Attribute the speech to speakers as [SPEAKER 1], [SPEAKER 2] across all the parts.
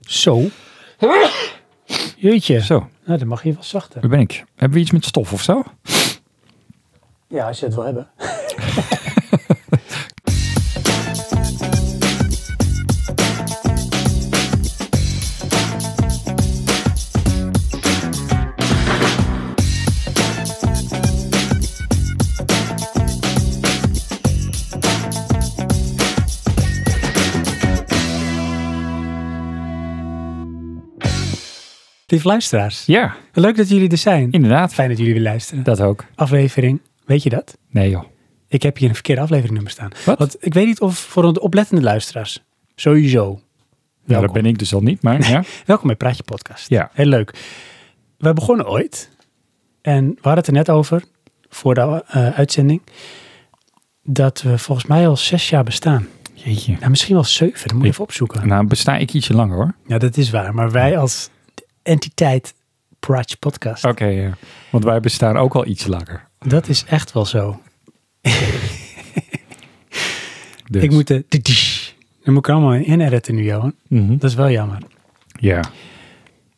[SPEAKER 1] Zo. Jeetje.
[SPEAKER 2] Zo,
[SPEAKER 1] Nou, dan mag je wel zachter.
[SPEAKER 2] daar ben ik. Hebben we iets met stof of zo?
[SPEAKER 1] Ja, als je het wil hebben. Lieve luisteraars,
[SPEAKER 2] Ja,
[SPEAKER 1] leuk dat jullie er zijn.
[SPEAKER 2] inderdaad.
[SPEAKER 1] Fijn dat jullie weer luisteren.
[SPEAKER 2] Dat ook.
[SPEAKER 1] Aflevering, weet je dat?
[SPEAKER 2] Nee joh.
[SPEAKER 1] Ik heb hier een verkeerde afleveringnummer staan.
[SPEAKER 2] Wat?
[SPEAKER 1] Want ik weet niet of voor de oplettende luisteraars, sowieso.
[SPEAKER 2] Ja,
[SPEAKER 1] Welkom.
[SPEAKER 2] dat ben ik dus al niet, maar ja.
[SPEAKER 1] Welkom bij Praatje Podcast.
[SPEAKER 2] Ja.
[SPEAKER 1] Heel leuk. We begonnen ooit, en we hadden het er net over, voor de eh, uitzending, dat we volgens mij al zes jaar bestaan.
[SPEAKER 2] Jeetje.
[SPEAKER 1] Nou, misschien wel zeven, dat moet je
[SPEAKER 2] Ik-
[SPEAKER 1] even opzoeken.
[SPEAKER 2] Nou, besta ik ietsje langer hoor.
[SPEAKER 1] Ja, dat is waar. Maar wij als entiteit Praatje Podcast,
[SPEAKER 2] Oké, ja. Want wij bestaan ook al iets langer.
[SPEAKER 1] dat is echt wel zo.
[SPEAKER 2] Dus.
[SPEAKER 1] Ik moet de... de- die- Dan moet ik er allemaal in editen nu, Johan.
[SPEAKER 2] Mhm.
[SPEAKER 1] Dat is wel jammer.
[SPEAKER 2] Ja. Oké.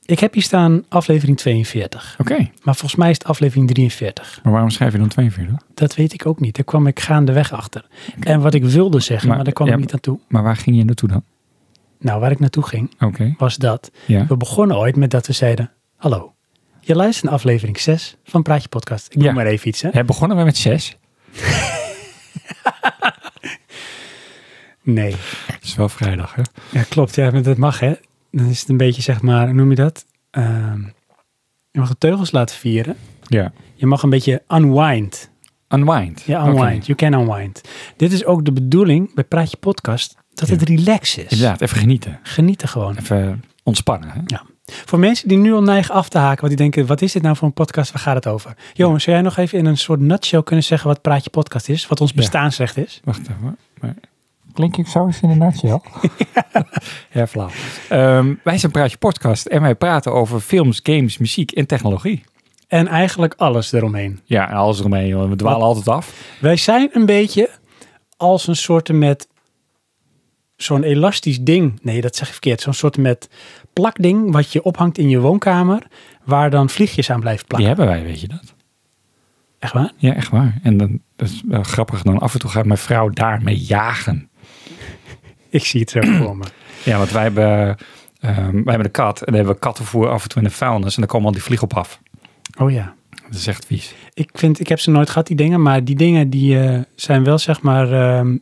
[SPEAKER 1] Ik heb hier staan aflevering 42. Maar volgens mij is het aflevering 43.
[SPEAKER 2] Maar waarom schrijf je dan 42?
[SPEAKER 1] Dat weet ik ook niet. Daar kwam ik gaandeweg achter. En wat ik wilde zeggen, maar,
[SPEAKER 2] Maar-
[SPEAKER 1] daar kwam
[SPEAKER 2] ja,
[SPEAKER 1] ik niet aan toe.
[SPEAKER 2] Maar waar ging je naartoe dan?
[SPEAKER 1] Nou, waar ik naartoe ging,
[SPEAKER 2] Oké.
[SPEAKER 1] was dat.
[SPEAKER 2] Ja.
[SPEAKER 1] We begonnen ooit met dat we zeiden... Hallo, je luistert naar aflevering 6 van Praatje Podcast. Ik noem
[SPEAKER 2] Ja.
[SPEAKER 1] maar even iets, hè?
[SPEAKER 2] Hè, begonnen we met 6?
[SPEAKER 1] Nee.
[SPEAKER 2] Het is wel vrijdag, hè?
[SPEAKER 1] Ja, klopt. Ja, maar dat mag, hè? Dan is het een beetje, zeg maar, hoe noem je dat? Ehm, je mag de teugels laten vieren.
[SPEAKER 2] Ja.
[SPEAKER 1] Je mag een beetje unwind.
[SPEAKER 2] Unwind.
[SPEAKER 1] Ja,
[SPEAKER 2] Oké.
[SPEAKER 1] unwind. You can unwind. Dit is ook de bedoeling bij Praatje Podcast, dat het relax is.
[SPEAKER 2] Inderdaad, even genieten.
[SPEAKER 1] Geniet er gewoon.
[SPEAKER 2] Even ontspannen, hè?
[SPEAKER 1] Ja. Voor mensen die nu al neigen af te haken, want die denken, wat is dit nou voor een podcast, waar gaat het over? Johan, zou jij nog even in een soort nutshell kunnen zeggen wat Praatje Podcast is? Wat ons
[SPEAKER 2] Ja.
[SPEAKER 1] bestaansrecht is?
[SPEAKER 2] Wacht even. Maar... Klink ik zo eens in een nutshell? ja, flauw. Ehm, wij zijn Praatje Podcast en wij praten over films, games, muziek en technologie.
[SPEAKER 1] En eigenlijk alles eromheen.
[SPEAKER 2] Ja, en alles eromheen. joh. We dwalen altijd af.
[SPEAKER 1] Wij zijn een beetje als een soort met zo'n elastisch ding. Nee, dat zeg ik verkeerd. Zo'n soort met plakding wat je ophangt in je woonkamer, waar dan vliegjes aan blijft
[SPEAKER 2] Die
[SPEAKER 1] plakken.
[SPEAKER 2] hebben wij, weet je dat?
[SPEAKER 1] Echt waar?
[SPEAKER 2] Ja, echt waar. En dan, dat is wel grappig. Dan af en toe gaat mijn vrouw daarmee jagen.
[SPEAKER 1] Ik zie het zo voor me.
[SPEAKER 2] Ja, want wij hebben, ehm, wij hebben een kat. En dan hebben we kattenvoer af en toe in de vuilnis. En dan komen al die vliegen op af.
[SPEAKER 1] Oh ja.
[SPEAKER 2] Dat is echt vies.
[SPEAKER 1] Ik, vind, ik heb ze nooit gehad, die dingen. Maar die dingen die eh, zijn wel zeg maar ehm,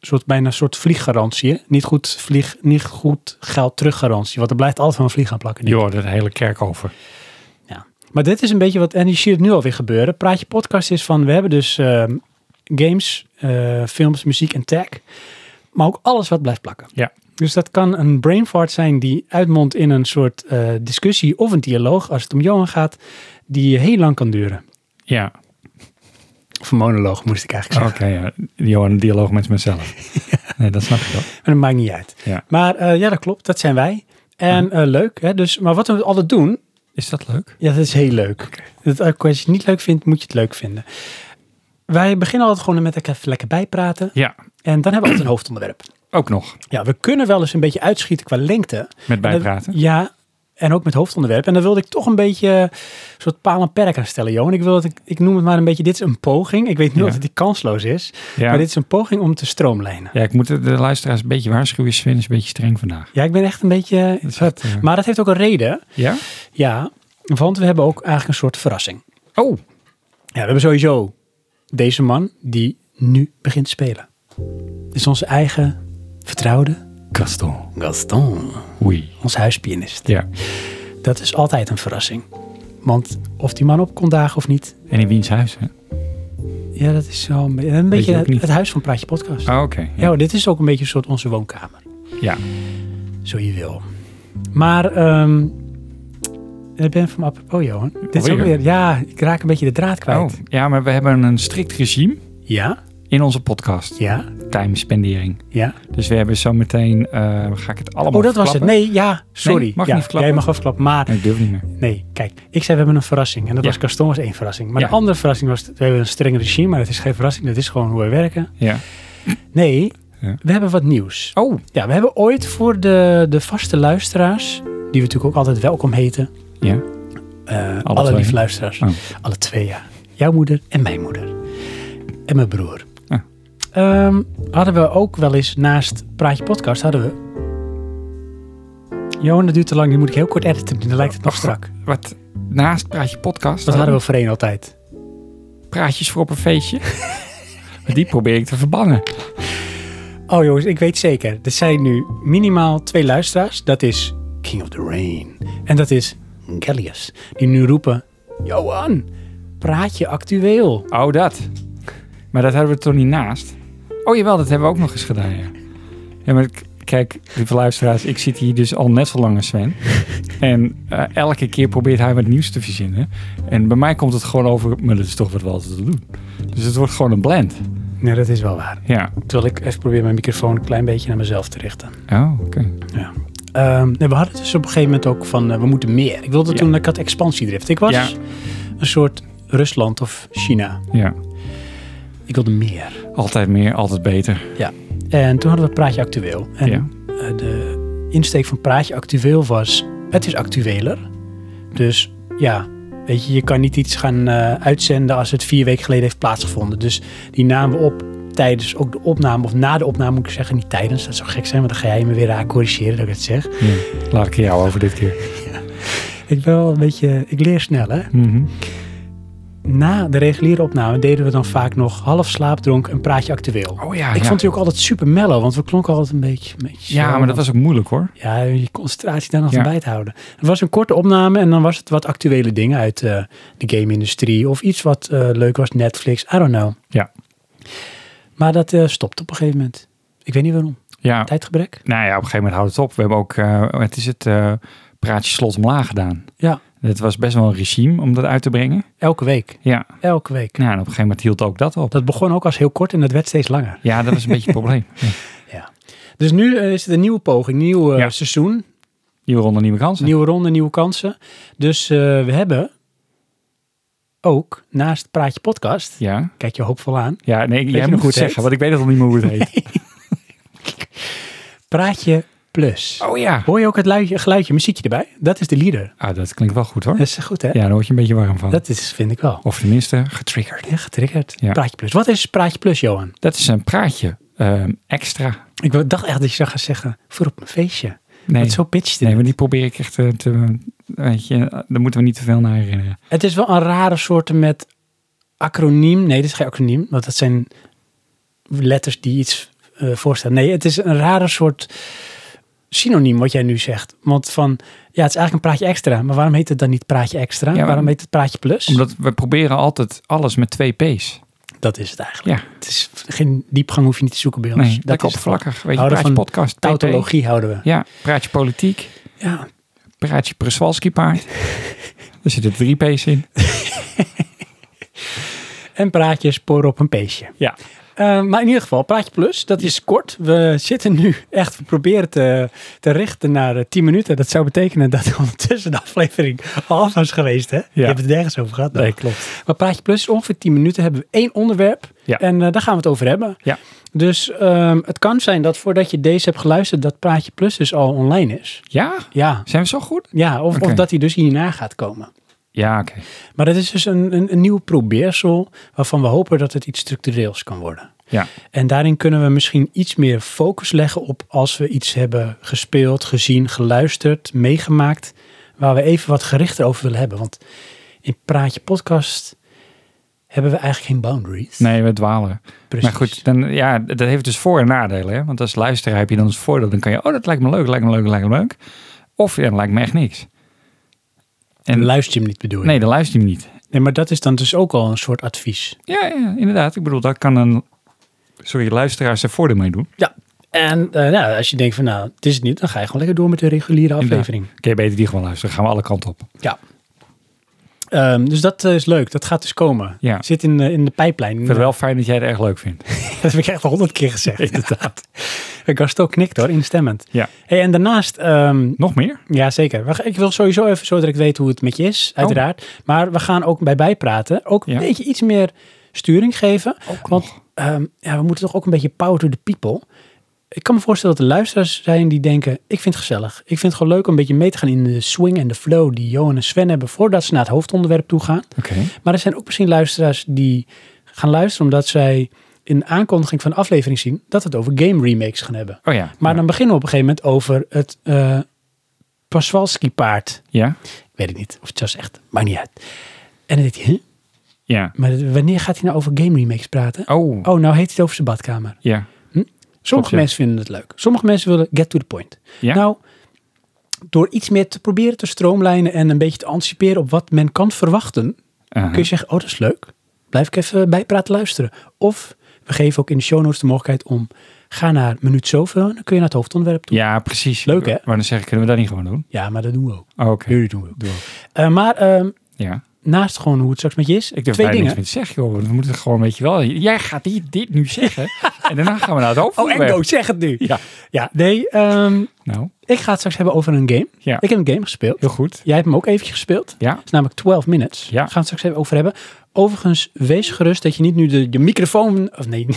[SPEAKER 1] soort, bijna een soort vlieggarantie. hè? Niet goed, vlieg, niet goed geld teruggarantie. Want er blijft altijd wel een vlieg aan plakken.
[SPEAKER 2] Joh, dat hele kerk over.
[SPEAKER 1] Ja. Maar dit is een beetje wat, en je ziet het nu alweer gebeuren. Praatje podcast is van, we hebben dus ehm, games, eh, films, muziek en tech. Maar ook alles wat blijft plakken.
[SPEAKER 2] Ja.
[SPEAKER 1] Dus dat kan een brain fart zijn die uitmondt in een soort eh, discussie of een dialoog, als het om Johan gaat, die heel lang kan duren.
[SPEAKER 2] Ja,
[SPEAKER 1] Of een monoloog moest ik eigenlijk
[SPEAKER 2] oké.
[SPEAKER 1] zeggen.
[SPEAKER 2] ja. Joh, een dialoog met mezelf. Nee, dat snap ik wel.
[SPEAKER 1] Maar dat maakt niet uit.
[SPEAKER 2] Ja.
[SPEAKER 1] Maar eh, ja, dat klopt. Dat zijn wij. En eh, leuk. Hè? Dus, maar wat we altijd doen,
[SPEAKER 2] Is dat leuk?
[SPEAKER 1] Ja, dat is heel leuk. Dat, ook als je het niet leuk vindt, moet je het leuk vinden. Wij beginnen altijd gewoon met elkaar even lekker bijpraten.
[SPEAKER 2] Ja,
[SPEAKER 1] En dan hebben we altijd een hoofdonderwerp.
[SPEAKER 2] ook nog.
[SPEAKER 1] Ja, we kunnen wel eens een beetje uitschieten qua lengte.
[SPEAKER 2] Met bijpraten.
[SPEAKER 1] Dat- ja, en ook met hoofdonderwerp. En daar wilde ik toch een beetje eh, een soort paal en perk aan stellen, Johan. Ik, wil dat ik, ik noem het maar een beetje, dit is een poging. Ik weet nu
[SPEAKER 2] Ja.
[SPEAKER 1] dat die kansloos is.
[SPEAKER 2] Ja.
[SPEAKER 1] Maar dit is een poging om te stroomlijnen.
[SPEAKER 2] Ja, ik moet de de luisteraars een beetje waarschuwen. Sven is een beetje streng vandaag.
[SPEAKER 1] Ja, ik ben echt een beetje...
[SPEAKER 2] Dat is echt, eh,
[SPEAKER 1] Maar dat heeft ook een reden.
[SPEAKER 2] Ja?
[SPEAKER 1] Ja, want we hebben ook eigenlijk een soort verrassing.
[SPEAKER 2] Oh,
[SPEAKER 1] Ja, we hebben sowieso deze man die nu begint te spelen. Dit is onze eigen vertrouwde
[SPEAKER 2] Gaston.
[SPEAKER 1] Gaston,
[SPEAKER 2] Oei.
[SPEAKER 1] ons huispianist.
[SPEAKER 2] Ja.
[SPEAKER 1] Dat is altijd een verrassing. Want of die man op kon dagen of niet,
[SPEAKER 2] En in wiens huis, hè?
[SPEAKER 1] ja, dat is zo een, be- een beetje
[SPEAKER 2] ook
[SPEAKER 1] het,
[SPEAKER 2] niet.
[SPEAKER 1] het huis van Praatje Podcast.
[SPEAKER 2] Oh, oké.
[SPEAKER 1] Ja,
[SPEAKER 2] Ja.
[SPEAKER 1] hoor, dit is ook een beetje een soort onze woonkamer,
[SPEAKER 2] ja.
[SPEAKER 1] zo je wil. Maar, ehm ik ben van apropos, Johan. Dit is ook
[SPEAKER 2] Alweer?
[SPEAKER 1] weer, ja, ik raak een beetje de draad kwijt.
[SPEAKER 2] Oh, ja, maar we hebben een strikt regime
[SPEAKER 1] Ja,
[SPEAKER 2] in onze podcast.
[SPEAKER 1] ja,
[SPEAKER 2] Timespendering.
[SPEAKER 1] ja.
[SPEAKER 2] Dus we hebben zo meteen... eh, ga ik het allemaal
[SPEAKER 1] Oh, dat was het.
[SPEAKER 2] verklappen?
[SPEAKER 1] Nee, ja, sorry.
[SPEAKER 2] Nee, mag
[SPEAKER 1] ja,
[SPEAKER 2] niet verklappen.
[SPEAKER 1] Jij mag afklappen, maar
[SPEAKER 2] Nee, ik durf niet meer.
[SPEAKER 1] nee, kijk. Ik zei, we hebben een verrassing. En dat
[SPEAKER 2] Ja.
[SPEAKER 1] was Gaston was één verrassing. Maar
[SPEAKER 2] Ja.
[SPEAKER 1] de andere verrassing was, we hebben een streng regime, maar dat is geen verrassing. Dat is gewoon hoe we werken.
[SPEAKER 2] Ja.
[SPEAKER 1] Nee,
[SPEAKER 2] Ja.
[SPEAKER 1] We hebben wat nieuws.
[SPEAKER 2] Oh,
[SPEAKER 1] Ja, we hebben ooit voor de, de vaste luisteraars, die we natuurlijk ook altijd welkom heten.
[SPEAKER 2] ja.
[SPEAKER 1] eh
[SPEAKER 2] Alle
[SPEAKER 1] alle
[SPEAKER 2] twee.
[SPEAKER 1] lieve luisteraars.
[SPEAKER 2] Oh.
[SPEAKER 1] Alle twee, ja. Jouw moeder en mijn moeder. En mijn broer.
[SPEAKER 2] Ja.
[SPEAKER 1] Ehm, hadden we ook wel eens naast Praatje Podcast, hadden we... Johan, dat duurt te lang. Die moet ik heel kort editen. Dan lijkt het
[SPEAKER 2] Oh,
[SPEAKER 1] nog strak.
[SPEAKER 2] Wat naast Praat je podcast?
[SPEAKER 1] Dat hadden we voorheen altijd.
[SPEAKER 2] Praatjes voor op een feestje. Maar die probeer ik te verbannen.
[SPEAKER 1] Oh jongens, ik weet zeker. Er zijn nu minimaal twee luisteraars. Dat is King of the Rain. En dat is Gallius. Die nu roepen... Johan, praat je actueel?
[SPEAKER 2] Oh, dat. Maar dat hadden we toch niet naast? Oh jawel, dat hebben we ook nog eens gedaan, ja. Ja, maar k- kijk, lieve luisteraars, ik zit hier dus al net zo lang als Sven. En eh, elke keer probeert hij wat nieuws te verzinnen. En bij mij komt het gewoon over, maar dat is toch wat we altijd doen. Dus het wordt gewoon een blend.
[SPEAKER 1] Nee, dat is wel waar.
[SPEAKER 2] Ja.
[SPEAKER 1] Terwijl ik even probeer mijn microfoon een klein beetje naar mezelf te richten.
[SPEAKER 2] Oh, oké.
[SPEAKER 1] Ehm, nee, we hadden het dus op een gegeven moment ook van eh, we moeten meer. Ik wilde
[SPEAKER 2] Ja.
[SPEAKER 1] toen, ik had expansiedrift. Ik was
[SPEAKER 2] Ja.
[SPEAKER 1] een soort Rusland of China.
[SPEAKER 2] Ja.
[SPEAKER 1] Ik wilde meer.
[SPEAKER 2] Altijd meer, altijd beter.
[SPEAKER 1] En toen hadden we Praatje Actueel. En
[SPEAKER 2] Ja.
[SPEAKER 1] eh, de insteek van Praatje Actueel was, het is actueler. Dus ja, weet je, je kan niet iets gaan eh, uitzenden als het vier weken geleden heeft plaatsgevonden. Dus die namen we op tijdens ook de opname, of na de opname moet ik zeggen, niet tijdens. Dat zou gek zijn, want dan ga jij me weer aan corrigeren dat ik het zeg.
[SPEAKER 2] Ja. Laat ik er jou over dit keer.
[SPEAKER 1] Ik ben wel een beetje, ik leer snel hè.
[SPEAKER 2] Mhm.
[SPEAKER 1] na de reguliere opname deden we dan vaak nog half slaapdronk een praatje actueel.
[SPEAKER 2] Oh ja,
[SPEAKER 1] ik
[SPEAKER 2] ja.
[SPEAKER 1] vond die ook altijd super mellow, want we klonken altijd een beetje... Een beetje zo,
[SPEAKER 2] Ja, maar dat
[SPEAKER 1] want-
[SPEAKER 2] was ook moeilijk hoor.
[SPEAKER 1] Ja, je concentratie daar nog
[SPEAKER 2] Ja.
[SPEAKER 1] bij te houden. Het was een korte opname en dan was het wat actuele dingen uit eh, de game-industrie... of iets wat eh, leuk was, Netflix, I don't know.
[SPEAKER 2] Ja.
[SPEAKER 1] Maar dat eh stopt op een gegeven moment. Ik weet niet waarom.
[SPEAKER 2] Ja,
[SPEAKER 1] Tijdgebrek?
[SPEAKER 2] Nou ja, op een gegeven moment houdt het op. We hebben ook, eh, het is het eh, praatje slot omlaag gedaan.
[SPEAKER 1] Ja,
[SPEAKER 2] Het was best wel een regime om dat uit te brengen.
[SPEAKER 1] elke week.
[SPEAKER 2] Ja,
[SPEAKER 1] Elke week.
[SPEAKER 2] nou, en op een gegeven moment hield ook dat op.
[SPEAKER 1] Dat begon ook als heel kort en dat werd steeds langer.
[SPEAKER 2] Ja, dat was een beetje het probleem. Ja.
[SPEAKER 1] Dus nu eh, is het een nieuwe poging, een nieuw eh,
[SPEAKER 2] Ja.
[SPEAKER 1] seizoen.
[SPEAKER 2] Nieuwe ronde, nieuwe kansen.
[SPEAKER 1] Nieuwe ronde, nieuwe kansen. Dus eh, we hebben ook naast Praatje Podcast,
[SPEAKER 2] Ja,
[SPEAKER 1] kijk je hoopvol aan,
[SPEAKER 2] ja nee,
[SPEAKER 1] je
[SPEAKER 2] jij
[SPEAKER 1] nog
[SPEAKER 2] moet
[SPEAKER 1] hoe
[SPEAKER 2] goed
[SPEAKER 1] het
[SPEAKER 2] zeggen,
[SPEAKER 1] heet?
[SPEAKER 2] want ik weet het al niet meer hoe het heet.
[SPEAKER 1] Praatje Plus.
[SPEAKER 2] Oh ja.
[SPEAKER 1] Hoor je ook het luidje, geluidje, muziekje erbij? Dat is de leader.
[SPEAKER 2] Ah, dat klinkt wel goed hoor.
[SPEAKER 1] Dat is goed hè?
[SPEAKER 2] Ja, daar word je een beetje warm van.
[SPEAKER 1] Dat is, vind ik wel.
[SPEAKER 2] Of tenminste, getriggerd.
[SPEAKER 1] Ja, getriggerd.
[SPEAKER 2] Ja.
[SPEAKER 1] Praatje Plus. Wat is Praatje Plus, Johan?
[SPEAKER 2] Dat is een praatje ehm, extra.
[SPEAKER 1] Ik wou- dacht echt dat je zou gaan zeggen, voor op mijn feestje.
[SPEAKER 2] Nee,
[SPEAKER 1] Want zo pitcht het.
[SPEAKER 2] nee, maar die probeer ik echt eh, te... Weet je, eh, daar moeten we niet te veel naar herinneren.
[SPEAKER 1] Het is wel een rare soort met acroniem. Nee, dit is geen acroniem, want dat zijn letters die iets eh, voorstellen. Nee, het is een rare soort synoniem wat jij nu zegt. Want van, ja, het is eigenlijk een praatje extra. Maar waarom heet het dan niet praatje extra?
[SPEAKER 2] maar-
[SPEAKER 1] waarom heet het praatje plus?
[SPEAKER 2] Omdat we proberen altijd alles met twee P's.
[SPEAKER 1] Dat is het eigenlijk.
[SPEAKER 2] Ja.
[SPEAKER 1] Het is geen diepgang hoef je niet te zoeken bij ons.
[SPEAKER 2] Nee,
[SPEAKER 1] is het.
[SPEAKER 2] dat oppervlakkig. Weet je,
[SPEAKER 1] Houden
[SPEAKER 2] praat je
[SPEAKER 1] van
[SPEAKER 2] podcast, PP.
[SPEAKER 1] Tautologie houden we.
[SPEAKER 2] Ja, praat je politiek,
[SPEAKER 1] Ja,
[SPEAKER 2] praat je Przewalski paard. er zitten drie P's in.
[SPEAKER 1] En praatjes sporen op een peesje.
[SPEAKER 2] Ja.
[SPEAKER 1] Eh, maar in ieder geval, Praatje Plus, dat is kort. We zitten nu echt, we proberen te, te richten naar eh, 10 minuten. Dat zou betekenen dat ondertussen de aflevering half was geweest, hè? Je hebt het nergens over gehad. nog.
[SPEAKER 2] klopt.
[SPEAKER 1] Maar Praatje Plus is ongeveer 10 minuten, hebben we één onderwerp.
[SPEAKER 2] Ja.
[SPEAKER 1] En eh, daar gaan we het over hebben.
[SPEAKER 2] Ja.
[SPEAKER 1] Dus ehm, het kan zijn dat voordat je deze hebt geluisterd, dat Praatje Plus dus al online is.
[SPEAKER 2] Ja?
[SPEAKER 1] Ja,
[SPEAKER 2] Zijn we zo goed?
[SPEAKER 1] ja of,
[SPEAKER 2] Oké.
[SPEAKER 1] of dat hij dus hierna gaat komen.
[SPEAKER 2] Ja, oké.
[SPEAKER 1] Maar dat is dus een, een, een nieuw probeersel waarvan we hopen dat het iets structureels kan worden.
[SPEAKER 2] Ja.
[SPEAKER 1] En daarin kunnen we misschien iets meer focus leggen op als we iets hebben gespeeld, gezien, geluisterd, meegemaakt, waar we even wat gerichter over willen hebben. Want in Praatje Podcast hebben we eigenlijk geen boundaries.
[SPEAKER 2] Nee, we dwalen.
[SPEAKER 1] Precies.
[SPEAKER 2] Maar goed, dan, ja, dat heeft dus voor- en nadelen. Hè? Want als luisteraar heb je dan als voordeel. Dan kan je, oh, dat lijkt me leuk, lijkt me leuk, lijkt me leuk. Of, ja, dat lijkt me echt niks.
[SPEAKER 1] En
[SPEAKER 2] En-
[SPEAKER 1] luister je hem niet bedoel je?
[SPEAKER 2] Nee, dan luister je hem niet.
[SPEAKER 1] Nee, maar dat is dan dus ook al een soort advies.
[SPEAKER 2] Ja, ja, inderdaad. Ik bedoel, daar kan een... Sorry, luisteraars er voordeel mee doen.
[SPEAKER 1] Ja. En eh, nou, als je denkt van nou, het is het niet, dan ga je gewoon lekker door met de reguliere
[SPEAKER 2] Inderdaad.
[SPEAKER 1] aflevering.
[SPEAKER 2] Oké, beter die gewoon luisteren. Gaan we alle kanten op.
[SPEAKER 1] Ja. Ehm, dus dat eh, is leuk. Dat gaat dus komen.
[SPEAKER 2] Ja.
[SPEAKER 1] Zit in, eh, in de pijplijn.
[SPEAKER 2] Ik vind het wel fijn dat jij het erg leuk vindt.
[SPEAKER 1] dat heb ik echt al honderd keer gezegd.
[SPEAKER 2] Inderdaad.
[SPEAKER 1] ik was ook knikt hoor, instemmend.
[SPEAKER 2] Ja.
[SPEAKER 1] Hey, en daarnaast, ehm,
[SPEAKER 2] Nog meer?
[SPEAKER 1] ja zeker. We gaan- Ik wil sowieso even zodat ik weet hoe het met je is, uiteraard. Maar we gaan ook bij bijpraten ook een
[SPEAKER 2] Oh. Ja.
[SPEAKER 1] beetje iets meer sturing geven.
[SPEAKER 2] Ook
[SPEAKER 1] Want ehm, ja, we moeten toch ook een beetje power to the people. ik kan me voorstellen dat er luisteraars zijn die denken, ik vind het gezellig. Ik vind het gewoon leuk om een beetje mee te gaan in de swing en de flow die Johan en Sven hebben voordat ze naar het hoofdonderwerp toe gaan.
[SPEAKER 2] Oké.
[SPEAKER 1] Maar er zijn ook misschien luisteraars die gaan luisteren omdat zij in de aankondiging van de aflevering zien dat we het over game remakes gaan hebben.
[SPEAKER 2] Oh ja.
[SPEAKER 1] Maar
[SPEAKER 2] ja.
[SPEAKER 1] dan beginnen we op een gegeven moment over het eh Paswalski paard.
[SPEAKER 2] Ja?
[SPEAKER 1] Ik weet het niet of het zo zegt, maar niet uit. En dan denk je, huh?
[SPEAKER 2] Ja.
[SPEAKER 1] maar dat- wanneer gaat hij nou over game remakes praten?
[SPEAKER 2] Oh.
[SPEAKER 1] Oh, nou heet hij het over zijn badkamer.
[SPEAKER 2] Ja.
[SPEAKER 1] Sommige
[SPEAKER 2] Klopt, ja.
[SPEAKER 1] mensen vinden het leuk. Sommige mensen willen get to the point.
[SPEAKER 2] Ja.
[SPEAKER 1] Nou, door iets meer te proberen te stroomlijnen en een beetje te anticiperen op wat men kan verwachten,
[SPEAKER 2] Aha.
[SPEAKER 1] kun je zeggen, oh dat is leuk. Blijf ik even bijpraten luisteren. Of we geven ook in de show notes de mogelijkheid om, ga naar minuut zoveel en dan kun je naar het hoofdonderwerp toe.
[SPEAKER 2] Ja, precies.
[SPEAKER 1] Leuk, hè?
[SPEAKER 2] Maar dan zeg ik, kunnen we dat niet gewoon doen?
[SPEAKER 1] Ja, maar dat doen we ook.
[SPEAKER 2] Oh, Oké.
[SPEAKER 1] Jullie doen we ook.
[SPEAKER 2] Doe ook.
[SPEAKER 1] Eh, maar ehm,
[SPEAKER 2] Ja.
[SPEAKER 1] naast gewoon hoe het straks met je is,
[SPEAKER 2] Ik durf
[SPEAKER 1] twee
[SPEAKER 2] bijna
[SPEAKER 1] dingen.
[SPEAKER 2] niks meer te zeggen, joh. want We moeten gewoon, weet je wel, jij gaat dit, dit nu zeggen. en daarna gaan we naar het
[SPEAKER 1] Oh,
[SPEAKER 2] hoofdonderwerp.
[SPEAKER 1] Endo, zeg het nu.
[SPEAKER 2] Ja.
[SPEAKER 1] Ja, nee, ehm,
[SPEAKER 2] Nou,
[SPEAKER 1] ik ga het straks hebben over een game.
[SPEAKER 2] Ja.
[SPEAKER 1] Ik heb een game gespeeld.
[SPEAKER 2] heel goed.
[SPEAKER 1] Jij hebt hem ook eventjes gespeeld.
[SPEAKER 2] Ja.
[SPEAKER 1] is namelijk 12 minutes.
[SPEAKER 2] Ja.
[SPEAKER 1] Daar gaan we het straks even over hebben. Overigens, wees gerust dat je niet nu de, je microfoon, of nee,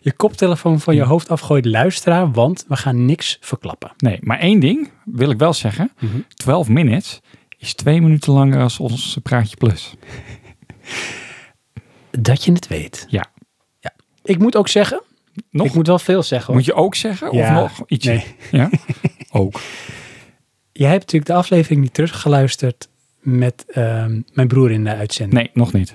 [SPEAKER 1] je koptelefoon van je hoofd afgooit, luisteraar, want we gaan niks verklappen.
[SPEAKER 2] Nee, maar één ding wil ik wel zeggen.
[SPEAKER 1] Mhm.
[SPEAKER 2] 12 minutes is twee minuten langer als ons Praatje Plus.
[SPEAKER 1] Dat je het weet.
[SPEAKER 2] Ja.
[SPEAKER 1] ja. Ik moet ook zeggen,
[SPEAKER 2] Nog?
[SPEAKER 1] ik moet wel veel zeggen. hoor.
[SPEAKER 2] Moet je ook zeggen?
[SPEAKER 1] Ja.
[SPEAKER 2] Of nog iets?
[SPEAKER 1] Nee.
[SPEAKER 2] Ja? Ook.
[SPEAKER 1] Jij hebt natuurlijk de aflevering niet teruggeluisterd met ehm, mijn broer in de uitzending.
[SPEAKER 2] Nee, nog niet.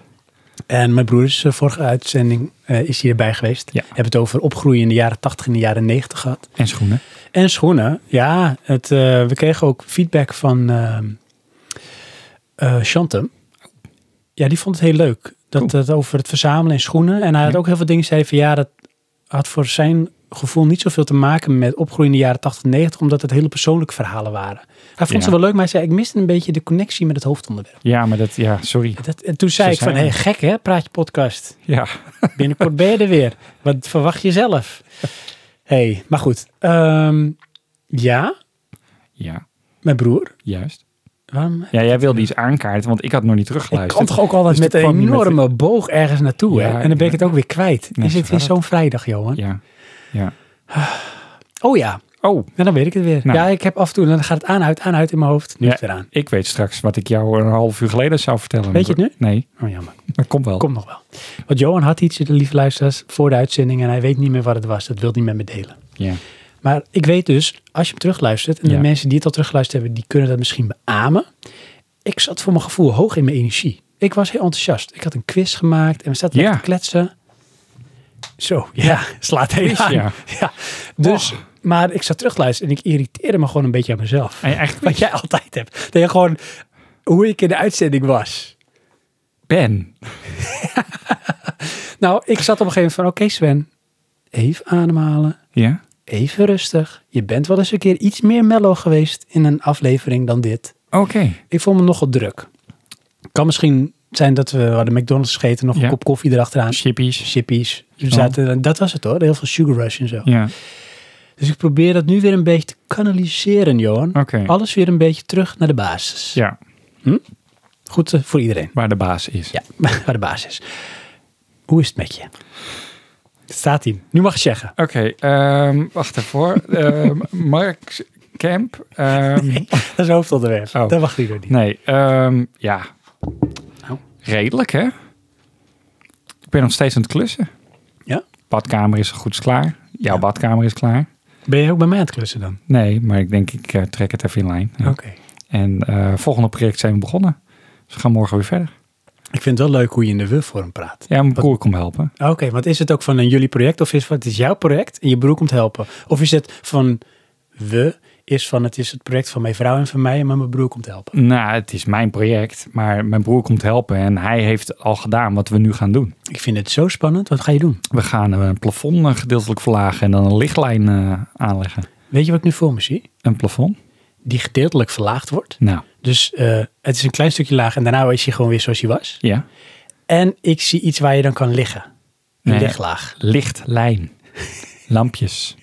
[SPEAKER 1] En mijn broer is eh, vorige uitzending eh, is hier erbij geweest.
[SPEAKER 2] Ja.
[SPEAKER 1] Hebben het over opgroeien in de jaren 80 en de jaren 90 gehad.
[SPEAKER 2] En schoenen.
[SPEAKER 1] En schoenen. Ja, het, eh, we kregen ook feedback van ehm eh, Chantem. Ja, die vond het heel leuk. Dat
[SPEAKER 2] Cool.
[SPEAKER 1] het over het verzamelen en schoenen. En hij had
[SPEAKER 2] Ja.
[SPEAKER 1] ook heel veel dingen zei van ja, dat had voor zijn gevoel niet zoveel te maken met opgroeien in de jaren 80 en 90, omdat het hele persoonlijke verhalen waren. Hij vond
[SPEAKER 2] Ja.
[SPEAKER 1] ze wel leuk, maar hij zei, ik miste een beetje de connectie met het hoofdonderwerp.
[SPEAKER 2] Ja, maar dat, ja, sorry.
[SPEAKER 1] Dat, en toen zei
[SPEAKER 2] Zo
[SPEAKER 1] ik van,
[SPEAKER 2] zijn
[SPEAKER 1] hé,
[SPEAKER 2] we.
[SPEAKER 1] gek hè, praat je podcast.
[SPEAKER 2] Ja.
[SPEAKER 1] Binnenkort ben je er weer. Wat verwacht je zelf? hey, maar goed. Ehm, ja,
[SPEAKER 2] Ja,
[SPEAKER 1] mijn broer.
[SPEAKER 2] juist.
[SPEAKER 1] Waarom?
[SPEAKER 2] Ja, jij wilde iets aankaarten, want ik had nog niet
[SPEAKER 1] Ik kan
[SPEAKER 2] teruggeluisterd.
[SPEAKER 1] toch ook altijd
[SPEAKER 2] Dus
[SPEAKER 1] met
[SPEAKER 2] dat
[SPEAKER 1] een
[SPEAKER 2] kwam niet met-
[SPEAKER 1] enorme boog ergens naartoe.
[SPEAKER 2] Ja,
[SPEAKER 1] hè? En dan ben ik het ook weer kwijt.
[SPEAKER 2] Nee,
[SPEAKER 1] Dan zit
[SPEAKER 2] zo
[SPEAKER 1] in
[SPEAKER 2] gaat
[SPEAKER 1] zo'n vrijdag, Johan.
[SPEAKER 2] Ja.
[SPEAKER 1] Oh ja,
[SPEAKER 2] Oh,
[SPEAKER 1] nou, dan weet ik het weer.
[SPEAKER 2] Nou.
[SPEAKER 1] Ja, ik heb af en toe, dan gaat het aan, uit, aan, uit in mijn hoofd. Nu
[SPEAKER 2] Ja.
[SPEAKER 1] is het weer aan.
[SPEAKER 2] ik weet straks wat ik jou een half uur geleden zou vertellen.
[SPEAKER 1] Weet je het
[SPEAKER 2] Nee,
[SPEAKER 1] Oh jammer,
[SPEAKER 2] dat komt wel.
[SPEAKER 1] komt nog wel. Want Johan had iets, de lieve luisteraars, voor de uitzending. En hij weet niet meer wat het was. Dat wil hij met me delen.
[SPEAKER 2] Ja.
[SPEAKER 1] Maar ik weet dus, als je hem terugluistert, en de
[SPEAKER 2] Ja.
[SPEAKER 1] mensen die het al teruggeluisterd hebben, die kunnen dat misschien beamen. Ik zat voor mijn gevoel hoog in mijn energie. Ik was heel enthousiast. Ik had een quiz gemaakt en we zaten
[SPEAKER 2] Ja.
[SPEAKER 1] lekker te kletsen. Zo, ja, slaat heel aan.
[SPEAKER 2] ja.
[SPEAKER 1] Ja. Dus, maar ik zat terugluisteren en ik irriteerde me gewoon een beetje aan mezelf.
[SPEAKER 2] En eigenlijk
[SPEAKER 1] Wat jij altijd hebt. Dat je gewoon, hoe ik in de uitzending was.
[SPEAKER 2] Ben.
[SPEAKER 1] Nou, ik zat op een gegeven moment van, oké Sven, even ademhalen.
[SPEAKER 2] Ja.
[SPEAKER 1] even rustig. Je bent wel eens een keer iets meer mellow geweest in een aflevering dan dit.
[SPEAKER 2] Oké.
[SPEAKER 1] Ik vond me nogal druk. Kan misschien zijn dat we hadden McDonald's gegeten, nog een
[SPEAKER 2] Ja.
[SPEAKER 1] kop koffie erachteraan.
[SPEAKER 2] Chippies.
[SPEAKER 1] Chippies. We
[SPEAKER 2] Zo.
[SPEAKER 1] Zaten, dat was het hoor. Heel veel sugar rush en zo.
[SPEAKER 2] Ja.
[SPEAKER 1] Dus ik probeer dat nu weer een beetje te kanaliseren, Johan.
[SPEAKER 2] Oké.
[SPEAKER 1] Alles weer een beetje terug naar de basis.
[SPEAKER 2] Ja.
[SPEAKER 1] Goed eh, voor iedereen.
[SPEAKER 2] Waar de baas is.
[SPEAKER 1] Ja, waar de basis. Hoe is het met je? Het staat hier. Nu mag je zeggen.
[SPEAKER 2] Oké, ehm, wacht even hoor. Ehm, Mark Kemp. ehm, nee,
[SPEAKER 1] Dat is hoofdonderwerp.
[SPEAKER 2] Oh.
[SPEAKER 1] Dat mag ik niet.
[SPEAKER 2] ehm, ja.
[SPEAKER 1] Nou.
[SPEAKER 2] Redelijk hè? Ik ben nog steeds aan het klussen.
[SPEAKER 1] Ja?
[SPEAKER 2] Badkamer is goed klaar. Jouw badkamer is klaar.
[SPEAKER 1] Ben je ook bij mij aan het klussen dan?
[SPEAKER 2] Nee, maar ik denk ik eh, trek het even in lijn. Ja.
[SPEAKER 1] Oké.
[SPEAKER 2] En eh volgende project zijn we begonnen. Dus we gaan morgen weer verder.
[SPEAKER 1] Ik vind het wel leuk hoe je in de we-vorm praat. Ah,
[SPEAKER 2] Ja, mijn broer komt helpen.
[SPEAKER 1] Oké, want is het ook van een jullie project of is het, het is jouw project en je broer komt helpen? Of is het van we is van het is het project van mijn vrouw en van mij, maar mijn broer komt helpen?
[SPEAKER 2] Nou, het is mijn project, maar mijn broer komt helpen. En hij heeft al gedaan wat we nu gaan doen.
[SPEAKER 1] Ik vind het zo spannend. Wat ga je doen?
[SPEAKER 2] We gaan een plafond eh, gedeeltelijk verlagen en dan een lichtlijn eh, aanleggen.
[SPEAKER 1] Weet je wat ik nu voor me zie?
[SPEAKER 2] Een plafond?
[SPEAKER 1] Die gedeeltelijk verlaagd wordt.
[SPEAKER 2] Nou,
[SPEAKER 1] Dus eh, het is een klein stukje laag en daarna is hij gewoon weer zoals hij was.
[SPEAKER 2] ja.
[SPEAKER 1] En ik zie iets waar je dan kan liggen. Een
[SPEAKER 2] Nee.
[SPEAKER 1] liglaag.
[SPEAKER 2] Lichtlijn. Lampjes.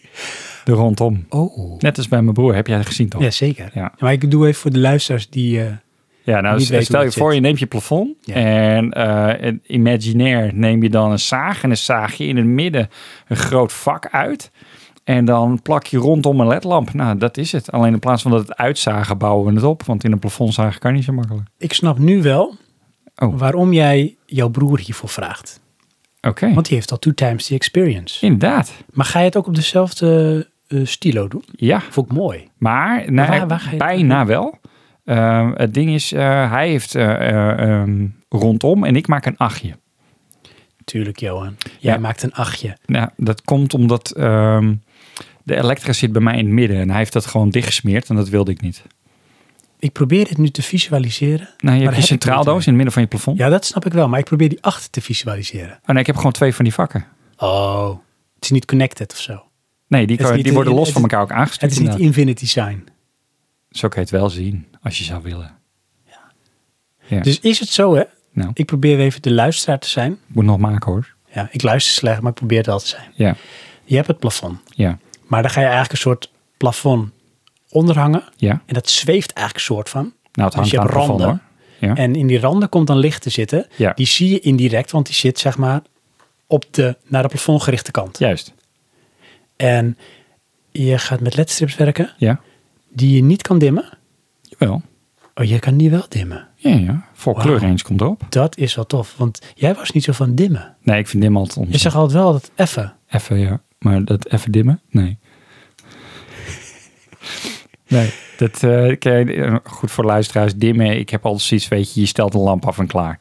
[SPEAKER 2] Er rondom.
[SPEAKER 1] Oh.
[SPEAKER 2] Net als bij mijn broer, heb jij dat gezien toch?
[SPEAKER 1] Ja, zeker.
[SPEAKER 2] Ja.
[SPEAKER 1] Maar ik doe even voor de luisteraars die... eh,
[SPEAKER 2] Ja, nou,
[SPEAKER 1] Niet
[SPEAKER 2] stel,
[SPEAKER 1] weten
[SPEAKER 2] stel
[SPEAKER 1] hoe
[SPEAKER 2] je
[SPEAKER 1] dat
[SPEAKER 2] voor,
[SPEAKER 1] zit.
[SPEAKER 2] je neemt je plafond
[SPEAKER 1] Ja.
[SPEAKER 2] en eh, en imaginair neem je dan een zaag en dan zaag je in het midden een groot vak uit. En dan plak je rondom een ledlamp. Nou, dat is het. Alleen in plaats van dat het uitzagen, bouwen we het op. Want in een plafondzaag kan niet zo makkelijk.
[SPEAKER 1] Ik snap nu wel
[SPEAKER 2] Oh.
[SPEAKER 1] waarom jij jouw broer hiervoor vraagt.
[SPEAKER 2] Oké,
[SPEAKER 1] Want die heeft al two times the experience.
[SPEAKER 2] inderdaad.
[SPEAKER 1] Maar ga je het ook op dezelfde eh, stilo doen?
[SPEAKER 2] Ja,
[SPEAKER 1] Vond ik mooi.
[SPEAKER 2] maar nou,
[SPEAKER 1] waar- waar ga je-
[SPEAKER 2] bijna wel. Ehm, het ding is, eh, hij heeft eh, eh, ehm, rondom en ik maak een achtje.
[SPEAKER 1] Tuurlijk, Johan. Jij
[SPEAKER 2] Ja.
[SPEAKER 1] maakt een achtje.
[SPEAKER 2] Nou, dat komt omdat ehm, de elektra zit bij mij in het midden. En hij heeft dat gewoon dichtgesmeerd en dat wilde ik niet.
[SPEAKER 1] Ik probeer dit nu te visualiseren.
[SPEAKER 2] Nou, je
[SPEAKER 1] heb
[SPEAKER 2] hebt
[SPEAKER 1] ik
[SPEAKER 2] je
[SPEAKER 1] niet
[SPEAKER 2] centraaldoos in het midden van je plafond.
[SPEAKER 1] Ja, dat snap ik wel, maar ik probeer die acht te visualiseren.
[SPEAKER 2] Oh nee, ik heb gewoon twee van die vakken.
[SPEAKER 1] Oh, het is niet connected of zo.
[SPEAKER 2] Nee, die,
[SPEAKER 1] Het is
[SPEAKER 2] kan-
[SPEAKER 1] niet
[SPEAKER 2] die
[SPEAKER 1] in-
[SPEAKER 2] worden los
[SPEAKER 1] het
[SPEAKER 2] van
[SPEAKER 1] is-
[SPEAKER 2] elkaar ook aangestuurd.
[SPEAKER 1] Het is niet
[SPEAKER 2] inderdaad.
[SPEAKER 1] infinity sign.
[SPEAKER 2] Zo kan je het wel zien, als je zou willen. Ja.
[SPEAKER 1] Dus is het zo, hè?
[SPEAKER 2] Nou.
[SPEAKER 1] Ik probeer weer even de luisteraar te zijn.
[SPEAKER 2] Ik moet nog maken hoor.
[SPEAKER 1] Ja, ik luister slecht, maar ik probeer het wel te zijn.
[SPEAKER 2] Ja,
[SPEAKER 1] Je hebt het plafond,
[SPEAKER 2] ja,
[SPEAKER 1] maar dan ga je eigenlijk een soort plafond onderhangen.
[SPEAKER 2] ja.
[SPEAKER 1] En dat zweeft eigenlijk een soort van.
[SPEAKER 2] Nou, het
[SPEAKER 1] Dus
[SPEAKER 2] hangt
[SPEAKER 1] je
[SPEAKER 2] aan
[SPEAKER 1] hebt
[SPEAKER 2] het plafond hoor.
[SPEAKER 1] randen.
[SPEAKER 2] Ja.
[SPEAKER 1] En in die randen komt dan licht te zitten.
[SPEAKER 2] Ja.
[SPEAKER 1] Die zie je indirect, want die zit zeg maar op de, naar de plafondgerichte kant.
[SPEAKER 2] Juist,
[SPEAKER 1] En je gaat met ledstrips werken
[SPEAKER 2] ja.
[SPEAKER 1] die je niet kan dimmen.
[SPEAKER 2] Jawel.
[SPEAKER 1] Oh, je kan die wel dimmen.
[SPEAKER 2] Ja, ja. Voor
[SPEAKER 1] Wauw.
[SPEAKER 2] kleur eens komt erop.
[SPEAKER 1] Dat is wel tof, want jij was niet zo van dimmen.
[SPEAKER 2] Nee, ik vind dim altijd
[SPEAKER 1] Je
[SPEAKER 2] onzin.
[SPEAKER 1] zegt altijd wel dat effen.
[SPEAKER 2] Even, ja. Maar dat even dimmen? Nee. nee, dat eh, ken je- eh, goed voor luisteraars. Dimmen, ik heb altijd zoiets, weet je, je stelt een lamp af en klaar.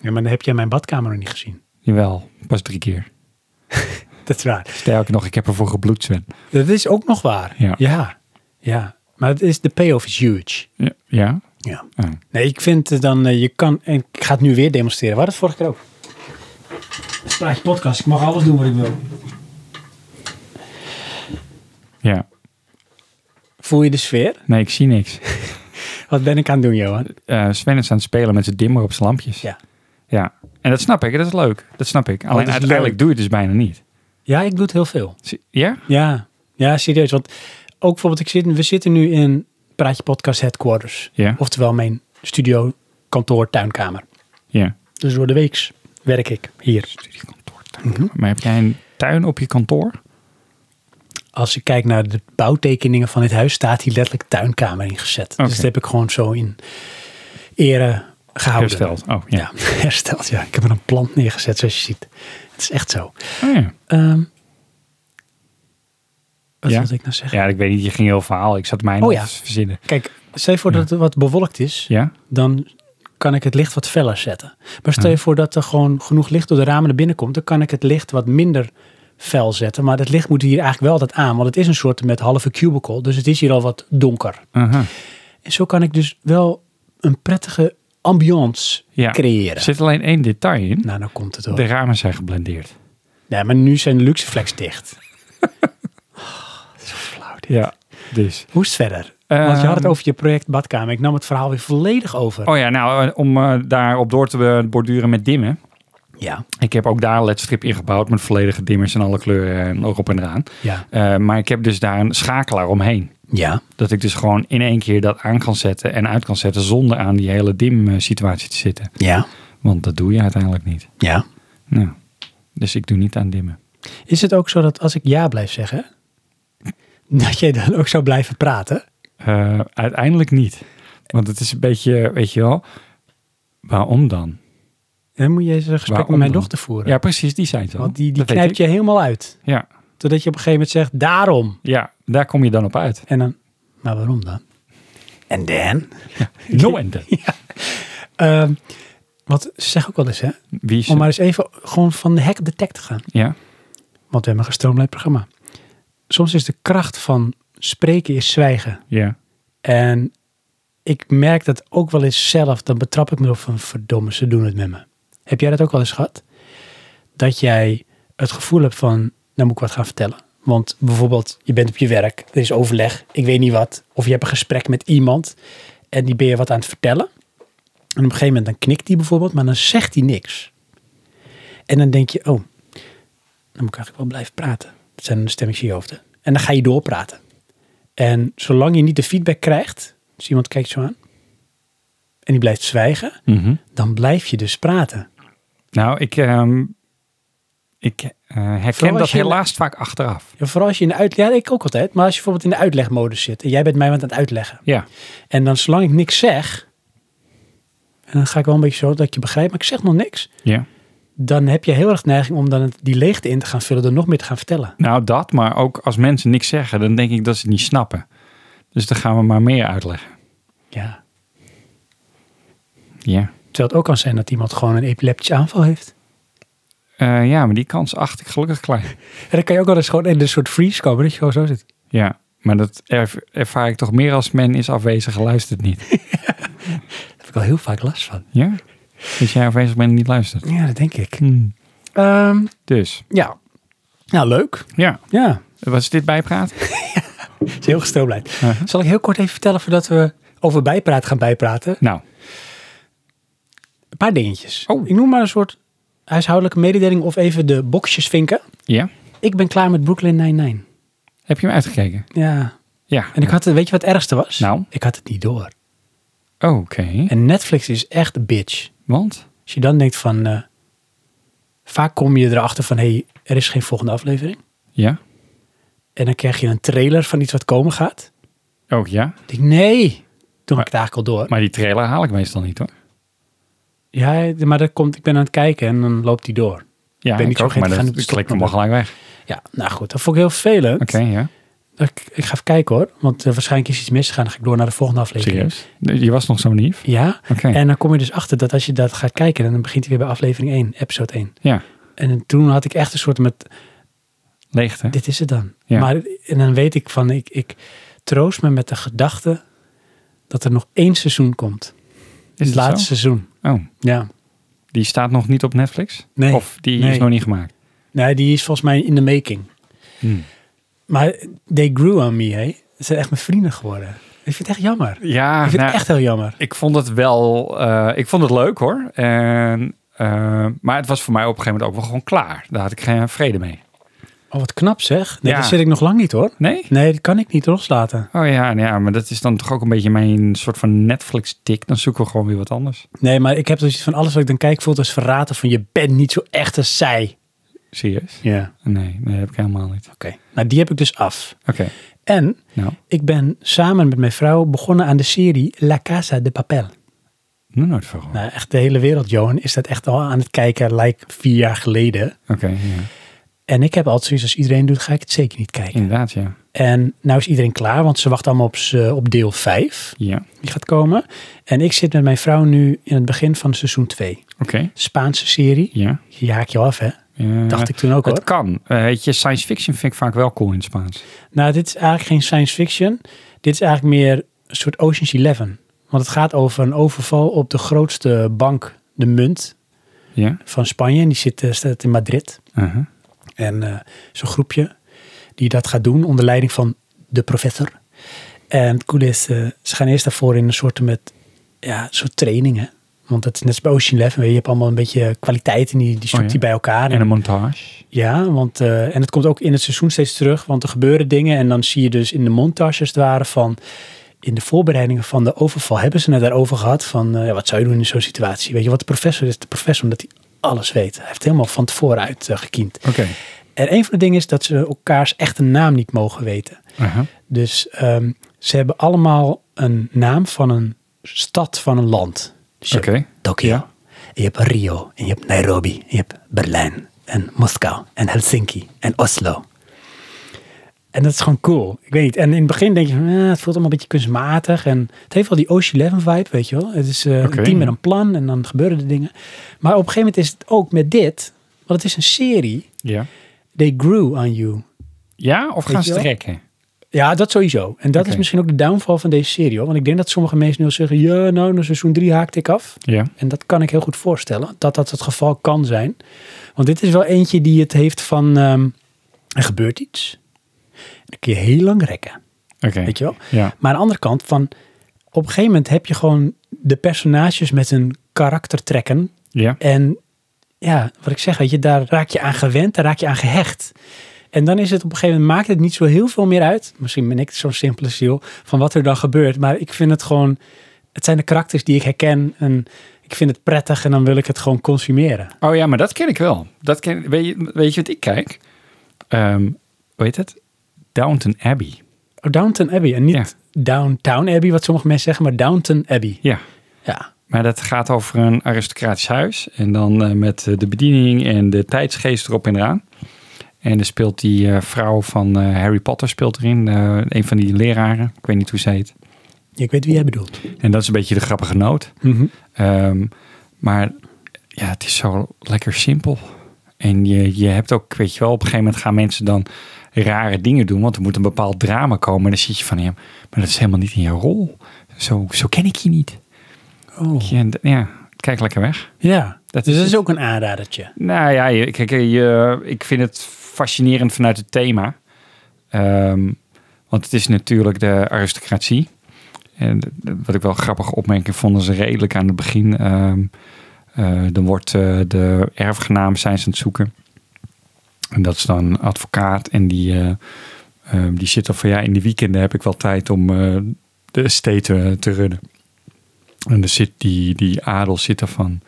[SPEAKER 1] Ja, maar dan heb jij mijn badkamer nog niet gezien.
[SPEAKER 2] Jawel, pas drie keer.
[SPEAKER 1] Dat is waar.
[SPEAKER 2] Sterker nog, ik heb ervoor gebloed, Sven.
[SPEAKER 1] Dat is ook nog waar.
[SPEAKER 2] Ja.
[SPEAKER 1] Ja. Ja. Maar het is, de payoff is huge.
[SPEAKER 2] Ja? ja?
[SPEAKER 1] Ja.
[SPEAKER 2] Ah.
[SPEAKER 1] Nee, ik vind eh, dan, eh, je kan, en ik ga het nu weer demonstreren. Waar het vorige keer ook. Spraatje podcast, ik mag alles doen wat ik wil.
[SPEAKER 2] Ja.
[SPEAKER 1] Voel je de sfeer?
[SPEAKER 2] Nee, ik zie niks.
[SPEAKER 1] Wat ben ik aan het doen, Johan?
[SPEAKER 2] Eh, Sven is aan het spelen met zijn dimmer op zijn lampjes.
[SPEAKER 1] Ja.
[SPEAKER 2] Ja. En dat snap ik, dat is leuk. Dat snap ik.
[SPEAKER 1] dat
[SPEAKER 2] Alleen
[SPEAKER 1] is
[SPEAKER 2] uiteindelijk
[SPEAKER 1] leuk.
[SPEAKER 2] doe je het dus bijna niet.
[SPEAKER 1] Ja, ik doe het heel veel.
[SPEAKER 2] Zie- Ja?
[SPEAKER 1] Ja, ja, serieus. Want ook bijvoorbeeld, ik zit, we zitten nu in Praatje Podcast Headquarters.
[SPEAKER 2] Ja.
[SPEAKER 1] Oftewel mijn studio, kantoor, tuinkamer.
[SPEAKER 2] Ja.
[SPEAKER 1] Dus door de weeks werk ik hier.
[SPEAKER 2] Studiekantoor, tuinkamer. Maar heb jij een tuin op je kantoor?
[SPEAKER 1] Als ik kijk naar de bouwtekeningen van dit huis, staat hier letterlijk tuinkamer ingezet.
[SPEAKER 2] Oké.
[SPEAKER 1] Dus dat heb ik gewoon zo in ere gehouden.
[SPEAKER 2] Hersteld. Oh, ja.
[SPEAKER 1] Ja, hersteld. Ja, ik heb er een plant neergezet, zoals je ziet. Het is echt zo.
[SPEAKER 2] Oh, ja.
[SPEAKER 1] Ehm, wat
[SPEAKER 2] Ja.
[SPEAKER 1] wilde ik nou zeggen?
[SPEAKER 2] Ja, ik weet niet, je ging heel verhaal. Ik zat mij
[SPEAKER 1] Oh
[SPEAKER 2] nog
[SPEAKER 1] ja.
[SPEAKER 2] te verzinnen.
[SPEAKER 1] Kijk, stel je voor dat het wat bewolkt is.
[SPEAKER 2] Ja?
[SPEAKER 1] dan kan ik het licht wat feller zetten. Maar stel je voor dat er gewoon genoeg licht door de ramen naar binnen komt, dan kan ik het licht wat minder fel zetten. Maar het licht moet hier eigenlijk wel dat aan, want het is een soort met halve cubicle, dus het is hier al wat donker.
[SPEAKER 2] Aha.
[SPEAKER 1] En zo kan ik dus wel een prettige ambiance
[SPEAKER 2] Ja. Er
[SPEAKER 1] creëren.
[SPEAKER 2] zit alleen één detail in.
[SPEAKER 1] Nou, nou komt het
[SPEAKER 2] De
[SPEAKER 1] hoor.
[SPEAKER 2] ramen zijn geblendeerd.
[SPEAKER 1] Nee, maar nu zijn de luxeflex dicht. Oh, zo flauw dit.
[SPEAKER 2] Ja, dus.
[SPEAKER 1] Hoe is het verder? Want je had het
[SPEAKER 2] Ehm.
[SPEAKER 1] over je project badkamer. Ik nam het verhaal weer volledig over.
[SPEAKER 2] Oh ja, nou, eh, om eh, daarop door te eh, borduren met dimmen.
[SPEAKER 1] Ja,
[SPEAKER 2] Ik heb ook daar een ledstrip ingebouwd met volledige dimmers en alle kleuren en nog op en eraan.
[SPEAKER 1] ja,
[SPEAKER 2] Eh, maar ik heb dus daar een schakelaar omheen.
[SPEAKER 1] ja.
[SPEAKER 2] Dat ik dus gewoon in één keer dat aan kan zetten en uit kan zetten zonder aan die hele dim eh, situatie te zitten.
[SPEAKER 1] Ja,
[SPEAKER 2] Want dat doe je uiteindelijk niet.
[SPEAKER 1] ja.
[SPEAKER 2] Nou, dus ik doe niet aan dimmen.
[SPEAKER 1] Is het ook zo dat als ik ja blijf zeggen, dat jij dan ook zou blijven praten?
[SPEAKER 2] Eh, uiteindelijk niet. Want het is een beetje, weet je wel, waarom dan?
[SPEAKER 1] Dan moet je eens een gesprek
[SPEAKER 2] Waarom
[SPEAKER 1] met mijn
[SPEAKER 2] dan?
[SPEAKER 1] dochter voeren.
[SPEAKER 2] Ja, precies, die zijn het wel.
[SPEAKER 1] Want die, die
[SPEAKER 2] Dat weet
[SPEAKER 1] knijpt
[SPEAKER 2] ik.
[SPEAKER 1] je helemaal uit.
[SPEAKER 2] Ja,
[SPEAKER 1] Totdat je op een gegeven moment zegt, daarom.
[SPEAKER 2] ja, daar kom je dan op uit.
[SPEAKER 1] En dan, maar waarom dan? En dan?
[SPEAKER 2] No ende.
[SPEAKER 1] Ehm wat ze zeggen ook wel eens, hè?
[SPEAKER 2] Wie is
[SPEAKER 1] Om maar
[SPEAKER 2] het?
[SPEAKER 1] eens even gewoon van de hek op de tek te gaan.
[SPEAKER 2] Ja,
[SPEAKER 1] Want we hebben een gestroomlijnd programma. Soms is de kracht van spreken is zwijgen.
[SPEAKER 2] ja.
[SPEAKER 1] En ik merk dat ook wel eens zelf. Dan betrap ik me op van verdomme, ze doen het met me. Heb jij dat ook wel eens gehad? Dat jij het gevoel hebt van, nou moet ik wat gaan vertellen. Want bijvoorbeeld, je bent op je werk, er is overleg, ik weet niet wat. Of je hebt een gesprek met iemand en die ben je wat aan het vertellen. En op een gegeven moment dan knikt die bijvoorbeeld, maar dan zegt hij niks. En dan denk je, oh, dan moet ik eigenlijk wel blijven praten. Dat zijn de stemmetjes in je hoofd. hè. En dan ga je doorpraten. En zolang je niet de feedback krijgt, dus iemand kijkt zo aan, en die blijft zwijgen,
[SPEAKER 2] Mhm.
[SPEAKER 1] dan blijf je dus praten.
[SPEAKER 2] Nou, ik, ehm, ik eh, herken
[SPEAKER 1] Vooral
[SPEAKER 2] dat
[SPEAKER 1] als je-
[SPEAKER 2] helaas vaak achteraf.
[SPEAKER 1] Ja, vooral als je in de uitleg... Ja, ik ook altijd. Maar als je bijvoorbeeld in de uitlegmodus zit. En jij bent mij wat aan het uitleggen.
[SPEAKER 2] Ja.
[SPEAKER 1] En dan zolang ik niks zeg... En dan ga ik wel een beetje zo dat ik je begrijpt. Maar ik zeg nog niks.
[SPEAKER 2] Ja.
[SPEAKER 1] Dan heb je heel erg neiging om dan het- die leegte in te gaan vullen. Door nog meer te gaan vertellen.
[SPEAKER 2] Nou, dat, maar ook als mensen niks zeggen, dan denk ik dat ze het niet snappen. Dus dan gaan we maar meer uitleggen.
[SPEAKER 1] Ja.
[SPEAKER 2] Ja.
[SPEAKER 1] Terwijl het ook kan zijn dat iemand gewoon een epileptische aanval heeft.
[SPEAKER 2] Eh, ja, maar die kans acht ik gelukkig klein.
[SPEAKER 1] En dan kan je ook wel eens gewoon in een soort freeze komen. Dat je gewoon zo zit.
[SPEAKER 2] Ja, maar dat er- ervaar ik toch meer als men is afwezig en luistert niet.
[SPEAKER 1] Daar heb ik al heel vaak last van.
[SPEAKER 2] Ja? Dus jij afwezig bent en niet luistert.
[SPEAKER 1] Ja, dat denk ik.
[SPEAKER 2] Hm.
[SPEAKER 1] Ehm,
[SPEAKER 2] Dus,
[SPEAKER 1] ja. Nou, leuk.
[SPEAKER 2] ja.
[SPEAKER 1] Ja.
[SPEAKER 2] Was dit bijpraat?
[SPEAKER 1] Het is heel gestroomlijnd.
[SPEAKER 2] Uh-huh.
[SPEAKER 1] Zal ik heel kort even vertellen voordat we over bijpraat gaan bijpraten?
[SPEAKER 2] Nou,
[SPEAKER 1] Een paar dingetjes.
[SPEAKER 2] Oh.
[SPEAKER 1] Ik noem maar een soort huishoudelijke mededeling of even de boxjes vinken.
[SPEAKER 2] ja.
[SPEAKER 1] Ik ben klaar met Brooklyn Nine-Nine.
[SPEAKER 2] Heb je hem uitgekeken?
[SPEAKER 1] Ja.
[SPEAKER 2] Ja.
[SPEAKER 1] En ik had het, weet je wat het ergste was?
[SPEAKER 2] Nou?
[SPEAKER 1] Ik had het niet door.
[SPEAKER 2] Oké.
[SPEAKER 1] En Netflix is echt een bitch.
[SPEAKER 2] Want?
[SPEAKER 1] Als je dan denkt van... eh, vaak kom je erachter van, hé, hey, er is geen volgende aflevering.
[SPEAKER 2] Ja.
[SPEAKER 1] En dan krijg je een trailer van iets wat komen gaat.
[SPEAKER 2] Ook ja.
[SPEAKER 1] Ik denk, nee. Toen had ik het eigenlijk al door.
[SPEAKER 2] Maar die trailer haal ik meestal niet hoor.
[SPEAKER 1] ja, maar dat komt, ik ben aan het kijken en dan loopt die door.
[SPEAKER 2] Ja,
[SPEAKER 1] ben niet zo
[SPEAKER 2] ook,
[SPEAKER 1] geen
[SPEAKER 2] maar
[SPEAKER 1] fan
[SPEAKER 2] dat
[SPEAKER 1] op de
[SPEAKER 2] dat klikt hem wel
[SPEAKER 1] stoppen.
[SPEAKER 2] gelijk weg.
[SPEAKER 1] Ja, nou goed, dat vond ik heel vervelend.
[SPEAKER 2] Oké, ja.
[SPEAKER 1] Ik, ik ga even kijken hoor, want eh, waarschijnlijk is iets misgegaan. Dan ga ik door naar de volgende aflevering.
[SPEAKER 2] Serieus? Je was nog zo lief?
[SPEAKER 1] Ja,
[SPEAKER 2] Oké.
[SPEAKER 1] en dan kom je dus achter dat als je dat gaat kijken, dan begint hij weer bij aflevering 1, episode 1.
[SPEAKER 2] Ja.
[SPEAKER 1] En toen had ik echt een soort met,
[SPEAKER 2] Leegte.
[SPEAKER 1] dit is het dan.
[SPEAKER 2] Ja.
[SPEAKER 1] Maar, en dan weet ik van, ik, ik troost me met de gedachte dat er nog één seizoen komt.
[SPEAKER 2] Is
[SPEAKER 1] het
[SPEAKER 2] het
[SPEAKER 1] laatste
[SPEAKER 2] zo?
[SPEAKER 1] seizoen.
[SPEAKER 2] Oh,
[SPEAKER 1] Ja.
[SPEAKER 2] die staat nog niet op Netflix?
[SPEAKER 1] Nee.
[SPEAKER 2] Of die is
[SPEAKER 1] Nee.
[SPEAKER 2] nog niet gemaakt?
[SPEAKER 1] Nee, die is volgens mij in de making.
[SPEAKER 2] Hm.
[SPEAKER 1] Maar they grew on me, hè. Ze zijn echt mijn vrienden geworden. Ik vind het echt jammer.
[SPEAKER 2] Ja,
[SPEAKER 1] ik vind
[SPEAKER 2] nou,
[SPEAKER 1] het echt heel jammer.
[SPEAKER 2] ik vond het wel, eh, ik vond het leuk hoor. En, eh, maar het was voor mij op een gegeven moment ook wel gewoon klaar. Daar had ik geen vrede mee.
[SPEAKER 1] Oh, wat knap zeg. Nee,
[SPEAKER 2] Ja.
[SPEAKER 1] daar zit ik nog lang niet hoor.
[SPEAKER 2] Nee?
[SPEAKER 1] Nee, dat kan ik niet loslaten.
[SPEAKER 2] Oh ja, nou ja, maar dat is dan toch ook een beetje mijn soort van Netflix-tik. Dan zoeken we gewoon weer wat anders.
[SPEAKER 1] Nee, maar ik heb dus iets van alles wat ik dan kijk voelt als verraten van je bent niet zo echt als zij.
[SPEAKER 2] Serieus?
[SPEAKER 1] Ja.
[SPEAKER 2] Nee, nee, heb ik helemaal niet.
[SPEAKER 1] Oké. Nou, die heb ik dus af.
[SPEAKER 2] Oké,
[SPEAKER 1] En
[SPEAKER 2] nou,
[SPEAKER 1] ik ben samen met mijn vrouw begonnen aan de serie La Casa de Papel.
[SPEAKER 2] nog nooit van gehoord.
[SPEAKER 1] Nou, echt de hele wereld, Johan, is dat echt al aan het kijken, like vier jaar geleden.
[SPEAKER 2] Oké, ja.
[SPEAKER 1] En ik heb altijd zoiets als iedereen doet, ga ik het zeker niet kijken.
[SPEAKER 2] inderdaad, ja.
[SPEAKER 1] En nou is iedereen klaar, want ze wachten allemaal op, z'n- op deel 5.
[SPEAKER 2] Ja,
[SPEAKER 1] Die gaat komen. En ik zit met mijn vrouw nu in het begin van seizoen 2.
[SPEAKER 2] oké.
[SPEAKER 1] Spaanse serie.
[SPEAKER 2] Ja,
[SPEAKER 1] Je haakt je af, hè?
[SPEAKER 2] ja.
[SPEAKER 1] Dacht ik toen ook hoor.
[SPEAKER 2] Het kan. Eh, weet je, science fiction vind ik vaak wel cool in het Spaans.
[SPEAKER 1] Nou, dit is eigenlijk geen science fiction. Dit is eigenlijk meer een soort Ocean's Eleven. Want het gaat over een overval op de grootste bank, de munt
[SPEAKER 2] Ja,
[SPEAKER 1] van Spanje. En die zit, eh, staat in Madrid.
[SPEAKER 2] uh-huh.
[SPEAKER 1] En eh, zo'n groepje die dat gaat doen onder leiding van de professor. En het coole is, eh, ze gaan eerst daarvoor in een soort, met, ja, een soort trainingen. Want dat is net als bij Ocean Eleven. weet Je je hebt allemaal een beetje kwaliteiten en die, die zoekt
[SPEAKER 2] Oh ja.
[SPEAKER 1] die bij elkaar.
[SPEAKER 2] en een montage.
[SPEAKER 1] Ja, want, eh, en het komt ook in het seizoen steeds terug, want er gebeuren dingen. En dan zie je dus in de montage als het ware van, in de voorbereidingen van de overval hebben ze het daarover gehad. Van, eh, ja, wat zou je doen in zo'n situatie? Weet je, wat de professor is de professor, omdat hij alles weet. Hij heeft helemaal van tevoren uitgekiend.
[SPEAKER 2] Oké.
[SPEAKER 1] En een van de dingen is dat ze elkaars echte naam niet mogen weten.
[SPEAKER 2] Uh-huh.
[SPEAKER 1] Dus ehm, ze hebben allemaal een naam van een stad van een land. Dus je
[SPEAKER 2] Oké.
[SPEAKER 1] hebt Tokio,
[SPEAKER 2] Ja.
[SPEAKER 1] en je hebt Rio, en je hebt Nairobi, en je hebt Berlijn, en Moskou, en Helsinki, en Oslo. En dat is gewoon cool. Ik weet niet. En in het begin denk je, van, eh, het voelt allemaal een beetje kunstmatig. En het heeft wel die Ocean Eleven vibe, weet je wel. Het is eh,
[SPEAKER 2] Oké.
[SPEAKER 1] een team met een plan en dan gebeuren er dingen. Maar op een gegeven moment is het ook met dit, want het is een serie.
[SPEAKER 2] Ja.
[SPEAKER 1] They grew on you.
[SPEAKER 2] Ja, of
[SPEAKER 1] Weet
[SPEAKER 2] gaan
[SPEAKER 1] je wel?
[SPEAKER 2] strekken?
[SPEAKER 1] Ja, dat sowieso. En dat
[SPEAKER 2] Oké.
[SPEAKER 1] is misschien ook de downfall van deze serie. Hoor. Want ik denk dat sommige mensen nu al zeggen... ja, nou, na seizoen 3 haakte ik af.
[SPEAKER 2] Ja.
[SPEAKER 1] En dat kan ik heel goed voorstellen. Dat dat het geval kan zijn. Want dit is wel eentje die het heeft van... ehm, er gebeurt iets. En dan kun je heel lang rekken.
[SPEAKER 2] Oké.
[SPEAKER 1] Weet je wel?
[SPEAKER 2] Ja.
[SPEAKER 1] Maar aan de andere kant van... op een gegeven moment heb je gewoon de personages met hun karaktertrekken.
[SPEAKER 2] Ja.
[SPEAKER 1] En ja, wat ik zeg, weet je, daar raak je aan gewend, daar raak je aan gehecht. En dan is het op een gegeven moment, maakt het niet zo heel veel meer uit. Misschien ben ik zo'n simpele ziel van wat er dan gebeurt. Maar ik vind het gewoon, het zijn de karakters die ik herken. En ik ik vind het prettig en dan wil ik het gewoon consumeren.
[SPEAKER 2] Oh ja, maar dat ken ik wel. Dat ken, weet, je, weet je wat ik kijk? Ehm hoe heet het? Downton Abbey.
[SPEAKER 1] Oh, Downton Abbey en niet Downtown Abbey, wat sommige mensen zeggen, maar Downton Abbey.
[SPEAKER 2] Ja.
[SPEAKER 1] Ja,
[SPEAKER 2] Maar dat gaat over een aristocratisch huis. En dan eh, met eh, de bediening en de tijdsgeest erop en eraan. En er speelt die eh, vrouw van eh, Harry Potter speelt erin. eh, een van die leraren. Ik weet niet hoe ze heet.
[SPEAKER 1] ik weet wie jij bedoelt.
[SPEAKER 2] En dat is een beetje de grappige noot. Ehm, maar ja, het is zo lekker simpel. En je, je hebt ook, weet je wel, op een gegeven moment gaan mensen dan rare dingen doen. Want er moet een bepaald drama komen. En dan zit je van, ja, maar dat is helemaal niet in jouw rol. Zo, zo ken ik je niet.
[SPEAKER 1] Oh.
[SPEAKER 2] Ja, d- ja, kijk lekker weg.
[SPEAKER 1] Ja,
[SPEAKER 2] Dat
[SPEAKER 1] dus
[SPEAKER 2] is
[SPEAKER 1] dat is
[SPEAKER 2] het.
[SPEAKER 1] ook een aanradertje.
[SPEAKER 2] Nou ja, je- kijk, je, ik vind het fascinerend vanuit het thema. Ehm, want het is natuurlijk de aristocratie. En de- de- wat ik wel grappige opmerking vond, is redelijk aan het begin. ehm, eh, dan wordt eh, de erfgenaam zijn ze aan het zoeken. En dat is dan een advocaat. En die, eh, ehm, die zit dan van ja, in de weekenden heb ik wel tijd om eh, de estate eh, te runnen. En dan zit die, die adel zit er van,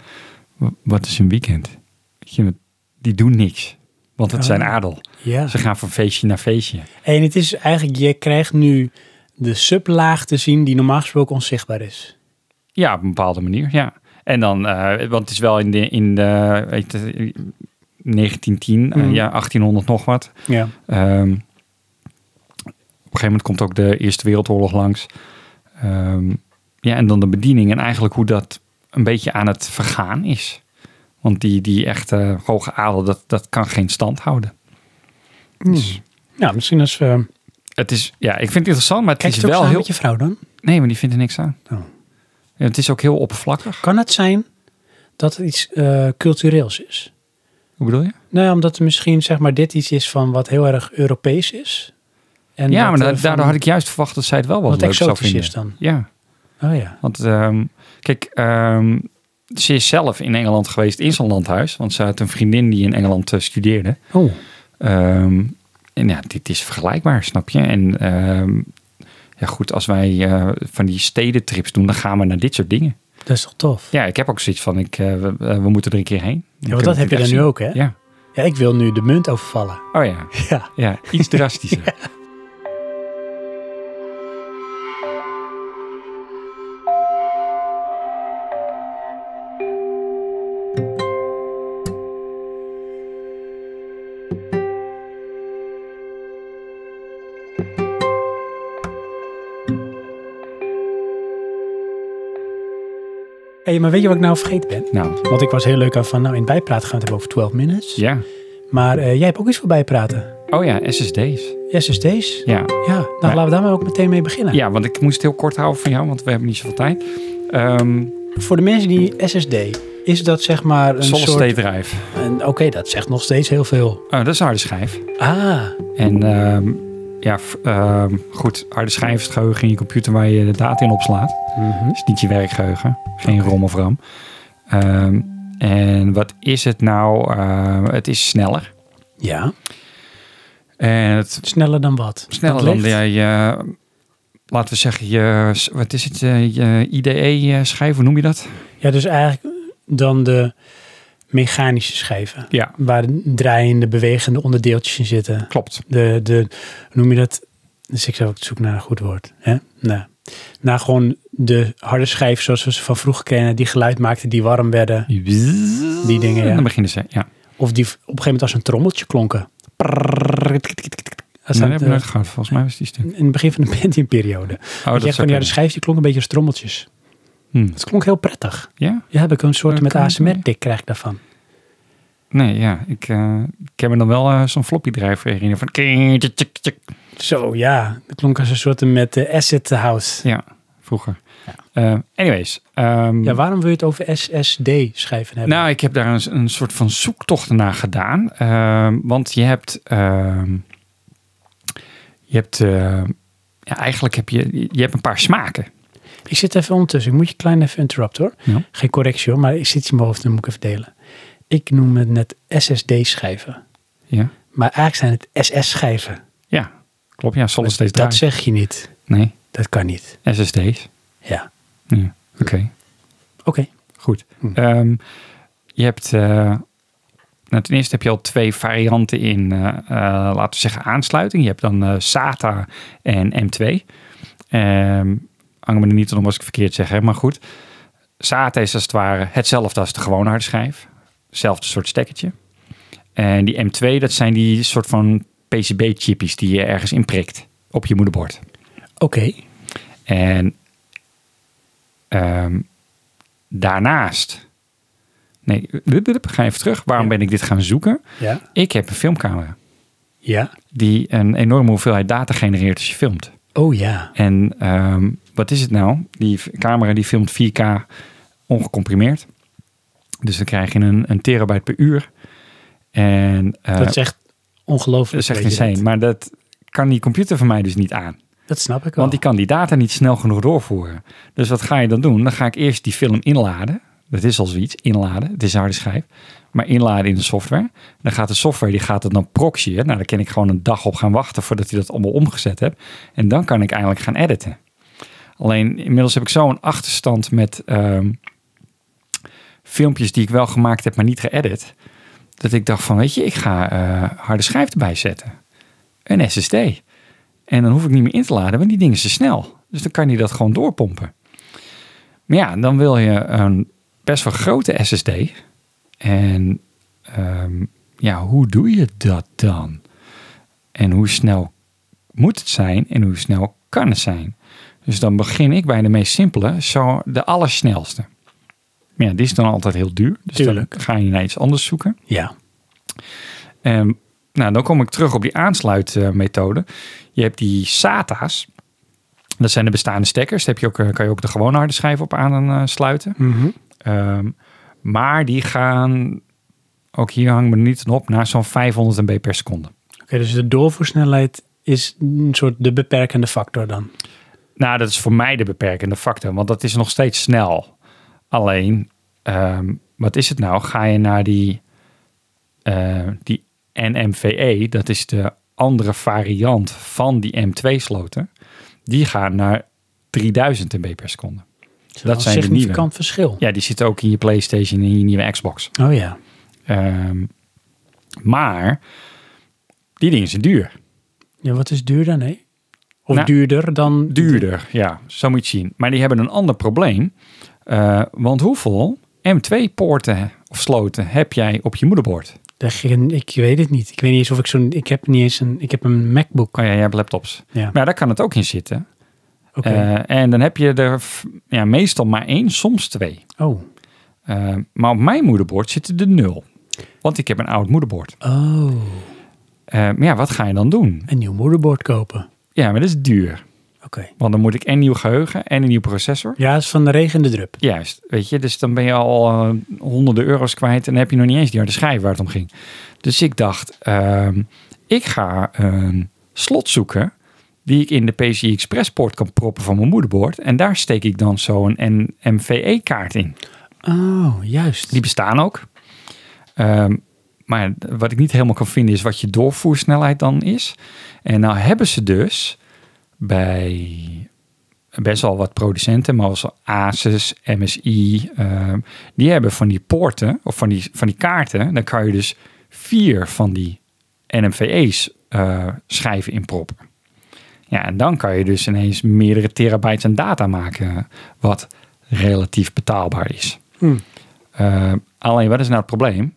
[SPEAKER 2] "Wa- wat is een weekend? Weet je, Die doen niks. Want het
[SPEAKER 1] Oh.
[SPEAKER 2] zijn adel.
[SPEAKER 1] Ja.
[SPEAKER 2] Ze gaan van feestje naar feestje.
[SPEAKER 1] En het is eigenlijk, je krijgt nu de sublaag te zien die normaal gesproken onzichtbaar is.
[SPEAKER 2] Ja, op een bepaalde manier, ja. En dan, eh, want het is wel in de, in de weet je, 1910, eh,
[SPEAKER 1] Mhm.
[SPEAKER 2] ja, 1800 nog wat.
[SPEAKER 1] Ja.
[SPEAKER 2] Ehm, op een gegeven moment komt ook de Eerste Wereldoorlog langs. Ehm, ja, en dan de bediening en eigenlijk hoe dat een beetje aan het vergaan is. Want die, die echte hoge adel, dat, dat kan geen stand houden. Dus
[SPEAKER 1] Nou, misschien als we...
[SPEAKER 2] het is, ja, ik vind het interessant, maar het
[SPEAKER 1] Kijk
[SPEAKER 2] is
[SPEAKER 1] je het ook
[SPEAKER 2] wel
[SPEAKER 1] samen
[SPEAKER 2] heel...
[SPEAKER 1] met je vrouw dan?
[SPEAKER 2] Nee, maar die vindt er niks aan.
[SPEAKER 1] Oh.
[SPEAKER 2] Ja, het is ook heel oppervlakkig.
[SPEAKER 1] Kan het zijn dat het iets eh, cultureels is?
[SPEAKER 2] Hoe bedoel je?
[SPEAKER 1] Nou ja, omdat er misschien zeg maar dit iets is van wat heel erg Europees is. En
[SPEAKER 2] ja, maar
[SPEAKER 1] wat,
[SPEAKER 2] da-
[SPEAKER 1] eh, van-
[SPEAKER 2] daardoor had ik juist verwacht dat zij het wel wat,
[SPEAKER 1] wat
[SPEAKER 2] leuk zou
[SPEAKER 1] exotisch
[SPEAKER 2] vinden.
[SPEAKER 1] is dan.
[SPEAKER 2] Ja,
[SPEAKER 1] Oh ja.
[SPEAKER 2] want ehm, kijk, ehm, ze is zelf in Engeland geweest in zo'n landhuis. Want ze had een vriendin die in Engeland eh, studeerde.
[SPEAKER 1] Oh.
[SPEAKER 2] Ehm, en ja, dit is vergelijkbaar, snap je? En ehm, ja goed, als wij eh, van die stedentrips doen, dan gaan we naar dit soort dingen.
[SPEAKER 1] Dat is toch tof?
[SPEAKER 2] Ja, ik heb ook zoiets van, ik, eh, we, eh, we moeten er een keer heen.
[SPEAKER 1] Ja, want dat heb je dan nu ook, hè? Ja.
[SPEAKER 2] Ja.
[SPEAKER 1] ik wil nu de munt overvallen.
[SPEAKER 2] Oh ja,
[SPEAKER 1] Ja.
[SPEAKER 2] ja iets drastischer.
[SPEAKER 1] Hé, maar weet je wat ik nou vergeten ben?
[SPEAKER 2] Nou,
[SPEAKER 1] Want ik was heel leuk aan van, nou in bijpraat gaan we het hebben over 12 minutes.
[SPEAKER 2] ja.
[SPEAKER 1] Maar eh, jij hebt ook iets voor bijpraten.
[SPEAKER 2] Oh ja, SSD's.
[SPEAKER 1] SSD's?
[SPEAKER 2] Ja,
[SPEAKER 1] Ja, nou
[SPEAKER 2] Maar-
[SPEAKER 1] laten we daar maar ook meteen mee beginnen.
[SPEAKER 2] Ja, want ik moest het heel kort houden van jou, want we hebben niet zoveel tijd. Ehm
[SPEAKER 1] Voor de mensen die SSD, is dat zeg maar een
[SPEAKER 2] solid
[SPEAKER 1] soort...
[SPEAKER 2] state drive.
[SPEAKER 1] een- Oké, dat zegt nog steeds heel veel.
[SPEAKER 2] Oh, dat is een harde schijf.
[SPEAKER 1] Ah,
[SPEAKER 2] En ehm, ja, f- ehm, goed, harde schijf is het geheugen in je computer waar je de data in opslaat. Dat is niet je werkgeheugen, geen rom of ram. Ehm, en wat is het nou? Ehm, het is sneller.
[SPEAKER 1] ja.
[SPEAKER 2] En het
[SPEAKER 1] Sneller dan wat?
[SPEAKER 2] sneller
[SPEAKER 1] Dat
[SPEAKER 2] dan
[SPEAKER 1] ligt-
[SPEAKER 2] je, je- laten we zeggen, je, s- wat is het, eh, je IDE-schijf, eh, hoe noem je dat?
[SPEAKER 1] Ja, dus eigenlijk dan de mechanische schijven.
[SPEAKER 2] Ja,
[SPEAKER 1] Waar draaiende, bewegende onderdeeltjes in zitten.
[SPEAKER 2] klopt.
[SPEAKER 1] De, de hoe noem je dat? Dus ik zou ook op zoek naar een goed woord. Hè? Nou, nou, gewoon de harde schijf zoals we ze van vroeger kennen. Die geluid maakten, die warm werden.
[SPEAKER 2] Die
[SPEAKER 1] dingen, ja.
[SPEAKER 2] Dan beginnen ze, ja.
[SPEAKER 1] Of die op een gegeven moment als een trommeltje klonken. Dat zijn
[SPEAKER 2] Nee, dat
[SPEAKER 1] de-
[SPEAKER 2] heb ik nooit gehad. Volgens mij was die stuk.
[SPEAKER 1] in het begin van de Pentium-periode.
[SPEAKER 2] Oh,
[SPEAKER 1] dat je echt van, ja, de schijf die klonk een beetje als trommeltjes. Het klonk heel prettig.
[SPEAKER 2] Hmm. Ja?
[SPEAKER 1] Ja, heb ik een soort
[SPEAKER 2] Eh,
[SPEAKER 1] met
[SPEAKER 2] kan ik
[SPEAKER 1] ASMR-tik krijg ik daarvan.
[SPEAKER 2] Nee, ja. Ik, eh, ik heb me dan wel eh, zo'n floppy drive herinneren van... kring, tjik, tjik, tjik.
[SPEAKER 1] Zo, ja. Dat klonk als een soort met eh, Asset House.
[SPEAKER 2] Ja, vroeger. Eh, anyways. ehm,
[SPEAKER 1] Ja, waarom wil je het over SSD-schijven hebben?
[SPEAKER 2] nou, ik heb daar een, een soort van zoektocht naar gedaan. Ehm, want je hebt... ehm, je hebt... eh, ja, eigenlijk heb je... Je hebt een paar smaken.
[SPEAKER 1] Ik zit even ondertussen. Ik moet je klein even interrupten hoor.
[SPEAKER 2] Ja.
[SPEAKER 1] Geen correctie hoor, maar ik zit in mijn hoofd en moet ik even delen. Ik noem het net SSD-schijven.
[SPEAKER 2] Ja.
[SPEAKER 1] Maar eigenlijk zijn het SS-schijven.
[SPEAKER 2] Ja. Klopt, ja. Solid steeds
[SPEAKER 1] Dat
[SPEAKER 2] drive.
[SPEAKER 1] zeg je niet.
[SPEAKER 2] Nee.
[SPEAKER 1] Dat kan niet.
[SPEAKER 2] SSD's.
[SPEAKER 1] Ja.
[SPEAKER 2] Ja. Oké.
[SPEAKER 1] Oké.
[SPEAKER 2] Goed.
[SPEAKER 1] Hm.
[SPEAKER 2] Ehm, je hebt... eh, nou, ten eerste heb je al twee varianten in, eh, eh, laten we zeggen, aansluiting. Je hebt dan eh, SATA en M2. Ehm hang me er niet om als ik het verkeerd zeg, hè, maar goed. SATA is als het ware hetzelfde als de gewone harde schijf. Hetzelfde soort stekkertje. En die M2, dat zijn die soort van PCB-chippies die je ergens inprikt op je moederbord.
[SPEAKER 1] Oké.
[SPEAKER 2] En ehm, daarnaast. Nee, wup, wup, ga even terug. Waarom
[SPEAKER 1] Ja.
[SPEAKER 2] ben ik dit gaan zoeken?
[SPEAKER 1] Ja.
[SPEAKER 2] Ik heb een filmcamera
[SPEAKER 1] Ja.
[SPEAKER 2] die een enorme hoeveelheid data genereert als je filmt.
[SPEAKER 1] Oh ja.
[SPEAKER 2] En ehm, wat is het nou? Die v- camera die filmt 4K ongecomprimeerd. Dus dan krijg je een, een terabyte per uur. En eh,
[SPEAKER 1] Dat is echt
[SPEAKER 2] dat
[SPEAKER 1] ongelooflijk.
[SPEAKER 2] is echt
[SPEAKER 1] weet je
[SPEAKER 2] insane. Maar dat kan die computer van mij dus niet aan.
[SPEAKER 1] Dat snap ik wel.
[SPEAKER 2] Want die kan die data niet snel genoeg doorvoeren. Dus wat ga je dan doen? Dan ga ik eerst die film inladen. Dat is al zoiets, inladen. Het is een harde schijf. Maar inladen in de software. Dan gaat de software, die gaat het dan proxyen. Nou, daar kan ik gewoon een dag op gaan wachten voordat hij dat allemaal omgezet hebt. En dan kan ik eindelijk gaan editen. Alleen inmiddels heb ik zo'n achterstand met ehm, filmpjes die ik wel gemaakt heb, maar niet geëdit. Dat ik dacht van, weet je, ik ga eh, harde schijf erbij zetten. Een SSD. En dan hoef ik niet meer in te laden, want die dingen zijn snel. Dus dan kan hij dat gewoon doorpompen. Maar ja, dan wil je een best wel grote SSD. En ehm, ja, hoe doe je dat dan? En hoe snel moet het zijn en hoe snel kan het zijn? Dus dan begin ik bij de meest simpele, zo de allersnelste. Maar ja, die is dan altijd heel duur. Dus
[SPEAKER 1] Tuurlijk.
[SPEAKER 2] dan ga je naar iets anders zoeken.
[SPEAKER 1] Ja.
[SPEAKER 2] Ehm, nou, dan kom ik terug op die aansluitmethode. Je hebt die SATA's. Dat zijn de bestaande stekkers. Daar heb je ook, eh, kan je ook de gewone harde schijf op aansluiten.
[SPEAKER 1] Mhm.
[SPEAKER 2] Ehm, maar die gaan, ook hier hangen we er niet op, naar zo'n 500 MB per seconde.
[SPEAKER 1] Oké, dus de doorvoersnelheid is een soort de beperkende factor dan.
[SPEAKER 2] Nou, dat is voor mij de beperkende factor, want dat is nog steeds snel. Alleen, ehm, wat is het nou? Ga je naar die, eh, die NMVE, E, dat is de andere variant van die M2-sloten. Die gaan naar 3000 MB per seconde.
[SPEAKER 1] Dat,
[SPEAKER 2] zijn de
[SPEAKER 1] is wel een significant verschil.
[SPEAKER 2] Ja, die zitten ook in je PlayStation en in je nieuwe Xbox.
[SPEAKER 1] Oh ja.
[SPEAKER 2] Ehm, maar die dingen zijn duur.
[SPEAKER 1] Ja, wat is duurder? Nee. Of
[SPEAKER 2] Nou,
[SPEAKER 1] duurder dan...
[SPEAKER 2] Duurder, ja, zo moet je het zien. Maar die hebben een ander probleem. Eh, want hoeveel M2-poorten of sloten heb jij op je moederbord?
[SPEAKER 1] De gen- ik weet het niet. Ik weet niet eens of ik zo'n... Ik heb niet eens een... Ik heb een MacBook.
[SPEAKER 2] Oh ja, jij hebt laptops.
[SPEAKER 1] Ja.
[SPEAKER 2] Maar daar kan het ook in zitten.
[SPEAKER 1] Oké.
[SPEAKER 2] Eh, en dan heb je er f- ja, meestal maar één, soms twee.
[SPEAKER 1] oh.
[SPEAKER 2] Eh, maar op mijn moederbord zitten er nul. Want ik heb een oud moederbord.
[SPEAKER 1] Oh.
[SPEAKER 2] Eh, maar ja, wat ga je dan doen?
[SPEAKER 1] Een nieuw moederbord kopen.
[SPEAKER 2] Ja, maar dat is duur.
[SPEAKER 1] Oké.
[SPEAKER 2] Want dan moet ik en nieuw geheugen en een nieuw processor.
[SPEAKER 1] Ja, is van de regen de drup.
[SPEAKER 2] Juist, weet je, dus dan ben je al eh, honderden euro's kwijt en dan heb je nog niet eens die harde schijf waar het om ging. Dus ik dacht, ehm, ik ga een slot zoeken die ik in de PCI Express poort kan proppen van mijn moederbord. En daar steek ik dan zo'n MVE E kaart in.
[SPEAKER 1] Oh, juist.
[SPEAKER 2] Die bestaan ook. Ehm, maar wat ik niet helemaal kan vinden is wat je doorvoersnelheid dan is. En nou hebben ze dus bij best wel wat producenten, maar als Asus, MSI, ehm, die hebben van die poorten of van die, van die kaarten. Dan kan je dus vier van die NMVE's eh, schijven inproppen. Ja, en dan kan je dus ineens meerdere terabytes aan data maken, wat relatief betaalbaar is.
[SPEAKER 1] Hm.
[SPEAKER 2] Eh, alleen, wat is nou het probleem?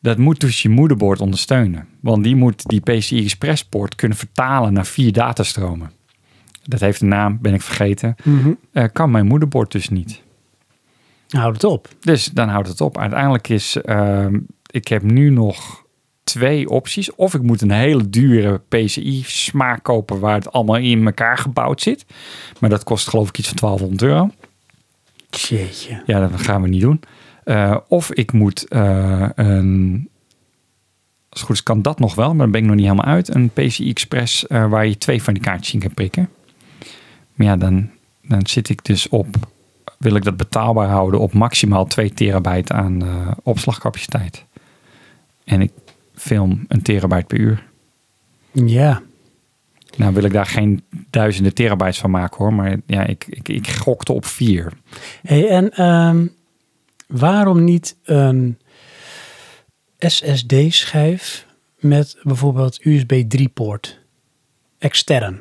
[SPEAKER 2] Dat moet dus je moederbord ondersteunen. Want die moet die PCI Express poort kunnen vertalen naar vier datastromen. Dat heeft een naam, ben ik vergeten.
[SPEAKER 1] Mhm.
[SPEAKER 2] Eh, kan mijn moederbord dus niet.
[SPEAKER 1] Houd het op.
[SPEAKER 2] Dus dan houdt het op. Uiteindelijk is, ehm, ik heb nu nog twee opties. Of ik moet een hele dure PCI smaak kopen waar het allemaal in elkaar gebouwd zit. Maar dat kost geloof ik iets van 1200 euro.
[SPEAKER 1] Jeetje.
[SPEAKER 2] Ja, dat gaan we niet doen. Eh, of ik moet eh, een. Als het goed is, kan dat nog wel, maar dan ben ik nog niet helemaal uit. Een PCI Express eh, waar je twee van die kaartjes in kan prikken. Maar ja, dan, dan zit ik dus op. Wil ik dat betaalbaar houden op maximaal 2 terabyte aan eh, opslagcapaciteit. En ik film een terabyte per uur.
[SPEAKER 1] Ja.
[SPEAKER 2] Nou wil ik daar geen duizenden terabytes van maken hoor. Maar ja, ik, ik, ik gokte op vier.
[SPEAKER 1] Hey, en ehm, waarom niet een SSD-schijf met bijvoorbeeld USB 3-poort extern?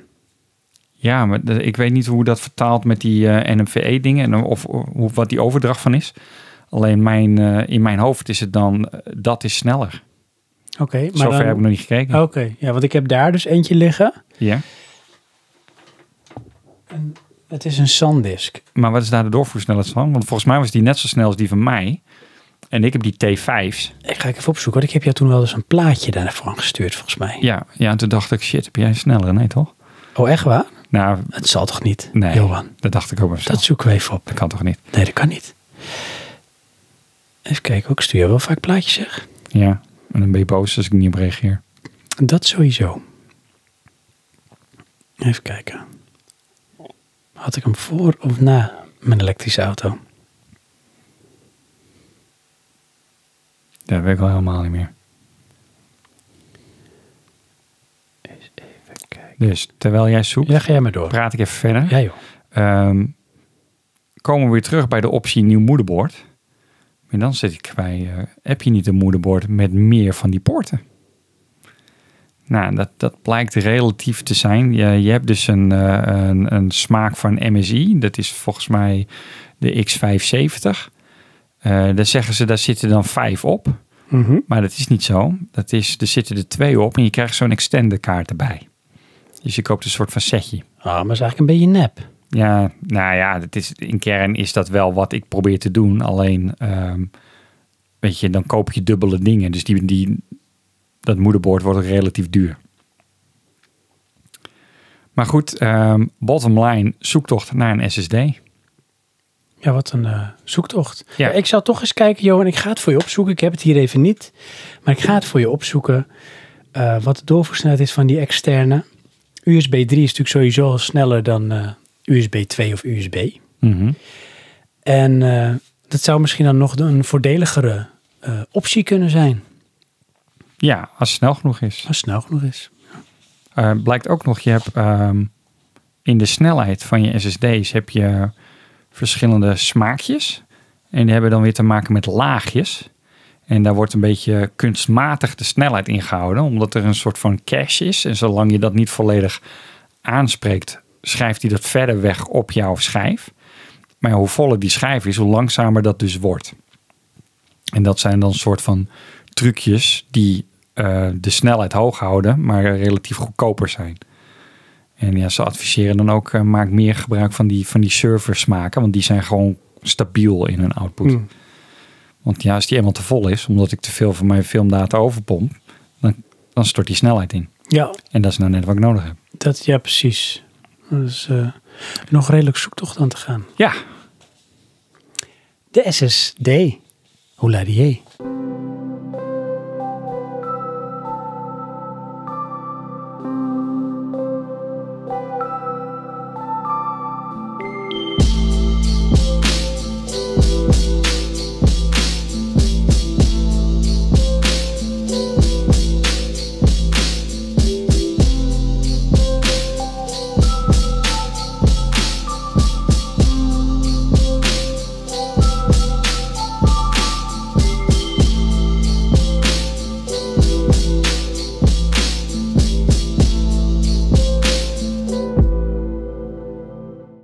[SPEAKER 2] Ja, maar de- ik weet niet hoe dat vertaalt met die eh, NMVE-dingen E en of, hoe wat die overdracht van is. Alleen mijn, eh, in mijn hoofd is het dan, eh, dat is sneller.
[SPEAKER 1] Oké, maar
[SPEAKER 2] Zover
[SPEAKER 1] dan- Oh.
[SPEAKER 2] heb ik nog niet gekeken.
[SPEAKER 1] Oké, ja, want ik heb daar dus eentje liggen.
[SPEAKER 2] Ja.
[SPEAKER 1] En het is een SanDisk.
[SPEAKER 2] Maar wat is daar de doorvoersnelheid van? Want volgens mij was die net zo snel als die van mij. En ik heb die T5's.
[SPEAKER 1] Ik ga ik even opzoeken, want ik heb jou toen wel eens een plaatje daarvan gestuurd, volgens mij.
[SPEAKER 2] Ja, ja, en toen dacht ik, shit, heb jij sneller? Nee, toch?
[SPEAKER 1] Oh, echt waar?
[SPEAKER 2] Nou,
[SPEAKER 1] Het zal toch niet,
[SPEAKER 2] Nee.
[SPEAKER 1] Johan?
[SPEAKER 2] dat dacht ik ook wel.
[SPEAKER 1] Dat
[SPEAKER 2] Dat,
[SPEAKER 1] zoeken we even op.
[SPEAKER 2] dat kan toch niet?
[SPEAKER 1] Nee, dat kan niet. Even kijken, ik stuur jou wel vaak plaatjes, zeg.
[SPEAKER 2] Ja, en dan ben je boos als ik niet op reageer.
[SPEAKER 1] Dat sowieso. Even kijken. Had ik hem voor of na mijn elektrische auto?
[SPEAKER 2] Dat weet ik al helemaal niet meer.
[SPEAKER 1] Even kijken.
[SPEAKER 2] Dus, terwijl jij zoekt,
[SPEAKER 1] Ja, ga jij maar door.
[SPEAKER 2] praat ik even verder.
[SPEAKER 1] Ja, joh.
[SPEAKER 2] Ehm, komen we weer terug bij de optie nieuw moederbord. En dan zit ik bij, eh, heb je niet een moederbord met meer van die poorten? Nou, dat, dat blijkt relatief te zijn. Je, je hebt dus een, eh, een, een smaak van MSI. Dat is volgens mij de X570. Eh daar zeggen ze, daar zitten dan vijf op.
[SPEAKER 1] Mhm.
[SPEAKER 2] Maar dat is niet zo. Dat is, er zitten er twee op en je krijgt zo'n extender kaart erbij. Dus je koopt een soort van setje.
[SPEAKER 1] Ah, maar is eigenlijk een beetje nep.
[SPEAKER 2] Ja, nou ja, dat is, in kern is dat wel wat ik probeer te doen. Alleen, ehm, weet je, dan koop je dubbele dingen. Dus die, die, dat moederbord wordt ook relatief duur. Maar goed, ehm, bottom line, zoektocht naar een SSD.
[SPEAKER 1] Ja, wat een eh, zoektocht.
[SPEAKER 2] Ja.
[SPEAKER 1] Ik zal toch eens kijken, Johan. Ik ga het voor je opzoeken. Ik heb het hier even niet. Maar ik ga het voor je opzoeken. eh, wat de doorvoersnelheid is van die externe. USB 3 is natuurlijk sowieso al sneller dan eh, USB 2 of USB.
[SPEAKER 2] Mhm.
[SPEAKER 1] En eh, dat zou misschien dan nog een voordeligere eh, optie kunnen zijn.
[SPEAKER 2] Ja, als het snel genoeg is.
[SPEAKER 1] Als het snel genoeg is.
[SPEAKER 2] Eh, blijkt ook nog, je hebt ehm, in de snelheid van je SSD's heb je verschillende smaakjes. En die hebben dan weer te maken met laagjes. En daar wordt een beetje kunstmatig de snelheid ingehouden, omdat er een soort van cache is. En zolang je dat niet volledig aanspreekt, schrijft hij dat verder weg op jouw schijf. Maar ja, hoe voller die schijf is, hoe langzamer dat dus wordt. En dat zijn dan soort van trucjes die eh, de snelheid hoog houden, maar relatief goedkoper zijn. En ja, ze adviseren dan ook, eh, maak meer gebruik van die, van die servers maken, want die zijn gewoon stabiel in hun output.
[SPEAKER 1] Mm.
[SPEAKER 2] Want ja, als die eenmaal te vol is, omdat ik te veel van mijn filmdata overpomp, dan, dan stort die snelheid in.
[SPEAKER 1] Ja,
[SPEAKER 2] En dat is nou net wat ik nodig heb.
[SPEAKER 1] dat, ja, precies. Dus eh, nog redelijk zoektocht aan te gaan.
[SPEAKER 2] Ja,
[SPEAKER 1] De SSD. Hola die.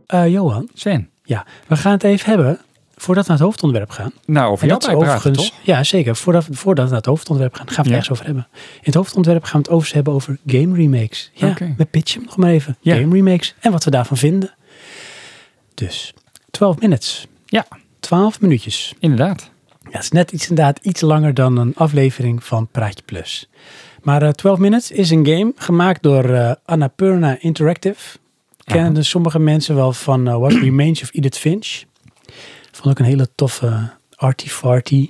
[SPEAKER 1] Eh Johan,
[SPEAKER 2] Sven.
[SPEAKER 1] ja, we gaan het even hebben voordat we naar het hoofdonderwerp gaan.
[SPEAKER 2] Nou, over
[SPEAKER 1] En
[SPEAKER 2] jou
[SPEAKER 1] dat is
[SPEAKER 2] bijpraten,
[SPEAKER 1] overigens,
[SPEAKER 2] toch?
[SPEAKER 1] ja zeker, voordat, voordat we naar het hoofdonderwerp gaan, gaan we het
[SPEAKER 2] Ja.
[SPEAKER 1] ergens over hebben. In het hoofdonderwerp gaan we het overigens hebben over game remakes. Ja,
[SPEAKER 2] Oké.
[SPEAKER 1] we pitchen hem nog maar even.
[SPEAKER 2] Ja.
[SPEAKER 1] Game remakes en wat we daarvan vinden. Dus, 12 minutes.
[SPEAKER 2] Ja.
[SPEAKER 1] 12 minuutjes.
[SPEAKER 2] Inderdaad.
[SPEAKER 1] Ja, dat is net iets, inderdaad iets langer dan een aflevering van Praatje Plus. Maar eh, 12 Minutes is een game gemaakt door eh Annapurna Interactive. Kennen dus sommige mensen wel van eh, What Remains of Edith Finch. Vond ik een hele toffe arty-farty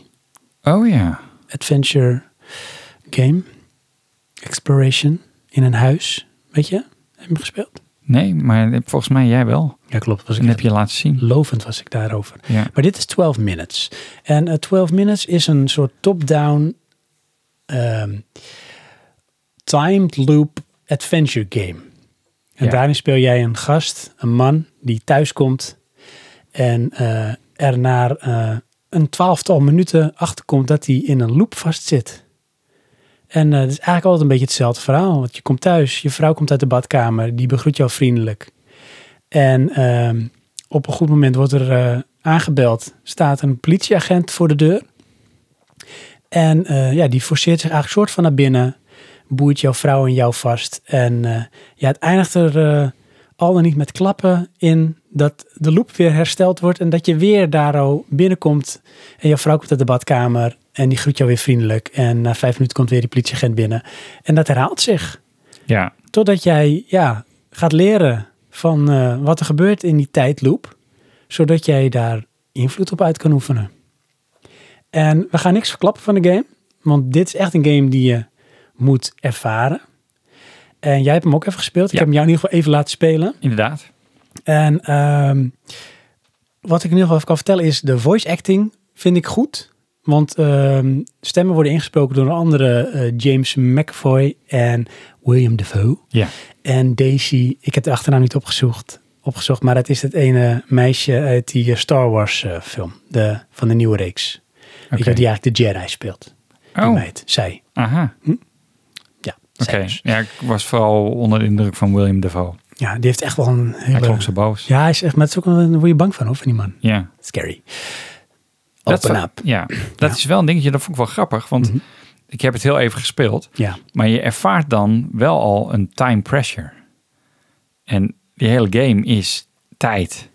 [SPEAKER 2] Oh ja.
[SPEAKER 1] adventure game. Exploration in een huis. Weet je? Heb je hem gespeeld?
[SPEAKER 2] Nee, maar volgens mij jij wel.
[SPEAKER 1] Ja, klopt. Was
[SPEAKER 2] Dat
[SPEAKER 1] ik
[SPEAKER 2] heb je laten zien.
[SPEAKER 1] lovend was ik daarover.
[SPEAKER 2] Ja.
[SPEAKER 1] Maar dit is 12 Minutes. En eh, 12 Minutes is een soort top-down ehm, timed loop adventure game. En
[SPEAKER 2] Ja.
[SPEAKER 1] daarin speel jij een gast, een man, die thuiskomt en eh er naar eh, een twaalftal minuten achterkomt dat hij in een loop vastzit. En eh, het is eigenlijk altijd een beetje hetzelfde verhaal. Want je komt thuis, je vrouw komt uit de badkamer, die begroet jou vriendelijk. En ehm, op een goed moment wordt er eh, aangebeld, staat een politieagent voor de deur. En eh, ja, die forceert zich eigenlijk soort van naar binnen, boeit jouw vrouw en jou vast. En eh, ja, het eindigt er eh, al dan niet met klappen in dat de loop weer hersteld wordt en dat je weer daar al binnenkomt. En jouw vrouw komt uit de badkamer en die groet jou weer vriendelijk. En na vijf minuten komt weer die politieagent binnen. En dat herhaalt zich
[SPEAKER 2] Ja,
[SPEAKER 1] totdat jij ja, gaat leren van eh, wat er gebeurt in die tijdloop, zodat jij daar invloed op uit kan oefenen. En we gaan niks verklappen van de game, want dit is echt een game die je moet ervaren. En jij hebt hem ook even gespeeld. Ik
[SPEAKER 2] Ja.
[SPEAKER 1] heb hem jou in ieder geval even laten spelen.
[SPEAKER 2] inderdaad.
[SPEAKER 1] En ehm, wat ik in ieder geval even kan vertellen is, de voice acting vind ik goed. Want ehm, stemmen worden ingesproken door een andere eh, James McAvoy en William Defoe.
[SPEAKER 2] Ja.
[SPEAKER 1] En Daisy, ik heb de achternaam niet opgezocht, opgezocht maar dat is het ene meisje uit die eh, Star Wars eh, film, de, van de nieuwe reeks.
[SPEAKER 2] Oké.
[SPEAKER 1] Weet je, die eigenlijk de Jedi speelt. Die
[SPEAKER 2] Oh,
[SPEAKER 1] meid, zij.
[SPEAKER 2] aha.
[SPEAKER 1] Ja,
[SPEAKER 2] Oké.
[SPEAKER 1] zij dus.
[SPEAKER 2] Ja, ik was vooral onder de indruk van William Defoe.
[SPEAKER 1] Ja, die heeft echt wel een
[SPEAKER 2] Hij
[SPEAKER 1] hele...
[SPEAKER 2] klonk zo boos.
[SPEAKER 1] Ja, hij is echt, maar het is ook wel, daar word je bang van, hoor, van die man.
[SPEAKER 2] Ja.
[SPEAKER 1] Scary.
[SPEAKER 2] Dat
[SPEAKER 1] Open
[SPEAKER 2] is-
[SPEAKER 1] up.
[SPEAKER 2] Ja, dat is wel een dingetje, dat vond ik wel grappig. Want
[SPEAKER 1] Mhm.
[SPEAKER 2] ik heb het heel even gespeeld.
[SPEAKER 1] Ja.
[SPEAKER 2] Maar je ervaart dan wel al een time pressure. En die hele game is tijd.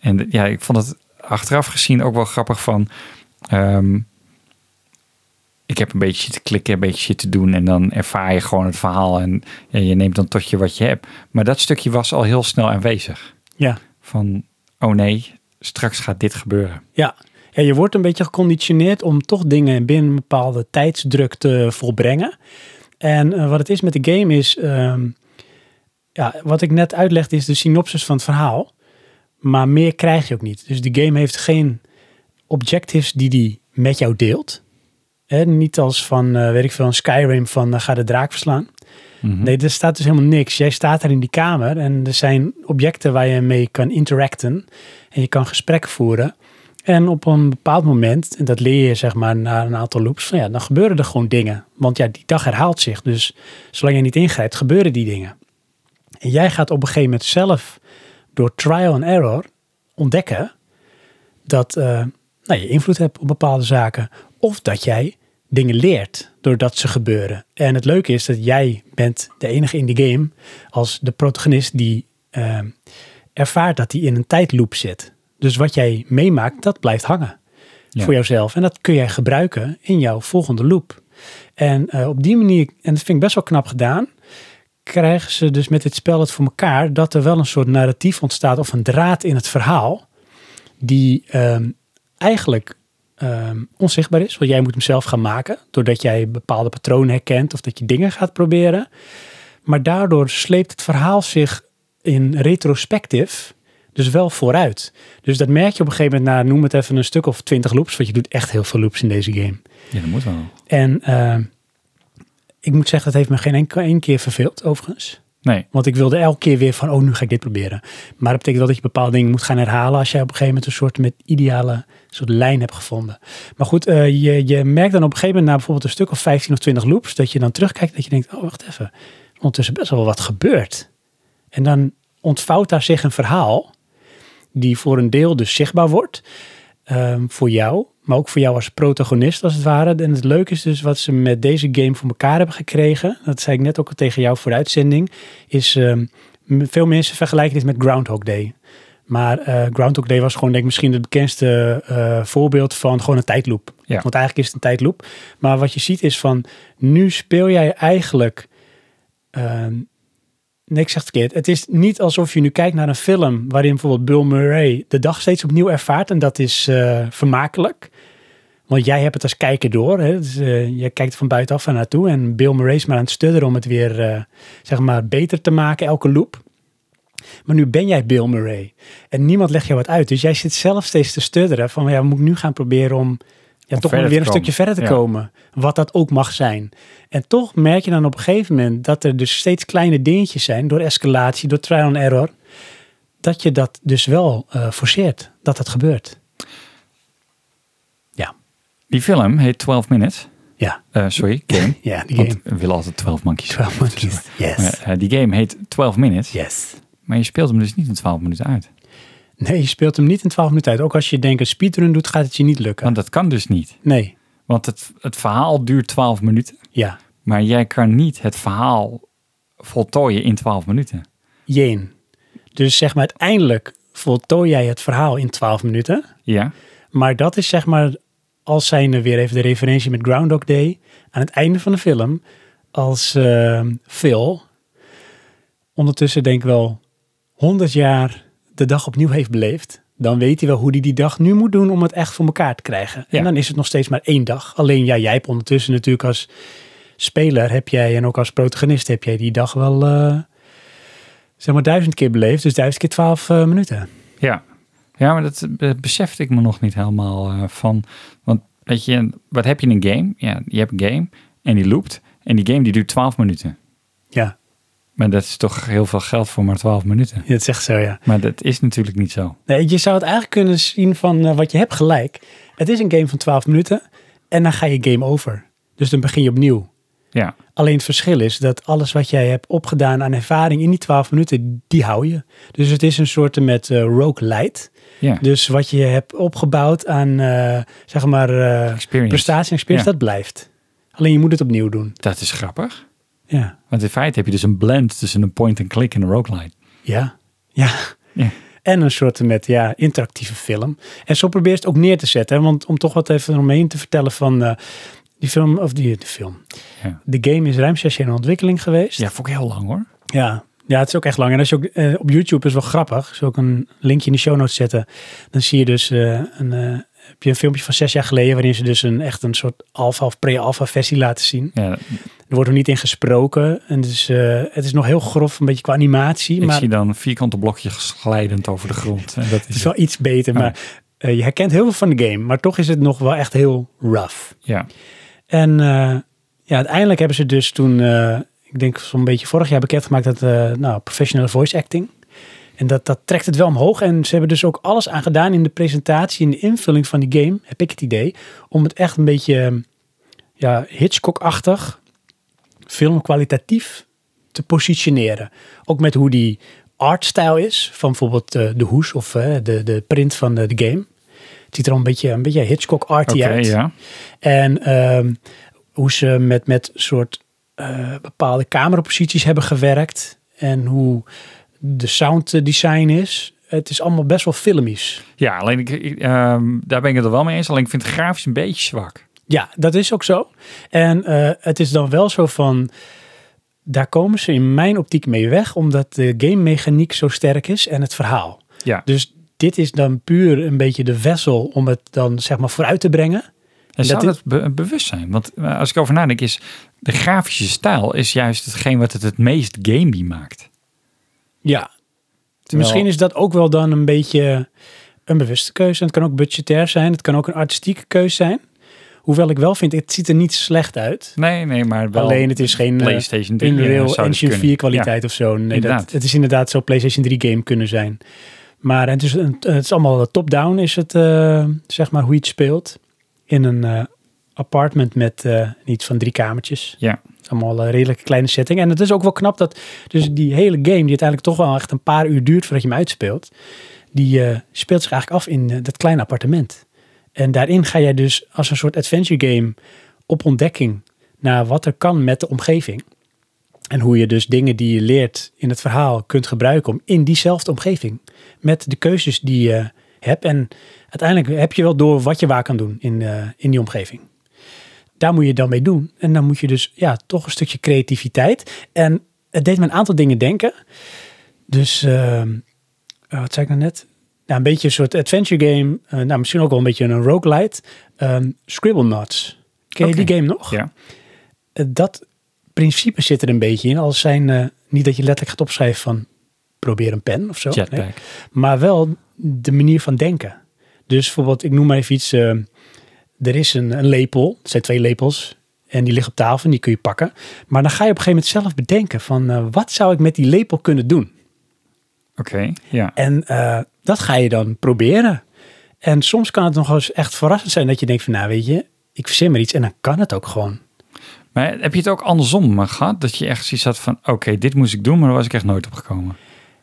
[SPEAKER 2] En d- ja, ik vond het achteraf gezien ook wel grappig van... ehm, ik heb een beetje zitten klikken, een beetje zitten doen... en dan ervaar je gewoon het verhaal en ja, je neemt dan tot je wat je hebt. Maar dat stukje was al heel snel aanwezig.
[SPEAKER 1] Ja.
[SPEAKER 2] Van, oh nee, straks gaat dit gebeuren.
[SPEAKER 1] Ja. ja, je wordt een beetje geconditioneerd om toch dingen binnen een bepaalde tijdsdruk te volbrengen. En eh, wat het is met de game is, ehm, ja, wat ik net uitlegde is de synopsis van het verhaal. Maar meer krijg je ook niet. Dus de game heeft geen objectives die die met jou deelt. Hè, niet als van, eh, weet ik veel, een Skyrim van eh, ga de draak verslaan.
[SPEAKER 2] Mhm.
[SPEAKER 1] Nee, er staat dus helemaal niks. Jij staat daar in die kamer en er zijn objecten waar je mee kan interacten. En je kan gesprekken voeren. En op een bepaald moment, en dat leer je zeg maar na een aantal loops, van ja, dan gebeuren er gewoon dingen. Want ja, die dag herhaalt zich. Dus zolang je niet ingrijpt, gebeuren die dingen. En jij gaat op een gegeven moment zelf door trial and error ontdekken dat eh, nou, je invloed hebt op bepaalde zaken. Of dat jij dingen leert doordat ze gebeuren. En het leuke is dat jij bent de enige in de game als de protagonist die eh, ervaart dat hij in een tijdloop zit. Dus wat jij meemaakt, dat blijft hangen
[SPEAKER 2] Ja.
[SPEAKER 1] voor jouzelf. En dat kun jij gebruiken in jouw volgende loop. En eh, op die manier, en dat vind ik best wel knap gedaan, krijgen ze dus met dit spel het voor elkaar dat er wel een soort narratief ontstaat of een draad in het verhaal die ehm, eigenlijk ehm, onzichtbaar is. Want jij moet hem zelf gaan maken doordat jij bepaalde patronen herkent of dat je dingen gaat proberen. Maar daardoor sleept het verhaal zich in retrospectief dus wel vooruit. Dus dat merk je op een gegeven moment na, noem het even een stuk of twintig loops, want je doet echt heel veel loops in deze game.
[SPEAKER 2] Ja, dat moet wel.
[SPEAKER 1] En eh, ik moet zeggen, dat heeft me geen enkel één keer verveeld, overigens.
[SPEAKER 2] Nee,
[SPEAKER 1] Want ik wilde elke keer weer van, oh, nu ga ik dit proberen. Maar dat betekent wel dat je bepaalde dingen moet gaan herhalen als jij op een gegeven moment een soort met ideale soort lijn hebt gevonden. Maar goed, eh, je, je merkt dan op een gegeven moment na bijvoorbeeld een stuk of 15 of 20 loops, dat je dan terugkijkt dat je denkt, oh, wacht even, ondertussen best wel wat gebeurd. En dan ontvouwt daar zich een verhaal die voor een deel dus zichtbaar wordt ehm, voor jou, maar ook voor jou als protagonist als het ware. En het leuke is dus wat ze met deze game voor elkaar hebben gekregen. Dat zei ik net ook al tegen jou voor de uitzending. Is ehm, m- veel mensen vergelijken dit met Groundhog Day. Maar eh, Groundhog Day was gewoon denk ik misschien het bekendste eh, voorbeeld van gewoon een tijdloop.
[SPEAKER 2] Ja.
[SPEAKER 1] Want eigenlijk is het een tijdloop. Maar wat je ziet is van nu speel jij eigenlijk. ehm, nee, ik zeg het verkeerd. Het is niet alsof je nu kijkt naar een film waarin bijvoorbeeld Bill Murray de dag steeds opnieuw ervaart. En dat is eh, vermakelijk. Want jij hebt het als kijker door. Hè? Dus, eh, je kijkt van buitenaf en naartoe. En Bill Murray is maar aan het studderen om het weer eh, zeg maar beter te maken, elke loop. Maar nu ben jij Bill Murray. En niemand legt jou wat uit. Dus jij zit zelf steeds te studderen van ja, moet ik nu gaan proberen om ja,
[SPEAKER 2] Om
[SPEAKER 1] toch
[SPEAKER 2] verder
[SPEAKER 1] wel
[SPEAKER 2] te
[SPEAKER 1] weer een
[SPEAKER 2] komen.
[SPEAKER 1] stukje verder te
[SPEAKER 2] Ja.
[SPEAKER 1] komen. Wat dat ook mag zijn. En toch merk je dan op een gegeven moment dat er dus steeds kleine dingetjes zijn door escalatie, door trial and error. Dat je dat dus wel eh, forceert, dat dat gebeurt.
[SPEAKER 2] Die film heet 12 Minutes.
[SPEAKER 1] Ja.
[SPEAKER 2] Eh, sorry, game.
[SPEAKER 1] Ja, die
[SPEAKER 2] Want
[SPEAKER 1] game.
[SPEAKER 2] we willen altijd 12 monkeys.
[SPEAKER 1] 12 Monkeys. Yes.
[SPEAKER 2] Eh, eh, die game heet 12 Minutes.
[SPEAKER 1] Yes.
[SPEAKER 2] Maar je speelt hem dus niet in 12 minuten uit.
[SPEAKER 1] Nee, je speelt hem niet in 12 minuten uit. Ook als je denkt een speedrun doet, gaat het je niet lukken.
[SPEAKER 2] Want dat kan dus niet.
[SPEAKER 1] Nee.
[SPEAKER 2] Want het, het verhaal duurt 12 minuten.
[SPEAKER 1] Ja.
[SPEAKER 2] Maar jij kan niet het verhaal voltooien in 12 minuten.
[SPEAKER 1] Jeen. Dus zeg maar uiteindelijk voltooi jij het verhaal in 12 minuten.
[SPEAKER 2] Ja.
[SPEAKER 1] Maar dat is zeg maar, als zijnde weer even de referentie met Groundhog Day. Aan het einde van de film, als ehm, Phil ondertussen denk ik wel 100 jaar de dag opnieuw heeft beleefd. Dan weet hij wel hoe hij die dag nu moet doen om het echt voor elkaar te krijgen.
[SPEAKER 2] Ja.
[SPEAKER 1] En dan is het nog steeds maar één dag. Alleen ja, jij hebt ondertussen natuurlijk als speler heb jij en ook als protagonist heb jij die dag wel eh, zeg maar duizend keer beleefd. Dus duizend keer twaalf eh, minuten.
[SPEAKER 2] Ja. Ja, maar dat eh, besefte ik me nog niet helemaal eh, van. Want weet je, wat heb je in een game? Ja, je hebt een game en die loopt. En die game die duurt 12 minuten.
[SPEAKER 1] Ja,
[SPEAKER 2] Maar dat is toch heel veel geld voor maar 12 minuten.
[SPEAKER 1] dat zegt zo ja.
[SPEAKER 2] Maar dat is natuurlijk niet zo.
[SPEAKER 1] Nee, je zou het eigenlijk kunnen zien van eh, wat je hebt gelijk. Het is een game van 12 minuten en dan ga je game over. Dus dan begin je opnieuw.
[SPEAKER 2] Ja.
[SPEAKER 1] Alleen het verschil is dat alles wat jij hebt opgedaan aan ervaring in die 12 minuten, die hou je. Dus het is een soort met eh rogue light.
[SPEAKER 2] Ja.
[SPEAKER 1] Dus wat je hebt opgebouwd aan eh, zeg maar eh,
[SPEAKER 2] Experience.
[SPEAKER 1] prestatie en experience,
[SPEAKER 2] Ja.
[SPEAKER 1] dat blijft. Alleen je moet het opnieuw doen.
[SPEAKER 2] Dat is grappig.
[SPEAKER 1] Ja.
[SPEAKER 2] Want in feite heb je dus een blend tussen een point-and-click en een roguelite.
[SPEAKER 1] Ja. Ja.
[SPEAKER 2] Ja.
[SPEAKER 1] En een soort met ja, interactieve film. En zo probeer je het ook neer te zetten. Hè? Want om toch wat even omheen te vertellen van eh, die film, of die, de film.
[SPEAKER 2] Ja.
[SPEAKER 1] De game is ruim zes jaar in ontwikkeling geweest.
[SPEAKER 2] Dus Ja, vond ik heel lang hoor.
[SPEAKER 1] Ja. Ja, het is ook echt lang. En als je ook eh, op YouTube is wel grappig. Zal ik een linkje in de show notes zetten. Dan zie je dus eh, een, eh, heb je een filmpje van zes jaar geleden. waarin ze dus een echt een soort alfa of pre-alfa versie laten zien.
[SPEAKER 2] Ja,
[SPEAKER 1] Er wordt nog niet in gesproken. En dus, eh, het is nog heel grof, een beetje qua animatie.
[SPEAKER 2] ik
[SPEAKER 1] maar
[SPEAKER 2] zie dan vierkante blokjes glijdend over de grond. En dat
[SPEAKER 1] Het is
[SPEAKER 2] is,
[SPEAKER 1] wel iets beter,
[SPEAKER 2] Ja.
[SPEAKER 1] maar eh, je herkent heel veel van de game. Maar toch is het nog wel echt heel rough.
[SPEAKER 2] ja.
[SPEAKER 1] En eh, ja, uiteindelijk hebben ze dus toen, eh, ik denk zo'n beetje vorig jaar bekendgemaakt dat, eh, nou, professionele voice acting. En dat, dat trekt het wel omhoog. En ze hebben dus ook alles aan gedaan in de presentatie, in de invulling van die game, heb ik het idee. Om het echt een beetje eh, ja, Hitchcock-achtig, filmkwalitatief te positioneren. Ook met hoe die artstijl is, van bijvoorbeeld eh, de hoes of eh, de, de print van eh, de, de game. Het ziet er al een beetje, een beetje Hitchcock-arty
[SPEAKER 2] Oké,
[SPEAKER 1] uit.
[SPEAKER 2] ja.
[SPEAKER 1] En ehm, hoe ze met, met soort eh, bepaalde cameraposities hebben gewerkt. En hoe de sound eh, design is. Het is allemaal best wel filmisch.
[SPEAKER 2] Ja, alleen ik, ik, ehm, daar ben ik het er wel mee eens. Alleen ik vind het grafisch een beetje zwak.
[SPEAKER 1] Ja, dat is ook zo. En eh, het is dan wel zo van. Daar komen ze in mijn optiek mee weg, omdat de game mechaniek zo sterk is en het verhaal.
[SPEAKER 2] Ja.
[SPEAKER 1] Dus dit is dan puur een beetje de vessel om het dan zeg maar vooruit te brengen. Dat
[SPEAKER 2] En zou
[SPEAKER 1] is-
[SPEAKER 2] dat be- bewust zijn? Want eh, als ik over nadenk is, de grafische stijl is juist hetgeen wat het het meest gamey maakt.
[SPEAKER 1] Ja.
[SPEAKER 2] Terwijl-
[SPEAKER 1] Misschien is dat ook wel dan een beetje een bewuste keuze. En het kan ook budgetair zijn. Het kan ook een artistieke keuze zijn. Hoewel ik wel vind, het ziet er niet slecht uit.
[SPEAKER 2] Nee, nee, maar wel
[SPEAKER 1] Alleen het is geen eh,
[SPEAKER 2] PlayStation 3. eh,
[SPEAKER 1] Unreal
[SPEAKER 2] zou dat
[SPEAKER 1] Engine
[SPEAKER 2] kunnen.
[SPEAKER 1] 4 kwaliteit of zo. Nee, dat,
[SPEAKER 2] inderdaad.
[SPEAKER 1] het is inderdaad zo'n PlayStation 3 game kunnen zijn. Maar het is, een- het is allemaal top-down is het, eh, zeg maar, hoe je het speelt. In een eh, appartement met eh, niet van drie kamertjes.
[SPEAKER 2] Ja.
[SPEAKER 1] Allemaal een redelijk kleine setting. En het is ook wel knap dat dus die hele game, die uiteindelijk toch wel echt een paar uur duurt voordat je hem uitspeelt, die eh, speelt zich eigenlijk af in eh, dat kleine appartement. En daarin ga jij dus als een soort adventure game op ontdekking naar wat er kan met de omgeving. En hoe je dus dingen die je leert in het verhaal kunt gebruiken om in diezelfde omgeving. Met de keuzes die je hebt. En uiteindelijk heb je wel door wat je waar kan doen in, eh, in die omgeving. Daar moet je dan mee doen. En dan moet je dus ja, toch een stukje creativiteit. En het deed me een aantal dingen denken. Dus ehm, eh, wat zei ik nou net? Nou, een beetje een soort adventure game. eh, nou, misschien ook wel een beetje een roguelite. Ehm Scribble Nuts. Ken je
[SPEAKER 2] Oké.
[SPEAKER 1] die game nog?
[SPEAKER 2] Ja.
[SPEAKER 1] Eh, dat principe zit er een beetje in. Al zijn eh, niet dat je letterlijk gaat opschrijven van probeer een pen of zo.
[SPEAKER 2] Jetpack.
[SPEAKER 1] nee. Maar wel de manier van denken. Dus bijvoorbeeld, ik noem maar even iets. eh, er is een, een lepel. Het zijn twee lepels. En die liggen op tafel en die kun je pakken. Maar dan ga je op een gegeven moment zelf bedenken van eh, wat zou ik met die lepel kunnen doen?
[SPEAKER 2] Oké, ja.
[SPEAKER 1] En eh, dat ga je dan proberen. En soms kan het nog eens echt verrassend zijn dat je denkt van, nou weet je, ik verzin maar iets en dan kan het ook gewoon.
[SPEAKER 2] Maar heb je het ook andersom maar gehad? Dat je echt zoiets had van, oké, dit moest ik doen, maar daar was ik echt nooit op gekomen.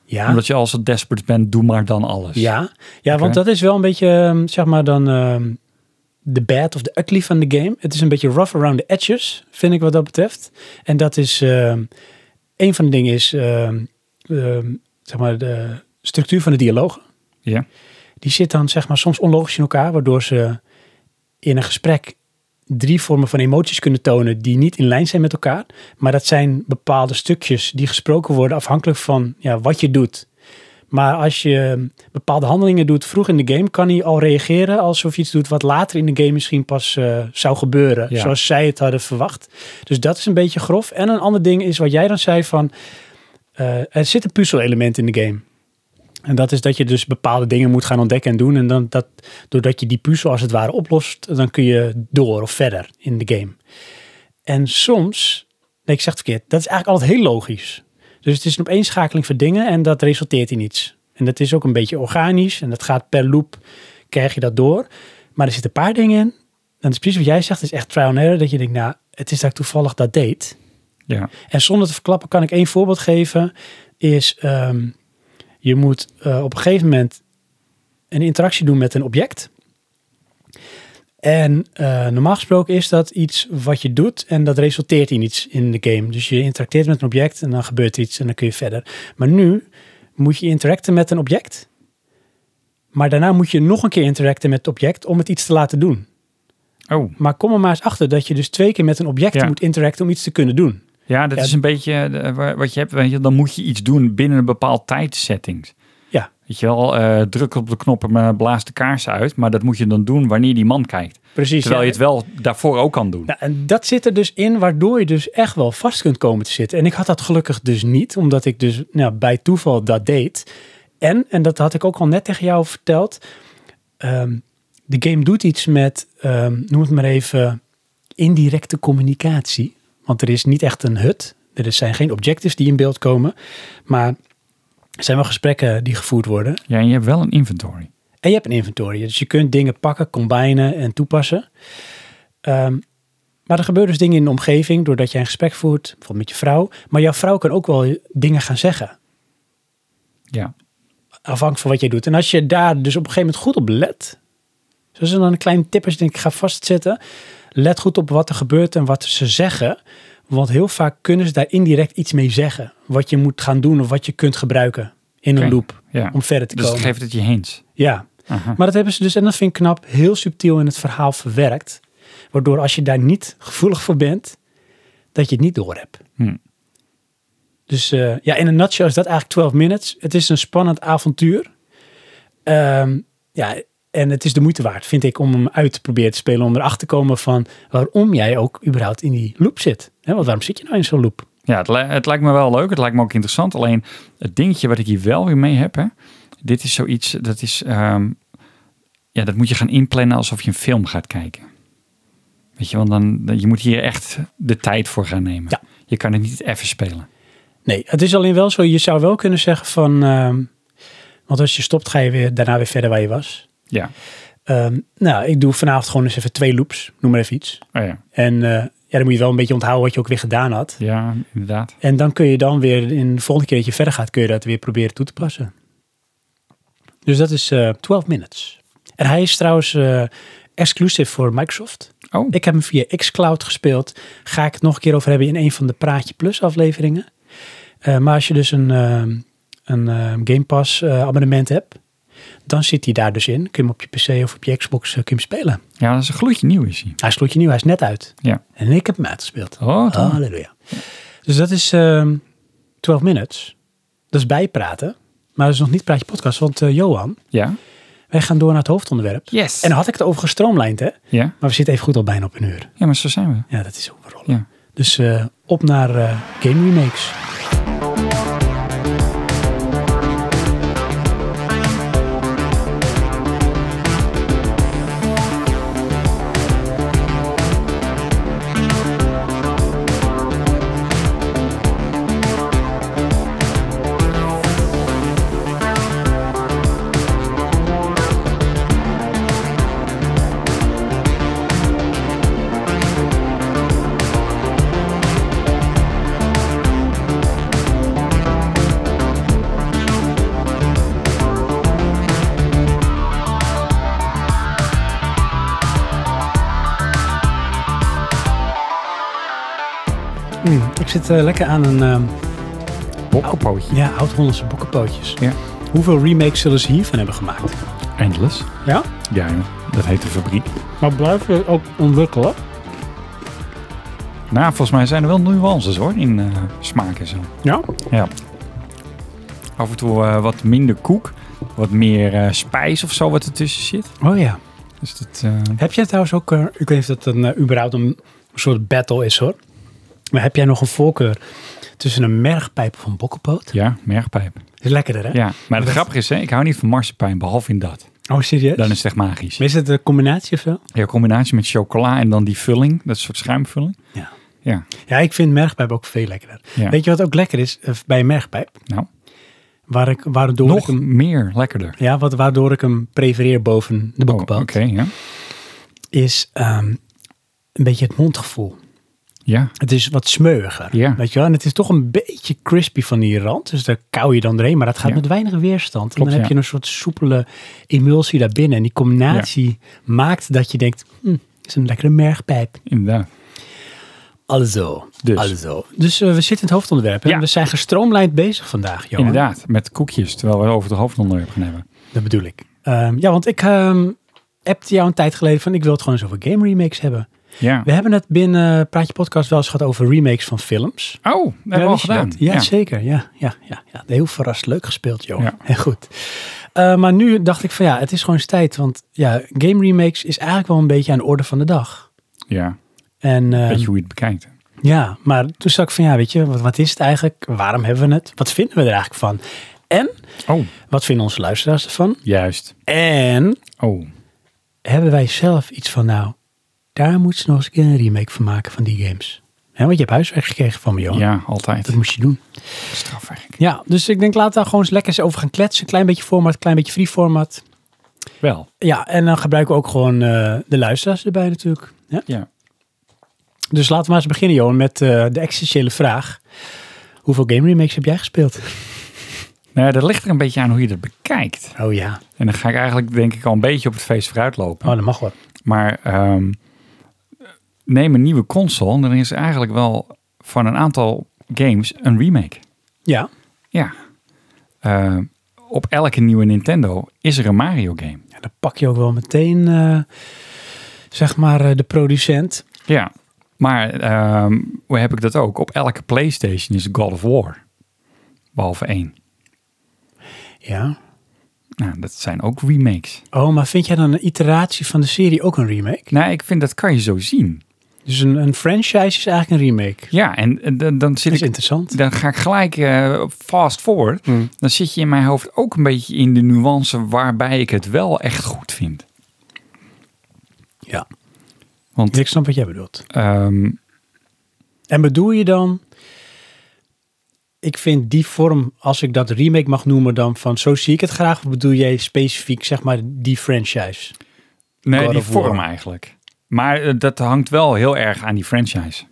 [SPEAKER 1] Ja,
[SPEAKER 2] Omdat je al zo desperate bent, doe maar dan alles.
[SPEAKER 1] ja. ja
[SPEAKER 2] Oké.
[SPEAKER 1] want dat is wel een beetje, ehm, zeg maar dan, ehm, de bad of the ugly van de game. Het is een beetje rough around the edges, vind ik wat dat betreft. En dat is, ehm, een van de dingen is, ehm, ehm, zeg maar, de structuur van de dialogen.
[SPEAKER 2] Ja.
[SPEAKER 1] Die zit dan, zeg maar, soms onlogisch in elkaar, waardoor ze in een gesprek drie vormen van emoties kunnen tonen die niet in lijn zijn met elkaar. Maar dat zijn bepaalde stukjes die gesproken worden afhankelijk van ja, wat je doet. Maar als je bepaalde handelingen doet vroeg in de game, kan hij al reageren alsof je iets doet wat later in de game misschien pas eh, zou gebeuren.
[SPEAKER 2] Ja.
[SPEAKER 1] Zoals zij het hadden verwacht. Dus dat is een beetje grof. En een ander ding is wat jij dan zei van, eh, er zit een puzzelelement in de game. En dat is dat je dus bepaalde dingen moet gaan ontdekken en doen. En dan dat, doordat je die puzzel als het ware oplost, dan kun je door of verder in de game. En soms, nee, ik zeg het verkeerd, dat is eigenlijk altijd heel logisch. Dus het is een opeenschakeling van dingen en dat resulteert in iets. En dat is ook een beetje organisch en dat gaat per loop, krijg je dat door. Maar er zitten een paar dingen in. En dat is precies wat jij zegt, het is echt trial and error. Dat je denkt, nou, het is dat ik toevallig dat deed.
[SPEAKER 2] Ja.
[SPEAKER 1] En zonder te verklappen kan ik één voorbeeld geven. Is ehm, je moet eh, op een gegeven moment een interactie doen met een object. En eh, normaal gesproken is dat iets wat je doet en dat resulteert in iets in de game. Dus je interacteert met een object en dan gebeurt er iets en dan kun je verder. Maar nu moet je interacten met een object. Maar daarna moet je nog een keer interacten met het object om het iets te laten doen.
[SPEAKER 2] Oh,
[SPEAKER 1] Maar kom er maar eens achter dat je dus twee keer met een object
[SPEAKER 2] Ja.
[SPEAKER 1] moet interacten om iets te kunnen doen.
[SPEAKER 2] ja, dat
[SPEAKER 1] Ja.
[SPEAKER 2] is een beetje eh, waar- wat je hebt. Weet je, dan moet je iets doen binnen een bepaald tijdsettings.
[SPEAKER 1] Ja.
[SPEAKER 2] Weet je wel, eh, druk op de knoppen, maar blaas de kaarsen uit. Maar dat moet je dan doen wanneer die man kijkt.
[SPEAKER 1] Precies.
[SPEAKER 2] Terwijl
[SPEAKER 1] ja.
[SPEAKER 2] je het wel daarvoor ook kan doen.
[SPEAKER 1] Nou, en dat zit er dus in, waardoor je dus echt wel vast kunt komen te zitten. En ik had dat gelukkig dus niet, omdat ik dus nou, bij toeval dat deed. En, en dat had ik ook al net tegen jou verteld, ehm, de game doet iets met, ehm, noem het maar even, indirecte communicatie. Want er is niet echt een hut, er zijn geen objectives die in beeld komen, maar er zijn wel gesprekken die gevoerd worden.
[SPEAKER 2] Ja, en je hebt wel een inventory.
[SPEAKER 1] En je hebt een inventory. Dus je kunt dingen pakken, combinen en toepassen. Ehm, maar er gebeuren dus dingen in de omgeving doordat jij een gesprek voert, bijvoorbeeld met je vrouw. Maar jouw vrouw kan ook wel dingen gaan zeggen,
[SPEAKER 2] Ja.
[SPEAKER 1] afhankelijk van wat jij doet. En als je daar dus op een gegeven moment goed op let, zoals dan een kleine tip is, denk ik, ga vastzetten. Let goed op wat er gebeurt en wat ze zeggen. Want heel vaak kunnen ze daar indirect iets mee zeggen. Wat je moet gaan doen of wat je kunt gebruiken in een
[SPEAKER 2] Oké.
[SPEAKER 1] loop
[SPEAKER 2] ja.
[SPEAKER 1] om verder te
[SPEAKER 2] Dus dat
[SPEAKER 1] komen.
[SPEAKER 2] geeft het je hints.
[SPEAKER 1] Ja,
[SPEAKER 2] Aha.
[SPEAKER 1] Maar dat hebben ze dus, en dat vind ik knap, heel subtiel in het verhaal verwerkt. Waardoor als je daar niet gevoelig voor bent, dat je het niet door hebt.
[SPEAKER 2] Hm.
[SPEAKER 1] Dus eh, ja, in een nutshell is dat eigenlijk 12 minutes. Het is een spannend avontuur. Ehm, ja, en het is de moeite waard, vind ik, om hem uit te proberen te spelen. Om erachter te komen van waarom jij ook überhaupt in die loop zit. Hè, want waarom zit je nou in zo'n loop?
[SPEAKER 2] Ja, het, li- het lijkt me wel leuk. Het lijkt me ook interessant. Alleen het dingetje wat ik hier wel weer mee heb, hè, dit is zoiets, dat is, ehm, ja, dat moet je gaan inplannen alsof je een film gaat kijken. Weet je, want dan, dan- je moet hier echt de tijd voor gaan nemen.
[SPEAKER 1] Ja.
[SPEAKER 2] Je kan het niet even spelen.
[SPEAKER 1] Nee, het is alleen wel zo, je zou wel kunnen zeggen van... ehm, want als je stopt, ga je weer, daarna weer verder waar je was.
[SPEAKER 2] Ja,
[SPEAKER 1] Ehm, nou, ik doe vanavond gewoon eens even twee loops. Noem maar even iets.
[SPEAKER 2] oh ja.
[SPEAKER 1] En eh, ja, dan moet je wel een beetje onthouden wat je ook weer gedaan had.
[SPEAKER 2] ja inderdaad.
[SPEAKER 1] En dan kun je dan weer, in de volgende keer dat je verder gaat, kun je dat weer proberen toe te passen. Dus dat is eh 12 minutes. En hij is trouwens eh exclusief voor Microsoft.
[SPEAKER 2] Oh,
[SPEAKER 1] Ik heb hem via xCloud gespeeld. Ga ik het nog een keer over hebben in een van de Praatje Plus afleveringen. Eh, maar als je dus een, ehm, een ehm, Game Pass eh, abonnement hebt, dan zit hij daar dus in. Kun je hem op je PC of op je Xbox eh, kun je hem spelen.
[SPEAKER 2] ja, dat is een gloedje nieuw is hij.
[SPEAKER 1] Hij sloot je nieuw, hij is net uit.
[SPEAKER 2] Ja.
[SPEAKER 1] En ik heb hem uitgespeeld.
[SPEAKER 2] Oh, dan.
[SPEAKER 1] Halleluja. Dus dat is ehm 12 minutes. Dat is bijpraten. Maar dat is nog niet Praatje Podcast, want eh, Johan,
[SPEAKER 2] Ja.
[SPEAKER 1] wij gaan door naar het hoofdonderwerp.
[SPEAKER 2] Yes.
[SPEAKER 1] En dan had ik het over gestroomlijnd, hè?
[SPEAKER 2] ja.
[SPEAKER 1] Maar we zitten even goed al bijna op een uur.
[SPEAKER 2] ja, maar zo zijn we.
[SPEAKER 1] Ja, dat is overal.
[SPEAKER 2] Ja.
[SPEAKER 1] Dus eh, op naar eh, game remakes. Mm, ik zit eh, lekker aan een ehm,
[SPEAKER 2] Bokkenpootje.
[SPEAKER 1] ja, oud-Hollandse bokkenpootjes.
[SPEAKER 2] Ja.
[SPEAKER 1] Hoeveel remakes zullen ze hiervan hebben gemaakt?
[SPEAKER 3] Endless.
[SPEAKER 1] Ja?
[SPEAKER 3] Ja, joh. dat heet de fabriek.
[SPEAKER 1] Maar blijven ook ontwikkelen.
[SPEAKER 2] Nou, volgens mij zijn er wel nuances hoor, in eh, smaak en zo.
[SPEAKER 1] Ja?
[SPEAKER 2] Af en toe eh, wat minder koek, wat meer eh, spijs of zo wat ertussen zit.
[SPEAKER 1] Oh ja.
[SPEAKER 2] Dus dat, eh,
[SPEAKER 1] Heb jij trouwens ook, eh, ik weet niet of dat een, eh, überhaupt een soort battle is hoor. Maar heb jij nog een voorkeur tussen een mergpijp of een bokkenpoot?
[SPEAKER 2] ja, mergpijp.
[SPEAKER 1] Is lekkerder hè?
[SPEAKER 2] Ja, maar het
[SPEAKER 1] Dat-
[SPEAKER 2] grappige is, hè, ik hou niet van marsepein, behalve in dat.
[SPEAKER 1] Oh serieus?
[SPEAKER 2] Dan is het echt magisch.
[SPEAKER 1] Maar is het een combinatie of zo?
[SPEAKER 2] Ja, in combinatie met chocola en dan die vulling, dat soort schuimvulling.
[SPEAKER 1] Ja, ik vind mergpijp ook veel lekkerder.
[SPEAKER 2] Ja.
[SPEAKER 1] Weet je wat ook lekker is eh, bij een mergpijp?
[SPEAKER 2] Nou,
[SPEAKER 1] Waar ik, waardoor ik
[SPEAKER 2] nog
[SPEAKER 1] hem,
[SPEAKER 2] meer lekkerder.
[SPEAKER 1] ja, wat, waardoor ik hem prefereer boven de
[SPEAKER 2] Oh, Oké,
[SPEAKER 1] bokkenpoot.
[SPEAKER 2] ja.
[SPEAKER 1] Is ehm, een beetje het mondgevoel.
[SPEAKER 2] Ja,
[SPEAKER 1] Het is wat smeuiger.
[SPEAKER 2] Ja.
[SPEAKER 1] Weet je wel? En het is toch een beetje crispy van die rand. Dus daar kauw je dan doorheen. Maar dat gaat
[SPEAKER 2] Ja.
[SPEAKER 1] met weinig weerstand. en
[SPEAKER 2] Klopt,
[SPEAKER 1] dan heb
[SPEAKER 2] ja.
[SPEAKER 1] je een soort soepele emulsie daarbinnen. En die combinatie maakt dat je denkt... Hm, is een lekkere mergpijp.
[SPEAKER 2] inderdaad.
[SPEAKER 1] Alzo.
[SPEAKER 2] Dus.
[SPEAKER 1] Alzo. Dus eh, we zitten in het hoofdonderwerp. hè?
[SPEAKER 2] Ja.
[SPEAKER 1] We zijn gestroomlijnd bezig vandaag, Johan.
[SPEAKER 2] Inderdaad, met koekjes, terwijl we over het hoofdonderwerp gaan hebben.
[SPEAKER 1] Dat bedoel ik. Ehm, ja, want ik ehm appte jou een tijd geleden van... ik wil het gewoon eens over game remakes hebben.
[SPEAKER 2] Ja.
[SPEAKER 1] We hebben het binnen Praatje Podcast wel eens gehad over remakes van films.
[SPEAKER 2] Oh, dat hebben we al
[SPEAKER 1] wist je
[SPEAKER 2] gedaan.
[SPEAKER 1] dat? Ja, zeker. Ja, ja, ja, ja. Heel verrast leuk gespeeld, joh.
[SPEAKER 2] Ja.
[SPEAKER 1] Heel goed. Eh, maar nu dacht ik van ja, het is gewoon eens tijd. Want ja, game remakes is eigenlijk wel een beetje aan de orde van de dag.
[SPEAKER 2] ja.
[SPEAKER 1] En eh,
[SPEAKER 2] Weet je hoe je het bekijkt.
[SPEAKER 1] ja, maar toen zag ik van ja, weet je, wat, wat is het eigenlijk? Waarom hebben we het? Wat vinden we er eigenlijk van? En
[SPEAKER 2] Oh,
[SPEAKER 1] wat vinden onze luisteraars ervan?
[SPEAKER 2] juist.
[SPEAKER 1] En
[SPEAKER 2] Oh,
[SPEAKER 1] hebben wij zelf iets van nou, daar moet ze nog eens een keer een remake van maken van die games. Hè, want je hebt huiswerk gekregen van me, joh.
[SPEAKER 2] ja, altijd.
[SPEAKER 1] Dat moest je doen.
[SPEAKER 2] Strafwerk.
[SPEAKER 1] Ja, dus ik denk laten we daar gewoon eens lekker eens over gaan kletsen. Een klein beetje format, klein beetje free format.
[SPEAKER 2] Wel,
[SPEAKER 1] Ja, en dan gebruiken we ook gewoon eh, de luisteraars erbij natuurlijk. Ja?
[SPEAKER 2] ja.
[SPEAKER 1] Dus laten we maar eens beginnen, Johan, met eh, de existentiële vraag. Hoeveel game remakes heb jij gespeeld?
[SPEAKER 2] Nou ja, dat ligt er een beetje aan hoe je dat bekijkt.
[SPEAKER 1] Oh ja,
[SPEAKER 2] En dan ga ik eigenlijk denk ik al een beetje op het feest vooruitlopen.
[SPEAKER 1] oh, dat mag wel.
[SPEAKER 2] Maar ehm, neem een nieuwe console en dan is er eigenlijk wel van een aantal games een remake.
[SPEAKER 1] Ja,
[SPEAKER 2] Ja. Eh, op elke nieuwe Nintendo is er een Mario game.
[SPEAKER 1] ja dan pak je ook wel meteen, eh, zeg maar, eh, de producent.
[SPEAKER 2] Ja. Maar ehm, hoe heb ik dat ook? Op elke PlayStation is God of War. Behalve één.
[SPEAKER 1] Ja.
[SPEAKER 2] Nou, dat zijn ook remakes.
[SPEAKER 1] Oh, maar vind jij dan een iteratie van de serie ook een remake?
[SPEAKER 2] Nou, ik vind dat kan je zo zien.
[SPEAKER 1] Dus een, een franchise is eigenlijk een remake.
[SPEAKER 2] Ja, en eh, dan, dan
[SPEAKER 1] Dat
[SPEAKER 2] zit
[SPEAKER 1] is
[SPEAKER 2] ik...
[SPEAKER 1] interessant.
[SPEAKER 2] Dan ga ik gelijk eh, fast forward.
[SPEAKER 1] Hmm.
[SPEAKER 2] dan zit je in mijn hoofd ook een beetje in de nuance waarbij ik het wel echt goed vind.
[SPEAKER 1] Ja.
[SPEAKER 2] Want
[SPEAKER 1] Ik snap wat jij bedoelt.
[SPEAKER 2] ehm,
[SPEAKER 1] En bedoel je dan, ik vind die vorm, als ik dat remake mag noemen, dan van zo zie ik het graag. Of bedoel jij specifiek, zeg maar, die franchise?
[SPEAKER 2] nee,
[SPEAKER 1] God
[SPEAKER 2] die
[SPEAKER 1] of War.
[SPEAKER 2] vorm eigenlijk. Maar eh, dat hangt wel heel erg aan die franchise.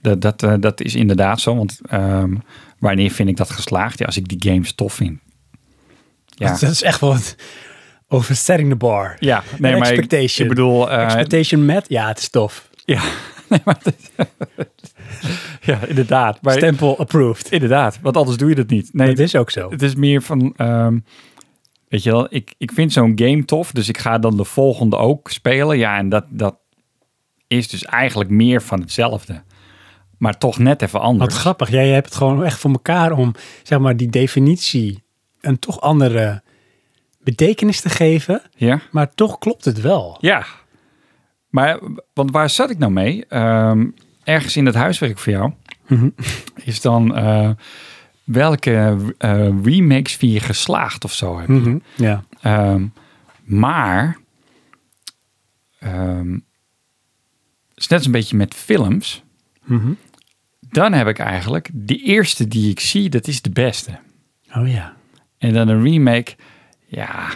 [SPEAKER 2] Dat, dat, eh, dat is inderdaad zo, want ehm, wanneer vind ik dat geslaagd? Ja, als ik die games tof vind. Ja,
[SPEAKER 1] Dat, dat is echt wat over setting the bar.
[SPEAKER 2] ja nee,
[SPEAKER 1] Een
[SPEAKER 2] maar ik,
[SPEAKER 1] expectation.
[SPEAKER 2] ik bedoel... eh,
[SPEAKER 1] Expectation met, ja, het is tof.
[SPEAKER 2] ja, nee, maar dat- ja, inderdaad. Maar,
[SPEAKER 1] Stempel approved.
[SPEAKER 2] Inderdaad, want anders doe je dat niet. Nee,
[SPEAKER 1] dat is ook zo.
[SPEAKER 2] Het is meer van, ehm, weet je wel, ik, ik vind zo'n game tof, dus ik ga dan de volgende ook spelen. Ja, en dat, dat is dus eigenlijk meer van hetzelfde. Maar toch net even
[SPEAKER 1] Wat
[SPEAKER 2] anders.
[SPEAKER 1] grappig, jij hebt het gewoon echt voor elkaar om, zeg maar, die definitie een toch andere betekenis te geven.
[SPEAKER 2] Ja?
[SPEAKER 1] Maar toch klopt het wel.
[SPEAKER 2] Ja. Maar, want waar zat ik nou mee? Ehm, ergens in het huiswerk voor jou
[SPEAKER 1] Mhm.
[SPEAKER 2] is dan eh, welke eh, remakes vind je geslaagd of zo heb je.
[SPEAKER 1] Mhm, Ja.
[SPEAKER 2] Ehm, maar ehm, het is net als een beetje met films.
[SPEAKER 1] Mhm.
[SPEAKER 2] Dan heb ik eigenlijk de eerste die ik zie, dat is de beste.
[SPEAKER 1] Oh ja.
[SPEAKER 2] En dan een remake, ja,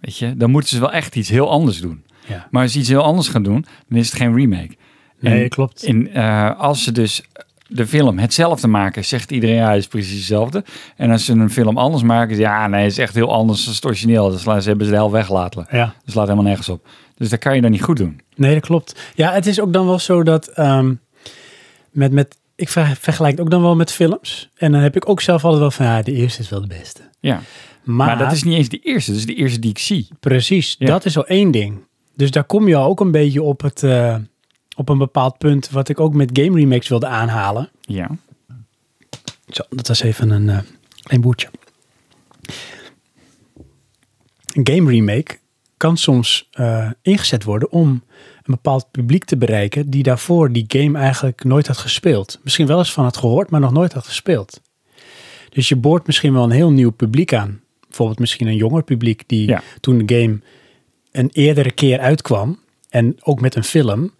[SPEAKER 2] weet je, dan moeten ze wel echt iets heel anders doen.
[SPEAKER 1] ja.
[SPEAKER 2] Maar als ze iets heel anders gaan doen, dan is het geen remake. En-
[SPEAKER 1] Nee, klopt.
[SPEAKER 2] En eh, als ze dus de film hetzelfde maken, zegt iedereen ja, is precies hetzelfde. En als ze een film anders maken, ja, nee, is echt heel anders dan het origineel. Dus la- ze hebben ze de hel weggelaten.
[SPEAKER 1] Ja.
[SPEAKER 2] Dus laat helemaal nergens op. Dus dat kan je dan niet goed doen.
[SPEAKER 1] Nee, dat klopt. Ja, het is ook dan wel zo dat ehm, met, met ik ver- vergelijk het ook dan wel met films. En dan heb ik ook zelf altijd wel van, ja, de eerste is wel de beste.
[SPEAKER 2] Ja.
[SPEAKER 1] Maar,
[SPEAKER 2] Maar, dat is niet eens de eerste. Dat is de eerste die ik zie.
[SPEAKER 1] precies,
[SPEAKER 2] Ja.
[SPEAKER 1] dat is al één ding. Dus daar kom je al ook een beetje op, het, eh, op een bepaald punt... wat ik ook met game remakes wilde aanhalen.
[SPEAKER 2] Ja.
[SPEAKER 1] Zo, dat was even een eh, klein boertje. Een game remake kan soms eh, ingezet worden om een bepaald publiek te bereiken die daarvoor die game eigenlijk nooit had gespeeld. Misschien wel eens van had gehoord, maar nog nooit had gespeeld. Dus je boort misschien wel een heel nieuw publiek aan. Bijvoorbeeld misschien een jonger publiek die
[SPEAKER 2] Ja.
[SPEAKER 1] toen de game een eerdere keer uitkwam en ook met een film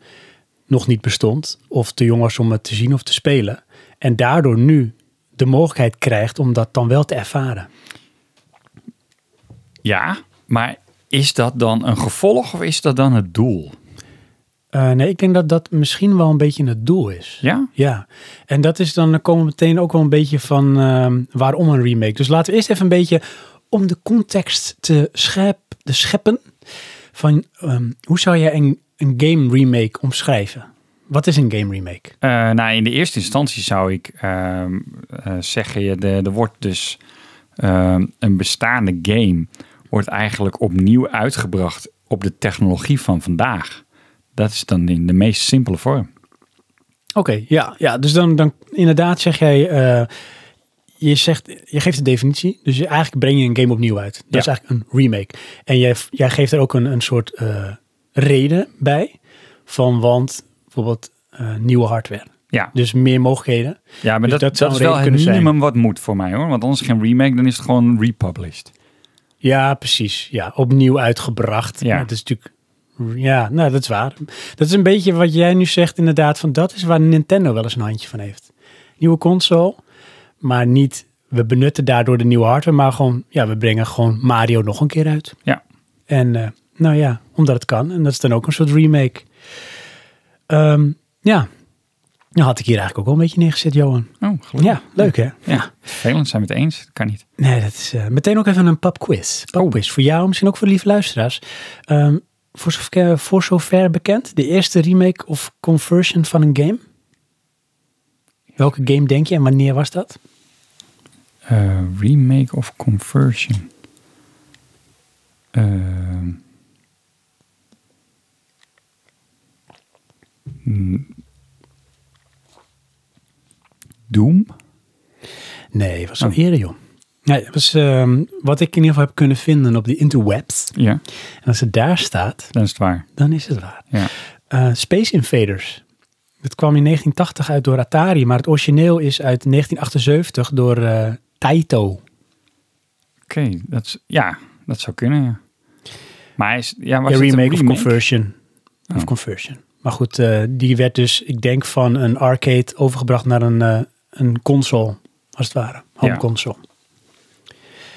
[SPEAKER 1] nog niet bestond of te jong was om het te zien of te spelen. En daardoor nu de mogelijkheid krijgt om dat dan wel te ervaren.
[SPEAKER 2] Ja, maar is dat dan een gevolg of is dat dan het doel?
[SPEAKER 1] Eh, nee, ik denk dat dat misschien wel een beetje het doel is.
[SPEAKER 2] Ja?
[SPEAKER 1] Ja, en dat is dan, dan komen we meteen ook wel een beetje van ehm, waarom een remake. Dus laten we eerst even een beetje om de context te, schep, te scheppen. Van ehm, hoe zou jij een, een game remake omschrijven? Wat is een game remake?
[SPEAKER 2] Eh, nou, in de eerste instantie zou ik ehm, eh, zeggen, je, de- er wordt dus ehm, een bestaande game wordt eigenlijk opnieuw uitgebracht op de technologie van vandaag. Dat is dan in de meest simpele vorm.
[SPEAKER 1] Oké, ja, ja, dus dan, dan inderdaad zeg jij, eh, je, zegt, je geeft de definitie. Dus je, eigenlijk breng je een game opnieuw uit. Dat
[SPEAKER 2] Ja.
[SPEAKER 1] is eigenlijk een remake. En jij, jij geeft er ook een, een soort eh, reden bij. Van want bijvoorbeeld eh, nieuwe hardware.
[SPEAKER 2] Ja,
[SPEAKER 1] Dus meer mogelijkheden.
[SPEAKER 2] ja maar
[SPEAKER 1] Dus
[SPEAKER 2] dat,
[SPEAKER 1] dat
[SPEAKER 2] dat,
[SPEAKER 1] zou
[SPEAKER 2] is
[SPEAKER 1] een reden
[SPEAKER 2] wel het
[SPEAKER 1] kunnen zijn.
[SPEAKER 2] minimum wat moet voor mij hoor. Want anders geen remake, dan is het gewoon republished.
[SPEAKER 1] Ja, precies. Ja, opnieuw uitgebracht.
[SPEAKER 2] Ja.
[SPEAKER 1] Ja. Dat is natuurlijk... Ja, nou, dat is waar. Dat is een beetje wat jij nu zegt inderdaad. Van dat is waar Nintendo wel eens een handje van heeft. Nieuwe console, maar niet... We benutten daardoor de nieuwe hardware, maar gewoon... Ja, we brengen gewoon Mario nog een keer uit.
[SPEAKER 2] Ja.
[SPEAKER 1] En eh, nou ja, omdat het kan. En dat is dan ook een soort remake. Ehm, ja. Nou had ik hier eigenlijk ook wel een beetje neergezet, Johan.
[SPEAKER 2] Oh, gelukkig.
[SPEAKER 1] Ja, leuk hè?
[SPEAKER 2] Ja, vervelend zijn we het eens. Dat kan niet.
[SPEAKER 1] Nee, dat is eh, meteen ook even een papquiz. Papquiz
[SPEAKER 2] Oh.
[SPEAKER 1] voor jou, misschien ook voor de lieve luisteraars. Ehm, voor, zover, voor zover bekend, de eerste remake of conversion van een game? Welke game denk je en wanneer was dat?
[SPEAKER 2] Eh, remake of conversion. Ehm. Mm. Doom?
[SPEAKER 1] Nee, het was al
[SPEAKER 2] Oh.
[SPEAKER 1] eerder, joh. Nee, het was ehm, wat ik in ieder geval heb kunnen vinden op de interwebs.
[SPEAKER 2] Ja,
[SPEAKER 1] En als het daar staat,
[SPEAKER 2] dat is het waar.
[SPEAKER 1] dan is het waar.
[SPEAKER 2] Ja.
[SPEAKER 1] Eh, Space Invaders. Dat kwam in 1980 uit door Atari, maar het origineel is uit 1978 door eh, Taito.
[SPEAKER 2] Oké, dat is- ja, dat zou kunnen, ja. Maar is, ja, was
[SPEAKER 1] Ja,
[SPEAKER 2] het een
[SPEAKER 1] remake,
[SPEAKER 2] remake?
[SPEAKER 1] of conversion. Of
[SPEAKER 2] Oh.
[SPEAKER 1] conversion. Maar goed, eh, die werd dus, ik denk, van een arcade overgebracht naar een, eh, een console, als het ware. Home
[SPEAKER 2] Ja.
[SPEAKER 1] console.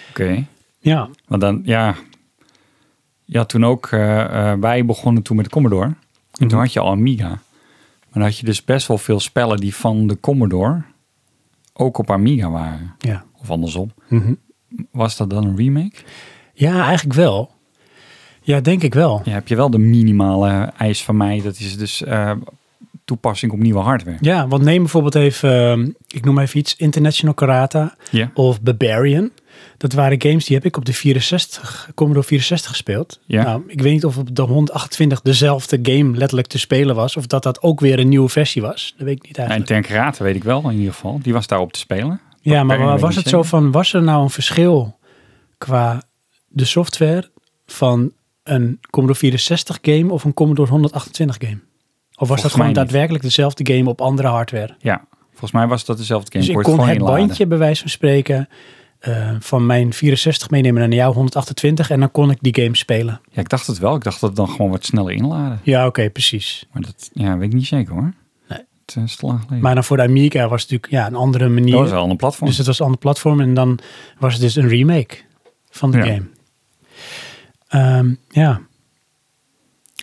[SPEAKER 2] Oké,
[SPEAKER 1] Ja,
[SPEAKER 2] want dan, ja. Ja, toen ook, eh, eh, wij begonnen toen met de Commodore. En
[SPEAKER 1] Mhm.
[SPEAKER 2] toen had je al Amiga. Maar dan had je dus best wel veel spellen die van de Commodore ook op Amiga waren.
[SPEAKER 1] ja.
[SPEAKER 2] Of andersom.
[SPEAKER 1] Mhm.
[SPEAKER 2] Was dat dan een remake?
[SPEAKER 1] Ja, eigenlijk wel. Ja, denk ik wel. Ja.
[SPEAKER 2] Ja, heb je wel de minimale eis van mij. Dat is dus eh, toepassing op nieuwe hardware.
[SPEAKER 1] want neem bijvoorbeeld even, ehm, ik noem even iets, International Karata
[SPEAKER 2] Ja.
[SPEAKER 1] of Barbarian. Dat waren games die heb ik op de 64, Commodore 64 gespeeld.
[SPEAKER 2] Ja.
[SPEAKER 1] Nou, ik weet niet of op de 128 dezelfde game letterlijk te spelen was. Of dat dat ook weer een nieuwe versie was. Dat weet ik niet eigenlijk.
[SPEAKER 2] En ten karate weet ik wel in ieder geval. Die was daarop te spelen.
[SPEAKER 1] Ja, maar
[SPEAKER 2] Perry
[SPEAKER 1] wa-
[SPEAKER 2] weet
[SPEAKER 1] was
[SPEAKER 2] niet
[SPEAKER 1] het zo
[SPEAKER 2] zeker.
[SPEAKER 1] van, was er nou een verschil qua de software van een Commodore 64 game of een Commodore 128 game? Of was
[SPEAKER 2] Volgens
[SPEAKER 1] dat gewoon
[SPEAKER 2] mij niet.
[SPEAKER 1] daadwerkelijk dezelfde game op andere hardware?
[SPEAKER 2] Ja, volgens mij was dat dezelfde game.
[SPEAKER 1] dus ik
[SPEAKER 2] Kon je
[SPEAKER 1] kon het
[SPEAKER 2] gewoon inladen.
[SPEAKER 1] bandje, bij wijze van spreken, eh, van mijn 64 meenemen naar jouw 128 en dan kon ik die game spelen.
[SPEAKER 2] Ja, ik dacht het wel. Ik dacht dat het dan gewoon wat sneller inladen.
[SPEAKER 1] Ja, oké, precies.
[SPEAKER 2] Maar dat ja, weet ik niet zeker hoor.
[SPEAKER 1] Nee.
[SPEAKER 2] Het eh, is te lang geleden.
[SPEAKER 1] Maar dan voor de Amiga was het natuurlijk ja, een andere manier.
[SPEAKER 2] Hm. dat was wel een ander platform.
[SPEAKER 1] Dus het was een ander platform en dan was het dus een remake van de
[SPEAKER 2] Ja.
[SPEAKER 1] game. Ehm, ja.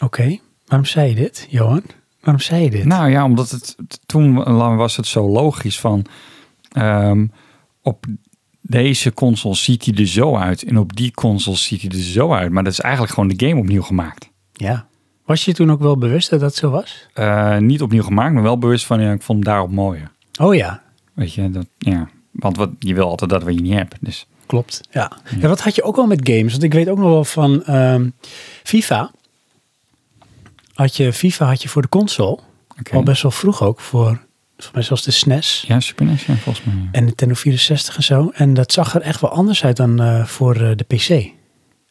[SPEAKER 1] Oké. Waarom zei je dit, Johan? Waarom zei je dit?
[SPEAKER 2] Nou ja, omdat het t- toen was het zo logisch van ehm, op deze console ziet hij er zo uit en op die console ziet hij er zo uit. Maar dat is eigenlijk gewoon de game opnieuw gemaakt.
[SPEAKER 1] Ja. Was je toen ook wel bewust dat dat zo was?
[SPEAKER 2] Eh, niet opnieuw gemaakt, maar wel bewust van ja, ik vond hem daarop mooier.
[SPEAKER 1] Oké. Oh ja,
[SPEAKER 2] Weet je, dat, ja. Want wat, je wil altijd dat wat je niet hebt. Dus
[SPEAKER 1] klopt. Ja. ja, wat had je ook wel met games? Want ik weet ook nog wel van ehm, FIFA. Had je, FIFA had je voor de console,
[SPEAKER 2] oké.
[SPEAKER 1] al best wel vroeg ook, voor volgens mij zelfs de E SNES.
[SPEAKER 2] Ja, Super NES, ja, volgens mij. ja.
[SPEAKER 1] En Nintendo 64 en zo. En dat zag er echt wel anders uit dan eh, voor eh, de PC. En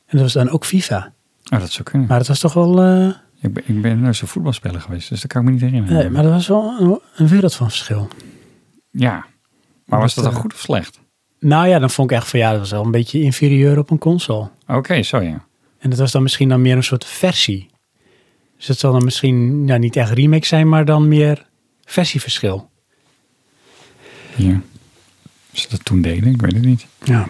[SPEAKER 1] dat was dan ook FIFA.
[SPEAKER 2] Oh, dat zou kunnen.
[SPEAKER 1] Maar dat was toch wel. eh,
[SPEAKER 2] ik ben, ik ben nooit zo'n voetbalspeler geweest, dus dat kan ik me niet herinneren.
[SPEAKER 1] nee, maar dat was wel een, een wereld van verschil.
[SPEAKER 2] Ja. Maar was
[SPEAKER 1] Dat,
[SPEAKER 2] dat dan
[SPEAKER 1] eh,
[SPEAKER 2] goed of slecht?
[SPEAKER 1] Nou ja, dan vond ik echt van ja, dat was wel een beetje inferieur op een console.
[SPEAKER 2] Oké, zo ja.
[SPEAKER 1] En dat was dan misschien dan meer een soort versie. Dus dat zal dan misschien nou, niet echt remake zijn, maar dan meer versieverschil.
[SPEAKER 2] Ja. Ze dat toen deden, ik weet het niet.
[SPEAKER 1] Ja.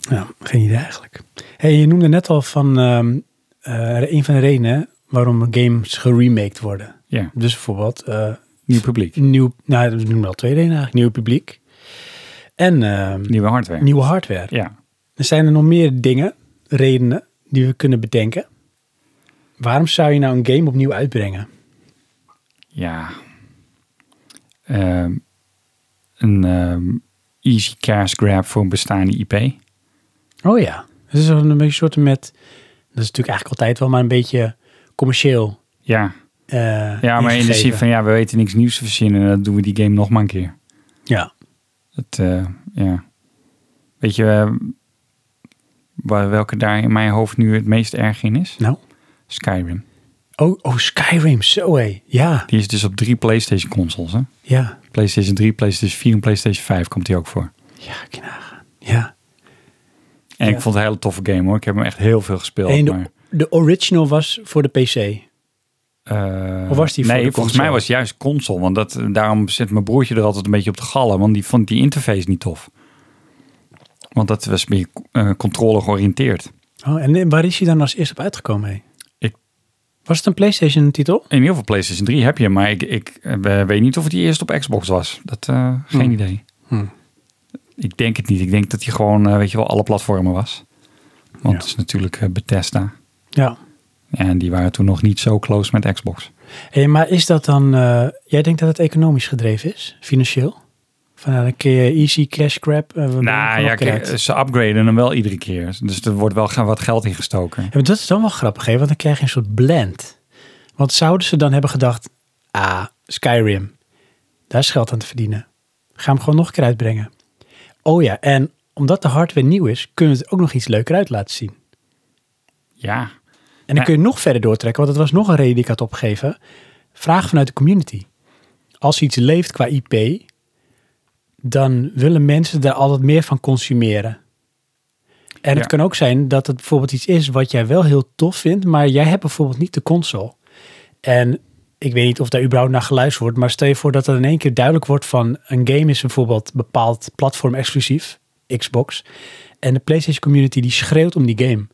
[SPEAKER 1] ja, geen idee eigenlijk. Hey, je noemde net al van ehm, eh, een van de redenen waarom games geremaked worden.
[SPEAKER 2] Ja,
[SPEAKER 1] Dus bijvoorbeeld eh,
[SPEAKER 2] nieuw publiek.
[SPEAKER 1] nieuw, nou, dat noemen we al twee redenen eigenlijk. Nieuw publiek en ehm,
[SPEAKER 2] Nieuwe hardware.
[SPEAKER 1] nieuwe hardware.
[SPEAKER 2] Ja.
[SPEAKER 1] Er zijn er nog meer dingen, redenen, die we kunnen bedenken. Waarom zou je nou een game opnieuw uitbrengen?
[SPEAKER 2] Ja. Ehm, een ehm, easy cash grab voor een bestaande IP.
[SPEAKER 1] Oh ja. Het is een beetje soort met, dat is natuurlijk eigenlijk altijd wel, maar een beetje commercieel.
[SPEAKER 2] Ja,
[SPEAKER 1] eh,
[SPEAKER 2] ja maar in de zin
[SPEAKER 1] ingegeven.
[SPEAKER 2] van ja, we weten niks nieuws te verzinnen. en Dan doen we die game nog maar een keer.
[SPEAKER 1] Ja,
[SPEAKER 2] Het, eh, ja. Weet je eh, waar, welke daar in mijn hoofd nu het meest erg in is?
[SPEAKER 1] nou.
[SPEAKER 2] Skyrim.
[SPEAKER 1] Oh, oh Skyrim, zo hé. Ja,
[SPEAKER 2] Die is dus op drie PlayStation consoles. Hè?
[SPEAKER 1] ja.
[SPEAKER 2] PlayStation 3, PlayStation 4 en PlayStation 5 komt die ook voor.
[SPEAKER 1] Ja, knagen. Ja.
[SPEAKER 2] En
[SPEAKER 1] Ja.
[SPEAKER 2] ik vond het een hele toffe game hoor. Ik heb hem echt heel veel gespeeld.
[SPEAKER 1] En
[SPEAKER 2] maar,
[SPEAKER 1] de, de original was voor de PC.
[SPEAKER 2] eh,
[SPEAKER 1] of was die voor
[SPEAKER 2] nee,
[SPEAKER 1] de
[SPEAKER 2] volgens
[SPEAKER 1] console?
[SPEAKER 2] mij was het juist console. Want dat, daarom zit mijn broertje er altijd een beetje op te gallen. Want die vond die interface niet tof. Want dat was meer eh, controle georiënteerd.
[SPEAKER 1] Oh, en waar is hij dan als eerst op uitgekomen? hé?
[SPEAKER 2] Ik-
[SPEAKER 1] Was het een PlayStation-titel?
[SPEAKER 2] In heel veel PlayStation 3 heb je, hem, maar ik, ik eh, weet niet of het die eerst op Xbox was. Dat, eh, geen
[SPEAKER 1] Hmm.
[SPEAKER 2] idee.
[SPEAKER 1] Hmm.
[SPEAKER 2] Ik denk het niet. Ik denk dat hij gewoon, eh, weet je wel, alle platformen was. Want
[SPEAKER 1] Ja.
[SPEAKER 2] het is natuurlijk eh, Bethesda.
[SPEAKER 1] Ja.
[SPEAKER 2] En die waren toen nog niet zo close met Xbox.
[SPEAKER 1] Hey, maar is dat dan, eh, jij denkt dat het economisch gedreven is, financieel? Van nou, dan kun je easy cash grab. eh, we brengen
[SPEAKER 2] nou
[SPEAKER 1] gewoon
[SPEAKER 2] ja,
[SPEAKER 1] nog
[SPEAKER 2] kijk,
[SPEAKER 1] uit.
[SPEAKER 2] ze upgraden hem wel iedere keer. Dus er wordt wel gaan wat geld ingestoken.
[SPEAKER 1] Ja, maar dat is dan wel grappig, hè? want dan krijg je een soort blend. Want zouden ze dan hebben gedacht, ah, Skyrim, daar is geld aan te verdienen. Ga hem gewoon nog een keer uitbrengen. Oh ja, en omdat de hardware nieuw is, kunnen we het ook nog iets leuker uit laten zien.
[SPEAKER 2] Ja,
[SPEAKER 1] En dan
[SPEAKER 2] Ja.
[SPEAKER 1] kun je nog verder doortrekken, want dat was nog een reden die ik had opgegeven. Vraag vanuit de community. Als iets leeft qua IP, dan willen mensen daar altijd meer van consumeren. En
[SPEAKER 2] Ja.
[SPEAKER 1] het kan ook zijn dat het bijvoorbeeld iets is wat jij wel heel tof vindt, maar jij hebt bijvoorbeeld niet de console. En ik weet niet of daar überhaupt naar geluisterd wordt, maar stel je voor dat er in één keer duidelijk wordt van een game is bijvoorbeeld bepaald platform exclusief, Xbox. En de PlayStation community die schreeuwt om die game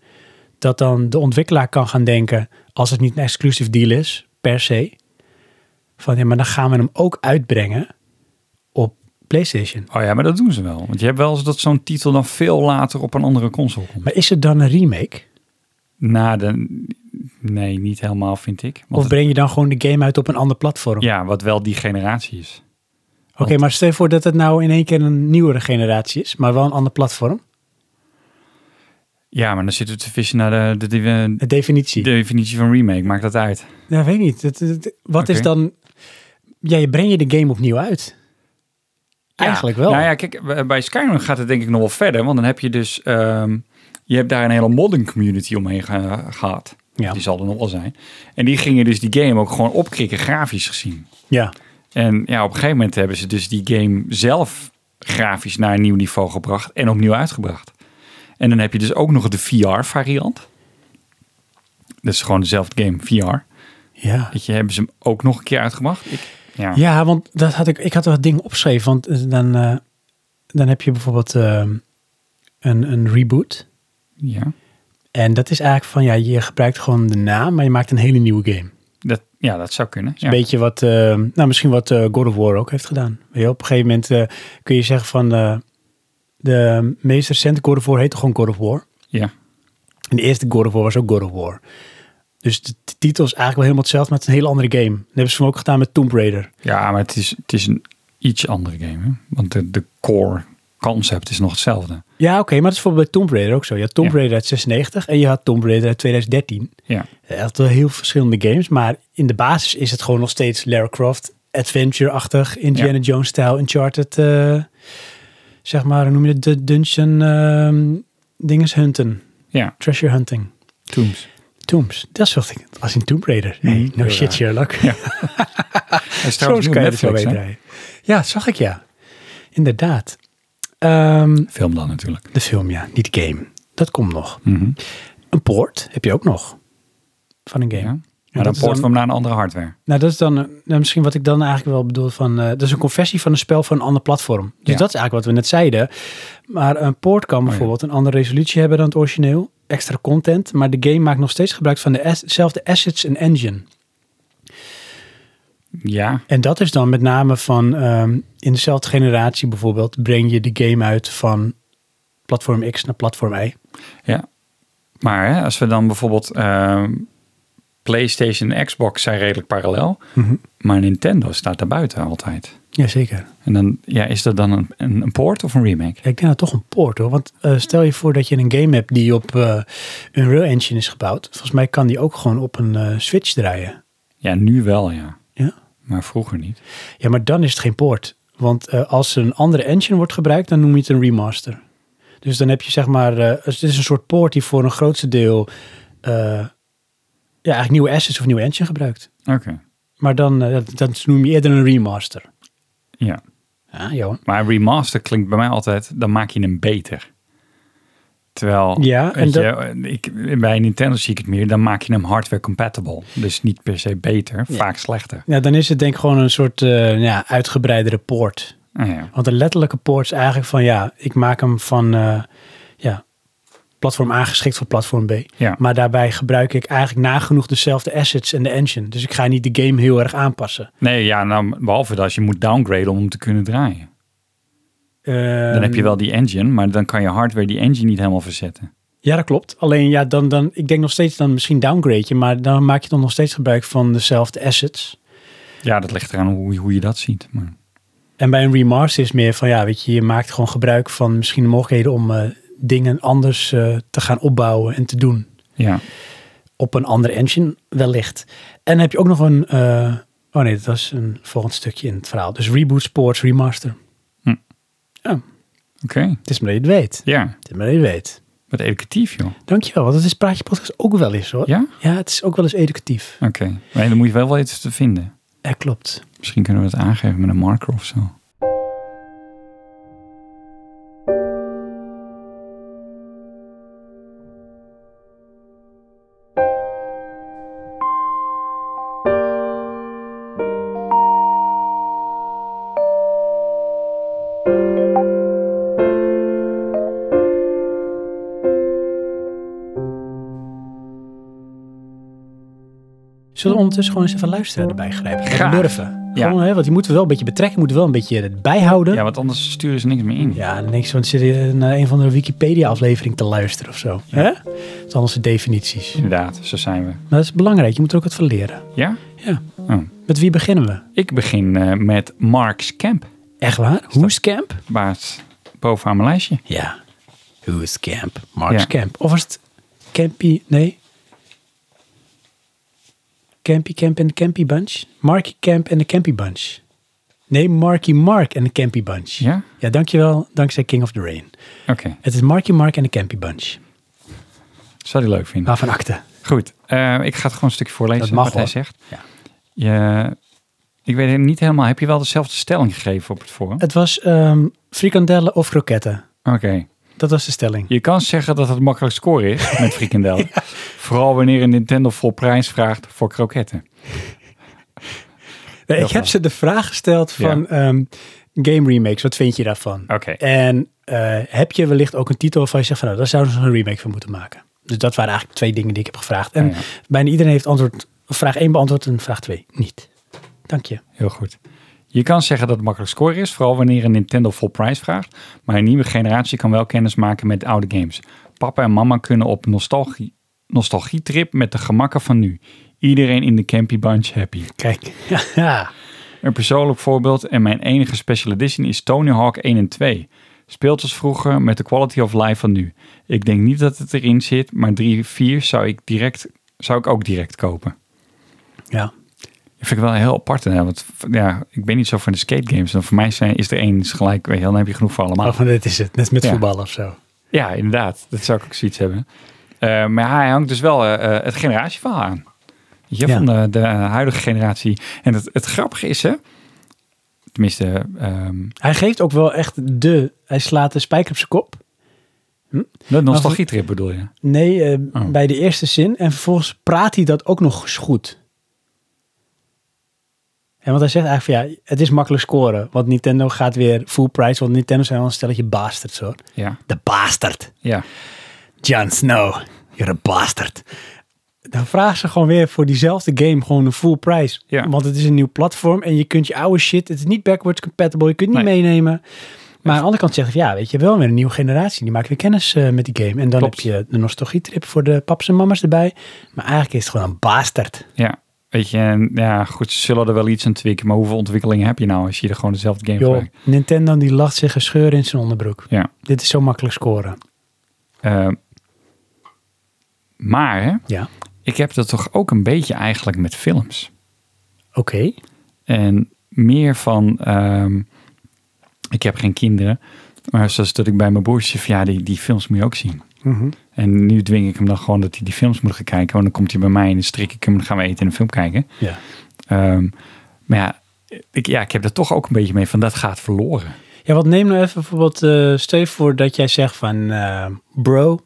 [SPEAKER 1] dat dan de ontwikkelaar kan gaan denken, als het niet een exclusive deal is, per se, van ja, maar dan gaan we hem ook uitbrengen op PlayStation.
[SPEAKER 2] oh ja, maar dat doen ze wel. Want je hebt wel eens dat zo'n titel dan veel later op een andere console komt.
[SPEAKER 1] Maar is het dan een remake?
[SPEAKER 2] Na de... Nee, niet helemaal vind ik. Want
[SPEAKER 1] Of
[SPEAKER 2] het-
[SPEAKER 1] breng je dan gewoon de game uit op een ander platform?
[SPEAKER 2] ja, wat wel die generatie is.
[SPEAKER 1] Oké, maar stel je voor dat het nou in één keer een nieuwere generatie is, maar wel een ander platform.
[SPEAKER 2] Ja, maar dan zitten we te vissen naar de, de, de,
[SPEAKER 1] De definitie.
[SPEAKER 2] de definitie van remake. Maakt dat uit?
[SPEAKER 1] Ja, weet ik niet. Het- het- wat
[SPEAKER 2] Oké.
[SPEAKER 1] is dan... Ja, je breng je de game opnieuw uit. Eigenlijk wel.
[SPEAKER 2] Nou ja, kijk, bij Skyrim gaat het denk ik nog wel verder. Want dan heb je dus... ehm, je hebt daar een hele modding community omheen ge- gehad.
[SPEAKER 1] Ja.
[SPEAKER 2] Die zal er nog wel zijn. En die gingen dus die game ook gewoon opkrikken, grafisch gezien.
[SPEAKER 1] ja.
[SPEAKER 2] En ja, op een gegeven moment hebben ze dus die game zelf grafisch naar een nieuw niveau gebracht en opnieuw uitgebracht. En dan heb je dus ook nog de VR-variant. Dat is gewoon dezelfde game, VR.
[SPEAKER 1] ja.
[SPEAKER 2] Weet je, hebben ze hem ook nog een keer uitgebracht? Ik, ja.
[SPEAKER 1] Ja, want dat had ik, ik had wat dingen opgeschreven. Want eh, dan, eh, dan heb je bijvoorbeeld ehm, een, een reboot.
[SPEAKER 2] Ja.
[SPEAKER 1] En dat is eigenlijk van, ja, je gebruikt gewoon de naam, maar je maakt een hele nieuwe game.
[SPEAKER 2] Dat, ja, dat zou kunnen.
[SPEAKER 1] Een
[SPEAKER 2] Ja.
[SPEAKER 1] beetje wat, ehm, nou misschien wat eh, God of War ook heeft gedaan. Weet je, op een gegeven moment eh, kun je zeggen van, eh, de meest recente God of War heette gewoon God of War.
[SPEAKER 2] ja.
[SPEAKER 1] En de eerste God of War was ook God of War. Dus de, de titel is eigenlijk wel helemaal hetzelfde, maar het is een hele andere game. Dat hebben ze hem ook gedaan met Tomb Raider.
[SPEAKER 2] ja, maar het is, het is een iets andere game. Hè? Want de, de core concept is nog hetzelfde.
[SPEAKER 1] Ja, oké, maar dat is bijvoorbeeld bij Tomb Raider ook zo. Je had Tomb
[SPEAKER 2] Ja.
[SPEAKER 1] Raider uit 96 en je had Tomb Raider uit 2013.
[SPEAKER 2] Ja.
[SPEAKER 1] Ja, dat wel heel verschillende games, maar in de basis is het gewoon nog steeds Lara Croft, adventure-achtig, Indiana Jones-stijl, Uncharted, eh, zeg maar, hoe noem je het, de dungeon ehm dinges hunten,
[SPEAKER 2] Ja.
[SPEAKER 1] treasure hunting,
[SPEAKER 2] Tombs.
[SPEAKER 1] tombs. Dat zocht ik, als in Tomb Raider. Hey,
[SPEAKER 2] Mhm,
[SPEAKER 1] no
[SPEAKER 2] heel
[SPEAKER 1] shit,
[SPEAKER 2] raar.
[SPEAKER 1] Sherlock.
[SPEAKER 2] Hij is
[SPEAKER 1] Zo
[SPEAKER 2] trouwens nu
[SPEAKER 1] kan
[SPEAKER 2] op
[SPEAKER 1] je het wel
[SPEAKER 2] Netflix, hè?
[SPEAKER 1] weten. Ja, zag ik ja. Inderdaad. Ehm,
[SPEAKER 2] Film dan natuurlijk.
[SPEAKER 1] de film, ja, niet de game. Dat komt nog.
[SPEAKER 2] Mhm.
[SPEAKER 1] Een poort heb je ook nog van een game.
[SPEAKER 2] Ja.
[SPEAKER 1] En dat
[SPEAKER 2] Maar dan
[SPEAKER 1] is
[SPEAKER 2] poort we hem naar een andere hardware.
[SPEAKER 1] Nou, dat is dan eh, nou, misschien wat ik dan eigenlijk wel bedoel van... eh, dat is een conversie van een spel voor een ander platform. Dus
[SPEAKER 2] Ja.
[SPEAKER 1] dat is eigenlijk wat we net zeiden. Maar een poort kan bijvoorbeeld een andere resolutie hebben dan het origineel. Extra content. Maar de game maakt nog steeds gebruik van dezelfde assets en engine.
[SPEAKER 2] Ja.
[SPEAKER 1] En dat is dan met name van... ehm, in dezelfde generatie bijvoorbeeld... breng je de game uit van platform X naar platform Y.
[SPEAKER 2] Maar hè, als we dan bijvoorbeeld ehm, PlayStation en Xbox zijn redelijk parallel. Maar Nintendo staat daarbuiten altijd.
[SPEAKER 1] Jazeker.
[SPEAKER 2] En dan ja, is dat dan een, een, een port of een remake?
[SPEAKER 1] Ja, ik denk dat toch een poort hoor. Want eh, stel je voor dat je een game hebt die op eh, Unreal Engine is gebouwd. Volgens mij kan die ook gewoon op een eh, Switch draaien.
[SPEAKER 2] Ja, nu wel ja.
[SPEAKER 1] Ja.
[SPEAKER 2] Maar vroeger niet.
[SPEAKER 1] Ja, maar dan is het geen poort. Want eh, als er een andere engine wordt gebruikt, dan noem je het een remaster. Dus dan heb je zeg maar, eh, dus dit is een soort poort die voor een grootste deel eh, ja, eigenlijk nieuwe assets of nieuwe engine gebruikt.
[SPEAKER 2] Oké.
[SPEAKER 1] Maar dan eh, dat, dat noem je eerder een remaster.
[SPEAKER 2] Ja.
[SPEAKER 1] Ja, Johan.
[SPEAKER 2] Maar remaster klinkt bij mij altijd, dan maak je hem beter. Terwijl,
[SPEAKER 1] Ja, en
[SPEAKER 2] weet je, ik, bij Nintendo zie ik het meer, dan maak je hem hardware compatible. Dus niet per se beter, vaak slechter.
[SPEAKER 1] Ja, dan is het denk ik gewoon een soort eh, ja, uitgebreidere poort.
[SPEAKER 2] Ah, ja.
[SPEAKER 1] Want de letterlijke poort is eigenlijk van ja, ik maak hem van eh, ja, platform A geschikt voor platform B.
[SPEAKER 2] Ja.
[SPEAKER 1] Maar daarbij gebruik ik eigenlijk nagenoeg dezelfde assets en de engine. Dus ik ga niet de game heel erg aanpassen.
[SPEAKER 2] Nee, ja, nou, behalve dat als je moet downgraden om hem te kunnen draaien. Dan heb
[SPEAKER 1] Ehm,
[SPEAKER 2] je wel die engine, maar dan kan je hardware die engine niet helemaal verzetten.
[SPEAKER 1] Ja, dat klopt. Alleen ja, dan, dan, ik denk nog steeds dan misschien downgrade je, maar dan maak je dan nog steeds gebruik van dezelfde assets.
[SPEAKER 2] Ja, dat ligt eraan hoe, hoe je dat ziet. Maar,
[SPEAKER 1] En bij een remaster is meer van ja, weet je, je maakt gewoon gebruik van misschien de mogelijkheden om eh, dingen anders eh, te gaan opbouwen en te doen.
[SPEAKER 2] ja.
[SPEAKER 1] op een andere engine wellicht. En dan heb je ook nog een... eh, oh nee, dat was een volgend stukje in het verhaal. Dus reboot, sports, remaster.
[SPEAKER 2] Oké.
[SPEAKER 1] Het is maar dat je het weet.
[SPEAKER 2] Ja,
[SPEAKER 1] Het is maar dat je het weet.
[SPEAKER 2] wat educatief joh.
[SPEAKER 1] Dankjewel, want dat is Praatje Podcast ook wel eens hoor.
[SPEAKER 2] Ja?
[SPEAKER 1] het is ook wel eens educatief.
[SPEAKER 2] Oké. Maar dan moet je wel wel iets te vinden.
[SPEAKER 1] Ja, klopt.
[SPEAKER 2] Misschien kunnen we het aangeven met een marker of zo.
[SPEAKER 1] Zullen we ondertussen gewoon eens even luisteren erbij grijpen?
[SPEAKER 2] Graag.
[SPEAKER 1] Durven.
[SPEAKER 2] Ja.
[SPEAKER 1] Gewoon, hè, want die moeten we wel een beetje betrekken, moeten we wel een beetje bijhouden.
[SPEAKER 2] Ja, want anders sturen ze niks meer in.
[SPEAKER 1] Ja, niks, want zit je naar een van de Wikipedia-aflevering te luisteren of zo. Hè? Dat is anders de definities.
[SPEAKER 2] Inderdaad, zo zijn we.
[SPEAKER 1] Maar dat is belangrijk, je moet er ook wat van leren.
[SPEAKER 2] Ja?
[SPEAKER 1] Ja.
[SPEAKER 2] Oh.
[SPEAKER 1] Met wie beginnen we?
[SPEAKER 2] Ik begin eh, met Mark's Camp.
[SPEAKER 1] Echt waar? Who's Camp?
[SPEAKER 2] Baas bovenaan mijn lijstje.
[SPEAKER 1] Ja. Who is Camp? Mark's
[SPEAKER 2] Ja.
[SPEAKER 1] Camp. Of was het Campy? Nee. Campy Camp en de Campy Bunch? Marky Camp en de Campy Bunch. Nee, Marky Mark en de Campy Bunch.
[SPEAKER 2] Ja?
[SPEAKER 1] Ja, dankjewel. Dankzij King of the Rain.
[SPEAKER 2] Oké.
[SPEAKER 1] Het is Marky Mark en de Campy Bunch.
[SPEAKER 2] Zou die leuk vinden.
[SPEAKER 1] Waarvan akte.
[SPEAKER 2] Goed. eh, ik ga het gewoon een stukje
[SPEAKER 1] Nou.
[SPEAKER 2] voorlezen
[SPEAKER 1] Dat mag,
[SPEAKER 2] wat hij
[SPEAKER 1] hoor.
[SPEAKER 2] zegt.
[SPEAKER 1] Ja.
[SPEAKER 2] Je, ik weet niet helemaal. Heb je wel dezelfde stelling gegeven op het forum?
[SPEAKER 1] Het was ehm, frikandellen of kroketten.
[SPEAKER 2] Oké.
[SPEAKER 1] Dat was de stelling.
[SPEAKER 2] Je kan zeggen dat het makkelijk scoren is met frikandellen. Vooral wanneer een Nintendo vol prijs vraagt voor kroketten.
[SPEAKER 1] Nee, Eh, ik
[SPEAKER 2] Heel
[SPEAKER 1] heb
[SPEAKER 2] graag.
[SPEAKER 1] ze de vraag gesteld van ehm, game remakes. Wat vind je daarvan?
[SPEAKER 2] Oké.
[SPEAKER 1] En eh, heb je wellicht ook een titel waarvan je zegt van nou, daar zouden ze een remake van moeten maken? Dus dat waren eigenlijk twee dingen die ik heb gevraagd. En
[SPEAKER 2] Ah, ja.
[SPEAKER 1] bijna iedereen heeft antwoord, vraag 1 beantwoord en vraag 2 niet. Dank je.
[SPEAKER 2] Heel goed. Je kan zeggen dat het makkelijk scoren is, vooral wanneer een Nintendo vol prijs vraagt. Maar een nieuwe generatie kan wel kennis maken met oude games. Papa en mama kunnen op nostalgie, nostalgietrip met de gemakken van nu. Iedereen in de Campy Bunch happy.
[SPEAKER 1] Kijk, ja,
[SPEAKER 2] Een persoonlijk voorbeeld en mijn enige special edition is Tony Hawk 1 en 2. Speelt als vroeger met de quality of life van nu. Ik denk niet dat het erin zit, maar 3 4 zou ik, direct, zou ik ook direct kopen.
[SPEAKER 1] Ja.
[SPEAKER 2] Dat vind ik wel heel apart. Hè? Want ja, ik ben niet zo van de skate games. Dan voor mij zijn, is er één is gelijk, weet je, wel, dan heb je genoeg voor allemaal.
[SPEAKER 1] Maar van dit is het. Net met
[SPEAKER 2] Ja.
[SPEAKER 1] voetbal of zo.
[SPEAKER 2] Ja, inderdaad. Dat zou ik ook zoiets hebben. Eh, maar hij hangt dus wel eh, eh, het generatieverhaal aan. Weet Je,
[SPEAKER 1] Ja.
[SPEAKER 2] Van de, de huidige generatie. En het, het grappige is, hè? Tenminste, ehm,
[SPEAKER 1] Hij geeft ook wel echt de... Hij slaat de spijker op zijn kop.
[SPEAKER 2] de nostalgietrip bedoel je?
[SPEAKER 1] Nee, eh,
[SPEAKER 2] Oh.
[SPEAKER 1] bij de eerste zin. En vervolgens praat hij dat ook nog eens goed. En want hij zegt eigenlijk van ja, het is makkelijk scoren. Want Nintendo gaat weer full price. Want Nintendo zijn wel een stelletje bastards hoor.
[SPEAKER 2] Ja.
[SPEAKER 1] De bastard.
[SPEAKER 2] ja.
[SPEAKER 1] Jon Snow, you're a bastard. Dan vragen ze gewoon weer voor diezelfde game gewoon een full price.
[SPEAKER 2] Ja.
[SPEAKER 1] Want het is een nieuw platform en je kunt je oude shit, het is niet backwards compatible, je kunt het niet
[SPEAKER 2] Nee.
[SPEAKER 1] meenemen. Maar aan de andere kant zegt hij, ja, weet je, wel weer een nieuwe generatie, die maakt weer kennis eh, met die game. En dan
[SPEAKER 2] Klopt.
[SPEAKER 1] heb je de nostalgietrip voor de paps en mamas erbij. Maar eigenlijk is het gewoon een bastard.
[SPEAKER 2] ja. Weet je, en, ja, goed, ze zullen er wel iets aan tweaken. Maar hoeveel ontwikkelingen heb je nou als je er gewoon dezelfde game voor
[SPEAKER 1] Joh,
[SPEAKER 2] maakt?
[SPEAKER 1] Nintendo die lacht zich een scheur in zijn onderbroek.
[SPEAKER 2] Ja.
[SPEAKER 1] Dit is zo makkelijk scoren.
[SPEAKER 2] Ehm, maar, hè?
[SPEAKER 1] Ja,
[SPEAKER 2] Ik heb dat toch ook een beetje eigenlijk met films.
[SPEAKER 1] oké.
[SPEAKER 2] En meer van, ehm, ik heb geen kinderen, maar zoals dat ik bij mijn broertje zei van ja, die, die films moet je ook zien.
[SPEAKER 1] Mhm.
[SPEAKER 2] En nu dwing ik hem dan gewoon dat hij die films moet gaan kijken. Want dan komt hij bij mij en dan strik ik hem en dan gaan we eten en een film kijken.
[SPEAKER 1] Ja.
[SPEAKER 2] Ehm, maar ja ik, ja, ik heb er toch ook een beetje mee van dat gaat verloren.
[SPEAKER 1] Ja, wat neem nou even bijvoorbeeld, eh stel je voor dat jij zegt van eh, bro,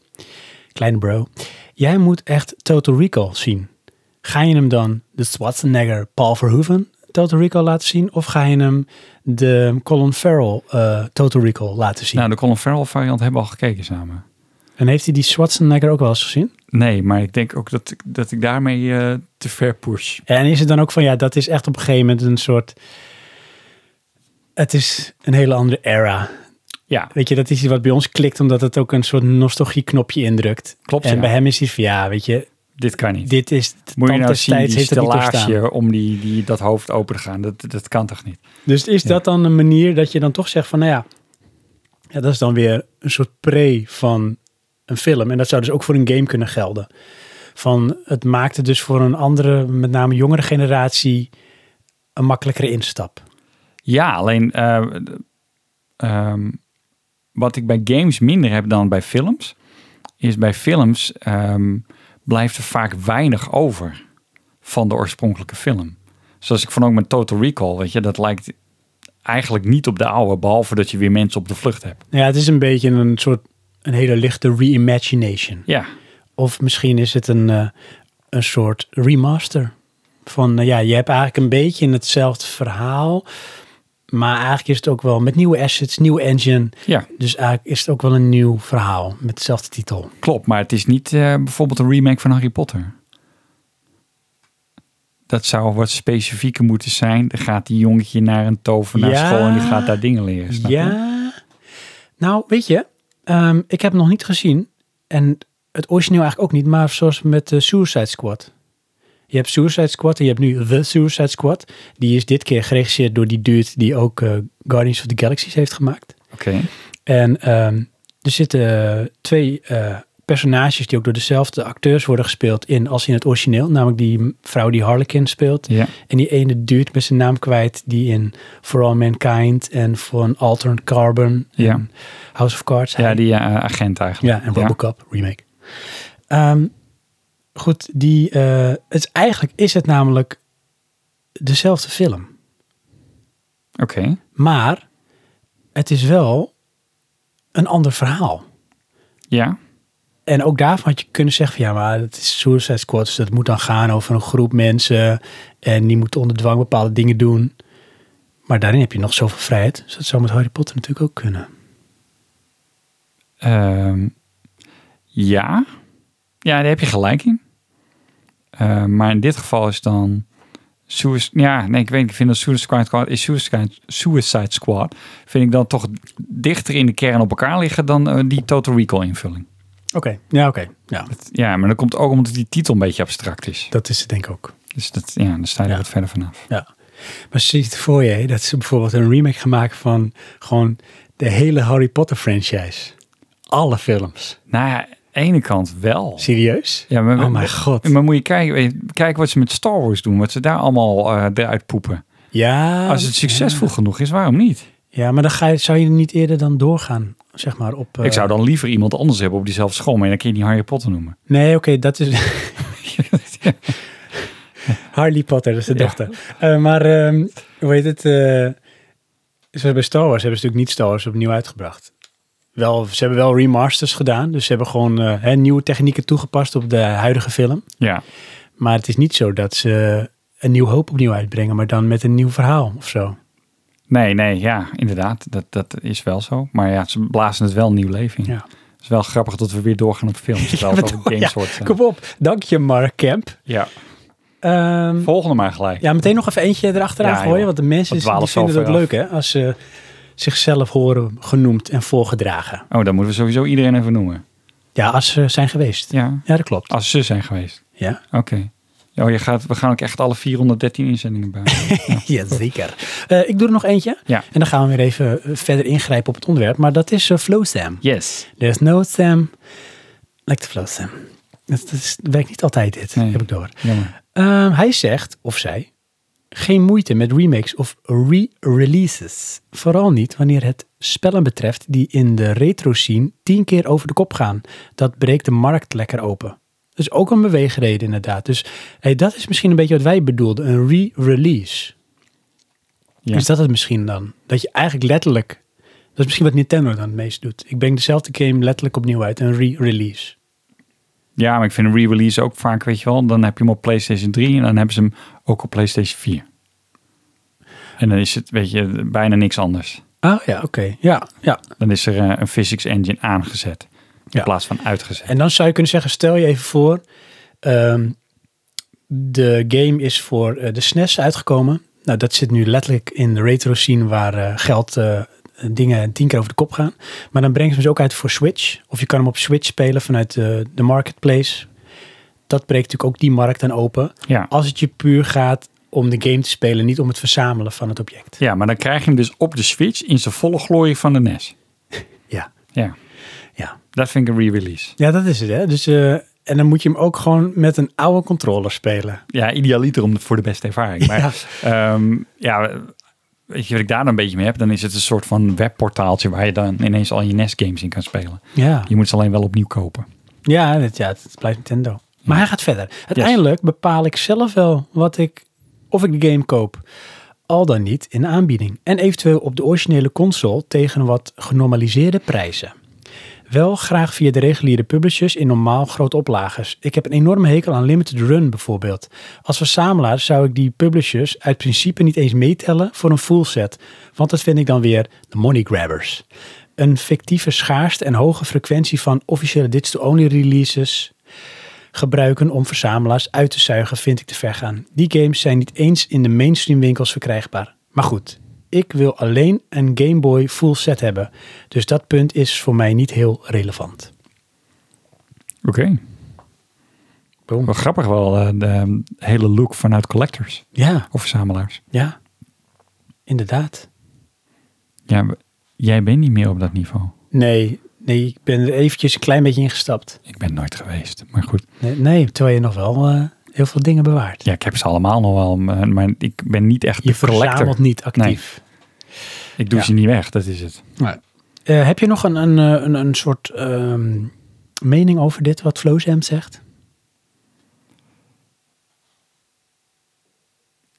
[SPEAKER 1] kleine bro, jij moet echt Total Recall zien. Ga je hem dan de Schwarzenegger Paul Verhoeven Total Recall laten zien? Of ga je hem de Colin Farrell eh, Total Recall laten zien?
[SPEAKER 2] Nou, de Colin Farrell variant hebben we al gekeken samen.
[SPEAKER 1] En heeft hij die Schwarzenegger ook wel eens gezien?
[SPEAKER 2] Nee, maar ik denk ook dat ik, dat ik daarmee eh, te ver push.
[SPEAKER 1] En is het dan ook van, ja, dat is echt op een gegeven moment een soort... Het is een hele andere era.
[SPEAKER 2] Ja,
[SPEAKER 1] Weet je, dat is iets wat bij ons klikt, omdat het ook een soort nostalgieknopje indrukt.
[SPEAKER 2] klopt.
[SPEAKER 1] en
[SPEAKER 2] ja.
[SPEAKER 1] bij hem is hij van, ja, weet je,
[SPEAKER 2] Dit kan niet.
[SPEAKER 1] Dit is de
[SPEAKER 2] Moet je
[SPEAKER 1] tand
[SPEAKER 2] nou
[SPEAKER 1] des
[SPEAKER 2] zien
[SPEAKER 1] tijds
[SPEAKER 2] die
[SPEAKER 1] heeft dat niet doorstaan.
[SPEAKER 2] stellage om die, die, dat hoofd open te gaan? Dat, dat kan toch niet?
[SPEAKER 1] Dus is
[SPEAKER 2] Ja.
[SPEAKER 1] dat dan een manier dat je dan toch zegt van, nou ja, ja, dat is dan weer een soort pre van een film. En dat zou dus ook voor een game kunnen gelden. Van, het maakte dus voor een andere, met name jongere generatie, een makkelijkere instap.
[SPEAKER 2] Ja, alleen eh, d- ehm, wat ik bij games minder heb dan bij films, is bij films ehm, blijft er vaak weinig over van de oorspronkelijke film. Zoals ik vond ook met Total Recall, weet je, dat lijkt eigenlijk niet op de oude, behalve dat je weer mensen op de vlucht hebt.
[SPEAKER 1] Nou ja, het is een beetje een soort, een hele lichte reimagination.
[SPEAKER 2] Ja,
[SPEAKER 1] Of misschien is het een, eh, een soort remaster. Van eh, ja, je hebt eigenlijk een beetje in hetzelfde verhaal. Maar eigenlijk is het ook wel met nieuwe assets, nieuwe engine.
[SPEAKER 2] ja,
[SPEAKER 1] Dus eigenlijk is het ook wel een nieuw verhaal met dezelfde titel.
[SPEAKER 2] klopt. Maar het is niet eh, bijvoorbeeld een remake van Harry Potter. Dat zou wat specifieker moeten zijn. Dan gaat die jongetje naar een tovenaarschool en die
[SPEAKER 1] Ja.
[SPEAKER 2] gaat daar dingen leren. Snap je?
[SPEAKER 1] Ja. Nou, weet je, ehm, ik heb hem nog niet gezien. En het origineel eigenlijk ook niet. Maar zoals met de Suicide Squad. Je hebt Suicide Squad en je hebt nu The Suicide Squad. Die is dit keer geregisseerd door die dude die ook eh, Guardians of the Galaxies heeft gemaakt.
[SPEAKER 2] Oké.
[SPEAKER 1] En ehm, er zitten twee eh, personages die ook door dezelfde acteurs worden gespeeld in als in het origineel. Namelijk die vrouw die Harlequin speelt.
[SPEAKER 2] Ja.
[SPEAKER 1] En die ene duurt met zijn naam kwijt die in For All Mankind en voor een Alternate Carbon en
[SPEAKER 2] Ja.
[SPEAKER 1] House of Cards.
[SPEAKER 2] ja,
[SPEAKER 1] hij-
[SPEAKER 2] die eh, agent eigenlijk.
[SPEAKER 1] ja en Robocop remake. Ehm, goed, die, eh, het, is- eigenlijk is het namelijk dezelfde film.
[SPEAKER 2] Oké.
[SPEAKER 1] Maar het is wel een ander verhaal.
[SPEAKER 2] Ja.
[SPEAKER 1] En ook daarvan had je kunnen zeggen van ja, maar het is Suicide Squad, dus dat moet dan gaan over een groep mensen en die moeten onder dwang bepaalde dingen doen. Maar daarin heb je nog zoveel vrijheid. Dus dat zou met Harry Potter natuurlijk ook kunnen.
[SPEAKER 2] Ehm, ja. Ja, daar heb je gelijk in. Ehm, maar in dit geval is dan... Suic- ja, nee, ik weet niet. Ik vind dat Suicide Squad... Is Suicide, Suicide Squad vind ik dan toch dichter in de kern op elkaar liggen... dan eh, die Total Recall invulling.
[SPEAKER 1] Oké, ja oké. Ja,
[SPEAKER 2] Ja, maar dat komt ook omdat die titel een beetje abstract is.
[SPEAKER 1] dat is het denk ik ook.
[SPEAKER 2] Dus dat, ja, dan sta je
[SPEAKER 1] Ja.
[SPEAKER 2] er wat verder vanaf.
[SPEAKER 1] Ja. Maar zie je het voor je, hè, dat ze bijvoorbeeld een remake gaan maken van gewoon de hele Harry Potter franchise. Alle films.
[SPEAKER 2] Nou ja, ene kant wel.
[SPEAKER 1] Serieus?
[SPEAKER 2] Ja, maar,
[SPEAKER 1] Oh mijn god.
[SPEAKER 2] maar moet je kijken, eh, kijken wat ze met Star Wars doen. Wat ze daar allemaal eh, eruit poepen.
[SPEAKER 1] Ja,
[SPEAKER 2] Als het succesvol genoeg is, waarom niet?
[SPEAKER 1] ja maar dan ga je, zou je niet eerder dan doorgaan, zeg maar, op... eh,
[SPEAKER 2] Ik zou dan liever iemand anders hebben op diezelfde school. Maar dan kun je niet Harry Potter noemen.
[SPEAKER 1] Nee, oké, dat is... Harley Potter, dat is de
[SPEAKER 2] Ja.
[SPEAKER 1] dochter. Eh, maar, ehm, hoe heet het? eh, ze hebben Star Wars, hebben ze natuurlijk niet Star Wars opnieuw uitgebracht. Wel, ze hebben wel remasters gedaan, dus ze hebben gewoon eh, hè, nieuwe technieken toegepast op de huidige film.
[SPEAKER 2] ja.
[SPEAKER 1] Maar het is niet zo dat ze een nieuw hoop opnieuw uitbrengen, maar dan met een nieuw verhaal of zo.
[SPEAKER 2] Nee, nee, ja, inderdaad. Dat, dat is wel zo. Maar ja, ze blazen het wel nieuw leven in.
[SPEAKER 1] Ja.
[SPEAKER 2] Het is wel grappig dat we weer doorgaan op films. Terwijl het
[SPEAKER 1] maar
[SPEAKER 2] over
[SPEAKER 1] toch,
[SPEAKER 2] games wordt. eh.
[SPEAKER 1] Kom op, dank je Mark Kemp.
[SPEAKER 2] Ja,
[SPEAKER 1] Ehm,
[SPEAKER 2] volgende maar gelijk.
[SPEAKER 1] ja, meteen nog even eentje erachteraan
[SPEAKER 2] Ja,
[SPEAKER 1] gooien,
[SPEAKER 2] joh.
[SPEAKER 1] want de mensen
[SPEAKER 2] Want we
[SPEAKER 1] die
[SPEAKER 2] dwalen
[SPEAKER 1] vinden
[SPEAKER 2] zo
[SPEAKER 1] het
[SPEAKER 2] ver
[SPEAKER 1] leuk hè, als ze zichzelf horen genoemd en voorgedragen.
[SPEAKER 2] Oh, dan moeten we sowieso iedereen even noemen.
[SPEAKER 1] Ja, als ze zijn geweest.
[SPEAKER 2] Ja,
[SPEAKER 1] Ja, dat klopt.
[SPEAKER 2] als ze zijn geweest.
[SPEAKER 1] Ja.
[SPEAKER 2] Oké. Oh, je gaat, we gaan ook echt alle 413 inzendingen bij.
[SPEAKER 1] Jazeker. Eh ik doe er nog eentje.
[SPEAKER 2] Ja.
[SPEAKER 1] En dan gaan we weer even eh, verder ingrijpen op het onderwerp. Maar dat is eh, Flow Sam.
[SPEAKER 2] yes.
[SPEAKER 1] There's no Sam like the Flow Sam. Dat, dat is, dat werkt niet altijd dit,
[SPEAKER 2] Nee.
[SPEAKER 1] heb ik door.
[SPEAKER 2] Jammer.
[SPEAKER 1] Ehm, hij zegt, of zij, geen moeite met remakes of re-releases. Vooral niet wanneer het spellen betreft die in de retro scene tien keer over de kop gaan. Dat breekt de markt lekker open. Dat is ook een beweegreden inderdaad. Dus hey, dat is misschien een beetje wat wij bedoelden, een re-release.
[SPEAKER 2] Ja.
[SPEAKER 1] Is dat het misschien dan? Dat je eigenlijk letterlijk, dat is misschien wat Nintendo dan het meest doet. Ik breng dezelfde game letterlijk opnieuw uit, een re-release.
[SPEAKER 2] Ja, maar ik vind een re-release ook vaak, weet je wel. Dan heb je hem op PlayStation 3 en dan hebben ze hem ook op PlayStation 4. En dan is het, weet je, bijna niks anders.
[SPEAKER 1] Ah ja, oké. Ja, ja.
[SPEAKER 2] Dan is er eh, een physics engine aangezet in
[SPEAKER 1] Ja.
[SPEAKER 2] plaats van uitgezet.
[SPEAKER 1] En dan zou je kunnen zeggen, stel je even voor, ehm, de game is voor eh, de SNES uitgekomen. Nou, dat zit nu letterlijk in de retro scene waar eh, geld eh, dingen tien keer over de kop gaan. Maar dan brengen ze hem dus ook uit voor Switch. Of je kan hem op Switch spelen vanuit de, de marketplace. Dat breekt natuurlijk ook die markt dan open.
[SPEAKER 2] Ja.
[SPEAKER 1] Als het je puur gaat om de game te spelen, niet om het verzamelen van het object.
[SPEAKER 2] ja, maar dan krijg je hem dus op de Switch in zijn volle glorie van de NES.
[SPEAKER 1] Ja.
[SPEAKER 2] Ja.
[SPEAKER 1] Ja.
[SPEAKER 2] Dat vind ik een re-release.
[SPEAKER 1] Ja, dat is het. Hè? Dus, eh, en dan moet je hem ook gewoon met een oude controller spelen.
[SPEAKER 2] Ja, idealiter om voor de beste ervaring. Maar
[SPEAKER 1] Ja.
[SPEAKER 2] Ehm, ja, weet je wat ik daar dan een beetje mee heb? Dan is het een soort van webportaaltje waar je dan ineens al je NES games in kan spelen.
[SPEAKER 1] Ja.
[SPEAKER 2] Je moet ze alleen wel opnieuw kopen.
[SPEAKER 1] Ja, het, ja, het blijft Nintendo. Maar hij gaat verder. Uiteindelijk bepaal ik zelf wel wat ik, of ik de game koop. Al dan niet in de aanbieding. En eventueel op de originele console tegen wat genormaliseerde prijzen. Wel graag via de reguliere publishers in normaal grote oplages. Ik heb een enorme hekel aan Limited Run bijvoorbeeld. Als verzamelaar zou ik die publishers uit principe niet eens meetellen voor een full set. Want dat vind ik dan weer de money grabbers. Een fictieve schaarste en hoge frequentie van officiële digital-only releases gebruiken om verzamelaars uit te zuigen vind ik te ver gaan. Die games zijn niet eens in de mainstream winkels verkrijgbaar. Maar goed, ik wil alleen een Game Boy full set hebben. Dus dat punt is voor mij niet heel relevant.
[SPEAKER 2] Oké. Wel grappig wel, eh, de hele look vanuit collectors
[SPEAKER 1] Ja,
[SPEAKER 2] of verzamelaars.
[SPEAKER 1] ja. Inderdaad.
[SPEAKER 2] Ja, w- jij bent niet meer op dat niveau.
[SPEAKER 1] Nee, nee, ik ben er eventjes een klein beetje ingestapt.
[SPEAKER 2] Ik ben nooit geweest, maar goed.
[SPEAKER 1] Nee, nee terwijl je nog wel eh, heel veel dingen bewaart.
[SPEAKER 2] Ja, ik heb ze allemaal nog wel, maar maar ik ben niet echt
[SPEAKER 1] Je
[SPEAKER 2] de collector.
[SPEAKER 1] verzamelt niet actief.
[SPEAKER 2] Ik doe
[SPEAKER 1] Ja.
[SPEAKER 2] ze niet weg, dat is het.
[SPEAKER 1] Eh, heb je nog een, een, eh, een, een soort ehm, mening over dit, wat Flozem zegt?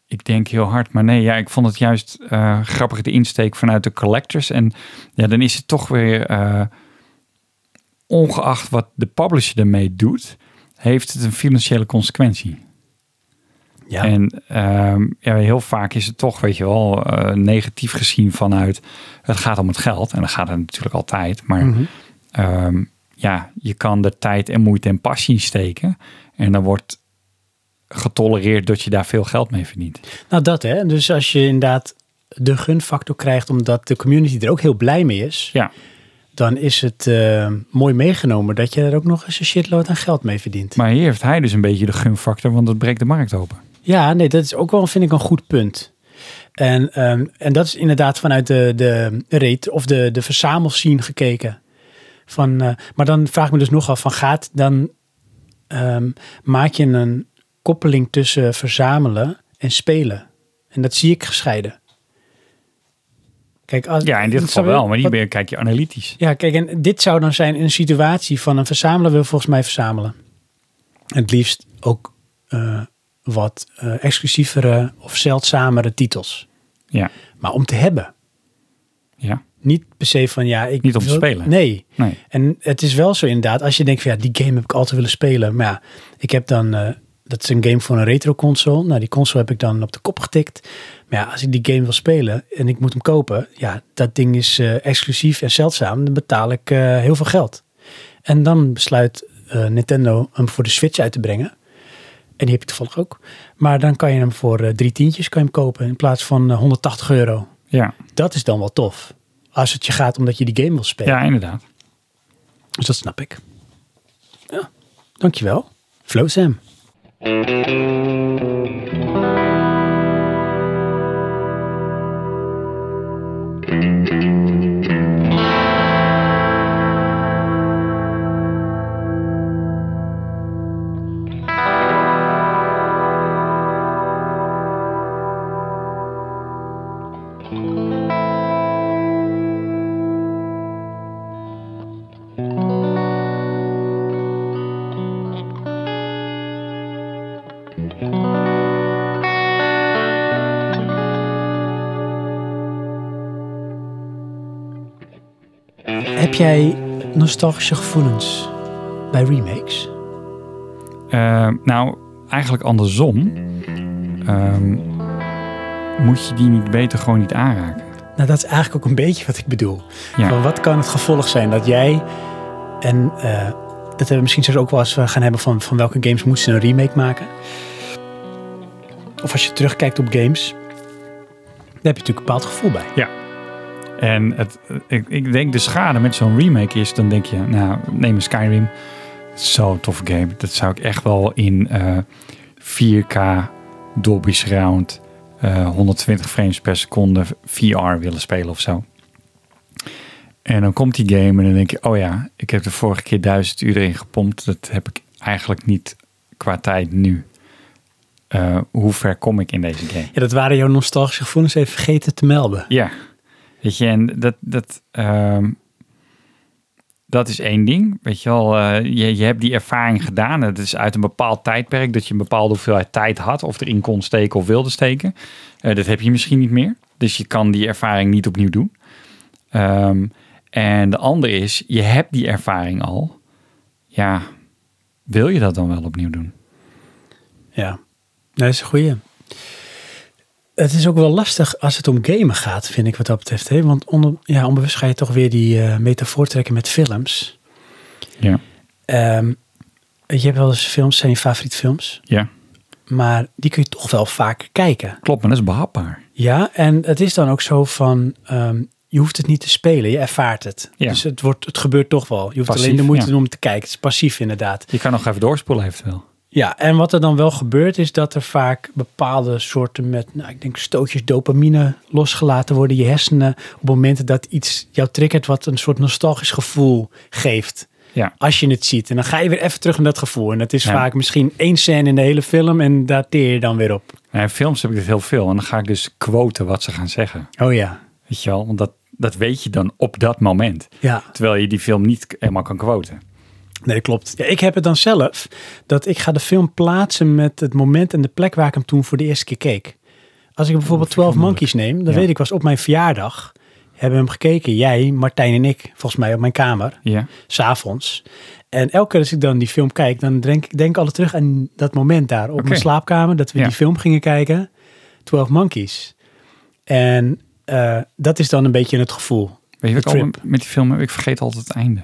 [SPEAKER 2] Ik denk heel hard, maar nee, ja, ik vond het juist eh, grappig de insteek vanuit de collectors. En ja, dan is het toch weer, eh, ongeacht wat de publisher ermee doet, heeft het een financiële consequentie.
[SPEAKER 1] Ja.
[SPEAKER 2] En ehm, ja, heel vaak is het toch, weet je wel, eh, negatief gezien vanuit het gaat om het geld. En dat gaat het natuurlijk altijd. Maar
[SPEAKER 1] Mhm.
[SPEAKER 2] ehm, ja, je kan er tijd en moeite en passie in steken. En dan wordt getolereerd dat je daar veel geld mee verdient.
[SPEAKER 1] Nou, dat hè. Dus als je inderdaad de gunfactor krijgt, omdat de community er ook heel blij mee is,
[SPEAKER 2] Ja.
[SPEAKER 1] dan is het eh, mooi meegenomen dat je er ook nog eens een shitload aan geld mee verdient.
[SPEAKER 2] Maar hier heeft hij dus een beetje de gunfactor, want dat breekt de markt open.
[SPEAKER 1] Ja, nee, dat is ook wel, vind ik, een goed punt. En, ehm, en dat is inderdaad vanuit de, de reet of de, de verzamelscene gekeken. Van, eh, maar dan vraag ik me dus nog af, van gaat dan ehm, maak je een koppeling tussen verzamelen en spelen? En dat zie ik gescheiden. Kijk, als,
[SPEAKER 2] Ja, in dit
[SPEAKER 1] Snap
[SPEAKER 2] geval
[SPEAKER 1] je?
[SPEAKER 2] wel, maar
[SPEAKER 1] Wat-
[SPEAKER 2] hier kijk je analytisch.
[SPEAKER 1] ja, kijk, en dit zou dan zijn een situatie van een verzamelaar wil volgens mij verzamelen. Het liefst ook eh, wat eh, exclusievere of zeldzamere titels.
[SPEAKER 2] Ja.
[SPEAKER 1] Maar om te hebben.
[SPEAKER 2] Ja.
[SPEAKER 1] Niet per se van ja, ik.
[SPEAKER 2] Niet om te
[SPEAKER 1] wil-
[SPEAKER 2] spelen.
[SPEAKER 1] Nee.
[SPEAKER 2] Nee.
[SPEAKER 1] En het is wel zo inderdaad, als je denkt van ja, die game heb ik altijd willen spelen. Maar ja, ik heb dan, eh, dat is een game voor een retro console. Nou, die console heb ik dan op de kop getikt. Maar ja, als ik die game wil spelen en ik moet hem kopen, ja, dat ding is eh, exclusief en zeldzaam. Dan betaal ik eh, heel veel geld. En dan besluit eh, Nintendo hem voor de Switch uit te brengen. En die heb je toevallig ook. Maar dan kan je hem voor eh, drie tientjes kan je hem kopen in plaats van eh, 180 euro.
[SPEAKER 2] Ja.
[SPEAKER 1] Dat is dan wel tof. Als het je gaat omdat je die game wil spelen.
[SPEAKER 2] ja, inderdaad.
[SPEAKER 1] Dus dat snap ik. Ja, dankjewel. Flow Sam. Heb jij nostalgische gevoelens bij remakes?
[SPEAKER 2] Eh, nou, eigenlijk andersom. Ehm, moet je die niet beter gewoon niet aanraken?
[SPEAKER 1] Nou, dat is eigenlijk ook een beetje wat ik bedoel.
[SPEAKER 2] Ja.
[SPEAKER 1] Van wat kan het gevolg zijn dat jij... En eh, dat hebben we misschien straks ook wel eens eh, gaan hebben van, van welke games moeten ze een remake maken. Of als je terugkijkt op games, daar heb je natuurlijk een bepaald gevoel bij.
[SPEAKER 2] En het, ik, ik denk de schade met zo'n remake is, dan denk je, nou, neem een Skyrim. Zo'n tof game. Dat zou ik echt wel in eh, 4K Dolby Surround, eh 120 frames per seconde VR willen spelen of zo. En dan komt die game en dan denk je, oh ja, ik heb de vorige keer duizend uur in gepompt. Dat heb ik eigenlijk niet qua tijd nu. Eh, hoe ver kom ik in deze game?
[SPEAKER 1] Ja, dat waren jouw nostalgische gevoelens even vergeten te melden.
[SPEAKER 2] Ja, weet je, en dat, dat, ehm, dat is één ding. Weet je wel, eh, je, je hebt die ervaring gedaan. Het is uit een bepaald tijdperk dat je een bepaalde hoeveelheid tijd had, of erin kon steken of wilde steken. Eh, dat heb je misschien niet meer. Dus je kan die ervaring niet opnieuw doen. Ehm, en de andere is, je hebt die ervaring al. Ja, wil je dat dan wel opnieuw doen?
[SPEAKER 1] Ja, Nee, dat is een goeie. Het is ook wel lastig als het om gamen gaat, vind ik wat dat betreft. Hè? Want onder, ja, onbewust ga je toch weer die eh, metafoor trekken met films.
[SPEAKER 2] Ja.
[SPEAKER 1] Ehm, je hebt wel eens films, zijn je favoriete films.
[SPEAKER 2] Ja,
[SPEAKER 1] Maar die kun je toch wel vaker kijken.
[SPEAKER 2] klopt, maar dat is behapbaar.
[SPEAKER 1] Ja, en het is dan ook zo van, ehm, je hoeft het niet te spelen, je ervaart het.
[SPEAKER 2] Ja.
[SPEAKER 1] Dus het, wordt, het gebeurt toch wel. Je hoeft
[SPEAKER 2] Passief,
[SPEAKER 1] alleen de moeite
[SPEAKER 2] ja.
[SPEAKER 1] te doen om te kijken. Het is passief inderdaad.
[SPEAKER 2] Je kan nog even doorspoelen eventueel.
[SPEAKER 1] Ja, en wat er dan wel gebeurt is dat er vaak bepaalde soorten met, nou, ik denk stootjes dopamine losgelaten worden in je hersenen op momenten dat iets jou triggert wat een soort nostalgisch gevoel geeft.
[SPEAKER 2] Ja.
[SPEAKER 1] Als je het ziet. En dan ga je weer even terug naar dat gevoel. En dat is
[SPEAKER 2] Ja.
[SPEAKER 1] vaak misschien één scène in de hele film en daar teer je dan weer op.
[SPEAKER 2] Nou, in films heb ik dit heel veel. En dan ga ik dus quoten wat ze gaan zeggen.
[SPEAKER 1] Oh ja.
[SPEAKER 2] Weet je wel? Want dat, dat weet je dan op dat moment.
[SPEAKER 1] Ja,
[SPEAKER 2] Terwijl je die film niet k- helemaal kan quoten.
[SPEAKER 1] nee, dat klopt. Ja, ik heb het dan zelf dat ik ga de film plaatsen met het moment en de plek waar ik hem toen voor de eerste keer keek. Als ik bijvoorbeeld 12 Monkeys neem, dan
[SPEAKER 2] Oh, Ja.
[SPEAKER 1] weet ik was op mijn verjaardag hebben we hem gekeken. Jij, Martijn en ik, volgens mij op mijn kamer,
[SPEAKER 2] Ja.
[SPEAKER 1] s'avonds. En elke keer als ik dan die film kijk, dan denk ik denk ik altijd terug aan dat moment daar op
[SPEAKER 2] Oké.
[SPEAKER 1] mijn slaapkamer. Dat we
[SPEAKER 2] Ja.
[SPEAKER 1] die film gingen kijken, 12 Monkeys. En eh, dat is dan een beetje het gevoel.
[SPEAKER 2] Weet je wat ik
[SPEAKER 1] Trip.
[SPEAKER 2] altijd met die film heb? Ik vergeet altijd het einde.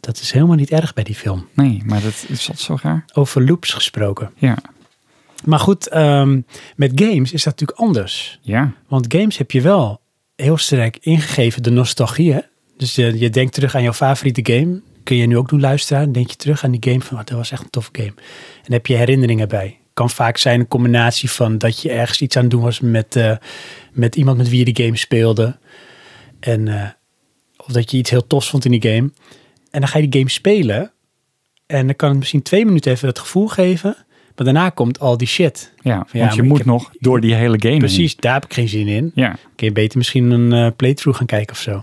[SPEAKER 1] Dat is helemaal niet erg bij die film.
[SPEAKER 2] Nee, maar dat is dat zo raar.
[SPEAKER 1] Over loops gesproken.
[SPEAKER 2] Ja.
[SPEAKER 1] Maar goed, ehm, met games is dat natuurlijk anders.
[SPEAKER 2] Ja.
[SPEAKER 1] Want games heb je wel heel sterk ingegeven de nostalgie. Hè? Dus je, je denkt terug aan jouw favoriete game. Kun je nu ook doen luisteren. Denk je terug aan die game van, "Oh, dat was echt een toffe game. En daar heb je herinneringen bij. kan vaak zijn een combinatie van dat je ergens iets aan het doen was met, eh, met iemand met wie je de game speelde. En, eh, of dat je iets heel tofs vond in die game. En dan ga je die game spelen. En dan kan het misschien twee minuten even dat gevoel geven. Maar daarna komt al die shit.
[SPEAKER 2] Ja,
[SPEAKER 1] Ja,
[SPEAKER 2] want
[SPEAKER 1] maar
[SPEAKER 2] je
[SPEAKER 1] ik
[SPEAKER 2] moet
[SPEAKER 1] heb-
[SPEAKER 2] nog door die hele game heen.
[SPEAKER 1] Precies, daar heb ik geen zin in.
[SPEAKER 2] Ja.
[SPEAKER 1] Kun je beter misschien een eh, playthrough gaan kijken of zo. Dat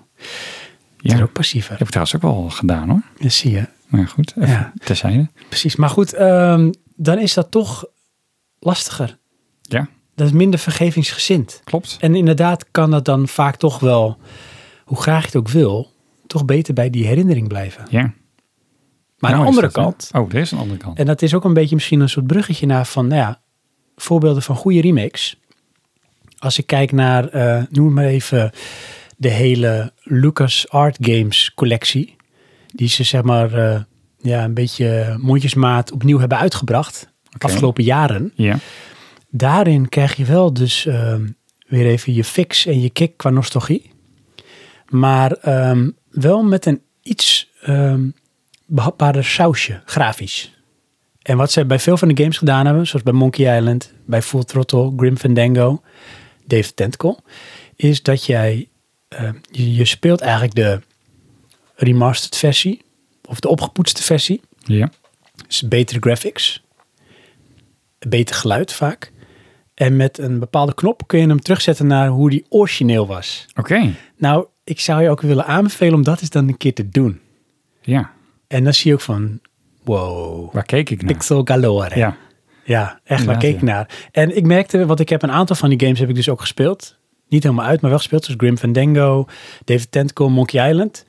[SPEAKER 2] ja.
[SPEAKER 1] is ook
[SPEAKER 2] Dat
[SPEAKER 1] passiever.
[SPEAKER 2] heb ik trouwens ook wel gedaan hoor.
[SPEAKER 1] Dat zie je.
[SPEAKER 2] Maar goed, even
[SPEAKER 1] Ja.
[SPEAKER 2] terzijde.
[SPEAKER 1] Precies, maar goed, ehm, dan is dat toch lastiger.
[SPEAKER 2] Ja.
[SPEAKER 1] Dat is minder vergevingsgezind.
[SPEAKER 2] Klopt.
[SPEAKER 1] En inderdaad kan dat dan vaak toch wel, hoe graag je het ook wil, toch beter bij die herinnering blijven. Maar
[SPEAKER 2] Ja.
[SPEAKER 1] aan
[SPEAKER 2] Nou
[SPEAKER 1] de
[SPEAKER 2] is
[SPEAKER 1] andere
[SPEAKER 2] dat, hè?
[SPEAKER 1] kant,
[SPEAKER 2] Oh, er is een andere kant.
[SPEAKER 1] en dat is ook een beetje misschien een soort bruggetje naar van, nou ja, voorbeelden van goede remakes. Als ik kijk naar, eh, noem het maar even, de hele Lucas Art Games collectie. Die ze zeg maar eh, ja, een beetje mondjesmaat opnieuw hebben uitgebracht.
[SPEAKER 2] Oké.
[SPEAKER 1] Afgelopen jaren.
[SPEAKER 2] Ja.
[SPEAKER 1] Daarin krijg je wel dus ehm, weer even je fix en je kick qua nostalgie. Maar ehm, wel met een iets ehm behapbaarder sausje, grafisch. En wat ze bij veel van de games gedaan hebben, zoals bij Monkey Island, bij Full Throttle, Grim Fandango, Dave Tentacle, is dat jij, eh, je, je speelt eigenlijk de remastered versie, of de opgepoetste versie,
[SPEAKER 2] Ja.
[SPEAKER 1] dus betere graphics, beter geluid vaak. En met een bepaalde knop kun je hem terugzetten naar hoe die origineel was.
[SPEAKER 2] Oké.
[SPEAKER 1] Nou, ik zou je ook willen aanbevelen om dat eens dan een keer te doen.
[SPEAKER 2] Ja.
[SPEAKER 1] En dan zie je ook van, wow,
[SPEAKER 2] Waar keek ik naar?
[SPEAKER 1] pixel galore.
[SPEAKER 2] Ja.
[SPEAKER 1] Ja, echt waar
[SPEAKER 2] Inderdaad,
[SPEAKER 1] keek ik
[SPEAKER 2] ja.
[SPEAKER 1] naar. En ik merkte, want ik heb een aantal van die games heb ik dus ook gespeeld. Niet helemaal uit, maar wel gespeeld. Zoals Grim Fandango, David Tentacle, Monkey Island.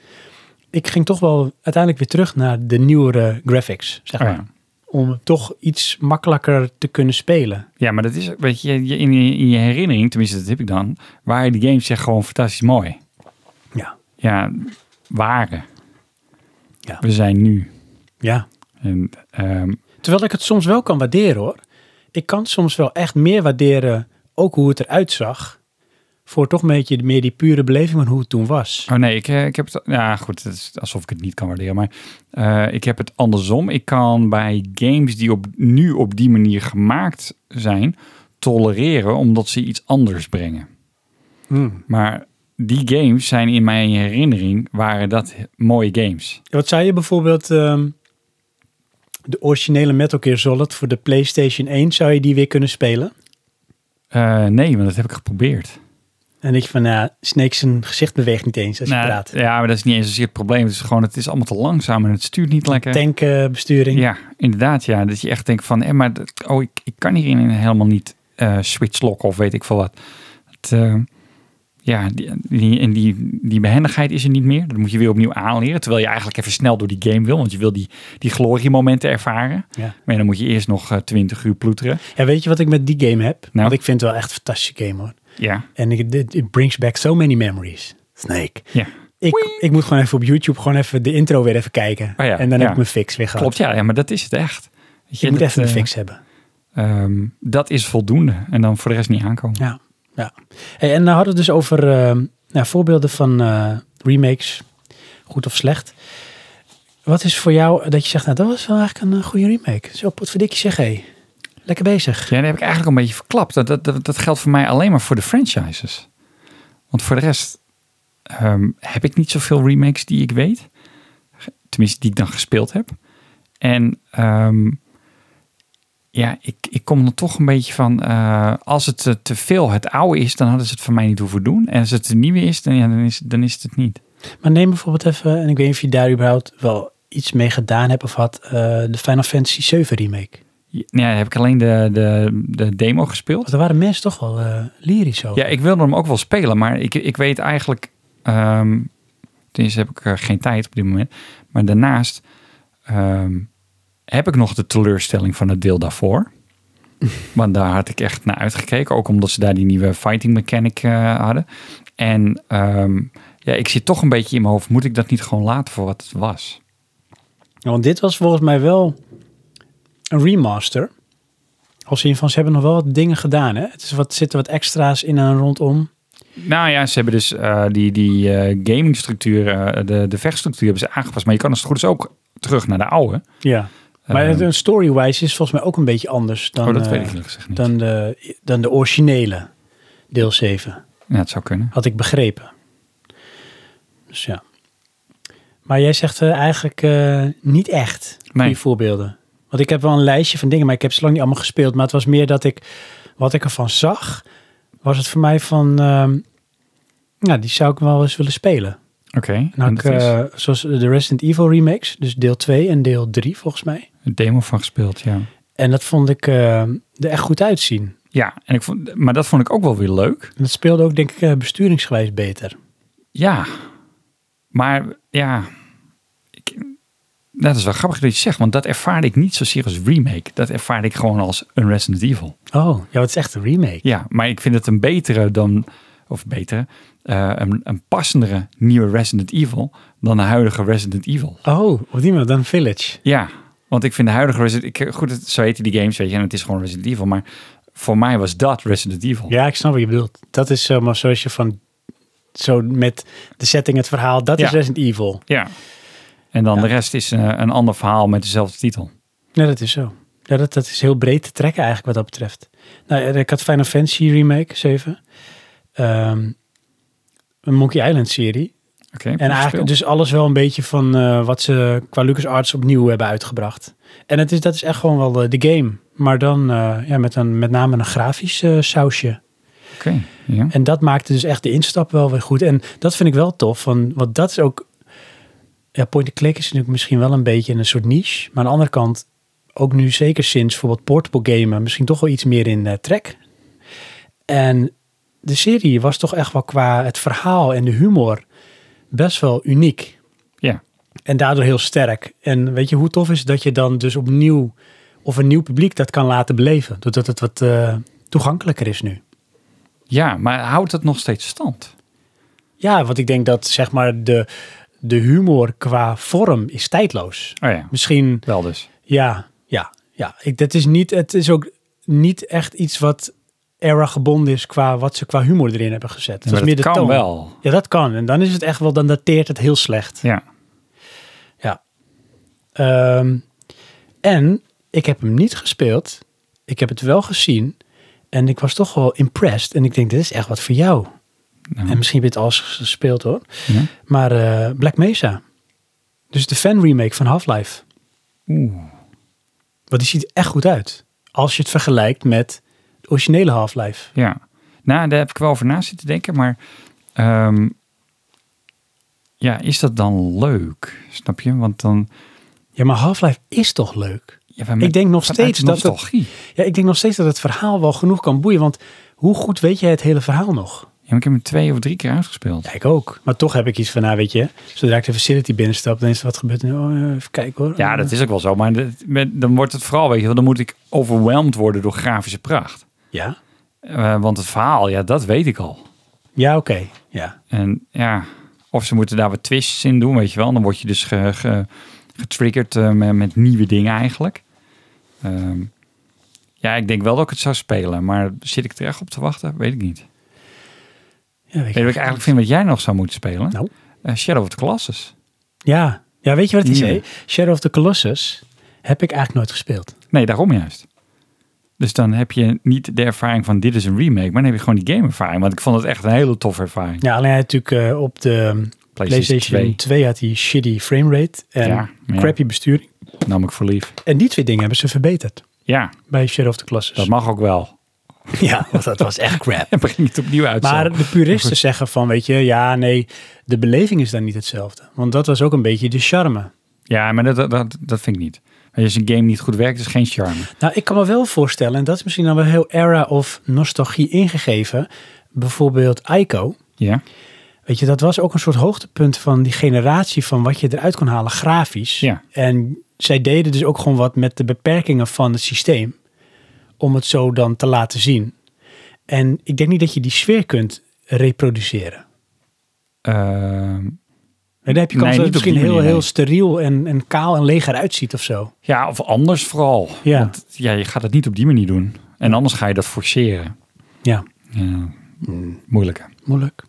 [SPEAKER 1] Ik ging toch wel uiteindelijk weer terug naar de nieuwere graphics, zeg
[SPEAKER 2] Oh,
[SPEAKER 1] maar.
[SPEAKER 2] ja.
[SPEAKER 1] Om toch iets makkelijker te kunnen spelen.
[SPEAKER 2] ja, maar dat is, weet je, je- in, je- in je herinnering, tenminste dat heb ik dan, waren die games echt gewoon fantastisch mooi.
[SPEAKER 1] Ja.
[SPEAKER 2] Ja, waren.
[SPEAKER 1] Ja.
[SPEAKER 2] We zijn nu.
[SPEAKER 1] Ja.
[SPEAKER 2] En, ehm,
[SPEAKER 1] Terwijl ik het soms wel kan waarderen hoor. Ik kan soms wel echt meer waarderen, ook hoe het eruit zag. Voor toch een beetje meer die pure beleving van hoe het toen was.
[SPEAKER 2] oh nee, ik, eh, ik heb het, ja goed, het is alsof ik het niet kan waarderen, maar eh, ik heb het andersom. Ik kan bij games die op, nu op die manier gemaakt zijn, tolereren omdat ze iets anders brengen. Hmm. Maar die games zijn in mijn herinnering, waren dat he- mooie games.
[SPEAKER 1] Wat zei je bijvoorbeeld, ehm, de originele Metal Gear Solid voor de PlayStation 1, zou je die weer kunnen spelen?
[SPEAKER 2] Eh, nee, want dat heb ik geprobeerd.
[SPEAKER 1] En dat je van, nou, Snake zijn gezicht beweegt niet eens als je
[SPEAKER 2] Nou,
[SPEAKER 1] praat.
[SPEAKER 2] Ja, maar dat is niet eens zozeer het probleem. Het is gewoon, het is allemaal te langzaam en het stuurt niet lekker.
[SPEAKER 1] Tankbesturing.
[SPEAKER 2] Ja, inderdaad. Ja, dat je echt denkt van, eh, maar dat, oh, ik, ik kan hierin helemaal niet eh switch locken of weet ik veel wat. Het, eh, ja, die, die, en die, die behendigheid is er niet meer. Dat moet je weer opnieuw aanleren. Terwijl je eigenlijk even snel door die game wil, want je wil die, die gloriemomenten ervaren.
[SPEAKER 1] Ja.
[SPEAKER 2] Maar dan moet je eerst nog eh, twintig uur ploeteren.
[SPEAKER 1] Ja, weet je wat ik met die game heb?
[SPEAKER 2] Nou.
[SPEAKER 1] Want ik vind het wel echt een fantastische game hoor.
[SPEAKER 2] Ja,
[SPEAKER 1] En ik, dit- it brings back so many memories. Snake.
[SPEAKER 2] ja.
[SPEAKER 1] Ik, ik moet gewoon even op YouTube gewoon even de intro weer even kijken.
[SPEAKER 2] Oh ja,
[SPEAKER 1] en dan
[SPEAKER 2] ja.
[SPEAKER 1] heb ik mijn fix weer gehad.
[SPEAKER 2] Klopt, ja, ja, maar dat is het echt. Weet je,
[SPEAKER 1] Ik moet
[SPEAKER 2] dat,
[SPEAKER 1] even mijn
[SPEAKER 2] eh,
[SPEAKER 1] fix hebben.
[SPEAKER 2] ehm, dat is voldoende. En dan voor de rest niet aankomen.
[SPEAKER 1] Ja, ja. Hey, en dan hadden we het dus over ehm, nou, voorbeelden van eh, remakes, goed of slecht. Wat is voor jou dat je zegt, nou dat was wel eigenlijk een eh, goede remake. Zo, potverdikkie zeg, hé. Lekker bezig.
[SPEAKER 2] Ja, dat heb ik eigenlijk al een beetje verklapt. Dat, dat, dat, dat geldt voor mij alleen maar voor de franchises. Want voor de rest ehm, heb ik niet zoveel remakes die ik weet. Ge- Tenminste, die ik dan gespeeld heb. En ehm, ja, ik, ik kom er toch een beetje van... eh, als het eh, te veel het oude is, dan hadden ze het van mij niet hoeven doen. En als het de nieuwe is, dan, ja, dan, is, dan is het het niet.
[SPEAKER 1] Maar neem bijvoorbeeld even, en ik weet niet of je daar überhaupt wel iets mee gedaan hebt of had, eh, de Final Fantasy 7 remake.
[SPEAKER 2] Ja, nou ja, heb ik alleen de, de, de demo gespeeld.
[SPEAKER 1] Want daar waren mensen toch wel eh, lyrisch over.
[SPEAKER 2] Ja, ik wilde hem ook wel spelen, maar ik, ik weet eigenlijk... ehm tenminste heb ik eh, geen tijd op dit moment. Maar daarnaast ehm, heb ik nog de teleurstelling van het deel daarvoor. Want daar had ik echt naar uitgekeken. Ook omdat ze daar die nieuwe fighting mechanic eh, hadden. En ehm, ja, ik zit toch een beetje in mijn hoofd. Moet ik dat niet gewoon laten voor wat het was?
[SPEAKER 1] Ja, want dit was volgens mij wel een remaster. Als in van ze hebben nog wel wat dingen gedaan. Hè? Het is wat, zitten wat extra's in en rondom.
[SPEAKER 2] Nou ja, ze hebben dus eh, die, die eh, gamingstructuur, eh, de, de vechtstructuur hebben ze aangepast. Maar je kan als het goed is ook terug naar de oude.
[SPEAKER 1] Ja.
[SPEAKER 2] Eh,
[SPEAKER 1] Maar
[SPEAKER 2] Ehm,
[SPEAKER 1] het- een story-wise is volgens mij ook een beetje anders dan,
[SPEAKER 2] oh, dat
[SPEAKER 1] eh,
[SPEAKER 2] weet ik eerlijk gezegd niet.
[SPEAKER 1] dan, de, dan de originele deel 7.
[SPEAKER 2] Ja, het zou kunnen.
[SPEAKER 1] Had ik begrepen. Dus ja. Maar jij zegt eh, eigenlijk eh, niet echt
[SPEAKER 2] Nee.
[SPEAKER 1] die voorbeelden. Want ik heb wel een lijstje van dingen, maar ik heb ze lang niet allemaal gespeeld. Maar het was meer dat ik, wat ik ervan zag, was het voor mij van, ehm, nou, die zou ik wel eens willen spelen.
[SPEAKER 2] Oké.
[SPEAKER 1] Nou,
[SPEAKER 2] en
[SPEAKER 1] ik,
[SPEAKER 2] dat is
[SPEAKER 1] eh, zoals de Resident Evil remakes, dus deel 2 en deel 3 volgens mij.
[SPEAKER 2] een demo van gespeeld, ja.
[SPEAKER 1] En dat vond ik eh, er echt goed uitzien.
[SPEAKER 2] Ja, en ik vond, maar dat vond ik ook wel weer leuk.
[SPEAKER 1] En dat speelde ook, denk ik, eh, besturingsgewijs beter.
[SPEAKER 2] Ja. Maar ja, ik, dat is wel grappig dat je het zegt, want dat ervaarde ik niet zozeer als remake. Dat ervaarde ik gewoon als een Resident Evil.
[SPEAKER 1] Oh, ja, het is echt een remake.
[SPEAKER 2] Ja, maar ik vind het een betere dan, of betere, eh, een, een passendere nieuwe Resident Evil dan de huidige Resident Evil.
[SPEAKER 1] Oh, op die manier, dan Village.
[SPEAKER 2] Ja, want ik vind de huidige Resident ik, goed, het, zo heten die games, weet je, en het is gewoon Resident Evil, maar voor mij was dat Resident Evil.
[SPEAKER 1] Ja, ik snap wat je bedoelt. Dat is eh, maar zoals je van, zo met de setting, het verhaal, dat
[SPEAKER 2] Ja.
[SPEAKER 1] is Resident Evil.
[SPEAKER 2] Ja. En dan
[SPEAKER 1] Ja.
[SPEAKER 2] de rest is eh, een ander verhaal met dezelfde titel.
[SPEAKER 1] Ja, dat is zo. Ja, dat, dat is heel breed te trekken eigenlijk wat dat betreft. Nou, eh, ik had Final Fantasy Remake 7. Ehm, een Monkey Island serie.
[SPEAKER 2] Oké.
[SPEAKER 1] En eigenlijk dus alles wel een beetje van eh, wat ze qua LucasArts opnieuw hebben uitgebracht. En het is, dat is echt gewoon wel eh, de game. Maar dan eh, ja, met, een, met name een grafisch eh, sausje.
[SPEAKER 2] Oké. Ja.
[SPEAKER 1] En dat maakte dus echt de instap wel weer goed. En dat vind ik wel tof, van, want dat is ook... Ja, point-and-click is natuurlijk misschien wel een beetje een soort niche. Maar aan de andere kant, ook nu zeker sinds bijvoorbeeld portable gamen... misschien toch wel iets meer in eh, trek. En de serie was toch echt wel qua het verhaal en de humor best wel uniek.
[SPEAKER 2] Ja.
[SPEAKER 1] En daardoor heel sterk. En weet je hoe tof is dat je dan dus opnieuw... of een nieuw publiek dat kan laten beleven. Doordat het wat eh, toegankelijker is nu.
[SPEAKER 2] ja, maar houdt het nog steeds stand?
[SPEAKER 1] Ja, want ik denk dat zeg maar de, de humor qua vorm is tijdloos.
[SPEAKER 2] Oh ja,
[SPEAKER 1] Misschien,
[SPEAKER 2] wel dus.
[SPEAKER 1] ja, ja, ja. Ik, dat is niet, het is ook niet echt iets wat era gebonden is qua wat ze qua humor erin hebben gezet.
[SPEAKER 2] maar
[SPEAKER 1] is
[SPEAKER 2] dat kan
[SPEAKER 1] toon.
[SPEAKER 2] wel.
[SPEAKER 1] Ja, dat kan. En dan is het echt wel, dan dateert het heel slecht.
[SPEAKER 2] Ja.
[SPEAKER 1] Ehm, en ik heb hem niet gespeeld. Ik heb het wel gezien. En ik was toch wel impressed. En ik denk, dit is echt wat voor jou.
[SPEAKER 2] Nou,
[SPEAKER 1] En misschien heb je het alles gespeeld hoor.
[SPEAKER 2] ja.
[SPEAKER 1] Maar eh, Black Mesa. Dus de fan remake van Half-Life.
[SPEAKER 2] Oeh.
[SPEAKER 1] Want die ziet er echt goed uit. Als je het vergelijkt met de originele Half-Life.
[SPEAKER 2] Ja. Nou, daar heb ik wel over na zitten denken, maar... ehm, ja, is dat dan leuk? Snap je? Want dan...
[SPEAKER 1] Ja, maar Half-Life is toch leuk?
[SPEAKER 2] Ja, maar met-
[SPEAKER 1] Ik denk nog
[SPEAKER 2] vanuit
[SPEAKER 1] steeds dat het-
[SPEAKER 2] nostalgie.
[SPEAKER 1] Ja, ik denk nog steeds dat het verhaal wel genoeg kan boeien. Want hoe goed weet jij het hele verhaal nog?
[SPEAKER 2] Ja, maar ik heb hem twee of drie keer uitgespeeld.
[SPEAKER 1] Ja, ik ook. Maar toch heb ik iets van, nou weet je, zodra ik de facility binnenstap, dan is er wat gebeurd. Oh, eh, even kijken hoor.
[SPEAKER 2] Ja, dat is ook wel zo. Maar dat- met- dan wordt het vooral, weet je wel, dan moet ik overweldigd worden door grafische pracht.
[SPEAKER 1] Ja,
[SPEAKER 2] Eh, want het verhaal, ja, dat weet ik al.
[SPEAKER 1] ja oké. Ja.
[SPEAKER 2] En ja, of ze moeten daar wat twists in doen, weet je wel. Dan word je dus ge- ge- getriggerd eh, met, met nieuwe dingen eigenlijk. Ehm, ja, ik denk wel dat ik het zou spelen. Maar zit ik er echt op te wachten? Weet ik niet. Weet
[SPEAKER 1] ja weet
[SPEAKER 2] je wat ik eigenlijk vind wat jij nog zou moeten spelen?
[SPEAKER 1] Nou?
[SPEAKER 2] Eh, Shadow of the Colossus.
[SPEAKER 1] Ja. ja, weet je wat het is?
[SPEAKER 2] Ja.
[SPEAKER 1] hè? Shadow of the Colossus heb ik eigenlijk nooit gespeeld.
[SPEAKER 2] Nee, daarom juist. Dus dan heb je niet de ervaring van dit is een remake, maar dan heb je gewoon die game ervaring. Want ik vond het echt een hele toffe ervaring.
[SPEAKER 1] Ja, alleen hij had natuurlijk eh, op de PlayStation 2, had die shitty framerate en
[SPEAKER 2] Ja, maar ja,
[SPEAKER 1] crappy besturing.
[SPEAKER 2] nam ik voor lief.
[SPEAKER 1] En die twee dingen hebben ze verbeterd
[SPEAKER 2] Ja,
[SPEAKER 1] bij Shadow of the Colossus.
[SPEAKER 2] dat mag ook wel.
[SPEAKER 1] Ja, want dat was echt crap.
[SPEAKER 2] En breng het opnieuw uit. zo.
[SPEAKER 1] Maar de puristen zeggen van, weet je, ja, nee, de beleving is dan niet hetzelfde. Want dat was ook een beetje de charme.
[SPEAKER 2] Ja, maar dat, dat, dat vind ik niet. Weet je, Als een game niet goed werkt, is geen charme.
[SPEAKER 1] Nou, ik kan me wel voorstellen, en dat is misschien dan wel heel era of nostalgie ingegeven. Bijvoorbeeld Ico.
[SPEAKER 2] Ja,
[SPEAKER 1] Weet je, dat was ook een soort hoogtepunt van die generatie van wat je eruit kon halen grafisch.
[SPEAKER 2] ja.
[SPEAKER 1] En zij deden dus ook gewoon wat met de beperkingen van het systeem. Om het zo dan te laten zien. En ik denk niet dat je die sfeer kunt reproduceren.
[SPEAKER 2] Ehm,
[SPEAKER 1] En dan heb je kans
[SPEAKER 2] Nee,
[SPEAKER 1] dat
[SPEAKER 2] niet
[SPEAKER 1] het
[SPEAKER 2] op die
[SPEAKER 1] misschien heel,
[SPEAKER 2] manier,
[SPEAKER 1] heel
[SPEAKER 2] nee.
[SPEAKER 1] steriel en, en kaal en leeg eruit ziet of zo.
[SPEAKER 2] ja, of anders vooral.
[SPEAKER 1] Ja.
[SPEAKER 2] Want ja, je gaat het niet op die manier doen. En anders ga je dat forceren.
[SPEAKER 1] Ja.
[SPEAKER 2] Ja, moeilijke.
[SPEAKER 1] Moeilijk.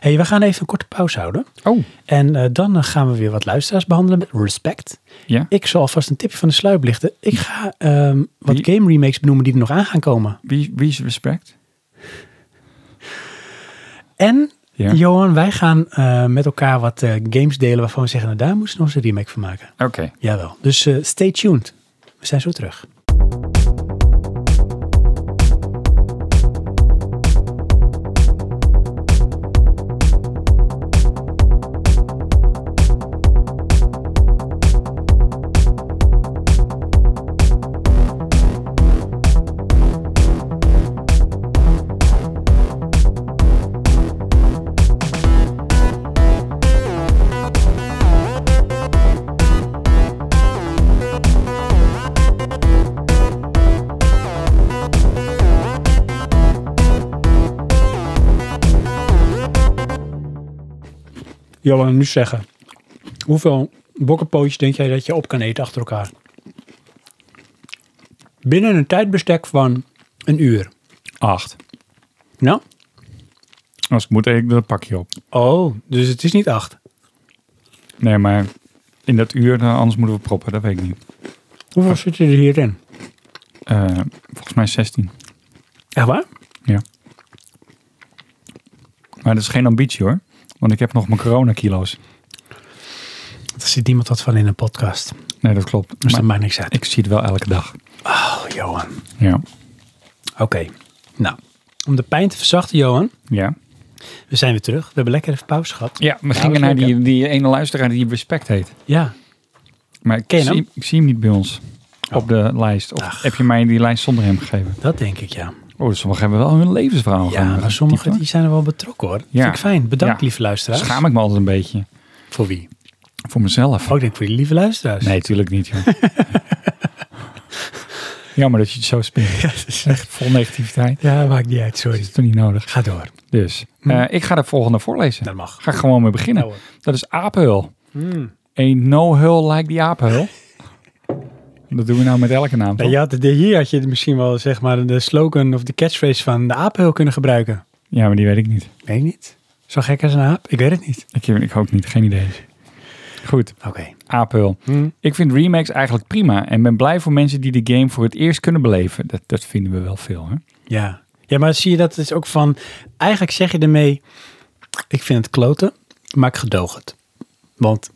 [SPEAKER 1] hey, we gaan even een korte pauze houden.
[SPEAKER 4] Oh,
[SPEAKER 1] En eh, dan eh, gaan we weer wat luisteraars behandelen met respect.
[SPEAKER 4] Ja.
[SPEAKER 1] Ik zal alvast een tipje van de sluip lichten. Ik ga ehm, wat
[SPEAKER 4] Wie-
[SPEAKER 1] game remakes benoemen die er nog aan gaan komen.
[SPEAKER 4] wie, wie is respect?
[SPEAKER 1] En
[SPEAKER 4] Ja.
[SPEAKER 1] Johan, wij gaan eh, met elkaar wat eh, games delen waarvan we zeggen, nou daar moesten we nog eens een remake van maken.
[SPEAKER 4] Oké.
[SPEAKER 1] Jawel. Dus eh, stay tuned. We zijn zo terug. Johan, nu zeggen. Hoeveel bokkenpootjes denk jij dat je op kan eten achter elkaar? Binnen een tijdbestek van een uur.
[SPEAKER 2] Acht.
[SPEAKER 1] Nou?
[SPEAKER 2] Als ik moet, eet ik er een pakje op.
[SPEAKER 1] Oh, dus het is niet acht.
[SPEAKER 2] Nee, maar in dat uur, eh, anders moeten we proppen. Dat weet ik niet.
[SPEAKER 1] Hoeveel zit er hierin?
[SPEAKER 2] Eh, volgens mij 16.
[SPEAKER 1] Echt waar?
[SPEAKER 2] Maar dat is geen ambitie hoor. Want ik heb nog mijn coronakilo's.
[SPEAKER 1] Er zit niemand wat van in een podcast.
[SPEAKER 2] Nee, dat klopt.
[SPEAKER 1] Dus
[SPEAKER 2] Maar
[SPEAKER 1] dat maakt niks uit.
[SPEAKER 2] ik zie het wel elke dag.
[SPEAKER 1] Oh, Johan.
[SPEAKER 2] Ja.
[SPEAKER 1] Oké. Nou, om de pijn te verzachten, Johan.
[SPEAKER 2] Ja.
[SPEAKER 1] We zijn weer terug. We hebben lekker even pauze gehad.
[SPEAKER 2] Ja, we
[SPEAKER 1] dat is
[SPEAKER 2] gingen naar
[SPEAKER 1] leuk,
[SPEAKER 2] die, die ene luisteraar die respect heet.
[SPEAKER 1] Ja.
[SPEAKER 2] Maar ik
[SPEAKER 1] Ken je
[SPEAKER 2] zie,
[SPEAKER 1] hem?
[SPEAKER 2] ik zie hem Oh. niet bij ons op de lijst. Of
[SPEAKER 1] Ach.
[SPEAKER 2] heb je mij die lijst zonder hem gegeven?
[SPEAKER 1] Dat denk ik, ja.
[SPEAKER 2] Oh, dus sommigen hebben wel hun levensverhaal.
[SPEAKER 1] Ja, maar sommigen die zijn er wel betrokken hoor.
[SPEAKER 2] Ja.
[SPEAKER 1] Vind ik fijn. Bedankt,
[SPEAKER 2] Ja.
[SPEAKER 1] lieve luisteraars.
[SPEAKER 2] Schaam ik me altijd een beetje. Oh,
[SPEAKER 1] Voor wie?
[SPEAKER 2] Voor mezelf.
[SPEAKER 1] Ook denk ik voor die lieve luisteraars.
[SPEAKER 2] Nee, tuurlijk niet, joh. Jammer dat je het zo spint.
[SPEAKER 1] Ja, dat is-
[SPEAKER 2] Echt vol negativiteit.
[SPEAKER 1] ja, maakt niet uit.
[SPEAKER 2] Dat
[SPEAKER 1] Sorry.
[SPEAKER 2] is toch niet nodig.
[SPEAKER 1] Ga door.
[SPEAKER 2] Dus,
[SPEAKER 1] Hm.
[SPEAKER 2] eh, ik ga de volgende voorlezen.
[SPEAKER 1] Dat mag.
[SPEAKER 2] Ga ik gewoon mee beginnen.
[SPEAKER 1] Nou, hoor.
[SPEAKER 2] Dat is apenhul.
[SPEAKER 1] Mm.
[SPEAKER 2] Een no-hul like die apenhul. Dat doen we nou met elke naam,
[SPEAKER 1] Nee,
[SPEAKER 2] toch?
[SPEAKER 1] je had, de- hier had je misschien wel zeg maar de slogan of de catchphrase van de apenhul kunnen gebruiken.
[SPEAKER 2] Ja, maar die weet ik niet.
[SPEAKER 1] Weet ik niet. Zo gek als een aap? Ik weet het niet.
[SPEAKER 2] Ik, ik ook niet. Geen idee. Goed,
[SPEAKER 1] Oké.
[SPEAKER 2] apenhul.
[SPEAKER 1] Hm.
[SPEAKER 2] Ik vind remakes eigenlijk prima en ben blij voor mensen die de game voor het eerst kunnen beleven. Dat, dat vinden we wel veel, hè?
[SPEAKER 1] Ja. ja, maar zie je dat is ook van... Eigenlijk zeg je ermee, ik vind het kloten, maar ik gedoog het. Want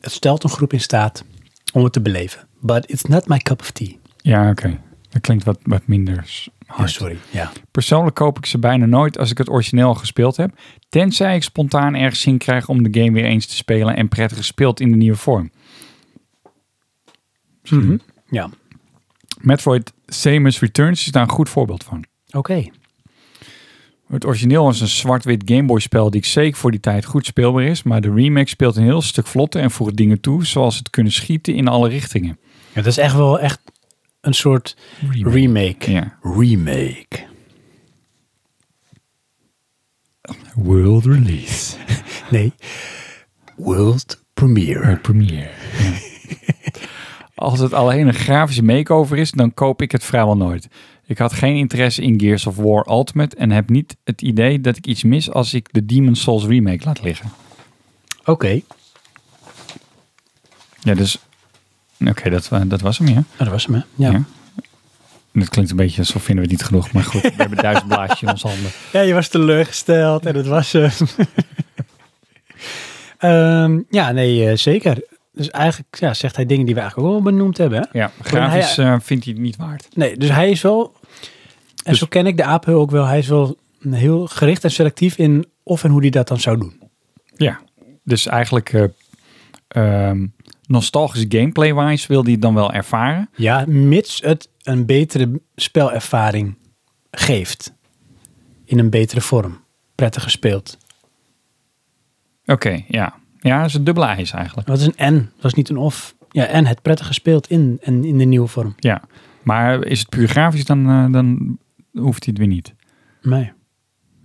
[SPEAKER 1] het stelt een groep in staat om het te beleven. But it's not my cup of tea.
[SPEAKER 2] Ja, oké. Dat klinkt wat, wat minder s-
[SPEAKER 1] Oh,
[SPEAKER 2] hard.
[SPEAKER 1] sorry. Ja.
[SPEAKER 2] Persoonlijk koop ik ze bijna nooit als ik het origineel gespeeld heb. Tenzij ik spontaan ergens zin krijg om de game weer eens te spelen en prettig gespeeld in de nieuwe vorm.
[SPEAKER 1] Mhm. Ja, oké.
[SPEAKER 2] Metroid Samus Returns is daar een goed voorbeeld van. Het origineel was een zwart-wit Gameboy spel die ik zeker voor die tijd goed speelbaar is, maar de remake speelt een heel stuk vlotter en voegt dingen toe, zoals het kunnen schieten in alle richtingen.
[SPEAKER 1] Ja, dat is echt wel echt een soort remake.
[SPEAKER 2] Ja.
[SPEAKER 1] Remake.
[SPEAKER 2] World release.
[SPEAKER 1] Nee. World premiere.
[SPEAKER 2] Eh, premiere. Als het alleen een grafische makeover is, dan koop ik het vrijwel nooit. Ik had geen interesse in Gears of War Ultimate en heb niet het idee dat ik iets mis als ik de Demon's Souls remake laat liggen.
[SPEAKER 1] Oké. Nou,
[SPEAKER 2] Ja, dus... Oké, dat, wa- dat was hem, ja.
[SPEAKER 1] Nou, dat was hem, hè? Ja.
[SPEAKER 2] Ja.
[SPEAKER 1] ja.
[SPEAKER 2] Dat klinkt een beetje alsof vinden we het niet genoeg, maar goed, we hebben duizend blaadjes in onze handen.
[SPEAKER 1] je was teleurgesteld en het was hem. Ehm, ja, nee, eh, zeker. Dus eigenlijk ja, zegt hij dingen die we eigenlijk ook al benoemd hebben. Hè?
[SPEAKER 2] Ja, grafisch eh, vindt hij het niet waard.
[SPEAKER 1] Nee, dus hij is wel... En
[SPEAKER 2] Dus-
[SPEAKER 1] zo ken ik de aaphul ook wel. Hij is wel heel gericht en selectief in of en hoe hij dat dan zou doen.
[SPEAKER 2] Ja, dus eigenlijk eh, ehm, nostalgisch gameplay-wise wil hij het dan wel ervaren.
[SPEAKER 1] Ja, mits het een betere spelervaring geeft. In een betere vorm. Prettig gespeeld.
[SPEAKER 2] Oké, ja. Ja, dat is een dubbele eis eigenlijk.
[SPEAKER 1] Dat is een en. Dat is niet een of. Ja, en het prettig gespeeld in, en in de nieuwe vorm.
[SPEAKER 2] Ja, maar is het puur grafisch, dan, eh, dan hoeft hij het weer niet.
[SPEAKER 1] Nee.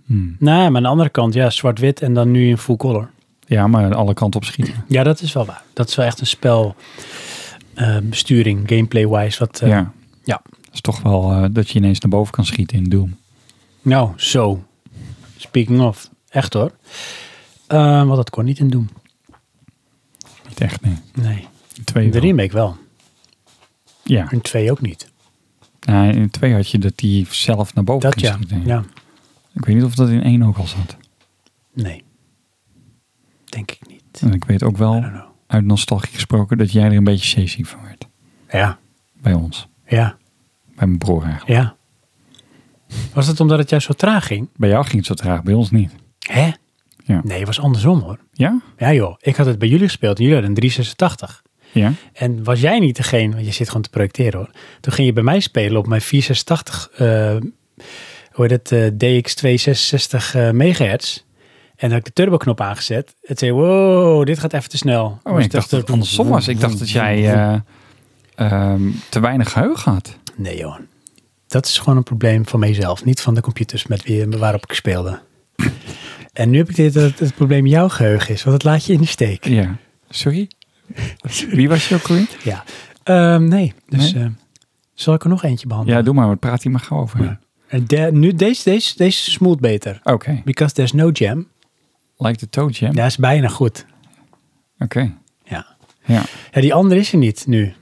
[SPEAKER 2] Hmm.
[SPEAKER 1] Nee, maar aan de andere kant, ja, zwart-wit en dan nu in full color.
[SPEAKER 2] Ja, maar alle kanten op schieten.
[SPEAKER 1] Ja, dat is wel waar. Dat is wel echt een spel, eh, besturing, gameplay-wise, wat... eh,
[SPEAKER 2] ja.
[SPEAKER 1] ja.
[SPEAKER 2] Dat is toch wel eh, dat je ineens naar boven kan schieten in Doom.
[SPEAKER 1] Nou, zo. Speaking of. Echt hoor. Eh, want dat kon niet in doen.
[SPEAKER 3] Niet echt, nee.
[SPEAKER 1] Nee.
[SPEAKER 3] In twee
[SPEAKER 1] In
[SPEAKER 3] wel.
[SPEAKER 1] de remake wel.
[SPEAKER 3] Ja.
[SPEAKER 1] In twee ook niet.
[SPEAKER 3] Nou, in twee had je dat die zelf naar boven
[SPEAKER 1] Dat
[SPEAKER 3] kon
[SPEAKER 1] ja.
[SPEAKER 3] schieten.
[SPEAKER 1] Ja.
[SPEAKER 3] Ik weet niet of dat in één ook al zat.
[SPEAKER 1] Nee. Denk ik niet. I
[SPEAKER 3] En ik weet ook wel,
[SPEAKER 1] don't know.
[SPEAKER 3] uit nostalgie gesproken, dat jij er een beetje zeeziek van werd.
[SPEAKER 1] Ja.
[SPEAKER 3] Bij ons.
[SPEAKER 1] Ja.
[SPEAKER 3] Bij mijn broer eigenlijk.
[SPEAKER 1] Ja. Was het omdat het juist zo traag ging?
[SPEAKER 3] Bij jou ging het zo traag, bij ons niet.
[SPEAKER 1] Hè?
[SPEAKER 3] Ja.
[SPEAKER 1] Nee, het was andersom hoor.
[SPEAKER 3] Ja?
[SPEAKER 1] Ja joh, ik had het bij jullie gespeeld en jullie hadden een 386.
[SPEAKER 3] Ja.
[SPEAKER 1] En was jij niet degene, want je zit gewoon te projecteren hoor. Toen ging je bij mij spelen op mijn 486, eh hoe heet het, eh, DX266 eh, megahertz. En dan had ik de turboknop aangezet. Het zei, wow, dit gaat even te snel.
[SPEAKER 3] Oh,
[SPEAKER 1] Dus
[SPEAKER 3] ik dacht dat het
[SPEAKER 1] er-
[SPEAKER 3] andersom was. Ik dacht dat jij eh, ehm, te weinig geheugen had.
[SPEAKER 1] Nee joh, dat is gewoon een probleem van mijzelf. Niet van de computers met wie, eh, waarop ik speelde. en nu heb ik dit dat het, het probleem jouw geheugen is, want het laat je in de steek.
[SPEAKER 3] Ja. Sorry? Wie was je ook weer?
[SPEAKER 1] Ja. Ehm, nee, dus
[SPEAKER 3] Nee?
[SPEAKER 1] eh, zal ik er nog eentje behandelen?
[SPEAKER 3] Ja, doe maar. want Praat hier maar gauw over.
[SPEAKER 1] Ja. En de- nu, deze, deze, deze smoelt beter.
[SPEAKER 3] Oké.
[SPEAKER 1] Because there's no jam.
[SPEAKER 3] Like the Toe Jam.
[SPEAKER 1] Dat is bijna goed.
[SPEAKER 3] Oké.
[SPEAKER 1] Ja.
[SPEAKER 3] Ja,
[SPEAKER 1] ja, die andere is er niet nu.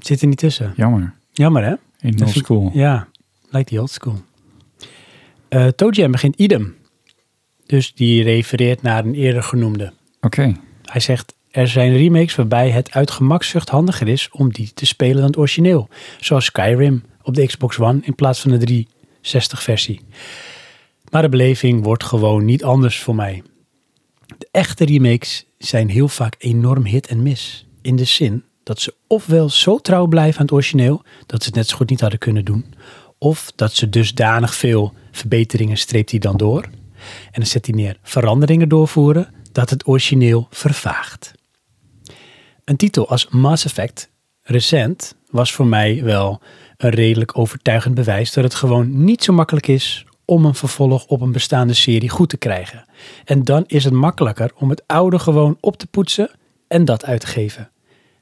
[SPEAKER 1] Zit er niet tussen.
[SPEAKER 3] jammer.
[SPEAKER 1] Jammer hè?
[SPEAKER 3] In
[SPEAKER 1] Dat
[SPEAKER 3] no
[SPEAKER 1] is-
[SPEAKER 3] school.
[SPEAKER 1] Ja, lijkt die old school. Eh Toe Jam begint idem. Dus die refereert naar een eerder genoemde.
[SPEAKER 3] Oké.
[SPEAKER 1] Hij zegt, er zijn remakes waarbij het uit gemakzucht handiger is om die te spelen dan het origineel. Zoals Skyrim op de Xbox One in plaats van de 360 versie. Maar de beleving wordt gewoon niet anders voor mij. De echte remakes zijn heel vaak enorm hit en mis. In de zin dat ze ofwel zo trouw blijven aan het origineel dat ze het net zo goed niet hadden kunnen doen. Of dat ze dusdanig veel verbeteringen streept hij dan door. En dan zet hij neer veranderingen doorvoeren dat het origineel vervaagt. Een titel als Mass Effect recent was voor mij wel een redelijk overtuigend bewijs dat het gewoon niet zo makkelijk is om een vervolg op een bestaande serie goed te krijgen. En dan is het makkelijker om het oude gewoon op te poetsen en dat uit te geven.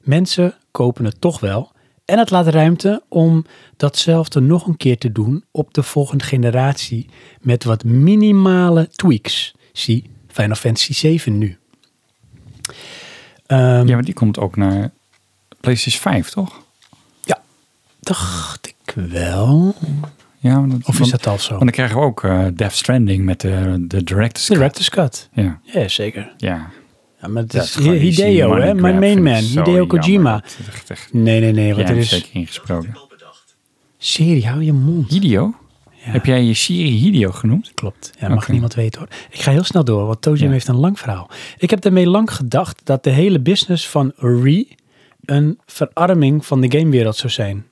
[SPEAKER 1] Mensen kopen het toch wel en het laat ruimte om datzelfde nog een keer te doen op de volgende generatie met wat minimale tweaks. Zie Final Fantasy 7 nu. Ehm,
[SPEAKER 3] Ja, maar die komt ook naar PlayStation 5, toch?
[SPEAKER 1] Dacht ik wel.
[SPEAKER 3] Ja, maar dat,
[SPEAKER 1] Of is
[SPEAKER 3] want,
[SPEAKER 1] dat al zo?
[SPEAKER 3] want dan krijgen we ook eh Death Stranding met de, de director's cut.
[SPEAKER 1] Director's Cut.
[SPEAKER 3] Ja,
[SPEAKER 1] Ja, zeker.
[SPEAKER 3] ja.
[SPEAKER 1] Ja, maar het
[SPEAKER 3] Dat
[SPEAKER 1] is
[SPEAKER 3] gewoon die
[SPEAKER 1] Hideo, hè?
[SPEAKER 3] money
[SPEAKER 1] Mijn
[SPEAKER 3] grab
[SPEAKER 1] main
[SPEAKER 3] vind ik
[SPEAKER 1] man.
[SPEAKER 3] zo
[SPEAKER 1] Hideo Kojima.
[SPEAKER 3] jammer. Dat is echt, echt
[SPEAKER 1] Nee, nee, nee.
[SPEAKER 3] jij
[SPEAKER 1] Want er
[SPEAKER 3] hebt
[SPEAKER 1] is...
[SPEAKER 3] zeker ingesproken.
[SPEAKER 1] Serie, hou je mond.
[SPEAKER 3] Hideo? Heb jij je Siri Hideo genoemd?
[SPEAKER 1] Klopt. Ja, mag
[SPEAKER 3] Oké.
[SPEAKER 1] niemand weten hoor. Ik ga heel snel door, want Tojim
[SPEAKER 3] Ja.
[SPEAKER 1] heeft een lang verhaal. Ik heb daarmee lang gedacht dat de hele business van Re een verarming van de gamewereld zou zijn.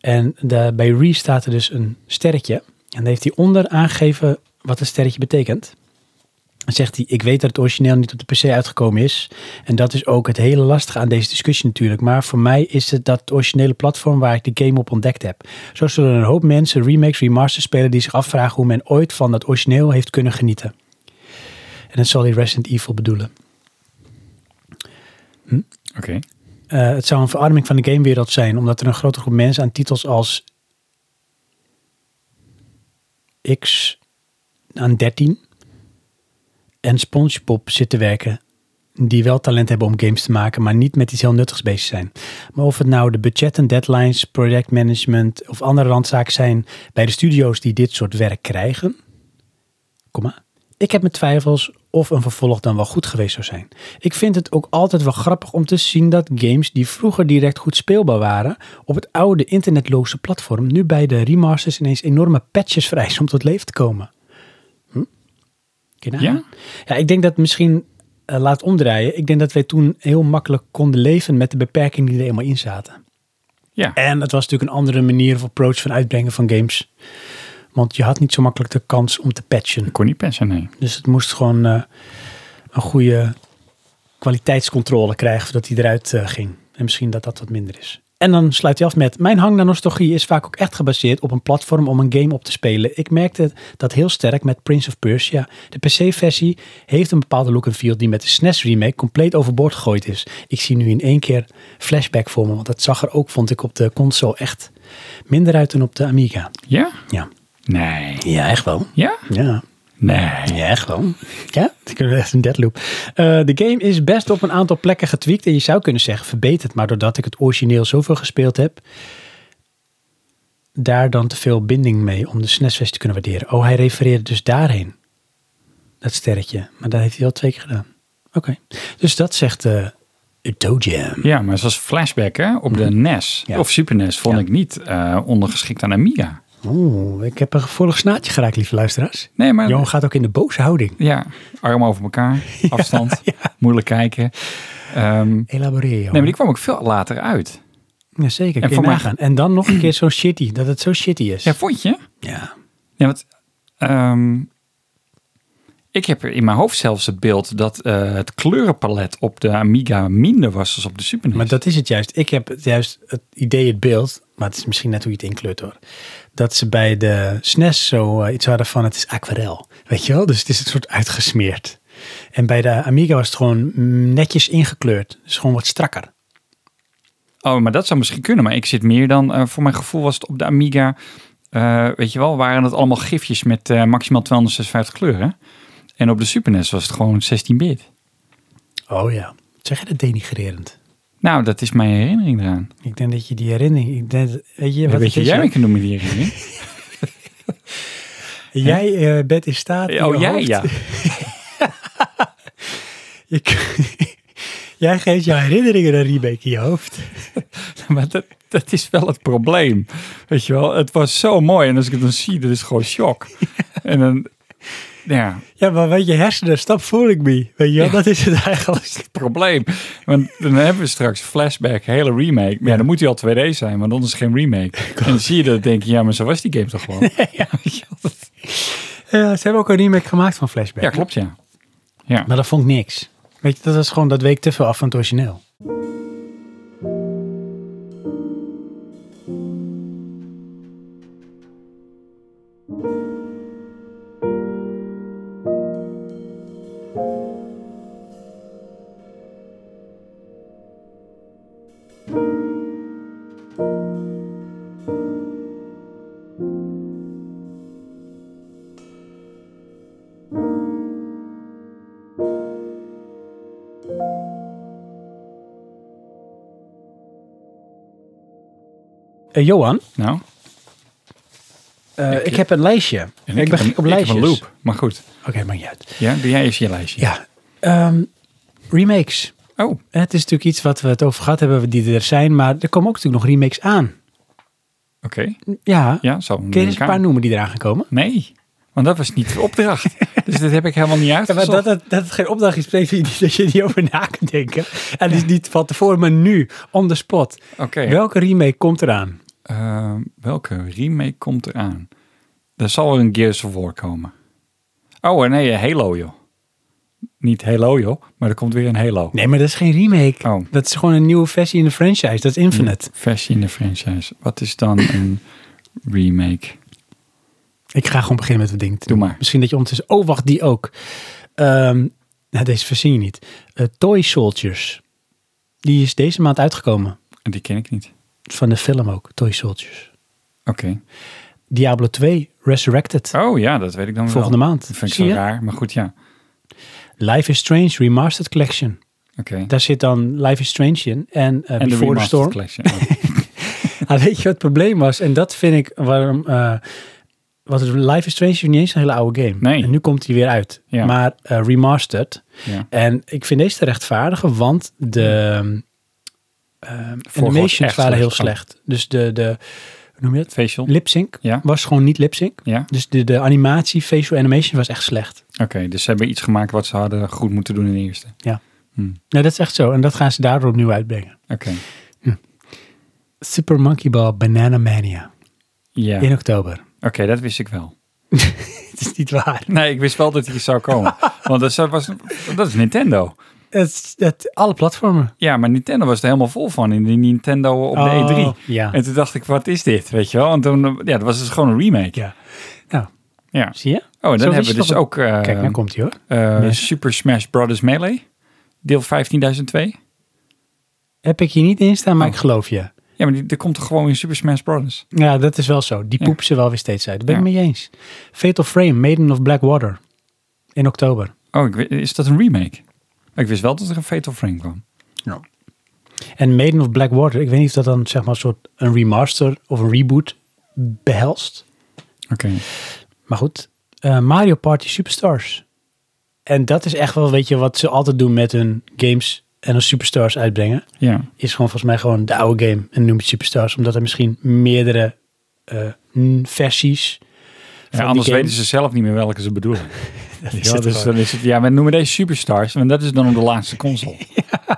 [SPEAKER 1] En de- bij Re staat er dus een sterretje. En daar heeft hij onder aangegeven wat het sterretje betekent. Dan zegt hij, ik weet dat het origineel niet op de PC uitgekomen is. En dat is ook het hele lastige aan deze discussie natuurlijk. Maar voor mij is het dat originele platform waar ik de game op ontdekt heb. Zo zullen een hoop mensen remakes, remasters spelen die zich afvragen hoe men ooit van dat origineel heeft kunnen genieten. En dat zal hij Resident Evil bedoelen.
[SPEAKER 3] Oké.
[SPEAKER 1] Eh, het zou een verarming van de gamewereld zijn, omdat er een grote groep mensen aan titels als X aan 13 en SpongeBob zitten werken, die wel talent hebben om games te maken, maar niet met iets heel nuttigs bezig zijn. Maar of het nou de budgetten, deadlines, projectmanagement of andere randzaken zijn bij de studio's die dit soort werk krijgen, komma, ik heb mijn twijfels of een vervolg dan wel goed geweest zou zijn. Ik vind het ook altijd wel grappig om te zien dat games die vroeger direct goed speelbaar waren, op het oude internetloze platform nu bij de remasters ineens enorme patches vereisen om tot leven te komen. Hm? Kun je nagaan?
[SPEAKER 3] Ja?
[SPEAKER 1] Ja, ik denk dat misschien eh, laat omdraaien. Ik denk dat wij toen heel makkelijk konden leven met de beperkingen die er eenmaal in zaten.
[SPEAKER 3] Ja.
[SPEAKER 1] En het was natuurlijk een andere manier of approach van uitbrengen van games. Want je had niet zo makkelijk de kans om te patchen.
[SPEAKER 3] Ik kon niet persen, nee.
[SPEAKER 1] Dus het moest gewoon eh, een goede kwaliteitscontrole krijgen voordat hij eruit eh, ging. En misschien dat dat wat minder is. En dan sluit hij af met: Mijn hang naar nostalgie is vaak ook echt gebaseerd op een platform om een game op te spelen. Ik merkte dat heel sterk met Prince of Persia. De PC-versie heeft een bepaalde look en feel die met de SNES-remake compleet overboord gegooid is. Ik zie nu in één keer flashback voor me, want dat zag er ook, vond ik, op de console echt minder uit dan op de Amiga.
[SPEAKER 3] Ja?
[SPEAKER 1] Ja.
[SPEAKER 3] Nee.
[SPEAKER 1] Ja, echt wel.
[SPEAKER 3] Ja?
[SPEAKER 1] Ja.
[SPEAKER 2] Nee.
[SPEAKER 1] Ja, gewoon. Ja, ik heb echt een deadloop. Eh, de game is best op een aantal plekken getweakt en je zou kunnen zeggen verbeterd, maar doordat ik het origineel zoveel gespeeld heb, daar dan te veel binding mee om de SNES-versie te kunnen waarderen. Oh, hij refereerde dus daarheen. Dat sterretje. Maar dat heeft hij al twee keer gedaan. Oké. Dus dat zegt eh Toe Jam.
[SPEAKER 2] Ja, maar zoals flashback hè, op de NES
[SPEAKER 1] Ja.
[SPEAKER 2] of Super NES vond
[SPEAKER 1] Ja.
[SPEAKER 2] ik niet eh, ondergeschikt aan Amiga.
[SPEAKER 1] Oeh, ik heb een gevoelig snaadje geraakt, lieve luisteraars.
[SPEAKER 2] Nee, maar
[SPEAKER 1] Johan gaat ook in de boze houding.
[SPEAKER 2] ja, armen over elkaar, afstand, moeilijk kijken. Ehm, nee,
[SPEAKER 1] Elaboreer, Johan.
[SPEAKER 2] maar die kwam ook veel later uit.
[SPEAKER 1] Ja, zeker.
[SPEAKER 2] En
[SPEAKER 1] En,
[SPEAKER 2] voor mij-
[SPEAKER 1] nagaan. en dan nog een keer zo shitty, dat het zo shitty is.
[SPEAKER 2] Ja, vond je?
[SPEAKER 1] Ja.
[SPEAKER 2] Ja, want ehm, ik heb er in mijn hoofd zelfs het beeld dat eh, het kleurenpalet op de Amiga minder was dan op de Super E NES.
[SPEAKER 1] Maar dat is het juist. Ik heb het juist het idee, het beeld, maar het is misschien net hoe je het inkleurt hoor. Dat ze bij de SNES zo eh, iets hadden van het is aquarel. Weet je wel? Dus het is een soort uitgesmeerd. En bij de Amiga was het gewoon mm, netjes ingekleurd. Dus gewoon wat strakker.
[SPEAKER 2] Oh, maar dat zou misschien kunnen. Maar ik zit meer dan, eh, voor mijn gevoel was het op de Amiga, eh, weet je wel, waren het allemaal gifjes met eh, maximaal 256 kleuren. En op de Super NES was het gewoon 16-bit.
[SPEAKER 1] Oh ja. Zeg je dat denigrerend?
[SPEAKER 2] Nou, dat is mijn herinnering eraan.
[SPEAKER 1] Ik denk dat je die herinnering... Ik denk, dat- weet je, wat
[SPEAKER 2] Ja,
[SPEAKER 1] het
[SPEAKER 2] weet je,
[SPEAKER 1] is,
[SPEAKER 2] jij
[SPEAKER 1] hoor?
[SPEAKER 2] mee kan doen met die herinnering.
[SPEAKER 1] Jij eh, bent in staat... in
[SPEAKER 2] Oh,
[SPEAKER 1] je
[SPEAKER 2] jij
[SPEAKER 1] hoofd-
[SPEAKER 2] ja.
[SPEAKER 1] Je k- jij geeft jouw herinneringen een remake in je hoofd.
[SPEAKER 2] maar dat, dat is wel het probleem. Weet je wel, het was zo mooi. En als ik het dan zie, dat is gewoon shock. En dan, ja,
[SPEAKER 1] Ja, maar weet je, hersenen, stop fooling me. Weet je wel, dat is het eigenlijk.
[SPEAKER 2] probleem. Want dan hebben we straks flashback, hele remake. Maar ja, dan moet hij al 2D zijn, want anders is het geen remake. En dan zie je dat en denk je, ja, maar zo was die game toch gewoon?
[SPEAKER 1] Ja, ze hebben ook een remake gemaakt van Flashback.
[SPEAKER 2] Ja, klopt ja. Ja.
[SPEAKER 1] Maar dat vond ik niks. Weet je, dat was gewoon, dat week te veel af van het origineel. Eh, Johan,
[SPEAKER 2] Nou,
[SPEAKER 1] eh, ik heb een lijstje. ik, ben
[SPEAKER 2] heb
[SPEAKER 1] gek op
[SPEAKER 2] ik heb
[SPEAKER 1] lijstjes.
[SPEAKER 2] loop. Maar goed,
[SPEAKER 1] Oké, maakt niet uit.
[SPEAKER 2] ja, doe jij eens je lijstje.
[SPEAKER 1] Ja, ehm, remakes. Eh,
[SPEAKER 2] Oh,
[SPEAKER 1] Het is natuurlijk iets wat we het over gehad hebben, die er zijn. Maar er komen ook natuurlijk nog remakes aan.
[SPEAKER 2] oké.
[SPEAKER 1] Ja,
[SPEAKER 2] Ja, zo.
[SPEAKER 1] kun je eens een paar noemen die eraan gaan komen?
[SPEAKER 2] Nee, want dat was niet de opdracht. dus dit heb ik helemaal niet
[SPEAKER 1] Ja, maar dat,
[SPEAKER 2] uitgezocht.
[SPEAKER 1] het, dat het geen opdracht is, betekent niet dat je niet over na kunt denken. En dus niet van tevoren, maar nu, on the spot.
[SPEAKER 2] Oké.
[SPEAKER 1] Welke remake komt eraan?
[SPEAKER 2] Eh, welke remake komt eraan? Er zal wel een Gears of War komen. Oh, en nee, Halo, joh. Niet Halo, joh, maar er komt weer een Halo.
[SPEAKER 1] Nee, maar dat is geen remake.
[SPEAKER 2] Oh. Mm.
[SPEAKER 1] Dat is gewoon een nieuwe versie in de franchise. Dat is Infinite.
[SPEAKER 2] Versie in de franchise. Wat is dan een remake?
[SPEAKER 1] Ik ga gewoon beginnen met het ding. te
[SPEAKER 2] Doe
[SPEAKER 1] doen.
[SPEAKER 2] maar.
[SPEAKER 1] Misschien dat je ondertussen... Oh, wacht, die ook. Ehm, nou, deze versie je niet. Eh, Toy Soldiers. Die is deze maand uitgekomen.
[SPEAKER 2] Die ken ik niet.
[SPEAKER 1] Van de film ook, Toy Soldiers.
[SPEAKER 2] Oké.
[SPEAKER 1] Diablo 2, Resurrected.
[SPEAKER 2] Oh ja, dat weet ik dan wel.
[SPEAKER 1] volgende maand.
[SPEAKER 2] Dat vind ik
[SPEAKER 1] Zie
[SPEAKER 2] zo
[SPEAKER 1] je?
[SPEAKER 2] raar, maar goed, ja.
[SPEAKER 1] Life is Strange, Remastered Collection.
[SPEAKER 2] Oké.
[SPEAKER 1] Daar zit dan Life is Strange in en eh Before
[SPEAKER 2] En de
[SPEAKER 1] the
[SPEAKER 2] remastered
[SPEAKER 1] Storm.
[SPEAKER 2] collection. Oh,
[SPEAKER 1] Ah, weet je wat het probleem was? En dat vind ik waarom... eh wat het Life is Strange is niet eens een hele oude game.
[SPEAKER 2] Nee.
[SPEAKER 1] En nu komt hij weer uit.
[SPEAKER 2] Ja.
[SPEAKER 1] Maar eh, remastered.
[SPEAKER 2] ja.
[SPEAKER 1] En ik vind deze te rechtvaardigen, want de ehm
[SPEAKER 2] was
[SPEAKER 1] animations
[SPEAKER 2] echt
[SPEAKER 1] waren heel
[SPEAKER 2] slecht.
[SPEAKER 1] slecht. Dus de, de hoe noem je dat?
[SPEAKER 2] Facial.
[SPEAKER 1] Lip sync
[SPEAKER 2] Ja.
[SPEAKER 1] was gewoon niet lip sync.
[SPEAKER 2] Ja,
[SPEAKER 1] Dus de, de animatie, facial animation was echt slecht.
[SPEAKER 2] oké. Dus ze hebben iets gemaakt wat ze hadden goed moeten doen in de eerste.
[SPEAKER 1] Nou, dat is echt zo. En dat gaan ze daardoor opnieuw uitbrengen.
[SPEAKER 2] Oké.
[SPEAKER 1] Super Monkey Ball Banana Mania
[SPEAKER 2] Ja.
[SPEAKER 1] in oktober.
[SPEAKER 2] Oké, dat wist ik wel.
[SPEAKER 1] Het is niet waar.
[SPEAKER 2] Nee, ik wist wel dat hij zou komen. Want dat, zou- was, dat is Nintendo.
[SPEAKER 1] Het, is- het, alle platformen.
[SPEAKER 2] Ja, maar Nintendo was er helemaal vol van in die Nintendo op de E3.
[SPEAKER 1] Oh, Ja.
[SPEAKER 2] En toen dacht ik, wat is dit? Weet je wel? En toen, ja, dat was dus gewoon een remake.
[SPEAKER 1] ja. Nou,
[SPEAKER 2] Ja.
[SPEAKER 1] zie je?
[SPEAKER 2] Oh, en
[SPEAKER 1] Zo wist
[SPEAKER 2] dan hebben
[SPEAKER 1] je
[SPEAKER 2] we dus
[SPEAKER 1] toch-
[SPEAKER 2] ook eh,
[SPEAKER 1] Kijk, nou komt hij hoor.
[SPEAKER 2] eh,
[SPEAKER 1] Nee.
[SPEAKER 2] Super Smash Brothers Melee. Deel 15.002.
[SPEAKER 1] Heb ik hier niet in staan, maar
[SPEAKER 2] Oh.
[SPEAKER 1] ik geloof je.
[SPEAKER 2] Ja, maar die, er komt er gewoon in Super Smash Brothers.
[SPEAKER 1] Ja, dat is wel zo. Die
[SPEAKER 2] Ja.
[SPEAKER 1] poepen ze wel weer steeds uit. Daar ben
[SPEAKER 2] Ja.
[SPEAKER 1] ik mee eens. Fatal Frame, Maiden of Black Water. in oktober.
[SPEAKER 2] Oh, ik weet- is dat een remake? Ik wist wel dat er een Fatal Frame kwam.
[SPEAKER 1] En Maiden of Blackwater, ik weet niet of dat dan zeg maar een soort een remaster of een reboot behelst.
[SPEAKER 2] Oké.
[SPEAKER 1] Maar goed, eh, Mario Party Superstars. En dat is echt wel, weet je, wat ze altijd doen met hun games en hun Superstars uitbrengen.
[SPEAKER 2] Ja.
[SPEAKER 1] Is gewoon volgens mij gewoon de oude game en noem het Superstars. Omdat er misschien meerdere eh, n- versies van
[SPEAKER 2] ja anders
[SPEAKER 1] die game-
[SPEAKER 2] weten ze zelf niet meer welke ze bedoelen.
[SPEAKER 1] Dat is
[SPEAKER 2] Ja,
[SPEAKER 1] het
[SPEAKER 2] dus
[SPEAKER 1] gewoon.
[SPEAKER 2] dan is het, ja, we noemen deze superstars, want dat is dan op de laatste console.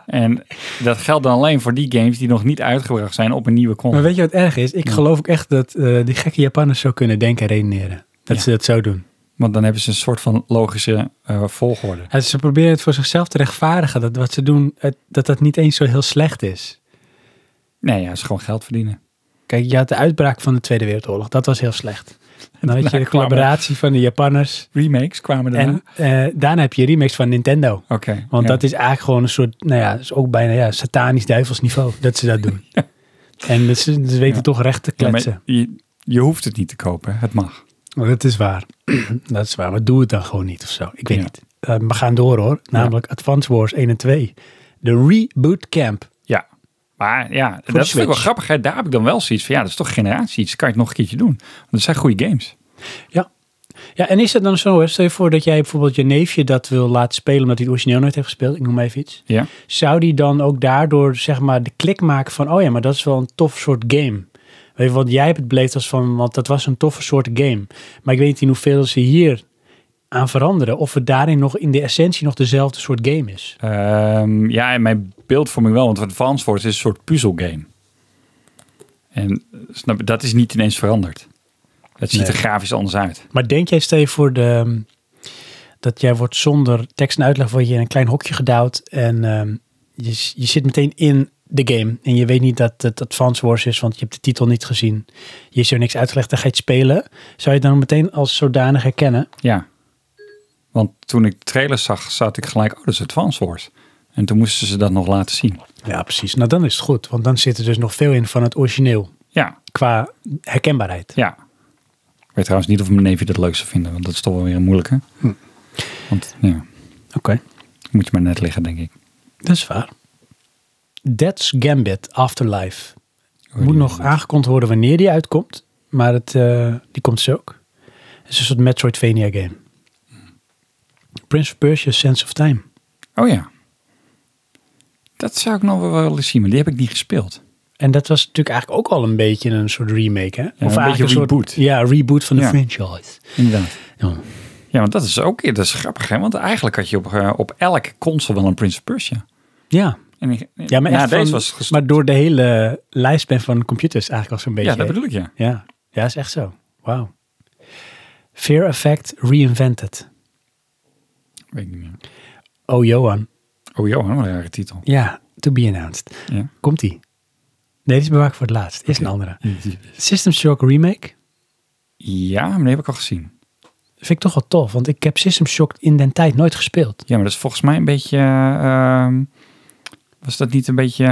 [SPEAKER 2] En dat geldt dan alleen voor die games die nog niet uitgebracht zijn op een nieuwe
[SPEAKER 1] Maar
[SPEAKER 2] console.
[SPEAKER 1] weet je wat erg is? Ik
[SPEAKER 2] Ja.
[SPEAKER 1] geloof ook echt dat eh, die gekke Japanners zo kunnen denken en redeneren. Dat
[SPEAKER 2] Ja.
[SPEAKER 1] ze dat zo doen.
[SPEAKER 2] Want dan hebben ze een soort van logische eh, volgorde.
[SPEAKER 1] En ze proberen het voor zichzelf te rechtvaardigen. Dat wat ze doen, het- dat dat niet eens zo heel slecht is.
[SPEAKER 2] Nee, ja, is gewoon geld verdienen.
[SPEAKER 1] Kijk, je had de uitbraak van de Tweede Wereldoorlog. Dat was heel slecht. En dan had je
[SPEAKER 2] Daarna
[SPEAKER 1] de collaboratie van de Japanners.
[SPEAKER 2] Remakes kwamen daarna.
[SPEAKER 1] En eh, daarna heb je remakes van Nintendo.
[SPEAKER 2] Oké.
[SPEAKER 1] Want
[SPEAKER 2] ja.
[SPEAKER 1] dat is eigenlijk gewoon een soort, nou ja, is ook bijna ja, satanisch duivelsniveau dat ze dat doen. En dat ze, ze weten
[SPEAKER 2] Ja.
[SPEAKER 1] toch recht te
[SPEAKER 2] Ja, maar
[SPEAKER 1] kletsen.
[SPEAKER 2] je, je hoeft het niet te kopen, het mag.
[SPEAKER 1] Maar Dat is waar. dat is waar. Maar doe het dan gewoon niet of zo. Ik weet
[SPEAKER 2] Ja.
[SPEAKER 1] niet. Eh, we gaan door hoor. Namelijk Advance Wars 1 en 2. De Reboot Camp.
[SPEAKER 2] Maar ja,
[SPEAKER 1] de
[SPEAKER 2] dat is natuurlijk wel
[SPEAKER 1] Switch.
[SPEAKER 2] grappig. Hè? Daar heb ik dan wel zoiets van, ja, dat is toch generatie iets. Kan je het nog een keertje doen? Want het zijn goede games.
[SPEAKER 1] Ja, en is dat dan zo? Hè? Stel je voor dat jij bijvoorbeeld je neefje dat wil laten spelen omdat hij het origineel nooit heeft gespeeld. Ik noem maar even iets.
[SPEAKER 2] Ja.
[SPEAKER 1] Zou die dan ook daardoor zeg maar de klik maken van, oh ja, maar dat is wel een tof soort game. Weet je, want jij hebt het beleefd als van, want dat was een toffe soort game. Maar ik weet niet in hoeveel ze hier aan veranderen. Of het daarin nog in de essentie nog dezelfde soort game is.
[SPEAKER 2] Ehm, ja, en mijn beeldvorming wel, want Advance Wars is een soort puzzelgame. En eh, snap, je, dat is niet ineens veranderd. Het ziet
[SPEAKER 1] Nee.
[SPEAKER 2] er grafisch anders uit.
[SPEAKER 1] Maar denk jij, stel je voor de, ehm, dat jij wordt zonder tekst en uitleg word je in een klein hokje gedouwd en ehm, je, s- je zit meteen in de game en je weet niet dat het Advance Wars is, want je hebt de titel niet gezien. Je is er niks uitgelegd, dan ga je het spelen. Zou je het dan meteen als zodanig herkennen?
[SPEAKER 2] Ja. Want toen ik de trailer zag, zat ik gelijk, oh, dat is Advance Wars. En toen moesten ze dat nog laten zien.
[SPEAKER 1] Ja, precies. Nou, dan is het goed, want dan zit er dus nog veel in van het origineel
[SPEAKER 2] Ja,
[SPEAKER 1] qua herkenbaarheid.
[SPEAKER 2] ja. Ik weet trouwens niet of mijn neefje dat leuk zou vinden, want dat is toch wel weer een moeilijke.
[SPEAKER 1] Hm.
[SPEAKER 2] Want ja,
[SPEAKER 1] Oké,
[SPEAKER 2] moet je maar net liggen, denk ik.
[SPEAKER 1] dat is waar. That's Gambit Afterlife.
[SPEAKER 2] Hoe
[SPEAKER 1] moet
[SPEAKER 2] Oh, die
[SPEAKER 1] nog
[SPEAKER 2] heet.
[SPEAKER 1] aangekondigd worden wanneer die uitkomt. Maar het, eh, die komt dus ook. Het is een soort Metroidvania game.
[SPEAKER 2] Hmm.
[SPEAKER 1] Prince of Persia Sense of Time.
[SPEAKER 2] Oh ja. Dat zou ik nog wel willen zien, maar die heb ik niet gespeeld.
[SPEAKER 1] En dat was natuurlijk eigenlijk ook al een beetje een soort remake, hè?
[SPEAKER 2] een
[SPEAKER 1] eigenlijk
[SPEAKER 2] beetje reboot.
[SPEAKER 1] Soort, ja, reboot van de
[SPEAKER 2] Ja.
[SPEAKER 1] franchise.
[SPEAKER 2] Inderdaad.
[SPEAKER 1] Ja.
[SPEAKER 2] Ja, want dat is ook dat is grappig, hè? Want eigenlijk had je op, eh, op elke console wel een Prince of Persia.
[SPEAKER 1] Ja,
[SPEAKER 2] En ik-
[SPEAKER 1] ja maar, echt
[SPEAKER 2] deze
[SPEAKER 1] van-
[SPEAKER 2] was gestopt.
[SPEAKER 1] maar door de hele lijstband van computers eigenlijk al zo'n beetje.
[SPEAKER 2] Ja, dat bedoel ik, ja.
[SPEAKER 1] ja. ja, is echt zo. Wauw. Fear Effect Reinvented.
[SPEAKER 2] Weet ik niet meer.
[SPEAKER 1] Oh, Johan.
[SPEAKER 2] Oh joh, wat een rare titel.
[SPEAKER 1] Ja, to be announced.
[SPEAKER 2] Ja.
[SPEAKER 1] Komt-ie. Nee, dit is bewaakt voor het laatst. Is een andere. System Shock Remake
[SPEAKER 2] Ja, maar die heb ik al gezien.
[SPEAKER 1] vind ik toch wel tof, want ik heb System Shock in den tijd nooit gespeeld.
[SPEAKER 2] Ja, maar dat is volgens mij een beetje... ehm, was dat niet een beetje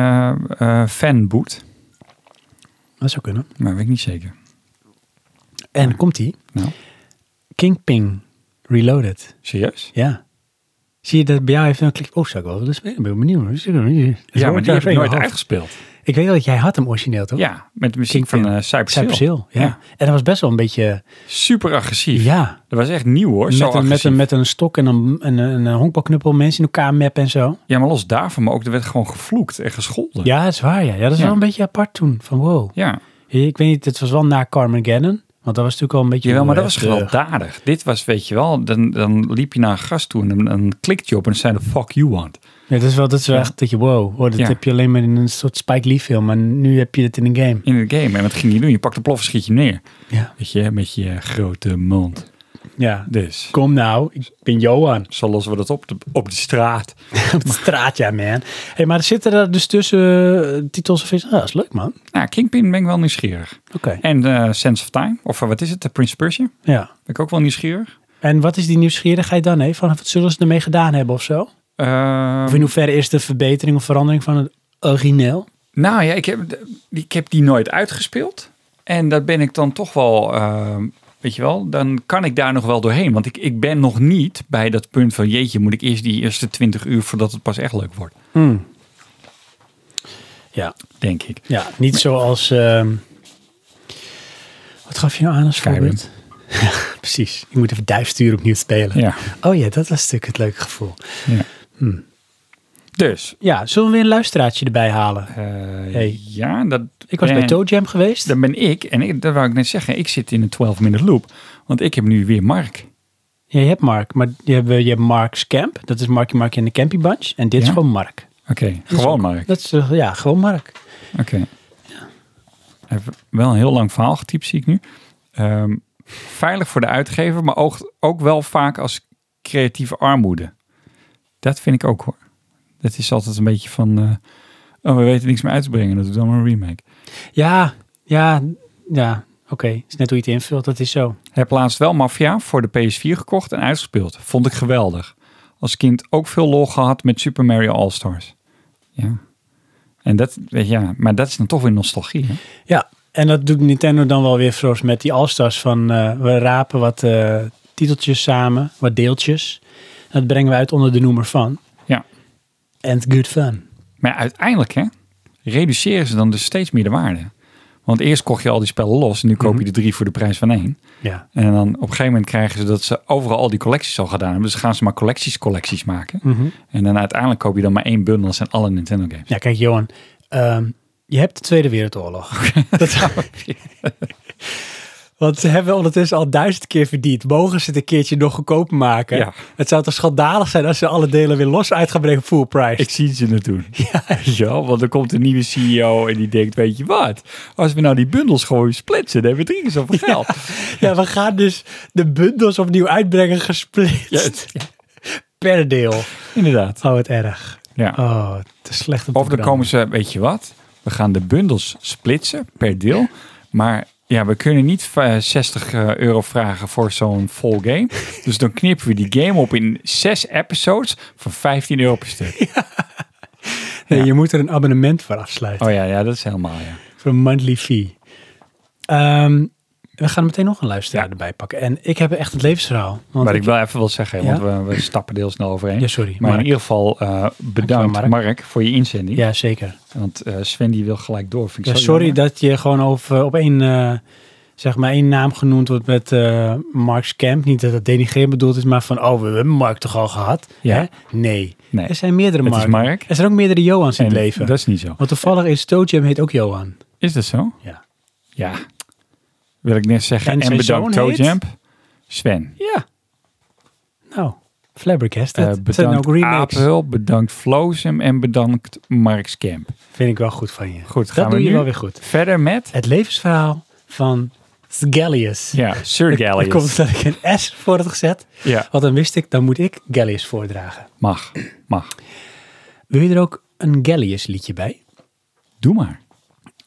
[SPEAKER 2] eh, fanboot?
[SPEAKER 1] Dat zou kunnen.
[SPEAKER 2] Maar weet ik niet zeker.
[SPEAKER 1] En komt die?
[SPEAKER 2] Nou.
[SPEAKER 1] Kingping Reloaded.
[SPEAKER 2] Serieus?
[SPEAKER 1] Ja. Zie je dat bij jou even een klik? Oh, zou ik wel willen spelen? Ik ben benieuwd. Dat
[SPEAKER 2] Ja, maar
[SPEAKER 1] hoort
[SPEAKER 2] die heb
[SPEAKER 1] even in
[SPEAKER 2] ik nooit
[SPEAKER 1] mijn hoofd.
[SPEAKER 2] uitgespeeld.
[SPEAKER 1] Ik weet wel dat jij had hem origineel, toch?
[SPEAKER 2] Ja, met de muziek van
[SPEAKER 1] Kingpin.
[SPEAKER 2] eh Cyber
[SPEAKER 1] Cyber
[SPEAKER 2] Seal.
[SPEAKER 1] Seal, ja.
[SPEAKER 2] Ja.
[SPEAKER 1] En dat was best wel een beetje...
[SPEAKER 2] Super agressief.
[SPEAKER 1] Ja.
[SPEAKER 2] Dat was echt nieuw hoor.
[SPEAKER 1] Met
[SPEAKER 2] Zo
[SPEAKER 1] een, met,
[SPEAKER 2] agressief.
[SPEAKER 1] een, met een stok en een, en een, een honkbalknuppel mensen in elkaar mappen en zo.
[SPEAKER 2] Ja, maar los daarvan, maar ook er werd gewoon gevloekt en gescholden.
[SPEAKER 1] Ja, dat is waar, ja. ja dat is
[SPEAKER 2] Ja.
[SPEAKER 1] wel een beetje apart toen. Van wow.
[SPEAKER 2] ja.
[SPEAKER 1] Ik weet niet, het was wel na Carmen Gannon. Want dat was natuurlijk al een beetje...
[SPEAKER 2] Jawel, maar dat
[SPEAKER 1] eh,
[SPEAKER 2] was
[SPEAKER 1] de-
[SPEAKER 2] gewelddadig. Dit was, weet je wel, dan, dan liep je naar een gast toe en dan, dan klikte je op en dan zei de fuck you want.
[SPEAKER 1] Ja, dat is wel, dat is wel
[SPEAKER 2] Ja.
[SPEAKER 1] echt dat je, wow, hoor, dat
[SPEAKER 2] Ja.
[SPEAKER 1] heb je alleen maar in een soort Spike Lee film. Maar nu heb je het in een game.
[SPEAKER 2] In het game. En wat ging je doen? Je pakte plof en schiet je neer.
[SPEAKER 1] Ja.
[SPEAKER 2] Weet je, met je grote mond.
[SPEAKER 1] Ja.
[SPEAKER 2] Dus,
[SPEAKER 1] Kom nou, ik ben Johan.
[SPEAKER 2] zo lossen we dat op de, op de straat.
[SPEAKER 1] Op de straat, ja man. Hey, maar zitten er dus tussen eh, titels of is... Ah, dat is leuk man.
[SPEAKER 2] Nou, Kingpin ben ik wel nieuwsgierig.
[SPEAKER 1] Oké.
[SPEAKER 2] En eh, Sense of Time, of eh, wat is het, de Prince Persia? Ben
[SPEAKER 1] Ja.
[SPEAKER 2] ik ook wel nieuwsgierig.
[SPEAKER 1] En wat is die nieuwsgierigheid dan? Hè? Van, wat zullen ze ermee gedaan hebben of zo?
[SPEAKER 2] Ehm,
[SPEAKER 1] Of in hoeverre is de verbetering of verandering van het origineel?
[SPEAKER 2] Nou ja, ik heb, ik heb die nooit uitgespeeld. En daar ben ik dan toch wel ehm, Weet je wel, dan kan ik daar nog wel doorheen. Want ik, ik ben nog niet bij dat punt van jeetje, moet ik eerst die eerste 20 uur voordat het pas echt leuk wordt,
[SPEAKER 1] Hmm. Ja,
[SPEAKER 2] denk ik.
[SPEAKER 1] ja, niet zoals... ehm, wat gaf je nou aan als
[SPEAKER 2] Skyrim.
[SPEAKER 1] voorbeeld? Ja, precies. Ik moet even duifstuur opnieuw spelen.
[SPEAKER 2] Ja.
[SPEAKER 1] Oh ja, dat was natuurlijk het leuke gevoel.
[SPEAKER 2] Hm. Dus,
[SPEAKER 1] Ja, zullen we weer een luisteraartje erbij halen?
[SPEAKER 2] eh, ja, dat,
[SPEAKER 1] Ik was bij
[SPEAKER 2] eh,
[SPEAKER 1] Toe Jam geweest.
[SPEAKER 2] Dan ben ik, en ik, dat wou ik net zeggen, ik zit in een 12-minute loop. Want ik heb nu weer Mark.
[SPEAKER 1] Ja, je hebt Mark, maar je hebt, eh, je hebt Mark's Camp. Dat is Marky Mark en de Campy Bunch. En dit is
[SPEAKER 2] Ja?
[SPEAKER 1] gewoon Mark.
[SPEAKER 2] Oké, gewoon Mark.
[SPEAKER 1] Dat is, eh, ja, gewoon Mark.
[SPEAKER 2] Oké. Hij heeft Wel een heel lang verhaal getypt, zie ik nu. Ehm, veilig voor de uitgever, maar ook, ook wel vaak als creatieve armoede. Dat vind ik ook hoor. Dat is altijd een beetje van, eh, oh, we weten niks meer uit te brengen, dat is dan maar een remake.
[SPEAKER 1] Ja, ja, ja. Oké, is net hoe je het invult. Dat is zo.
[SPEAKER 2] Hij plaatst wel Mafia voor de PS4 gekocht en uitgespeeld. Vond ik geweldig. Als kind ook veel lol gehad met Super Mario All-Stars. Ja. En dat, weet je, ja, maar dat is dan toch weer nostalgie. Hè?
[SPEAKER 1] Ja, en dat doet Nintendo dan wel weer zoals met die All-Stars van eh, we rapen wat eh, titeltjes samen, wat deeltjes. En dat brengen we uit onder de noemer van.
[SPEAKER 2] Ja.
[SPEAKER 1] And good fun.
[SPEAKER 2] Maar uiteindelijk, hè, reduceren ze dan dus steeds meer de waarde. Want eerst kocht je al die spellen los en nu koop je
[SPEAKER 1] Mhm.
[SPEAKER 2] de drie voor de prijs van één.
[SPEAKER 1] Ja.
[SPEAKER 2] En dan op een gegeven moment krijgen ze dat ze overal al die collecties al gedaan hebben. Dus gaan ze maar collecties, collecties maken.
[SPEAKER 1] Mhm.
[SPEAKER 2] En dan uiteindelijk koop je dan maar één bundel en zijn alle Nintendo games.
[SPEAKER 1] Ja, kijk Johan, ehm, je hebt de Tweede Wereldoorlog. Dat, want ze hebben ondertussen al duizend keer verdiend. Mogen ze het een keertje nog goedkoop maken?
[SPEAKER 2] Ja.
[SPEAKER 1] Het zou toch schandalig zijn als ze alle delen weer los uit gaan brengen full price.
[SPEAKER 2] Ik zie ze het doen. Ja. ja, want dan komt een nieuwe CEO en die denkt, weet je wat? Als we nou die bundels gewoon splitsen, dan hebben we drie keer zoveel geld.
[SPEAKER 1] Ja, we gaan dus de bundels opnieuw uitbrengen gesplitst.
[SPEAKER 2] Ja, het- ja,
[SPEAKER 1] Per deel.
[SPEAKER 2] inderdaad.
[SPEAKER 1] Oh, het erg.
[SPEAKER 2] Ja.
[SPEAKER 1] Oh, te slecht om te
[SPEAKER 2] Of dan
[SPEAKER 1] branden.
[SPEAKER 2] komen ze, weet je wat? We gaan de bundels splitsen per deel. Maar ja, we kunnen niet eh, 60 eh, euro vragen voor zo'n full game. Dus dan knippen we die game op in zes episodes van 15 euro per stuk.
[SPEAKER 1] Nee, Je moet er een abonnement voor afsluiten.
[SPEAKER 2] Oh ja, ja dat is helemaal ja.
[SPEAKER 1] Voor een monthly fee. Ehm, we gaan meteen nog een luisteraar erbij pakken. En ik heb echt het levensverhaal. Want
[SPEAKER 2] Maar ik wil even wel zeggen,
[SPEAKER 1] Ja?
[SPEAKER 2] want we, we stappen deel snel overheen.
[SPEAKER 1] Ja, sorry.
[SPEAKER 2] Maar in
[SPEAKER 1] Mark.
[SPEAKER 2] ieder geval eh, bedankt
[SPEAKER 1] Mark.
[SPEAKER 2] Mark. voor je inzending.
[SPEAKER 1] Ja, zeker.
[SPEAKER 2] Want eh, Sven die wil gelijk door. Vind ik
[SPEAKER 1] Ja,
[SPEAKER 2] zo
[SPEAKER 1] sorry
[SPEAKER 2] jammer.
[SPEAKER 1] dat je gewoon over, op één, eh, zeg maar één naam genoemd wordt met eh Mark's Camp. Niet dat dat denigrerend bedoeld is, maar van, oh, we hebben Mark toch al gehad?
[SPEAKER 2] Ja.
[SPEAKER 1] Hè? Nee.
[SPEAKER 2] Nee.
[SPEAKER 1] Er zijn meerdere
[SPEAKER 2] Het
[SPEAKER 1] Mark.
[SPEAKER 2] is Mark.
[SPEAKER 1] Er zijn ook meerdere Johans in
[SPEAKER 2] En
[SPEAKER 1] het leven.
[SPEAKER 2] Dat is niet zo.
[SPEAKER 1] Want toevallig is Toe Jam heet ook Johan.
[SPEAKER 2] Is dat zo?
[SPEAKER 1] Ja.
[SPEAKER 2] Ja. Wil ik net zeggen.
[SPEAKER 1] En
[SPEAKER 2] En,
[SPEAKER 1] zijn
[SPEAKER 2] bedankt
[SPEAKER 1] zoon heet?
[SPEAKER 2] Toadjamp. Sven.
[SPEAKER 1] Ja. Nou, flabbergasted.
[SPEAKER 2] Eh,
[SPEAKER 1] Het zijn ook
[SPEAKER 2] bedankt
[SPEAKER 1] remakes.
[SPEAKER 2] Apel, bedankt Flozem en bedankt Marks Camp.
[SPEAKER 1] Vind ik wel goed van je.
[SPEAKER 2] Goed, gaan
[SPEAKER 1] dat
[SPEAKER 2] we
[SPEAKER 1] doe je
[SPEAKER 2] nu
[SPEAKER 1] wel weer goed.
[SPEAKER 2] verder met
[SPEAKER 1] Het levensverhaal van Sgallius.
[SPEAKER 2] ja, Sir
[SPEAKER 1] Er komt
[SPEAKER 2] Gallius.
[SPEAKER 1] dat ik een S voor had gezet.
[SPEAKER 2] Ja,
[SPEAKER 1] Want dan wist ik, dan moet ik Gallius voordragen.
[SPEAKER 2] mag, mag.
[SPEAKER 1] Wil je er ook een Gallius liedje bij?
[SPEAKER 2] Doe maar.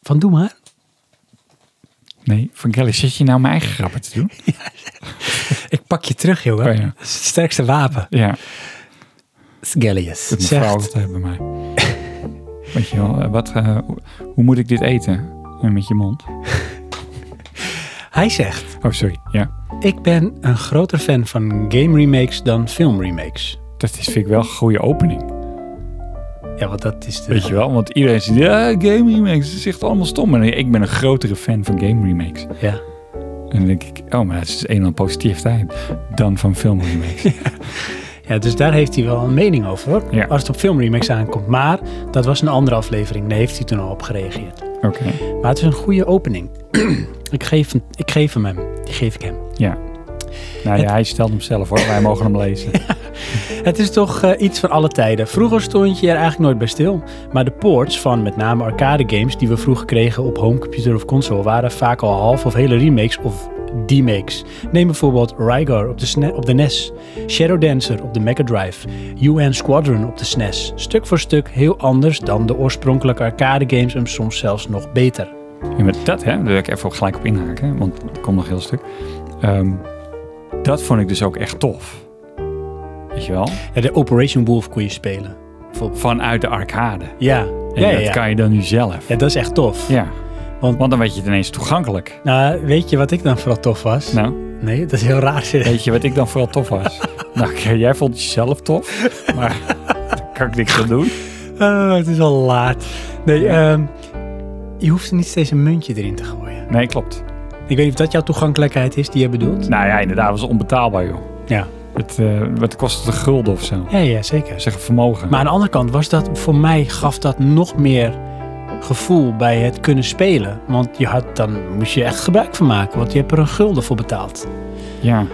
[SPEAKER 1] Van doe maar.
[SPEAKER 2] Nee, van Gallius, zit je nou mijn eigen grappen te doen?
[SPEAKER 1] Ik pak je terug, jongen.
[SPEAKER 2] Oh ja.
[SPEAKER 1] Dat is het sterkste wapen.
[SPEAKER 2] Ja,
[SPEAKER 1] Sgallius.
[SPEAKER 2] dat mijn vrouw
[SPEAKER 1] Zegt,
[SPEAKER 2] altijd bij mij. Weet je wel, eh, wat, eh, hoe- hoe moet ik dit eten? Eh, Met je mond.
[SPEAKER 1] hij zegt,
[SPEAKER 2] Oh, sorry. Ja,
[SPEAKER 1] ik ben een groter fan van game remakes dan film remakes.
[SPEAKER 2] dat is, vind ik wel een goede opening.
[SPEAKER 1] Ja, want dat is de...
[SPEAKER 2] Weet je wel, want iedereen zegt, ja, game remakes, dat is echt allemaal stom. En ik ben een grotere fan van game remakes.
[SPEAKER 1] Ja.
[SPEAKER 2] En dan denk ik, oh, maar dat is een en ander positiviteit dan van film remakes.
[SPEAKER 1] ja, dus daar heeft hij wel een mening over, hoor.
[SPEAKER 2] Ja.
[SPEAKER 1] Als het op film remakes aankomt. Maar dat was een andere aflevering. Daar heeft hij toen al op gereageerd.
[SPEAKER 2] Oké,
[SPEAKER 1] Maar het is een goede opening. ik, geef, hem- ik geef hem hem. Die geef ik hem.
[SPEAKER 2] ja. Nou ja, hij stelt hem zelf hoor, wij mogen hem lezen.
[SPEAKER 1] Het is toch eh, iets van alle tijden. Vroeger stond je er eigenlijk nooit bij stil. Maar de ports van met name arcade games die we vroeger kregen op homecomputer of console waren vaak al half of hele remakes of demakes. Neem bijvoorbeeld Rygar op de, sne- op de NES, Shadow Dancer op de Mega Drive, UN Squadron op de SNES. Stuk voor stuk heel anders dan de oorspronkelijke arcade games en soms zelfs nog beter.
[SPEAKER 2] Ja, maar dat, hè, daar wil ik even op gelijk op inhaken, hè, want er komt nog een heel stuk. Ehm, dat vond ik dus ook echt tof. Weet je wel?
[SPEAKER 1] Ja, de Operation Wolf kon je spelen. bijvoorbeeld.
[SPEAKER 2] Vanuit de arcade.
[SPEAKER 1] Ja,
[SPEAKER 2] En
[SPEAKER 1] ja, ja,
[SPEAKER 2] dat
[SPEAKER 1] ja.
[SPEAKER 2] kan je dan nu zelf.
[SPEAKER 1] Ja, dat is echt tof.
[SPEAKER 2] Ja,
[SPEAKER 1] Want-
[SPEAKER 2] want dan weet je het ineens toegankelijk.
[SPEAKER 1] Nou, weet je wat ik dan vooral tof was?
[SPEAKER 2] Nou,
[SPEAKER 1] Nee, dat is heel raar. zeg.
[SPEAKER 3] Weet je wat ik dan vooral tof was? nou, oké, jij vond jezelf tof, maar daar kan ik niks aan doen.
[SPEAKER 1] Ah, het is al laat. Nee, ehm, je hoeft er niet steeds een muntje erin te gooien.
[SPEAKER 3] Nee, klopt.
[SPEAKER 1] Ik weet niet of dat jouw toegankelijkheid is die je bedoelt.
[SPEAKER 3] Nou ja, inderdaad, was onbetaalbaar, joh.
[SPEAKER 1] Ja.
[SPEAKER 3] Het, eh het kostte een gulden of zo.
[SPEAKER 1] Ja, ja, zeker.
[SPEAKER 3] Zeg een vermogen.
[SPEAKER 1] Maar aan de andere kant was dat voor mij gaf dat nog meer gevoel bij het kunnen spelen. Want je had, dan moest je echt gebruik van maken, want je hebt er een gulden voor betaald.
[SPEAKER 3] Ja,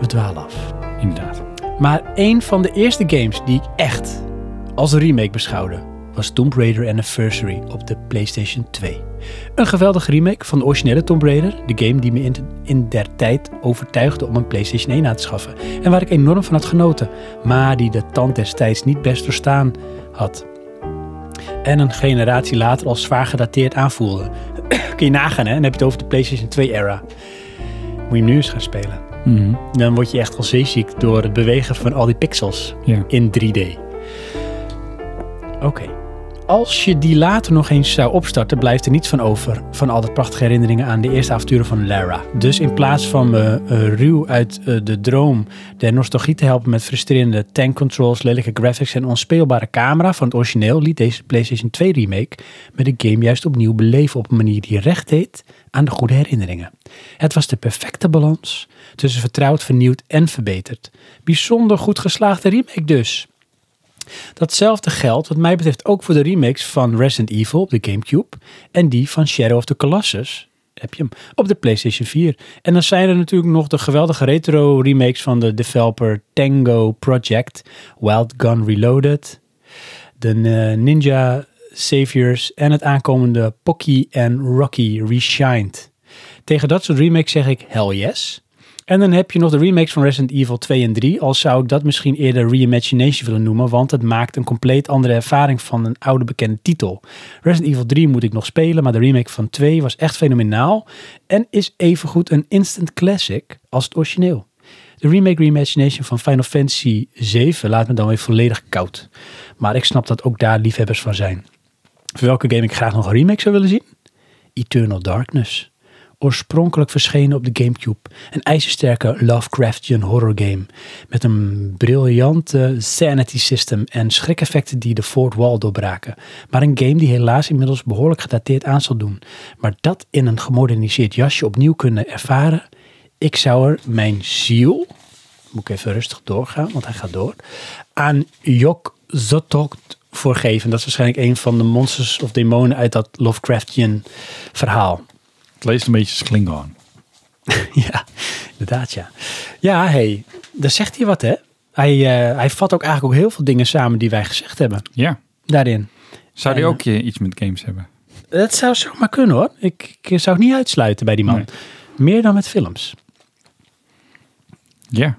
[SPEAKER 1] We dwalen af.
[SPEAKER 3] inderdaad.
[SPEAKER 1] Maar een van de eerste games die ik echt als een remake beschouwde was Tomb Raider Anniversary op de PlayStation 2. Een geweldige remake van de originele Tomb Raider, de game die me in, in der tijd overtuigde om een PlayStation 1 aan te schaffen en waar ik enorm van had genoten, maar die de tand destijds niet best doorstaan had. En een generatie later al zwaar gedateerd aanvoelde. Kun je nagaan, hè? Dan heb je het over de PlayStation 2-era. Moet je hem nu eens gaan spelen
[SPEAKER 3] Mhm.
[SPEAKER 1] dan word je echt al zeeziek door het bewegen van al die pixels
[SPEAKER 3] Ja.
[SPEAKER 1] in 3D. Oké. Als je die later nog eens zou opstarten, blijft er niets van over. Van al dat prachtige herinneringen aan de eerste avonturen van Lara. Dus in plaats van me eh, ruw uit eh, de droom de nostalgie te helpen met frustrerende tank controls, lelijke graphics en onspeelbare camera van het origineel, liet deze PlayStation 2 remake met de game juist opnieuw beleven op een manier die recht deed aan de goede herinneringen. Het was de perfecte balans tussen vertrouwd, vernieuwd en verbeterd. Bijzonder goed geslaagde remake dus. Datzelfde geldt wat mij betreft ook voor de remakes van Resident Evil op de GameCube en die van Shadow of the Colossus. Heb je hem op de PlayStation 4. En dan zijn er natuurlijk nog de geweldige retro remakes van de developer Tango Project, Wild Gun Reloaded, de eh, Ninja Saviors en het aankomende Pocky en Rocky Reshined. Tegen dat soort remakes zeg ik hell yes. En dan heb je nog de remakes van Resident Evil 2 en 3. Al zou ik dat misschien eerder reimagination willen noemen, want het maakt een compleet andere ervaring van een oude bekende titel. Resident Evil 3 moet ik nog spelen, maar de remake van 2 was echt fenomenaal en is evengoed een instant classic als het origineel. De remake reimagination van Final Fantasy 7 laat me dan weer volledig koud. Maar ik snap dat ook daar liefhebbers van zijn. Voor welke game ik graag nog een remake zou willen zien? Eternal Darkness. Oorspronkelijk verschenen op de Gamecube. Een ijzersterke Lovecraftian horror game. Met een briljante sanity system en schrikeffecten die de fourth wall doorbraken. Maar een game die helaas inmiddels behoorlijk gedateerd aan zal doen. Maar dat in een gemoderniseerd jasje opnieuw kunnen ervaren. Ik zou er mijn ziel, moet ik even rustig doorgaan, want hij gaat door, aan Jok Zotokt voor geven. Dat is waarschijnlijk een van de monsters of demonen uit dat Lovecraftian verhaal.
[SPEAKER 3] Het leest een beetje Klingon.
[SPEAKER 1] Ja, inderdaad, ja. Ja, hé, hey, daar zegt hij wat, hè? Hij, eh, hij vat ook eigenlijk ook heel veel dingen samen die wij gezegd hebben
[SPEAKER 3] Ja.
[SPEAKER 1] daarin.
[SPEAKER 3] Zou die
[SPEAKER 1] En-
[SPEAKER 3] ook eh, iets met games hebben?
[SPEAKER 1] Dat zou zomaar kunnen, hoor. Ik, ik zou het niet uitsluiten bij die man.
[SPEAKER 3] Nee.
[SPEAKER 1] Meer dan met films.
[SPEAKER 3] Ja.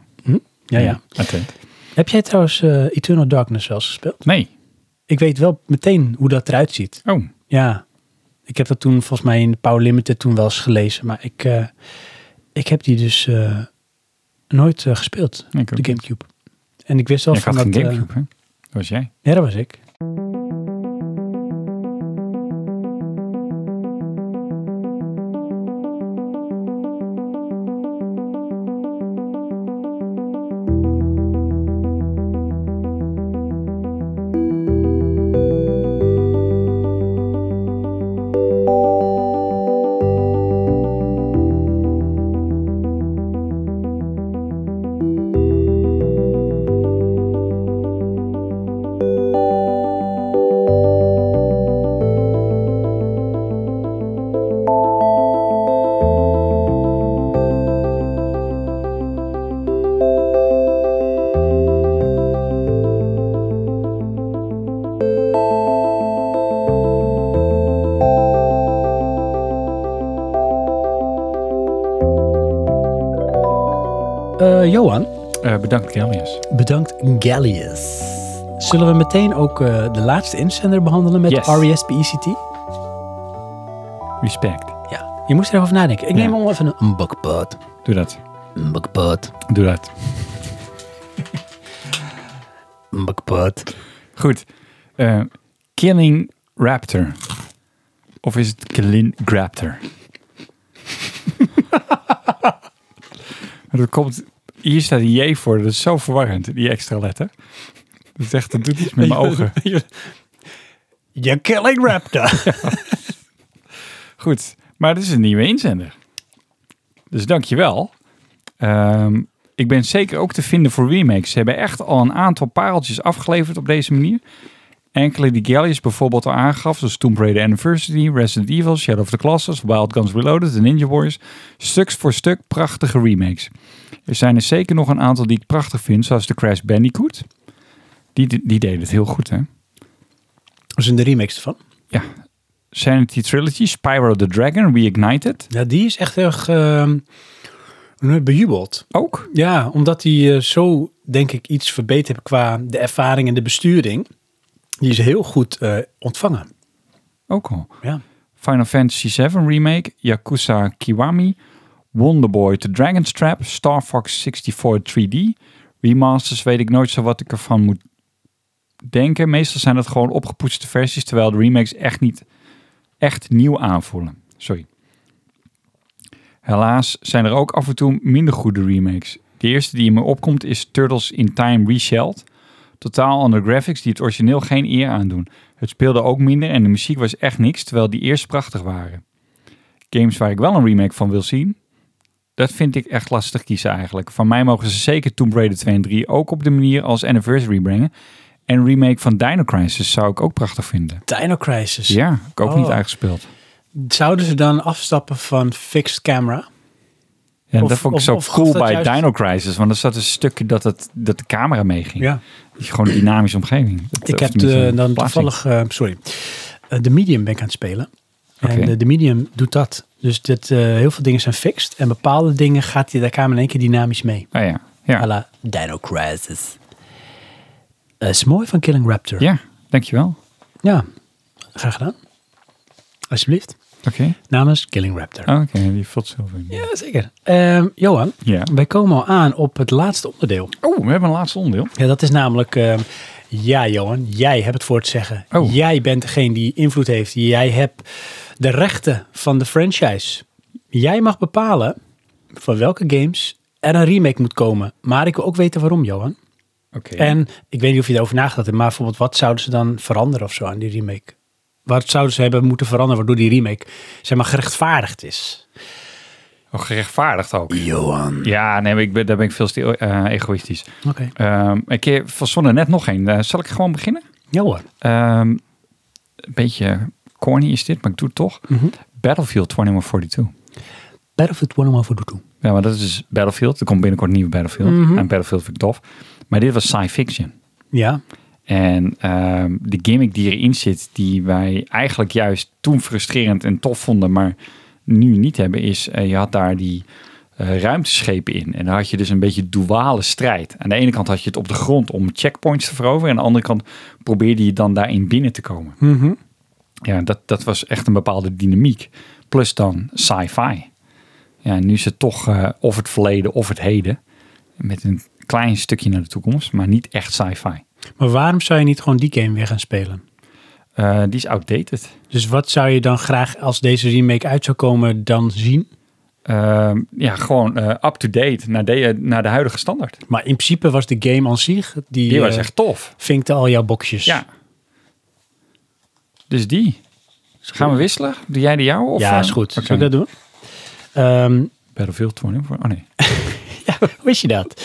[SPEAKER 1] Ja, ja.
[SPEAKER 3] Attent.
[SPEAKER 1] Heb jij trouwens eh, Eternal Darkness wel eens gespeeld?
[SPEAKER 3] Nee.
[SPEAKER 1] Ik weet wel meteen hoe dat eruit ziet.
[SPEAKER 3] Oh.
[SPEAKER 1] Ja, ik heb dat toen volgens mij in de Power Limited toen wel eens gelezen. Maar ik, eh, ik heb die dus eh, nooit eh, gespeeld,
[SPEAKER 3] nee, Ik,
[SPEAKER 1] de Gamecube. En ik wist wel
[SPEAKER 3] Ja, ik
[SPEAKER 1] van
[SPEAKER 3] had
[SPEAKER 1] dat...
[SPEAKER 3] geen
[SPEAKER 1] eh,
[SPEAKER 3] Gamecube, hè? Dat was jij.
[SPEAKER 1] Ja, dat was ik. Eh, Johan,
[SPEAKER 3] Eh, bedankt, Kellius.
[SPEAKER 1] bedankt Gallius. Zullen we meteen ook eh, de laatste inzender behandelen met E
[SPEAKER 3] Yes.
[SPEAKER 1] RESPECT?
[SPEAKER 3] Respect.
[SPEAKER 1] Ja, je moest er even over nadenken. Ik
[SPEAKER 3] Ja.
[SPEAKER 1] neem al even een, een bakpot.
[SPEAKER 3] Doe dat.
[SPEAKER 1] Een bakpot.
[SPEAKER 3] Doe dat.
[SPEAKER 1] Een bakpot.
[SPEAKER 3] Goed. Eh, Killing Raptor. Of is het Killing Raptor?
[SPEAKER 2] Dat komt, hier staat een J voor. Dat is zo verwarrend, die extra letter. Dat, is echt, dat doet iets met mijn ogen.
[SPEAKER 1] You're killing Raptor.
[SPEAKER 2] Goed, maar dit is een nieuwe inzender. Dus dankjewel. Ehm ik ben zeker ook te vinden voor remakes. Ze hebben echt al een aantal pareltjes afgeleverd op deze manier. Enkele die Gallius bijvoorbeeld al aangaf, zoals Tomb Raider Anniversary, Resident Evil, Shadow of the Colossus, Wild Guns Reloaded, The Ninja Warriors. Stuks voor stuk prachtige remakes. Er zijn er zeker nog een aantal die ik prachtig vind, zoals de Crash Bandicoot. Die, die deed het heel goed, hè?
[SPEAKER 1] Dat is een remix van.
[SPEAKER 2] Sanity Trilogy, Spyro the Dragon, Reignited.
[SPEAKER 1] Ja, die is echt erg ehm, hoe noem je het, bejubeld.
[SPEAKER 2] Ook.
[SPEAKER 1] Ja, omdat die eh, zo, denk ik, iets verbeterd qua de ervaring en de besturing. Die is heel goed eh, ontvangen.
[SPEAKER 2] Ook al.
[SPEAKER 1] Ja.
[SPEAKER 2] Final Fantasy VII Remake, Yakuza Kiwami, Wonderboy The Dragon's Trap, Star Fox 64 3D. Remasters weet ik nooit zo wat ik ervan moet denken. Meestal zijn dat gewoon opgepoetste versies, terwijl de remakes echt niet echt nieuw aanvoelen. Sorry. Helaas zijn er ook af en toe minder goede remakes. De eerste die in me opkomt is Turtles in Time Reshelled. Totaal andere graphics die het origineel geen eer aandoen. Het speelde ook minder en de muziek was echt niks, terwijl die eerst prachtig waren. Games waar ik wel een remake van wil zien, dat vind ik echt lastig kiezen eigenlijk. Van mij mogen ze zeker Tomb Raider 2 en 3 ook op de manier als Anniversary brengen. En een remake van Dino Crisis zou ik ook prachtig vinden.
[SPEAKER 1] Dino Crisis.
[SPEAKER 2] Ja, heb ik ook
[SPEAKER 1] Oh.
[SPEAKER 2] niet uitgespeeld.
[SPEAKER 1] Zouden ze dan afstappen van fixed camera?
[SPEAKER 2] Ja,
[SPEAKER 1] Of-
[SPEAKER 2] dat vond ik
[SPEAKER 1] of-
[SPEAKER 2] zo
[SPEAKER 1] of gaf
[SPEAKER 2] cool
[SPEAKER 1] dat
[SPEAKER 2] bij
[SPEAKER 1] juist-
[SPEAKER 2] Dino Crisis, want er zat een stukje dat, het, dat de camera meeging.
[SPEAKER 1] Ja.
[SPEAKER 2] Dat je gewoon een dynamische omgeving. Dat-
[SPEAKER 1] Ik
[SPEAKER 2] of
[SPEAKER 1] heb
[SPEAKER 2] tenminste,
[SPEAKER 1] de, dan
[SPEAKER 2] plaatsing.
[SPEAKER 1] toevallig, eh, sorry, Eh, de medium ben ik aan het spelen. En
[SPEAKER 2] Oké.
[SPEAKER 1] eh, de medium doet dat. Dus dit, eh, heel veel dingen zijn fixed. En bepaalde dingen gaat die, daar kamer in één keer dynamisch mee.
[SPEAKER 2] Ah ja,
[SPEAKER 1] A
[SPEAKER 2] ja.
[SPEAKER 1] la Dino Crisis. Dat is mooi van Killing Raptor.
[SPEAKER 2] ja, dankjewel.
[SPEAKER 1] Ja, graag gedaan. Alsjeblieft.
[SPEAKER 2] Oké,
[SPEAKER 1] Namens Killing Raptor.
[SPEAKER 2] Ah, oké, die vult zelf in.
[SPEAKER 1] Ja, zeker. Ehm, Johan,
[SPEAKER 2] Ja.
[SPEAKER 1] wij komen al aan op het laatste onderdeel.
[SPEAKER 2] Oh, we hebben een laatste onderdeel.
[SPEAKER 1] Ja, dat is namelijk, ehm, ja Johan, jij hebt het voor te zeggen.
[SPEAKER 2] Oh.
[SPEAKER 1] Jij bent degene die invloed heeft. Jij hebt de rechten van de franchise. Jij mag bepalen van welke games er een remake moet komen. Maar ik wil ook weten waarom, Johan.
[SPEAKER 2] Oké.
[SPEAKER 1] En ik weet niet of je daarover nagedacht hebt, maar bijvoorbeeld wat zouden ze dan veranderen of zo aan die remake? Wat zouden ze hebben moeten veranderen waardoor die remake, zeg maar, gerechtvaardigd is?
[SPEAKER 2] Oh, gerechtvaardigd ook.
[SPEAKER 1] Johan.
[SPEAKER 2] Ja, nee, maar ik ben, daar ben ik veel te ego- eh, egoïstisch.
[SPEAKER 1] Oké.
[SPEAKER 2] Ehm ik heb- verzon er net nog één. Eh, zal ik gewoon beginnen?
[SPEAKER 1] Ja hoor.
[SPEAKER 2] Ehm, een beetje corny is dit, maar ik doe het toch. Battlefield 2142.
[SPEAKER 1] Battlefield 1 over Doodoo.
[SPEAKER 2] Ja, maar dat is dus Battlefield. Er komt binnenkort een nieuwe Battlefield. En Battlefield vind ik tof. Maar dit was science fiction.
[SPEAKER 1] Ja.
[SPEAKER 2] En ehm, de gimmick die erin zit, die wij eigenlijk juist toen frustrerend en tof vonden, maar nu niet hebben, is eh, je had daar die eh, ruimteschepen in. En daar had je dus een beetje duale strijd. Aan de ene kant had je het op de grond om checkpoints te veroveren. En aan de andere kant probeerde je dan daarin binnen te komen.
[SPEAKER 1] Mhm.
[SPEAKER 2] Ja, dat, dat was echt een bepaalde dynamiek. Plus dan sci-fi. Ja, en nu is het toch eh, of het verleden of het heden. Met een klein stukje naar de toekomst, maar niet echt sci-fi.
[SPEAKER 1] Maar waarom zou je niet gewoon die game weer gaan spelen?
[SPEAKER 2] Eh, die is outdated.
[SPEAKER 1] Dus wat zou je dan graag als deze remake uit zou komen dan zien?
[SPEAKER 2] Ehm, ja, gewoon eh, up-to-date naar de, naar de huidige standaard.
[SPEAKER 1] Maar in principe was de game aan zich, die,
[SPEAKER 2] Die was
[SPEAKER 1] eh,
[SPEAKER 2] echt tof.
[SPEAKER 1] vinkte al jouw boxjes.
[SPEAKER 2] Ja. Dus die. dus Gaan we wisselen? Doe jij de jouwe? Of,
[SPEAKER 1] ja,
[SPEAKER 2] eh,
[SPEAKER 1] is goed.
[SPEAKER 2] oké.
[SPEAKER 1] Zullen we dat doen? Ehm,
[SPEAKER 2] Battlefield 21. Oh nee.
[SPEAKER 1] Ja, hoe wist je dat?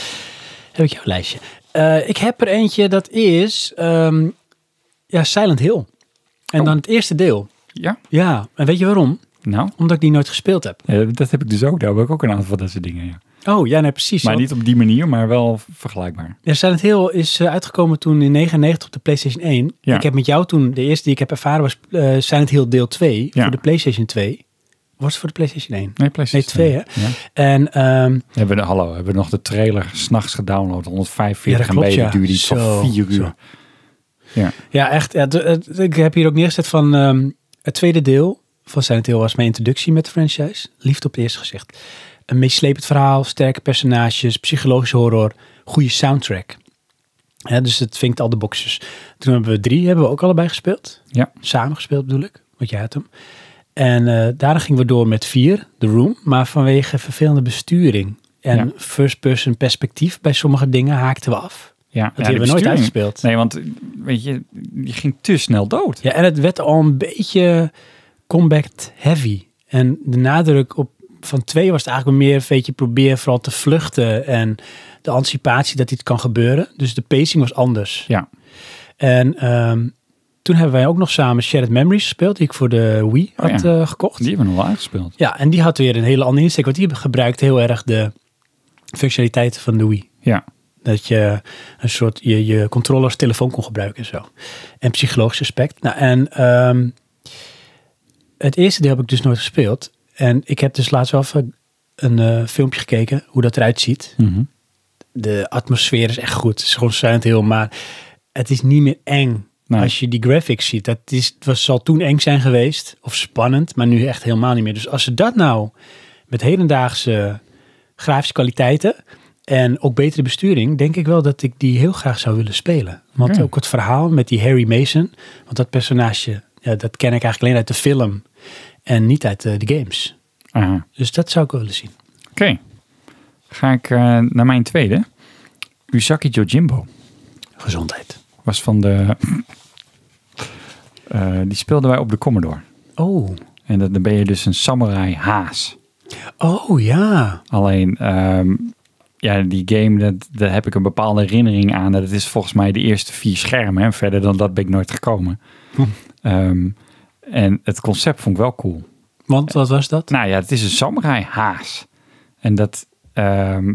[SPEAKER 1] Heb ik jouw lijstje. Eh, ik heb er eentje, dat is ehm, ja, Silent Hill. En
[SPEAKER 2] Oh.
[SPEAKER 1] dan het eerste deel.
[SPEAKER 2] Ja?
[SPEAKER 1] Ja, en weet je waarom?
[SPEAKER 2] Nou,
[SPEAKER 1] Omdat ik die nooit gespeeld heb.
[SPEAKER 2] eh, dat heb ik dus ook. Daar heb ik ook een aantal van dat soort dingen. Ja.
[SPEAKER 1] Oh, ja, nee, precies.
[SPEAKER 2] Maar
[SPEAKER 1] Want-
[SPEAKER 2] niet op die manier, maar wel vergelijkbaar.
[SPEAKER 1] Ja, Silent Hill is eh, uitgekomen toen in 99 op de PlayStation 1.
[SPEAKER 2] Ja.
[SPEAKER 1] Ik heb met jou toen, de eerste die ik heb ervaren was eh, Silent Hill deel 2
[SPEAKER 2] Ja.
[SPEAKER 1] voor de PlayStation 2. Was het voor de PlayStation 1?
[SPEAKER 2] Nee,
[SPEAKER 1] Nee,
[SPEAKER 2] PlayStation
[SPEAKER 1] twee, hè?
[SPEAKER 2] Ja.
[SPEAKER 1] En ehm,
[SPEAKER 2] Hebben we, hallo, hebben we nog de trailer s'nachts gedownload. 145
[SPEAKER 1] Ja, dat klopt,
[SPEAKER 2] MB,
[SPEAKER 1] ja.
[SPEAKER 2] duurde iets
[SPEAKER 1] Zo,
[SPEAKER 2] van 4
[SPEAKER 1] zo.
[SPEAKER 2] uur. Ja.
[SPEAKER 1] Ja, echt. ja, d- d- ik heb hier ook neergezet van ehm, het tweede deel van Silent Hill was mijn introductie met de franchise. Liefde op het eerste gezicht. Een meeslepend verhaal, sterke personages, psychologisch horror, goede soundtrack. Ja, dus het vinkt al de boxes. Toen hebben we drie, hebben we ook allebei gespeeld.
[SPEAKER 2] Ja.
[SPEAKER 1] Samen gespeeld bedoel ik, want jij had hem. En eh daarna gingen we door met vier, The Room. Maar vanwege vervelende besturing en
[SPEAKER 2] Ja.
[SPEAKER 1] first-person perspectief bij sommige dingen haakten we af.
[SPEAKER 2] Ja,
[SPEAKER 1] Dat
[SPEAKER 2] ja,
[SPEAKER 1] hebben we
[SPEAKER 2] de
[SPEAKER 1] nooit
[SPEAKER 2] besturing-
[SPEAKER 1] uitgespeeld.
[SPEAKER 2] Nee, want eh, weet je, je ging te snel dood.
[SPEAKER 1] Ja, en het werd al een beetje combat heavy. En de nadruk op van twee was het eigenlijk meer een beetje proberen vooral te vluchten en de anticipatie dat iets kan gebeuren. Dus de pacing was anders.
[SPEAKER 2] Ja.
[SPEAKER 1] En ehm, toen hebben wij ook nog samen Shared Memories gespeeld, die ik voor de Wii
[SPEAKER 2] Oh
[SPEAKER 1] had eh, gekocht.
[SPEAKER 2] Die hebben we nog wel uitgespeeld.
[SPEAKER 1] Ja, en die had weer een hele andere insteek, want die gebruikt heel erg de functionaliteiten van de Wii.
[SPEAKER 2] Ja.
[SPEAKER 1] Dat je een soort je, je controller als telefoon kon gebruiken en zo. En psychologisch aspect. Nou, en ehm, het eerste deel heb ik dus nooit gespeeld. En ik heb dus laatst wel even een eh, filmpje gekeken hoe dat eruit ziet.
[SPEAKER 2] Mhm.
[SPEAKER 1] De atmosfeer is echt goed. Het is gewoon Silent Hill, maar het is niet meer eng.
[SPEAKER 2] Nee.
[SPEAKER 1] Als je die graphics ziet, dat is, het was, zal toen eng zijn geweest. Of spannend, maar nu echt helemaal niet meer. Dus als ze dat nou met hedendaagse grafische kwaliteiten en ook betere besturing, denk ik wel dat ik die heel graag zou willen spelen. Want
[SPEAKER 2] Oké.
[SPEAKER 1] ook het verhaal met die Harry Mason, want dat personage, ja, dat ken ik eigenlijk alleen uit de film en niet uit eh, de games.
[SPEAKER 2] Aha.
[SPEAKER 1] Dus dat zou ik wel willen zien.
[SPEAKER 2] Oké. Ga ik eh, naar mijn tweede. Usaki Jojimbo
[SPEAKER 1] Gezondheid.
[SPEAKER 2] was van de... Eh, die speelden wij op de Commodore.
[SPEAKER 1] Oh,
[SPEAKER 2] En dat- dan ben je dus een samurai haas.
[SPEAKER 1] oh ja.
[SPEAKER 2] Alleen, ehm, ja, die game, dat, daar heb ik een bepaalde herinnering aan. Dat is volgens mij de eerste vier schermen. En verder dan dat ben ik nooit gekomen. Ehm, en het concept vond ik wel cool.
[SPEAKER 1] Want wat was dat?
[SPEAKER 2] Nou ja, het is een samurai haas. En dat, ehm,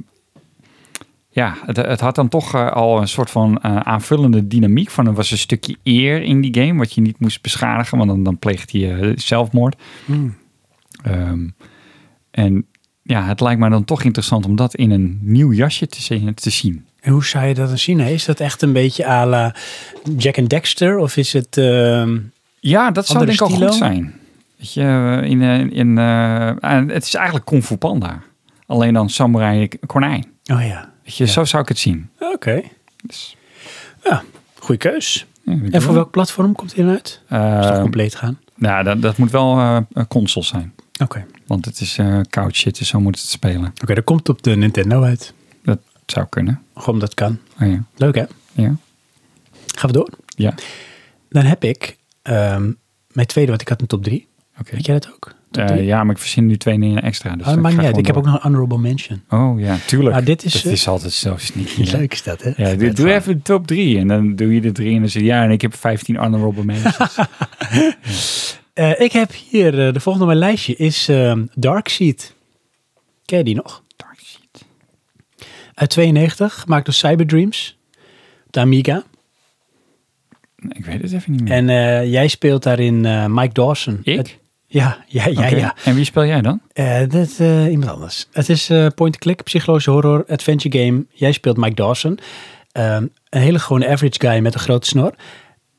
[SPEAKER 2] ja, het, het had dan toch eh, al een soort van eh, aanvullende dynamiek. Van er was een stukje eer in die game, wat je niet moest beschadigen, want dan, dan pleegt hij eh, zelfmoord.
[SPEAKER 1] Hmm.
[SPEAKER 2] Ehm, en ja, het lijkt mij dan toch interessant om dat in een nieuw jasje te, zien- te zien.
[SPEAKER 1] En hoe zou je dat in China? Is dat echt een beetje à la Jack and Dexter? Of is het... ehm,
[SPEAKER 2] Ja, dat zou
[SPEAKER 1] Andere
[SPEAKER 2] denk ik
[SPEAKER 1] stilo?
[SPEAKER 2] al goed zijn. Weet je, eh, in, eh, in, eh, ah, het is eigenlijk Kung Fu Panda. Alleen dan samurai k- konijn.
[SPEAKER 1] Oh ja,
[SPEAKER 2] Weet je, zo zou ik het zien.
[SPEAKER 1] oké.
[SPEAKER 2] Dus,
[SPEAKER 1] Goeie keus.
[SPEAKER 2] ja, denk
[SPEAKER 1] En
[SPEAKER 2] ik
[SPEAKER 1] voor
[SPEAKER 2] wel.
[SPEAKER 1] welk platform komt hij dan uit? Is het
[SPEAKER 2] Eh,
[SPEAKER 1] toch compleet gaan?
[SPEAKER 2] nou, dat, dat moet wel eh, een console zijn.
[SPEAKER 1] Oké.
[SPEAKER 2] Want het is eh couch zitten, zo moet het spelen.
[SPEAKER 1] Oké, dat komt op de Nintendo uit.
[SPEAKER 2] Dat zou kunnen.
[SPEAKER 1] Gewoon dat kan.
[SPEAKER 2] Oh, ja.
[SPEAKER 1] Leuk hè?
[SPEAKER 2] Ja.
[SPEAKER 1] Gaan we door.
[SPEAKER 2] ja.
[SPEAKER 1] Dan heb ik ehm, mijn tweede, want ik had een top drie.
[SPEAKER 2] Oké.
[SPEAKER 1] Weet jij dat ook? Top
[SPEAKER 2] Eh,
[SPEAKER 1] drie?
[SPEAKER 2] ja, maar ik verzin nu twee dingen extra. Dus
[SPEAKER 1] Oh,
[SPEAKER 2] dat
[SPEAKER 1] maakt
[SPEAKER 2] ga
[SPEAKER 1] niet uit. Ik heb
[SPEAKER 2] gewoon
[SPEAKER 1] ook nog een honorable mention.
[SPEAKER 2] door. Oh ja, tuurlijk.
[SPEAKER 1] Maar dit is,
[SPEAKER 2] dat
[SPEAKER 1] eh,
[SPEAKER 2] is altijd zo sneaky. hè?
[SPEAKER 1] Leuk is dat hè?
[SPEAKER 2] Ja, doe, doe even de top drie. En dan doe je de drie en dan zeg je ja, en ik heb 15 honorable mentions.
[SPEAKER 1] Eh, ik heb hier, eh, de volgende op mijn lijstje is ehm Dark Seed. Ken je die nog?
[SPEAKER 2] Dark shit.
[SPEAKER 1] Uit 92, gemaakt door Cyberdreams. Op de Amiga.
[SPEAKER 2] Nee, Ik weet het even niet meer.
[SPEAKER 1] En eh, jij speelt daarin eh, Mike Dawson.
[SPEAKER 2] ik?
[SPEAKER 1] Het- ja, ja, ja,
[SPEAKER 2] Oké.
[SPEAKER 1] ja.
[SPEAKER 2] En wie speel jij dan?
[SPEAKER 1] Eh, dat, eh, iemand anders. Het is eh, point-and-click, psychologische horror, adventure game. Jij speelt Mike Dawson. Ehm, een hele gewone average guy met een grote snor.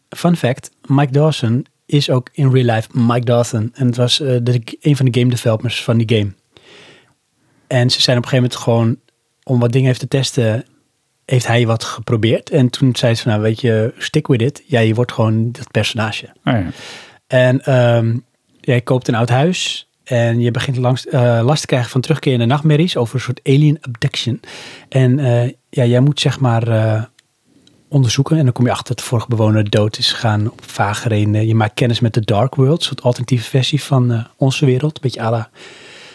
[SPEAKER 1] Fun fact, Mike Dawson is ook in real life Mike Dawson. En het was eh, de, een van de game developers van die game. En ze zijn op een gegeven moment gewoon, om wat dingen even te testen, heeft hij wat geprobeerd. En toen zei ze van, nou weet je, stick with it. Ja, je wordt gewoon dat personage.
[SPEAKER 2] Oh, ja.
[SPEAKER 1] En ehm, jij koopt een oud huis. En je begint langs, eh, last te krijgen van terugkerende nachtmerries over een soort alien abduction. En eh, ja, jij moet zeg maar eh, onderzoeken. En dan kom je achter dat de vorige bewoner dood is gegaan op vage redenen. Je maakt kennis met de Dark World, een soort alternatieve versie van eh, onze wereld. Een beetje à la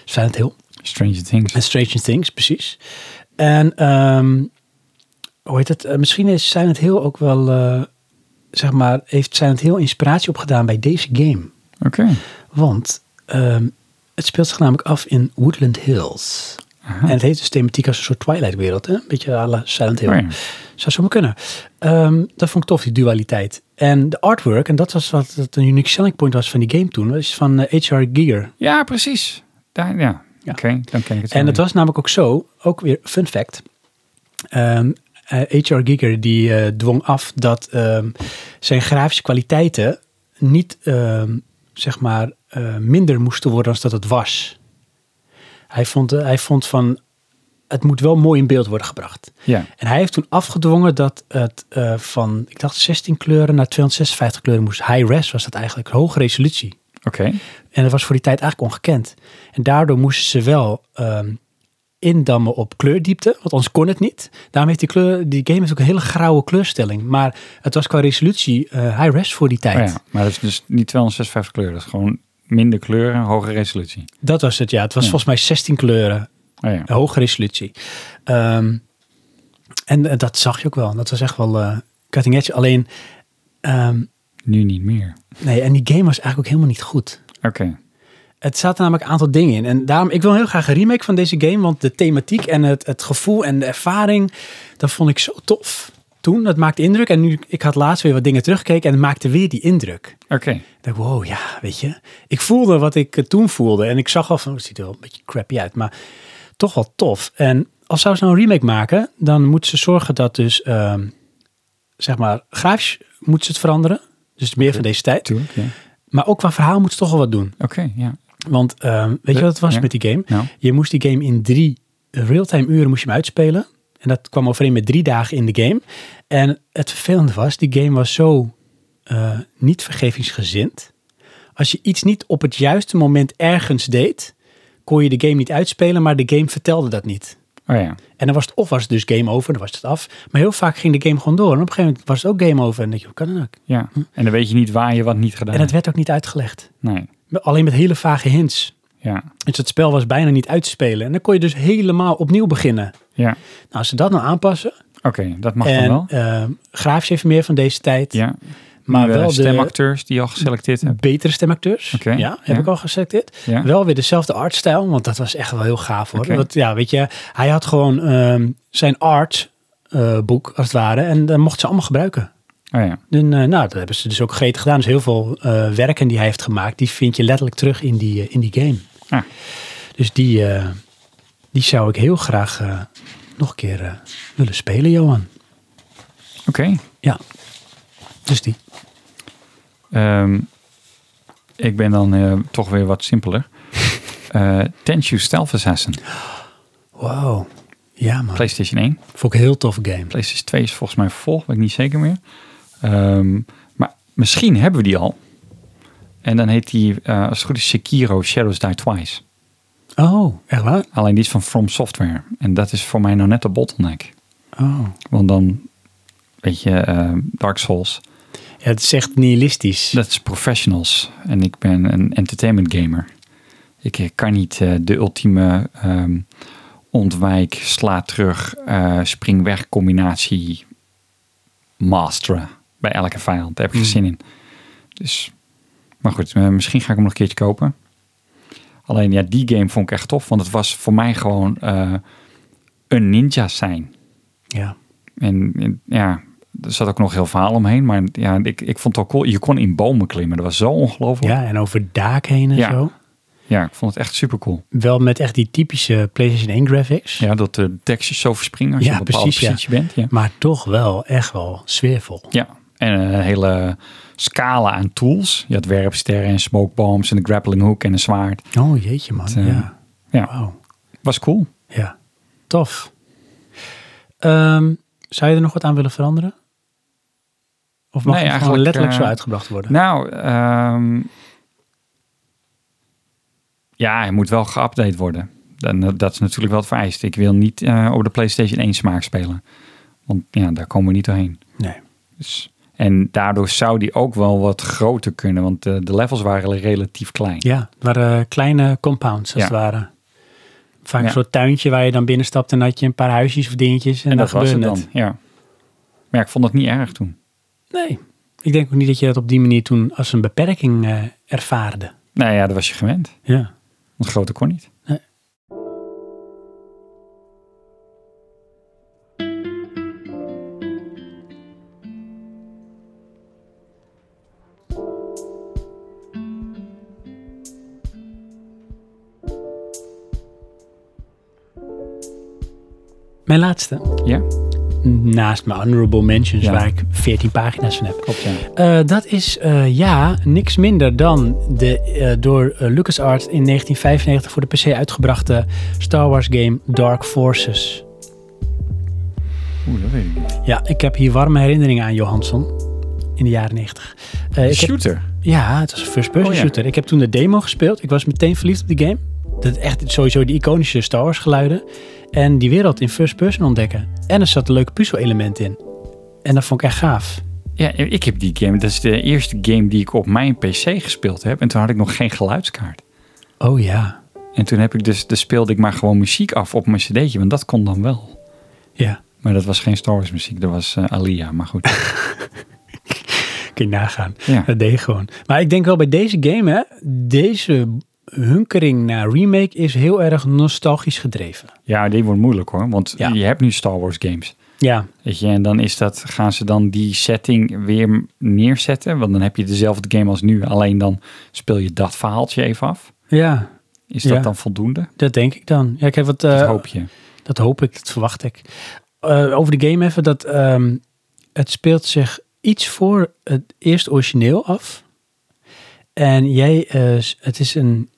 [SPEAKER 1] Silent Hill.
[SPEAKER 2] Stranger Things.
[SPEAKER 1] En Stranger Things, precies. En ehm, hoe heet het? Eh, misschien is Silent Hill ook wel, eh, zeg maar, heeft Silent Hill inspiratie opgedaan bij deze game.
[SPEAKER 2] Oké.
[SPEAKER 1] Want ehm, het speelt zich namelijk af in Woodland Hills.
[SPEAKER 2] Aha.
[SPEAKER 1] En het heeft dus thematiek als een soort Twilight-wereld, hè? Een beetje à la Silent Hill.
[SPEAKER 2] Oh, ja.
[SPEAKER 1] Zou zomaar kunnen. Ehm, dat vond ik tof, die dualiteit. En de artwork, en dat was wat het een unique selling point was van die game toen, was van eh, H.R. Giger.
[SPEAKER 2] Ja, precies. Daar, ja.
[SPEAKER 1] Ja.
[SPEAKER 2] Oké, dan ken ik het.
[SPEAKER 1] En
[SPEAKER 2] wel
[SPEAKER 1] het
[SPEAKER 2] weer.
[SPEAKER 1] was namelijk ook zo, ook weer fun fact. Ehm, eh, H.R. Giger die eh, dwong af dat ehm, zijn grafische kwaliteiten niet ehm, zeg maar eh, minder moesten worden dan dat het was. Hij vond, eh, hij vond van het moet wel mooi in beeld worden gebracht.
[SPEAKER 2] Ja.
[SPEAKER 1] En hij heeft toen afgedwongen dat het eh, van ik dacht 16 kleuren naar 256 kleuren moest. High res was dat eigenlijk, hoge resolutie.
[SPEAKER 2] Oké.
[SPEAKER 1] En dat was voor die tijd eigenlijk ongekend. En daardoor moesten ze wel ehm, indammen op kleurdiepte, want anders kon het niet. Daarom heeft die, kleur, die game heeft ook een hele grauwe kleurstelling. Maar het was qua resolutie eh, high-res voor die tijd.
[SPEAKER 2] Oh ja, maar dat is dus niet 256 kleuren. Dat is gewoon minder kleuren, hoge resolutie.
[SPEAKER 1] Dat was het, ja. Het was
[SPEAKER 2] Ja.
[SPEAKER 1] volgens mij 16 kleuren,
[SPEAKER 2] Oh ja.
[SPEAKER 1] hoge resolutie. Ehm, en eh, dat zag je ook wel. Dat was echt wel eh, cutting edge. Alleen, ehm,
[SPEAKER 2] Nu niet meer.
[SPEAKER 1] nee, en die game was eigenlijk ook helemaal niet goed.
[SPEAKER 2] Oké.
[SPEAKER 1] Het zaten namelijk een aantal dingen in. En daarom, ik wil heel graag een remake van deze game. Want de thematiek en het, het gevoel en de ervaring, dat vond ik zo tof. Toen, dat maakte indruk. En nu, ik had laatst weer wat dingen teruggekeken en het maakte weer die indruk.
[SPEAKER 2] Oké.
[SPEAKER 1] Ik dacht, wow, ja, weet je. Ik voelde wat ik eh, toen voelde. En ik zag al van, oh, het ziet er wel een beetje crappy uit. Maar toch wel tof. En als zou ze nou een remake maken, dan moet ze zorgen dat dus, ehm, zeg maar, grafisch moet ze het veranderen. Dus meer van deze tijd.
[SPEAKER 2] Tuurlijk, ja.
[SPEAKER 1] Maar ook qua verhaal moet ze toch wel wat doen.
[SPEAKER 2] Oké, ja.
[SPEAKER 1] Want ehm, weet je wat het was
[SPEAKER 2] Ja.
[SPEAKER 1] met die game?
[SPEAKER 2] Nou,
[SPEAKER 1] Je moest die game in drie eh, real-time uren moest je hem uitspelen. En dat kwam overeen met drie dagen in de game. En het vervelende was, die game was zo eh, niet vergevingsgezind. Als je iets niet op het juiste moment ergens deed, kon je de game niet uitspelen, maar de game vertelde dat niet.
[SPEAKER 2] oh ja.
[SPEAKER 1] En dan was het of was het dus game over, dan was het af. Maar heel vaak ging de game gewoon door. En op een gegeven moment was het ook game over. En dan denk je, hoe kan dat nou?
[SPEAKER 2] ja. En dan weet je niet waar je wat niet gedaan
[SPEAKER 1] En dat
[SPEAKER 2] hebt.
[SPEAKER 1] werd ook niet uitgelegd.
[SPEAKER 2] Nee.
[SPEAKER 1] Alleen met hele vage hints.
[SPEAKER 2] Ja.
[SPEAKER 1] Dus het spel was bijna niet uit te spelen. En dan kon je dus helemaal opnieuw beginnen.
[SPEAKER 2] Ja.
[SPEAKER 1] Nou, als ze dat nou aanpassen.
[SPEAKER 2] Oké, dat mag dan
[SPEAKER 1] en
[SPEAKER 2] wel.
[SPEAKER 1] ehm, grafisch even meer van deze tijd.
[SPEAKER 2] Ja.
[SPEAKER 1] maar
[SPEAKER 2] De
[SPEAKER 1] wel de
[SPEAKER 2] stemacteurs die je al geselecteerd hebt.
[SPEAKER 1] betere stemacteurs.
[SPEAKER 2] Oké,
[SPEAKER 1] Ja, heb
[SPEAKER 2] ja.
[SPEAKER 1] ik al geselecteerd.
[SPEAKER 2] Ja.
[SPEAKER 1] Wel weer dezelfde artstijl, want dat was echt wel heel gaaf hoor.
[SPEAKER 2] Oké.
[SPEAKER 1] Want ja, weet je, hij had gewoon ehm, zijn art eh, boek als het ware. En dat mocht ze allemaal gebruiken.
[SPEAKER 2] Oh ja.
[SPEAKER 1] En, eh, nou, dat hebben ze dus ook gretig gedaan. Dus heel veel eh, werken die hij heeft gemaakt, die vind je letterlijk terug in die, eh, in die game.
[SPEAKER 2] Ah.
[SPEAKER 1] Dus die, eh, die zou ik heel graag eh, nog een keer eh, willen spelen, Johan.
[SPEAKER 2] Oké.
[SPEAKER 1] Ja. Dus die.
[SPEAKER 2] Ehm, ik ben dan eh, toch weer wat simpeler. Eh Tenshu Stealth Assassin.
[SPEAKER 1] Wow. Ja, man.
[SPEAKER 2] PlayStation 1.
[SPEAKER 1] Vond ik een heel tof game.
[SPEAKER 2] PlayStation 2 is volgens mij vervolg, weet ik niet zeker meer. Ehm, maar misschien hebben we die al. En dan heet die, eh, als het goed is, Sekiro Shadows Die Twice.
[SPEAKER 1] Oh, echt waar?
[SPEAKER 2] Alleen die is van From Software. En dat is voor mij nou net de bottleneck.
[SPEAKER 1] Oh.
[SPEAKER 2] Want dan, weet je, eh, Dark Souls,
[SPEAKER 1] Ja, het is echt nihilistisch.
[SPEAKER 2] dat is professionals. En ik ben een entertainment gamer. Ik eh, kan niet eh, de ultieme ehm, ontwijk, sla terug, eh, spring weg combinatie masteren bij elke vijand. Daar heb ik geen zin in. Dus, maar goed, eh, misschien ga ik hem nog een keertje kopen. Alleen ja, die game vond ik echt tof, want het was voor mij gewoon eh, een ninja zijn.
[SPEAKER 1] Ja.
[SPEAKER 2] En, en, ja, er zat ook nog heel verhaal omheen. Maar ja, ik, ik vond het ook cool. Je kon in bomen klimmen. Dat was zo ongelooflijk. Ja.
[SPEAKER 1] ja, en over daak heen en
[SPEAKER 2] Ja.
[SPEAKER 1] zo.
[SPEAKER 2] ik vond het echt super cool.
[SPEAKER 1] Wel met echt die typische PlayStation 1 graphics.
[SPEAKER 2] Ja, dat de tekstjes zo verspringen als
[SPEAKER 1] Ja,
[SPEAKER 2] je op een bepaalde
[SPEAKER 1] precies, ja.
[SPEAKER 2] positie bent. Ja.
[SPEAKER 1] Maar toch wel echt wel sfeervol.
[SPEAKER 2] ja, en een hele scala aan tools. Je had werpsterren en smokebombs en de grappling hook en een zwaard.
[SPEAKER 1] Oh, jeetje man.
[SPEAKER 2] eh,
[SPEAKER 1] ja.
[SPEAKER 2] ja.
[SPEAKER 1] Wauw.
[SPEAKER 2] Was cool.
[SPEAKER 1] Ja. Tof. Ehm, zou je er nog wat aan willen veranderen? Of mag
[SPEAKER 2] Nee,
[SPEAKER 1] het gewoon
[SPEAKER 2] eigenlijk,
[SPEAKER 1] letterlijk
[SPEAKER 2] eh,
[SPEAKER 1] zo uitgebracht worden?
[SPEAKER 2] Nou, ehm, ja, hij moet wel geüpdate worden. Dan, eh, dat is natuurlijk wel het vereist. Ik wil niet eh, op de PlayStation 1 smaak spelen. Want ja, daar komen we niet doorheen.
[SPEAKER 1] nee.
[SPEAKER 2] Dus, en daardoor zou die ook wel wat groter kunnen, want eh, de, de levels waren relatief klein.
[SPEAKER 1] Ja, het waren eh, kleine compounds als
[SPEAKER 2] Ja.
[SPEAKER 1] het ware. Vaak
[SPEAKER 2] Ja.
[SPEAKER 1] een soort tuintje waar je dan binnenstapt en had je een paar huisjes of dingetjes. En,
[SPEAKER 2] en
[SPEAKER 1] dan
[SPEAKER 2] dat was het
[SPEAKER 1] gebeurde
[SPEAKER 2] dan.
[SPEAKER 1] het.
[SPEAKER 2] Ja. Maar ja, ik vond dat niet erg toen.
[SPEAKER 1] Nee, ik denk ook niet dat je dat op die manier toen als een beperking eh, ervaarde.
[SPEAKER 2] Nou ja, dat was je gewend.
[SPEAKER 1] Ja.
[SPEAKER 2] Want groter kon niet.
[SPEAKER 1] Nee. Mijn laatste,
[SPEAKER 2] Ja,
[SPEAKER 1] naast mijn honorable mentions,
[SPEAKER 2] Ja.
[SPEAKER 1] waar ik 14 pagina's van heb.
[SPEAKER 2] klopt ja.
[SPEAKER 1] Eh, dat is eh, ja, niks minder dan de eh, door eh, LucasArts in 1995 voor de PC uitgebrachte Star Wars game Dark Forces.
[SPEAKER 2] Oeh, dat weet ik niet.
[SPEAKER 1] Ja, ik heb hier warme herinneringen aan Johansson in de jaren 90. Eh, ik heb-
[SPEAKER 2] Shooter.
[SPEAKER 1] ja, het was een first-person
[SPEAKER 2] Oh ja.
[SPEAKER 1] shooter. Ik heb toen de demo gespeeld. Ik was meteen verliefd op die game. dat echt sowieso die iconische Star Wars geluiden. En die wereld in first person ontdekken. En er zat een leuk puzzel element in. En dat vond ik echt gaaf.
[SPEAKER 2] Ja, ik heb die game. Dat is de eerste game die ik op mijn PC gespeeld heb. En toen had ik nog geen geluidskaart.
[SPEAKER 1] Oh ja.
[SPEAKER 2] En toen heb ik dus, dus speelde ik maar gewoon muziek af op mijn cd'tje. Want dat kon dan wel.
[SPEAKER 1] Ja.
[SPEAKER 2] Maar dat was geen Star Wars muziek. Dat was eh, Alia. Maar goed.
[SPEAKER 1] Kun je nagaan.
[SPEAKER 2] Ja.
[SPEAKER 1] Dat deed je gewoon. Maar ik denk wel bij deze game, hè, deze hunkering naar remake is heel erg nostalgisch gedreven.
[SPEAKER 2] ja, die wordt moeilijk hoor. Want
[SPEAKER 1] Ja.
[SPEAKER 2] je hebt nu Star Wars games.
[SPEAKER 1] Ja,
[SPEAKER 2] Weet je, en dan is dat, gaan ze dan die setting weer neerzetten? Want dan heb je dezelfde game als nu, alleen dan speel je dat verhaaltje even af.
[SPEAKER 1] ja,
[SPEAKER 2] Is dat
[SPEAKER 1] Ja.
[SPEAKER 2] dan voldoende?
[SPEAKER 1] dat denk ik dan. Ja, ik heb wat, eh,
[SPEAKER 2] Dat hoop je.
[SPEAKER 1] dat hoop ik, dat verwacht ik. Eh, over de game even, dat ehm, het speelt zich iets voor het eerst origineel af. En jij, eh, s- het is een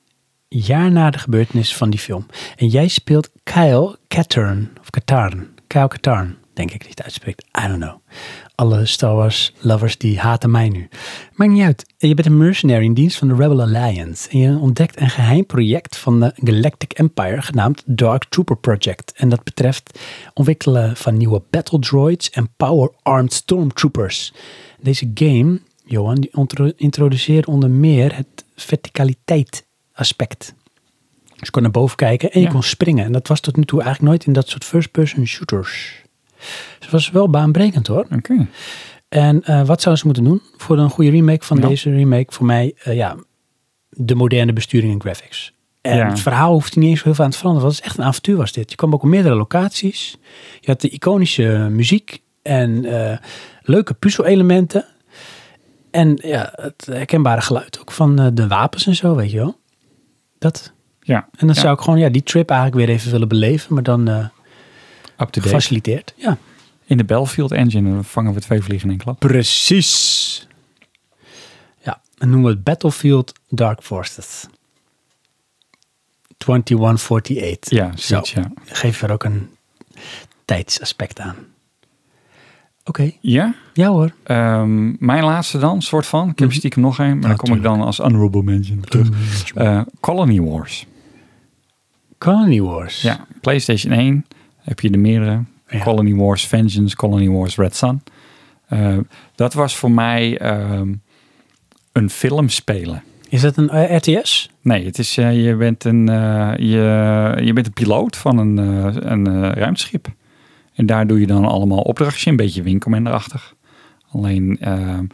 [SPEAKER 1] jaar na de gebeurtenis van die film. En jij speelt Kyle Katarn, of Katarn, Kyle Katarn, denk ik die het uitspreekt. I don't know. Alle Star Wars lovers die haten mij nu. Maakt niet uit. Je bent een mercenary in dienst van de Rebel Alliance. En je ontdekt een geheim project van de Galactic Empire genaamd Dark Trooper Project. En dat betreft ontwikkelen van nieuwe battle droids en power armed stormtroopers. Deze game, Johan, die ontro- introduceert onder meer het verticaliteit aspect. Dus je kon naar boven kijken en je
[SPEAKER 2] Ja.
[SPEAKER 1] kon springen. En dat was tot nu toe eigenlijk nooit in dat soort first-person shooters. Dus het was wel baanbrekend hoor.
[SPEAKER 2] Oké.
[SPEAKER 1] En eh, wat zouden ze moeten doen voor een goede remake van
[SPEAKER 2] Ja.
[SPEAKER 1] deze remake? Voor mij, eh, ja, de moderne besturing en graphics. En
[SPEAKER 2] Ja.
[SPEAKER 1] het verhaal hoeft niet eens zo heel veel aan te veranderen. Want het is echt een avontuur was dit. Je kwam ook op meerdere locaties. Je had de iconische muziek en eh, leuke puzzelelementen. En ja, het herkenbare geluid ook van eh, de wapens en zo, weet je wel. Dat.
[SPEAKER 2] Ja,
[SPEAKER 1] En dan
[SPEAKER 2] Ja.
[SPEAKER 1] zou ik gewoon ja, die trip eigenlijk weer even willen beleven. Maar dan eh,
[SPEAKER 2] up to date.
[SPEAKER 1] gefaciliteerd. Ja.
[SPEAKER 2] In de Battlefield engine dan vangen we twee vliegen in één klap.
[SPEAKER 1] Precies. Ja, dan noemen we het Battlefield Dark Forces. 2148.
[SPEAKER 2] Ja, zoiets,
[SPEAKER 1] Zo.
[SPEAKER 2] ja.
[SPEAKER 1] Geef er ook een tijdsaspect aan. Oké,
[SPEAKER 2] Ja,
[SPEAKER 1] ja hoor.
[SPEAKER 2] ehm, mijn laatste dan, soort van. Ik heb
[SPEAKER 1] Mhm.
[SPEAKER 2] stiekem nog één, maar dan kom ik dan als honorable mention op terug. Eh, Colony Wars.
[SPEAKER 1] Colony Wars.
[SPEAKER 2] Ja, PlayStation 1 heb je de meerdere.
[SPEAKER 1] Ja.
[SPEAKER 2] Colony Wars Vengeance, Colony Wars Red Sun. Eh, dat was voor mij ehm, een film spelen.
[SPEAKER 1] Is dat een eh, RTS?
[SPEAKER 2] Nee, het is, eh, je, bent een, eh, je, je bent een piloot van een, eh, een eh, ruimteschip. En daar doe je dan allemaal opdrachtjes, in, een beetje winkelmenderachtig. Alleen ehm,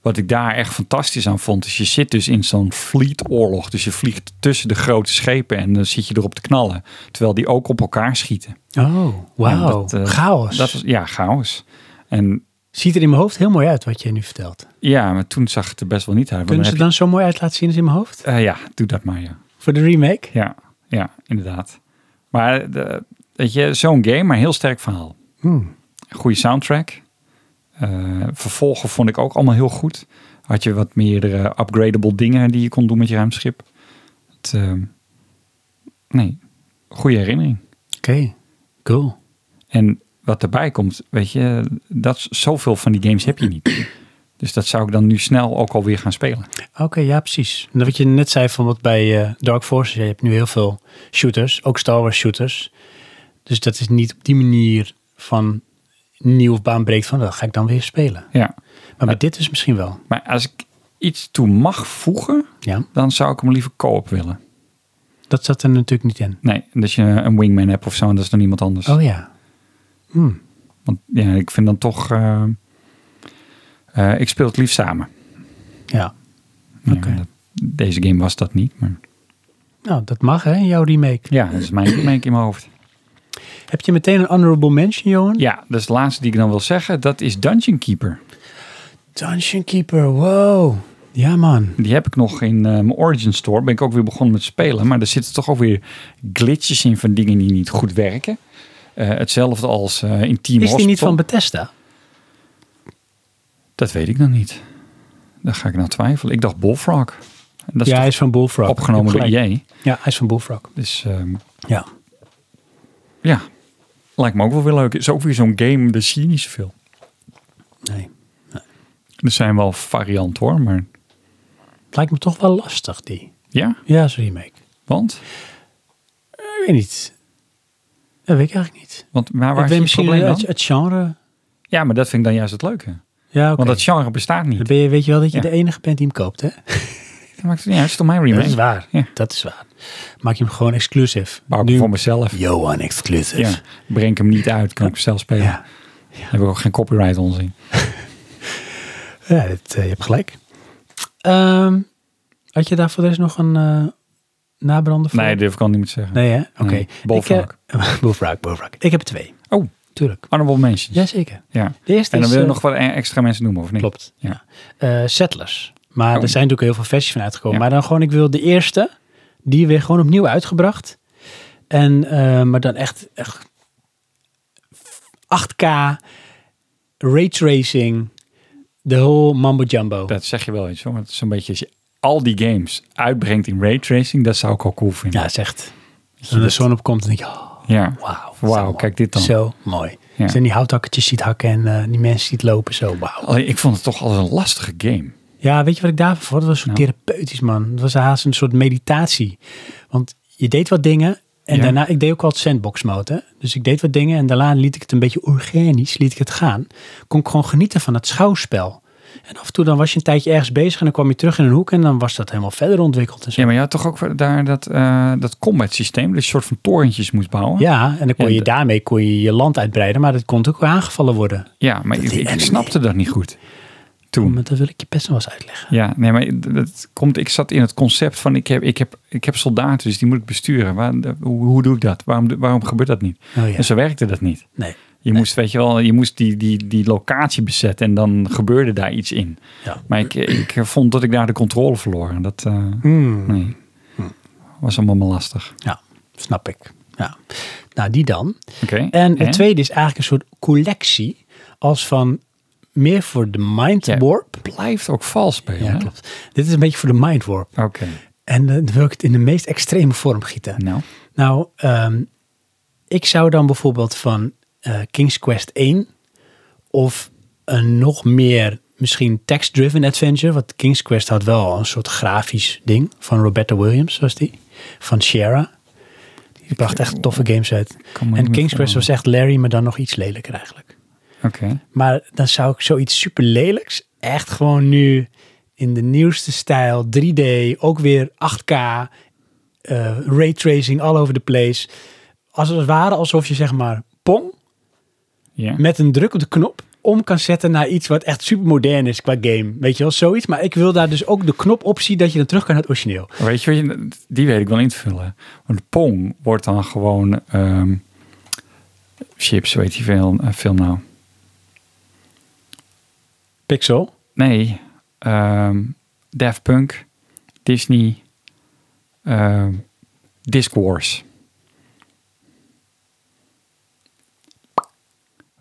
[SPEAKER 2] wat ik daar echt fantastisch aan vond, is je zit dus in zo'n fleetoorlog. Dus je vliegt tussen de grote schepen en dan zit je erop te knallen. Terwijl die ook op elkaar schieten.
[SPEAKER 1] Oh, wauw.
[SPEAKER 2] dat, eh,
[SPEAKER 1] Chaos.
[SPEAKER 2] Dat was, ja, chaos. En
[SPEAKER 1] Ziet er in mijn hoofd heel mooi uit wat je nu vertelt.
[SPEAKER 2] ja, maar toen zag het er best wel niet uit. want
[SPEAKER 1] Kunnen ze
[SPEAKER 2] dan
[SPEAKER 1] dan zo mooi uit laten zien als in mijn hoofd?
[SPEAKER 2] heb je- Eh, ja, doe dat maar, ja.
[SPEAKER 1] Voor de remake?
[SPEAKER 2] Ja, ja inderdaad. Maar eh, de, weet je, zo'n game, maar heel sterk verhaal.
[SPEAKER 1] Hmm.
[SPEAKER 2] Goede soundtrack. Eh, vervolgen vond ik ook allemaal heel goed. Had je wat meer eh, upgradable dingen die je kon doen met je ruimschip. Het, eh, nee, goede herinnering.
[SPEAKER 1] Oké, cool.
[SPEAKER 2] En wat erbij komt, weet je, dat, is- zoveel van die games heb je niet. Dus dat zou ik dan nu snel ook alweer gaan spelen.
[SPEAKER 1] Oké, ja, precies. En wat je net zei van wat bij eh, Dark Forces, je hebt nu heel veel shooters, ook Star Wars shooters. Dus dat is niet op die manier van nieuw of baanbreekt van dat ga ik dan weer spelen.
[SPEAKER 2] Ja.
[SPEAKER 1] Maar bij dit is misschien wel.
[SPEAKER 2] Maar als ik iets toe mag voegen,
[SPEAKER 1] Ja,
[SPEAKER 2] dan zou ik hem liever co-op willen.
[SPEAKER 1] dat zat er natuurlijk niet in.
[SPEAKER 2] Nee, dat je een wingman hebt of zo en dat is dan iemand anders.
[SPEAKER 1] Oh ja. Hm.
[SPEAKER 2] Want ja, ik vind dan toch... eh, eh, ik speel het liefst samen.
[SPEAKER 1] Ja,
[SPEAKER 2] Ja,
[SPEAKER 1] Oké.
[SPEAKER 2] dat- deze game was dat niet, maar
[SPEAKER 1] nou dat mag hè, jouw remake.
[SPEAKER 2] ja, dat is mijn remake in mijn hoofd.
[SPEAKER 1] Heb je meteen een honorable mention, Johan?
[SPEAKER 2] Ja, dus de laatste die ik dan wil zeggen, dat is Dungeon Keeper.
[SPEAKER 1] Dungeon Keeper, wow. Ja man.
[SPEAKER 2] Die heb ik nog in eh, mijn Origin Store. Ben ik ook weer begonnen met spelen. Maar er zitten toch ook weer glitches in van dingen die niet goed werken. Eh, hetzelfde als eh, in Team
[SPEAKER 1] Is die niet
[SPEAKER 2] Hospital.
[SPEAKER 1] van Bethesda?
[SPEAKER 2] Dat weet ik nog niet. Daar ga ik naar twijfelen. Ik dacht Bullfrog. En Dat is
[SPEAKER 1] ja, hij
[SPEAKER 2] toch
[SPEAKER 1] is van Bullfrog.
[SPEAKER 2] opgenomen
[SPEAKER 1] Je
[SPEAKER 2] door E
[SPEAKER 1] hebt gelijk.
[SPEAKER 2] EA.
[SPEAKER 1] Ja, hij is van Bullfrog.
[SPEAKER 2] Dus ehm,
[SPEAKER 1] Ja.
[SPEAKER 2] ja, lijkt me ook wel weer leuk. is ook weer zo'n game, de zie je niet zoveel.
[SPEAKER 1] Nee.
[SPEAKER 2] Er zijn wel varianten hoor, maar
[SPEAKER 1] Het lijkt me toch wel lastig, die.
[SPEAKER 2] ja,
[SPEAKER 1] Ja, is een remake.
[SPEAKER 2] want?
[SPEAKER 1] Ik weet niet. Dat weet ik eigenlijk niet.
[SPEAKER 2] Want maar
[SPEAKER 1] ik
[SPEAKER 2] waar
[SPEAKER 1] weet
[SPEAKER 2] is het
[SPEAKER 1] misschien
[SPEAKER 2] probleem dan?
[SPEAKER 1] het, het genre.
[SPEAKER 2] Ja, maar dat vind ik dan juist het leuke.
[SPEAKER 1] Ja, oké.
[SPEAKER 2] Want dat genre bestaat
[SPEAKER 1] Dan
[SPEAKER 2] niet.
[SPEAKER 1] ben je, weet je wel dat je
[SPEAKER 2] Ja.
[SPEAKER 1] de enige bent die hem koopt, hè?
[SPEAKER 2] Dat maakt het niet uit, het is toch mijn remake?
[SPEAKER 1] Dat is waar.
[SPEAKER 2] Ja.
[SPEAKER 1] Dat is waar. Maak je hem gewoon exclusief.
[SPEAKER 2] Maar ook
[SPEAKER 1] Nu-
[SPEAKER 2] voor mezelf.
[SPEAKER 1] Johan exclusive.
[SPEAKER 2] Ja, breng ik hem niet uit, kan ik zelf spelen.
[SPEAKER 1] Ja.
[SPEAKER 2] Dan heb ik ook geen copyright onzin.
[SPEAKER 1] Ja, dat, eh, je hebt gelijk. Ehm, had je daar voor de rest nog een eh nabrander voor?
[SPEAKER 2] Nee, durf ik al niet meer te zeggen.
[SPEAKER 1] Nee, hè? Oké.
[SPEAKER 2] Nee, Bullfrog.
[SPEAKER 1] Ik, eh, Bullfrog, Bullfrog. Ik heb er twee.
[SPEAKER 2] Oh.
[SPEAKER 1] Tuurlijk.
[SPEAKER 2] Honorable mentions.
[SPEAKER 1] Jazeker.
[SPEAKER 2] Ja.
[SPEAKER 1] De eerste
[SPEAKER 2] En dan
[SPEAKER 1] is...
[SPEAKER 2] wil je
[SPEAKER 1] eh,
[SPEAKER 2] nog wat e- extra mensen noemen, of niet?
[SPEAKER 1] Klopt.
[SPEAKER 2] Ja.
[SPEAKER 1] Eh, settlers. Maar
[SPEAKER 2] Oh.
[SPEAKER 1] er zijn natuurlijk heel veel versies van uitgekomen.
[SPEAKER 2] Ja.
[SPEAKER 1] Maar dan gewoon, ik wil de eerste. Die weer gewoon opnieuw uitgebracht. En, eh, maar dan echt, echt 8K, raytracing, de whole mambo jumbo.
[SPEAKER 2] Dat zeg je wel iets hoor. Want het is een beetje, als je al die games uitbrengt in raytracing, dat zou ik al cool vinden.
[SPEAKER 1] Ja, dat is echt. Als er de zon op komt, dan denk je, oh,
[SPEAKER 2] Ja.
[SPEAKER 1] wauw.
[SPEAKER 2] Wauw,
[SPEAKER 1] zo mooi.
[SPEAKER 2] kijk dit dan.
[SPEAKER 1] Zo mooi.
[SPEAKER 2] Ja.
[SPEAKER 1] Als je die houthakketjes ziet hakken en eh, die mensen ziet lopen, zo wauw.
[SPEAKER 2] Alleen, ik vond het toch altijd een lastige game.
[SPEAKER 1] Ja, weet je wat ik daarvoor vond? Dat was zo
[SPEAKER 2] Nou.
[SPEAKER 1] therapeutisch, man. Dat was haast een soort meditatie. Want je deed wat dingen en
[SPEAKER 2] Ja.
[SPEAKER 1] daarna... Ik deed ook al het sandbox mode, hè. Dus ik deed wat dingen en daarna liet ik het een beetje organisch, liet ik het gaan. Kon ik gewoon genieten van het schouwspel. En af en toe dan was je een tijdje ergens bezig en dan kwam je terug in een hoek en dan was dat helemaal verder ontwikkeld en zo.
[SPEAKER 2] Ja, maar je had toch ook wel daar dat, eh, dat combat systeem, dat je een soort van torentjes moest bouwen.
[SPEAKER 1] Ja, en dan kon
[SPEAKER 2] Ja,
[SPEAKER 1] je
[SPEAKER 2] de-
[SPEAKER 1] daarmee kon je je land uitbreiden, maar dat kon natuurlijk ook aangevallen worden.
[SPEAKER 2] Ja, maar
[SPEAKER 1] Dat
[SPEAKER 2] ik,
[SPEAKER 1] die
[SPEAKER 2] ik
[SPEAKER 1] enemy.
[SPEAKER 2] snapte dat niet goed toen.
[SPEAKER 1] Maar dat wil ik je best nog wel eens uitleggen.
[SPEAKER 2] Ja, nee, maar d- dat komt, ik zat in het concept van ik heb, ik heb, ik heb soldaten, dus die moet ik besturen. Waar, de- hoe, hoe doe ik dat? Waarom, do- waarom gebeurt dat niet?
[SPEAKER 1] Oh ja.
[SPEAKER 2] En zo werkte dat niet.
[SPEAKER 1] Nee.
[SPEAKER 2] Je moest, weet je wel, je moest die, die, die locatie bezetten en dan gebeurde daar iets in.
[SPEAKER 1] Ja.
[SPEAKER 2] Maar ik, ik vond dat ik daar de controle verloor. En dat, eh,
[SPEAKER 1] Hm.
[SPEAKER 2] nee, was allemaal maar lastig.
[SPEAKER 1] Ja, snap ik. Ja. Nou, die dan.
[SPEAKER 2] Oké.
[SPEAKER 1] En het tweede is eigenlijk een soort collectie. Als van meer voor de mind
[SPEAKER 2] Ja.
[SPEAKER 1] warp.
[SPEAKER 2] blijft ook vals spelen.
[SPEAKER 1] Ja,
[SPEAKER 2] hè?
[SPEAKER 1] klopt. Dit is een beetje voor de mind warp.
[SPEAKER 2] Oké,
[SPEAKER 1] En eh, dan wil ik het in de meest extreme vorm gieten.
[SPEAKER 2] nou.
[SPEAKER 1] Nou, ehm, ik zou dan bijvoorbeeld van eh, King's Quest 1 of een nog meer misschien text-driven adventure, want King's Quest had wel een soort grafisch ding van Roberta Williams, was die, van Sierra. Die bracht echt toffe games uit.
[SPEAKER 2] kan me niet
[SPEAKER 1] En
[SPEAKER 2] meer
[SPEAKER 1] King's Quest
[SPEAKER 2] voorstellen.
[SPEAKER 1] was echt Larry, maar dan nog iets lelijker eigenlijk.
[SPEAKER 2] Oké.
[SPEAKER 1] Maar dan zou ik zoiets super lelijks, echt gewoon nu in de nieuwste stijl, 3D, ook weer 8K, eh raytracing all over the place. Als het ware alsof je zeg maar pong
[SPEAKER 2] Ja.
[SPEAKER 1] met een druk op de knop om kan zetten naar iets wat echt super modern is qua game. Weet je wel, zoiets. Maar ik wil daar dus ook de knopoptie dat je dan terug kan naar het origineel.
[SPEAKER 2] Weet je, weet je, die weet ik wel in te vullen. Want Pong wordt dan gewoon ehm, chips, weet je veel, eh, veel nou.
[SPEAKER 1] Pixel.
[SPEAKER 2] Nee, ehm Daft Punk, Disney, ehm Disc Wars.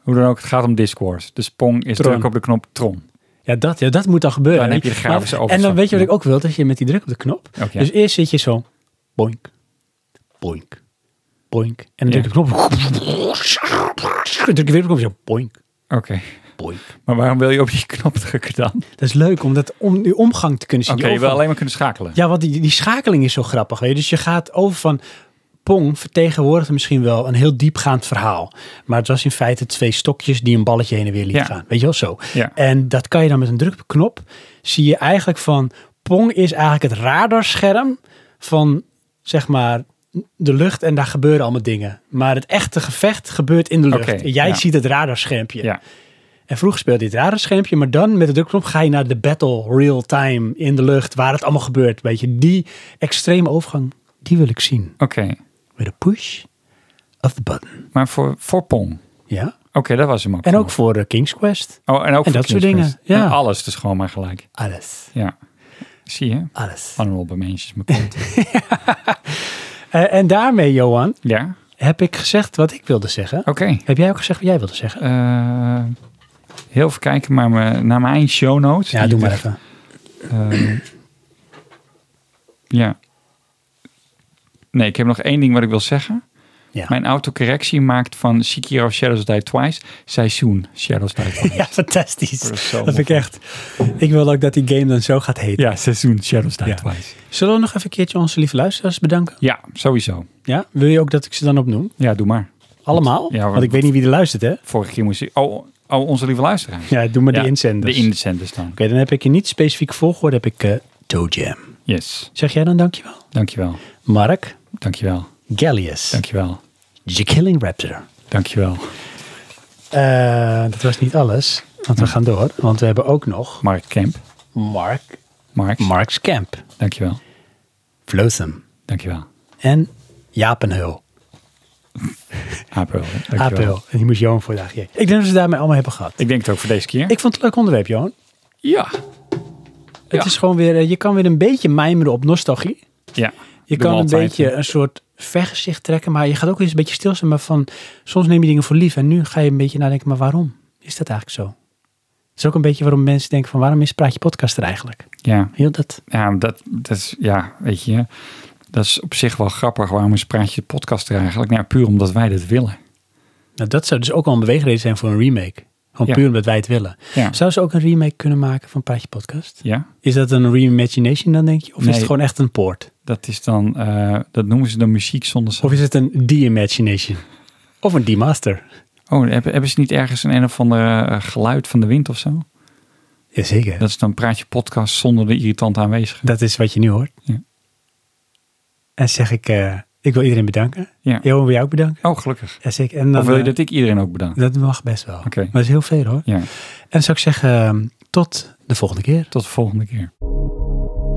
[SPEAKER 2] Hoe dan ook, het gaat om Disc Wars. Dus Pong is
[SPEAKER 1] Tron.
[SPEAKER 2] druk op de knop Tron.
[SPEAKER 1] Ja dat, ja, dat moet dan gebeuren.
[SPEAKER 2] Dan heb je de grafische
[SPEAKER 1] Maar- En
[SPEAKER 2] overstap,
[SPEAKER 1] dan weet je wat
[SPEAKER 2] ja.
[SPEAKER 1] ik ook wil, dat je met die druk op de knop
[SPEAKER 2] Oké.
[SPEAKER 1] Dus eerst zit je zo, boink, boink, boink. En dan
[SPEAKER 2] Ja.
[SPEAKER 1] druk je de knop. Dan druk je weer op de knop, zo, boink,
[SPEAKER 2] Oké.
[SPEAKER 1] boink.
[SPEAKER 2] Maar waarom wil je op die knop drukken dan?
[SPEAKER 1] Dat is leuk, om, dat, om die omgang te kunnen zien.
[SPEAKER 2] Oké,
[SPEAKER 1] Die
[SPEAKER 2] je wil
[SPEAKER 1] overgang.
[SPEAKER 2] alleen maar kunnen schakelen.
[SPEAKER 1] Ja, want die, die schakeling is zo grappig. Weet je? Dus je gaat over van... Pong vertegenwoordigt misschien wel een heel diepgaand verhaal. Maar het was in feite twee stokjes die een balletje heen en weer lieten
[SPEAKER 2] Ja.
[SPEAKER 1] gaan. Weet je wel zo?
[SPEAKER 2] Ja.
[SPEAKER 1] En dat kan je dan met een druk op de knop. Zie je eigenlijk van... Pong is eigenlijk het radarscherm van zeg maar de lucht en daar gebeuren allemaal dingen. Maar het echte gevecht gebeurt in de lucht.
[SPEAKER 2] Oké,
[SPEAKER 1] En jij
[SPEAKER 2] ja.
[SPEAKER 1] ziet het radarschermpje.
[SPEAKER 2] Ja.
[SPEAKER 1] En vroeger speelde dit radarschermpje, maar dan met de drukknop ga je naar de battle real time in de lucht, waar het allemaal gebeurt. Weet je, die extreme overgang, die wil ik zien.
[SPEAKER 2] Oké,
[SPEAKER 1] Met een push of the button.
[SPEAKER 2] maar voor, voor Pong.
[SPEAKER 1] Ja.
[SPEAKER 2] Oké, dat was hem ook.
[SPEAKER 1] En ook voor eh, King's Quest.
[SPEAKER 2] Oh, en ook voor
[SPEAKER 1] dat soort
[SPEAKER 2] King's
[SPEAKER 1] dingen,
[SPEAKER 2] Quest. En
[SPEAKER 1] ja.
[SPEAKER 2] alles dus gewoon maar gelijk.
[SPEAKER 1] Alles.
[SPEAKER 2] Ja. Zie je?
[SPEAKER 1] Alles.
[SPEAKER 2] Honorable mentions, mijn kont.
[SPEAKER 1] Eh, en daarmee, Johan,
[SPEAKER 2] ja?
[SPEAKER 1] heb ik gezegd wat ik wilde zeggen.
[SPEAKER 2] Oké.
[SPEAKER 1] Heb jij ook gezegd wat jij wilde zeggen?
[SPEAKER 2] Eh, heel even kijken maar me- naar mijn show notes.
[SPEAKER 1] Ja,
[SPEAKER 2] Die-
[SPEAKER 1] doe maar even.
[SPEAKER 2] eh, ja. Nee, ik heb nog één ding wat ik wil zeggen.
[SPEAKER 1] Ja.
[SPEAKER 2] Mijn autocorrectie maakt van Sekiro Shadows Die Twice, Seizoen Shadows Die Twice.
[SPEAKER 1] Ja, fantastisch.
[SPEAKER 2] Dat
[SPEAKER 1] Dat,
[SPEAKER 2] is zo
[SPEAKER 1] vind ik
[SPEAKER 2] mooi.
[SPEAKER 1] echt. Ik wil ook dat die game dan zo gaat heten.
[SPEAKER 2] ja, Seizoen Shadows Die
[SPEAKER 1] Ja.
[SPEAKER 2] Twice.
[SPEAKER 1] Zullen we nog even een keertje onze lieve luisteraars bedanken?
[SPEAKER 2] Ja, sowieso.
[SPEAKER 1] Ja, wil je ook dat ik ze dan opnoem?
[SPEAKER 2] Ja, doe maar.
[SPEAKER 1] Allemaal?
[SPEAKER 2] Ja, maar-
[SPEAKER 1] Want ik weet niet wie er luistert, hè?
[SPEAKER 2] Vorige keer moest ik... Oh, oh onze lieve luisteraar.
[SPEAKER 1] Ja, doe maar
[SPEAKER 2] Ja,
[SPEAKER 1] de inzenders.
[SPEAKER 2] De inzenders dan.
[SPEAKER 1] Oké, dan heb ik je niet specifiek volgorde, heb ik eh Toe Jam.
[SPEAKER 2] Yes.
[SPEAKER 1] Zeg jij dan dankjewel?
[SPEAKER 2] Dankjewel.
[SPEAKER 1] Mark,
[SPEAKER 2] Dankjewel.
[SPEAKER 1] Gallius,
[SPEAKER 2] Dankjewel.
[SPEAKER 1] The Killing Raptor.
[SPEAKER 2] Dankjewel.
[SPEAKER 1] Eh, dat was niet alles, want we gaan door. Want we hebben ook nog
[SPEAKER 2] Mark Kemp.
[SPEAKER 1] Mark,
[SPEAKER 2] Mark.
[SPEAKER 1] Mark's Camp,
[SPEAKER 2] Dankjewel.
[SPEAKER 1] Flotham
[SPEAKER 2] Dankjewel.
[SPEAKER 1] en Japenhul.
[SPEAKER 2] Apel.
[SPEAKER 1] Apel. En die moest Johan voor de AG. Ik denk dat we ze daarmee allemaal hebben gehad.
[SPEAKER 2] Ik denk het ook voor deze keer.
[SPEAKER 1] Ik vond het een leuk onderwerp, Johan.
[SPEAKER 2] ja.
[SPEAKER 1] Het
[SPEAKER 2] Ja.
[SPEAKER 1] is gewoon weer, eh, je kan weer een beetje mijmeren op nostalgie.
[SPEAKER 2] Ja.
[SPEAKER 1] Je
[SPEAKER 2] Doen we
[SPEAKER 1] kan een
[SPEAKER 2] altijd, eh,
[SPEAKER 1] beetje
[SPEAKER 2] hè.
[SPEAKER 1] een soort vergezicht trekken, maar je gaat ook eens een beetje stilstaan. Maar van, soms neem je dingen voor lief en nu ga je een beetje nadenken, maar waarom is dat eigenlijk zo? Dat is ook een beetje waarom mensen denken van, waarom is Praatje Podcast er eigenlijk?
[SPEAKER 2] Ja.
[SPEAKER 1] Heel dat.
[SPEAKER 2] Ja, dat, dat is, ja, weet je, dat is op zich wel grappig. Waarom is Praatje de podcast er eigenlijk? Nou, puur omdat wij dat willen.
[SPEAKER 1] Nou, dat zou dus ook al een beweegreden zijn voor een remake. Gewoon
[SPEAKER 2] Ja.
[SPEAKER 1] puur omdat wij het willen.
[SPEAKER 2] Ja.
[SPEAKER 1] Zou ze ook een remake kunnen maken van Praatje Podcast?
[SPEAKER 2] Ja,
[SPEAKER 1] Is dat een reimagination dan denk je? Of is
[SPEAKER 2] Nee.
[SPEAKER 1] het gewoon echt een poort?
[SPEAKER 2] dat is dan, eh, dat noemen ze dan muziek zonder sound.
[SPEAKER 1] Of is het een de-imagination? Of een de-master?
[SPEAKER 2] Oh, hebben, hebben ze niet ergens een een of ander eh, geluid van de wind of zo?
[SPEAKER 1] Jazeker.
[SPEAKER 2] Dat is dan Praatje podcast zonder de irritant aanwezige.
[SPEAKER 1] Dat is wat je nu hoort.
[SPEAKER 2] Ja.
[SPEAKER 1] En zeg ik, eh, ik wil iedereen bedanken.
[SPEAKER 2] Ja.
[SPEAKER 1] Johan, wil jij ook bedanken?
[SPEAKER 2] Oh, gelukkig.
[SPEAKER 1] Ja, zeker. En dan,
[SPEAKER 2] Of wil je
[SPEAKER 1] eh,
[SPEAKER 2] dat ik iedereen ook bedank?
[SPEAKER 1] dat mag best wel.
[SPEAKER 2] Oké.
[SPEAKER 1] Maar dat is heel veel hoor.
[SPEAKER 2] Ja,
[SPEAKER 1] En dan zou ik zeggen, ehm, tot de volgende keer.
[SPEAKER 2] tot de volgende keer.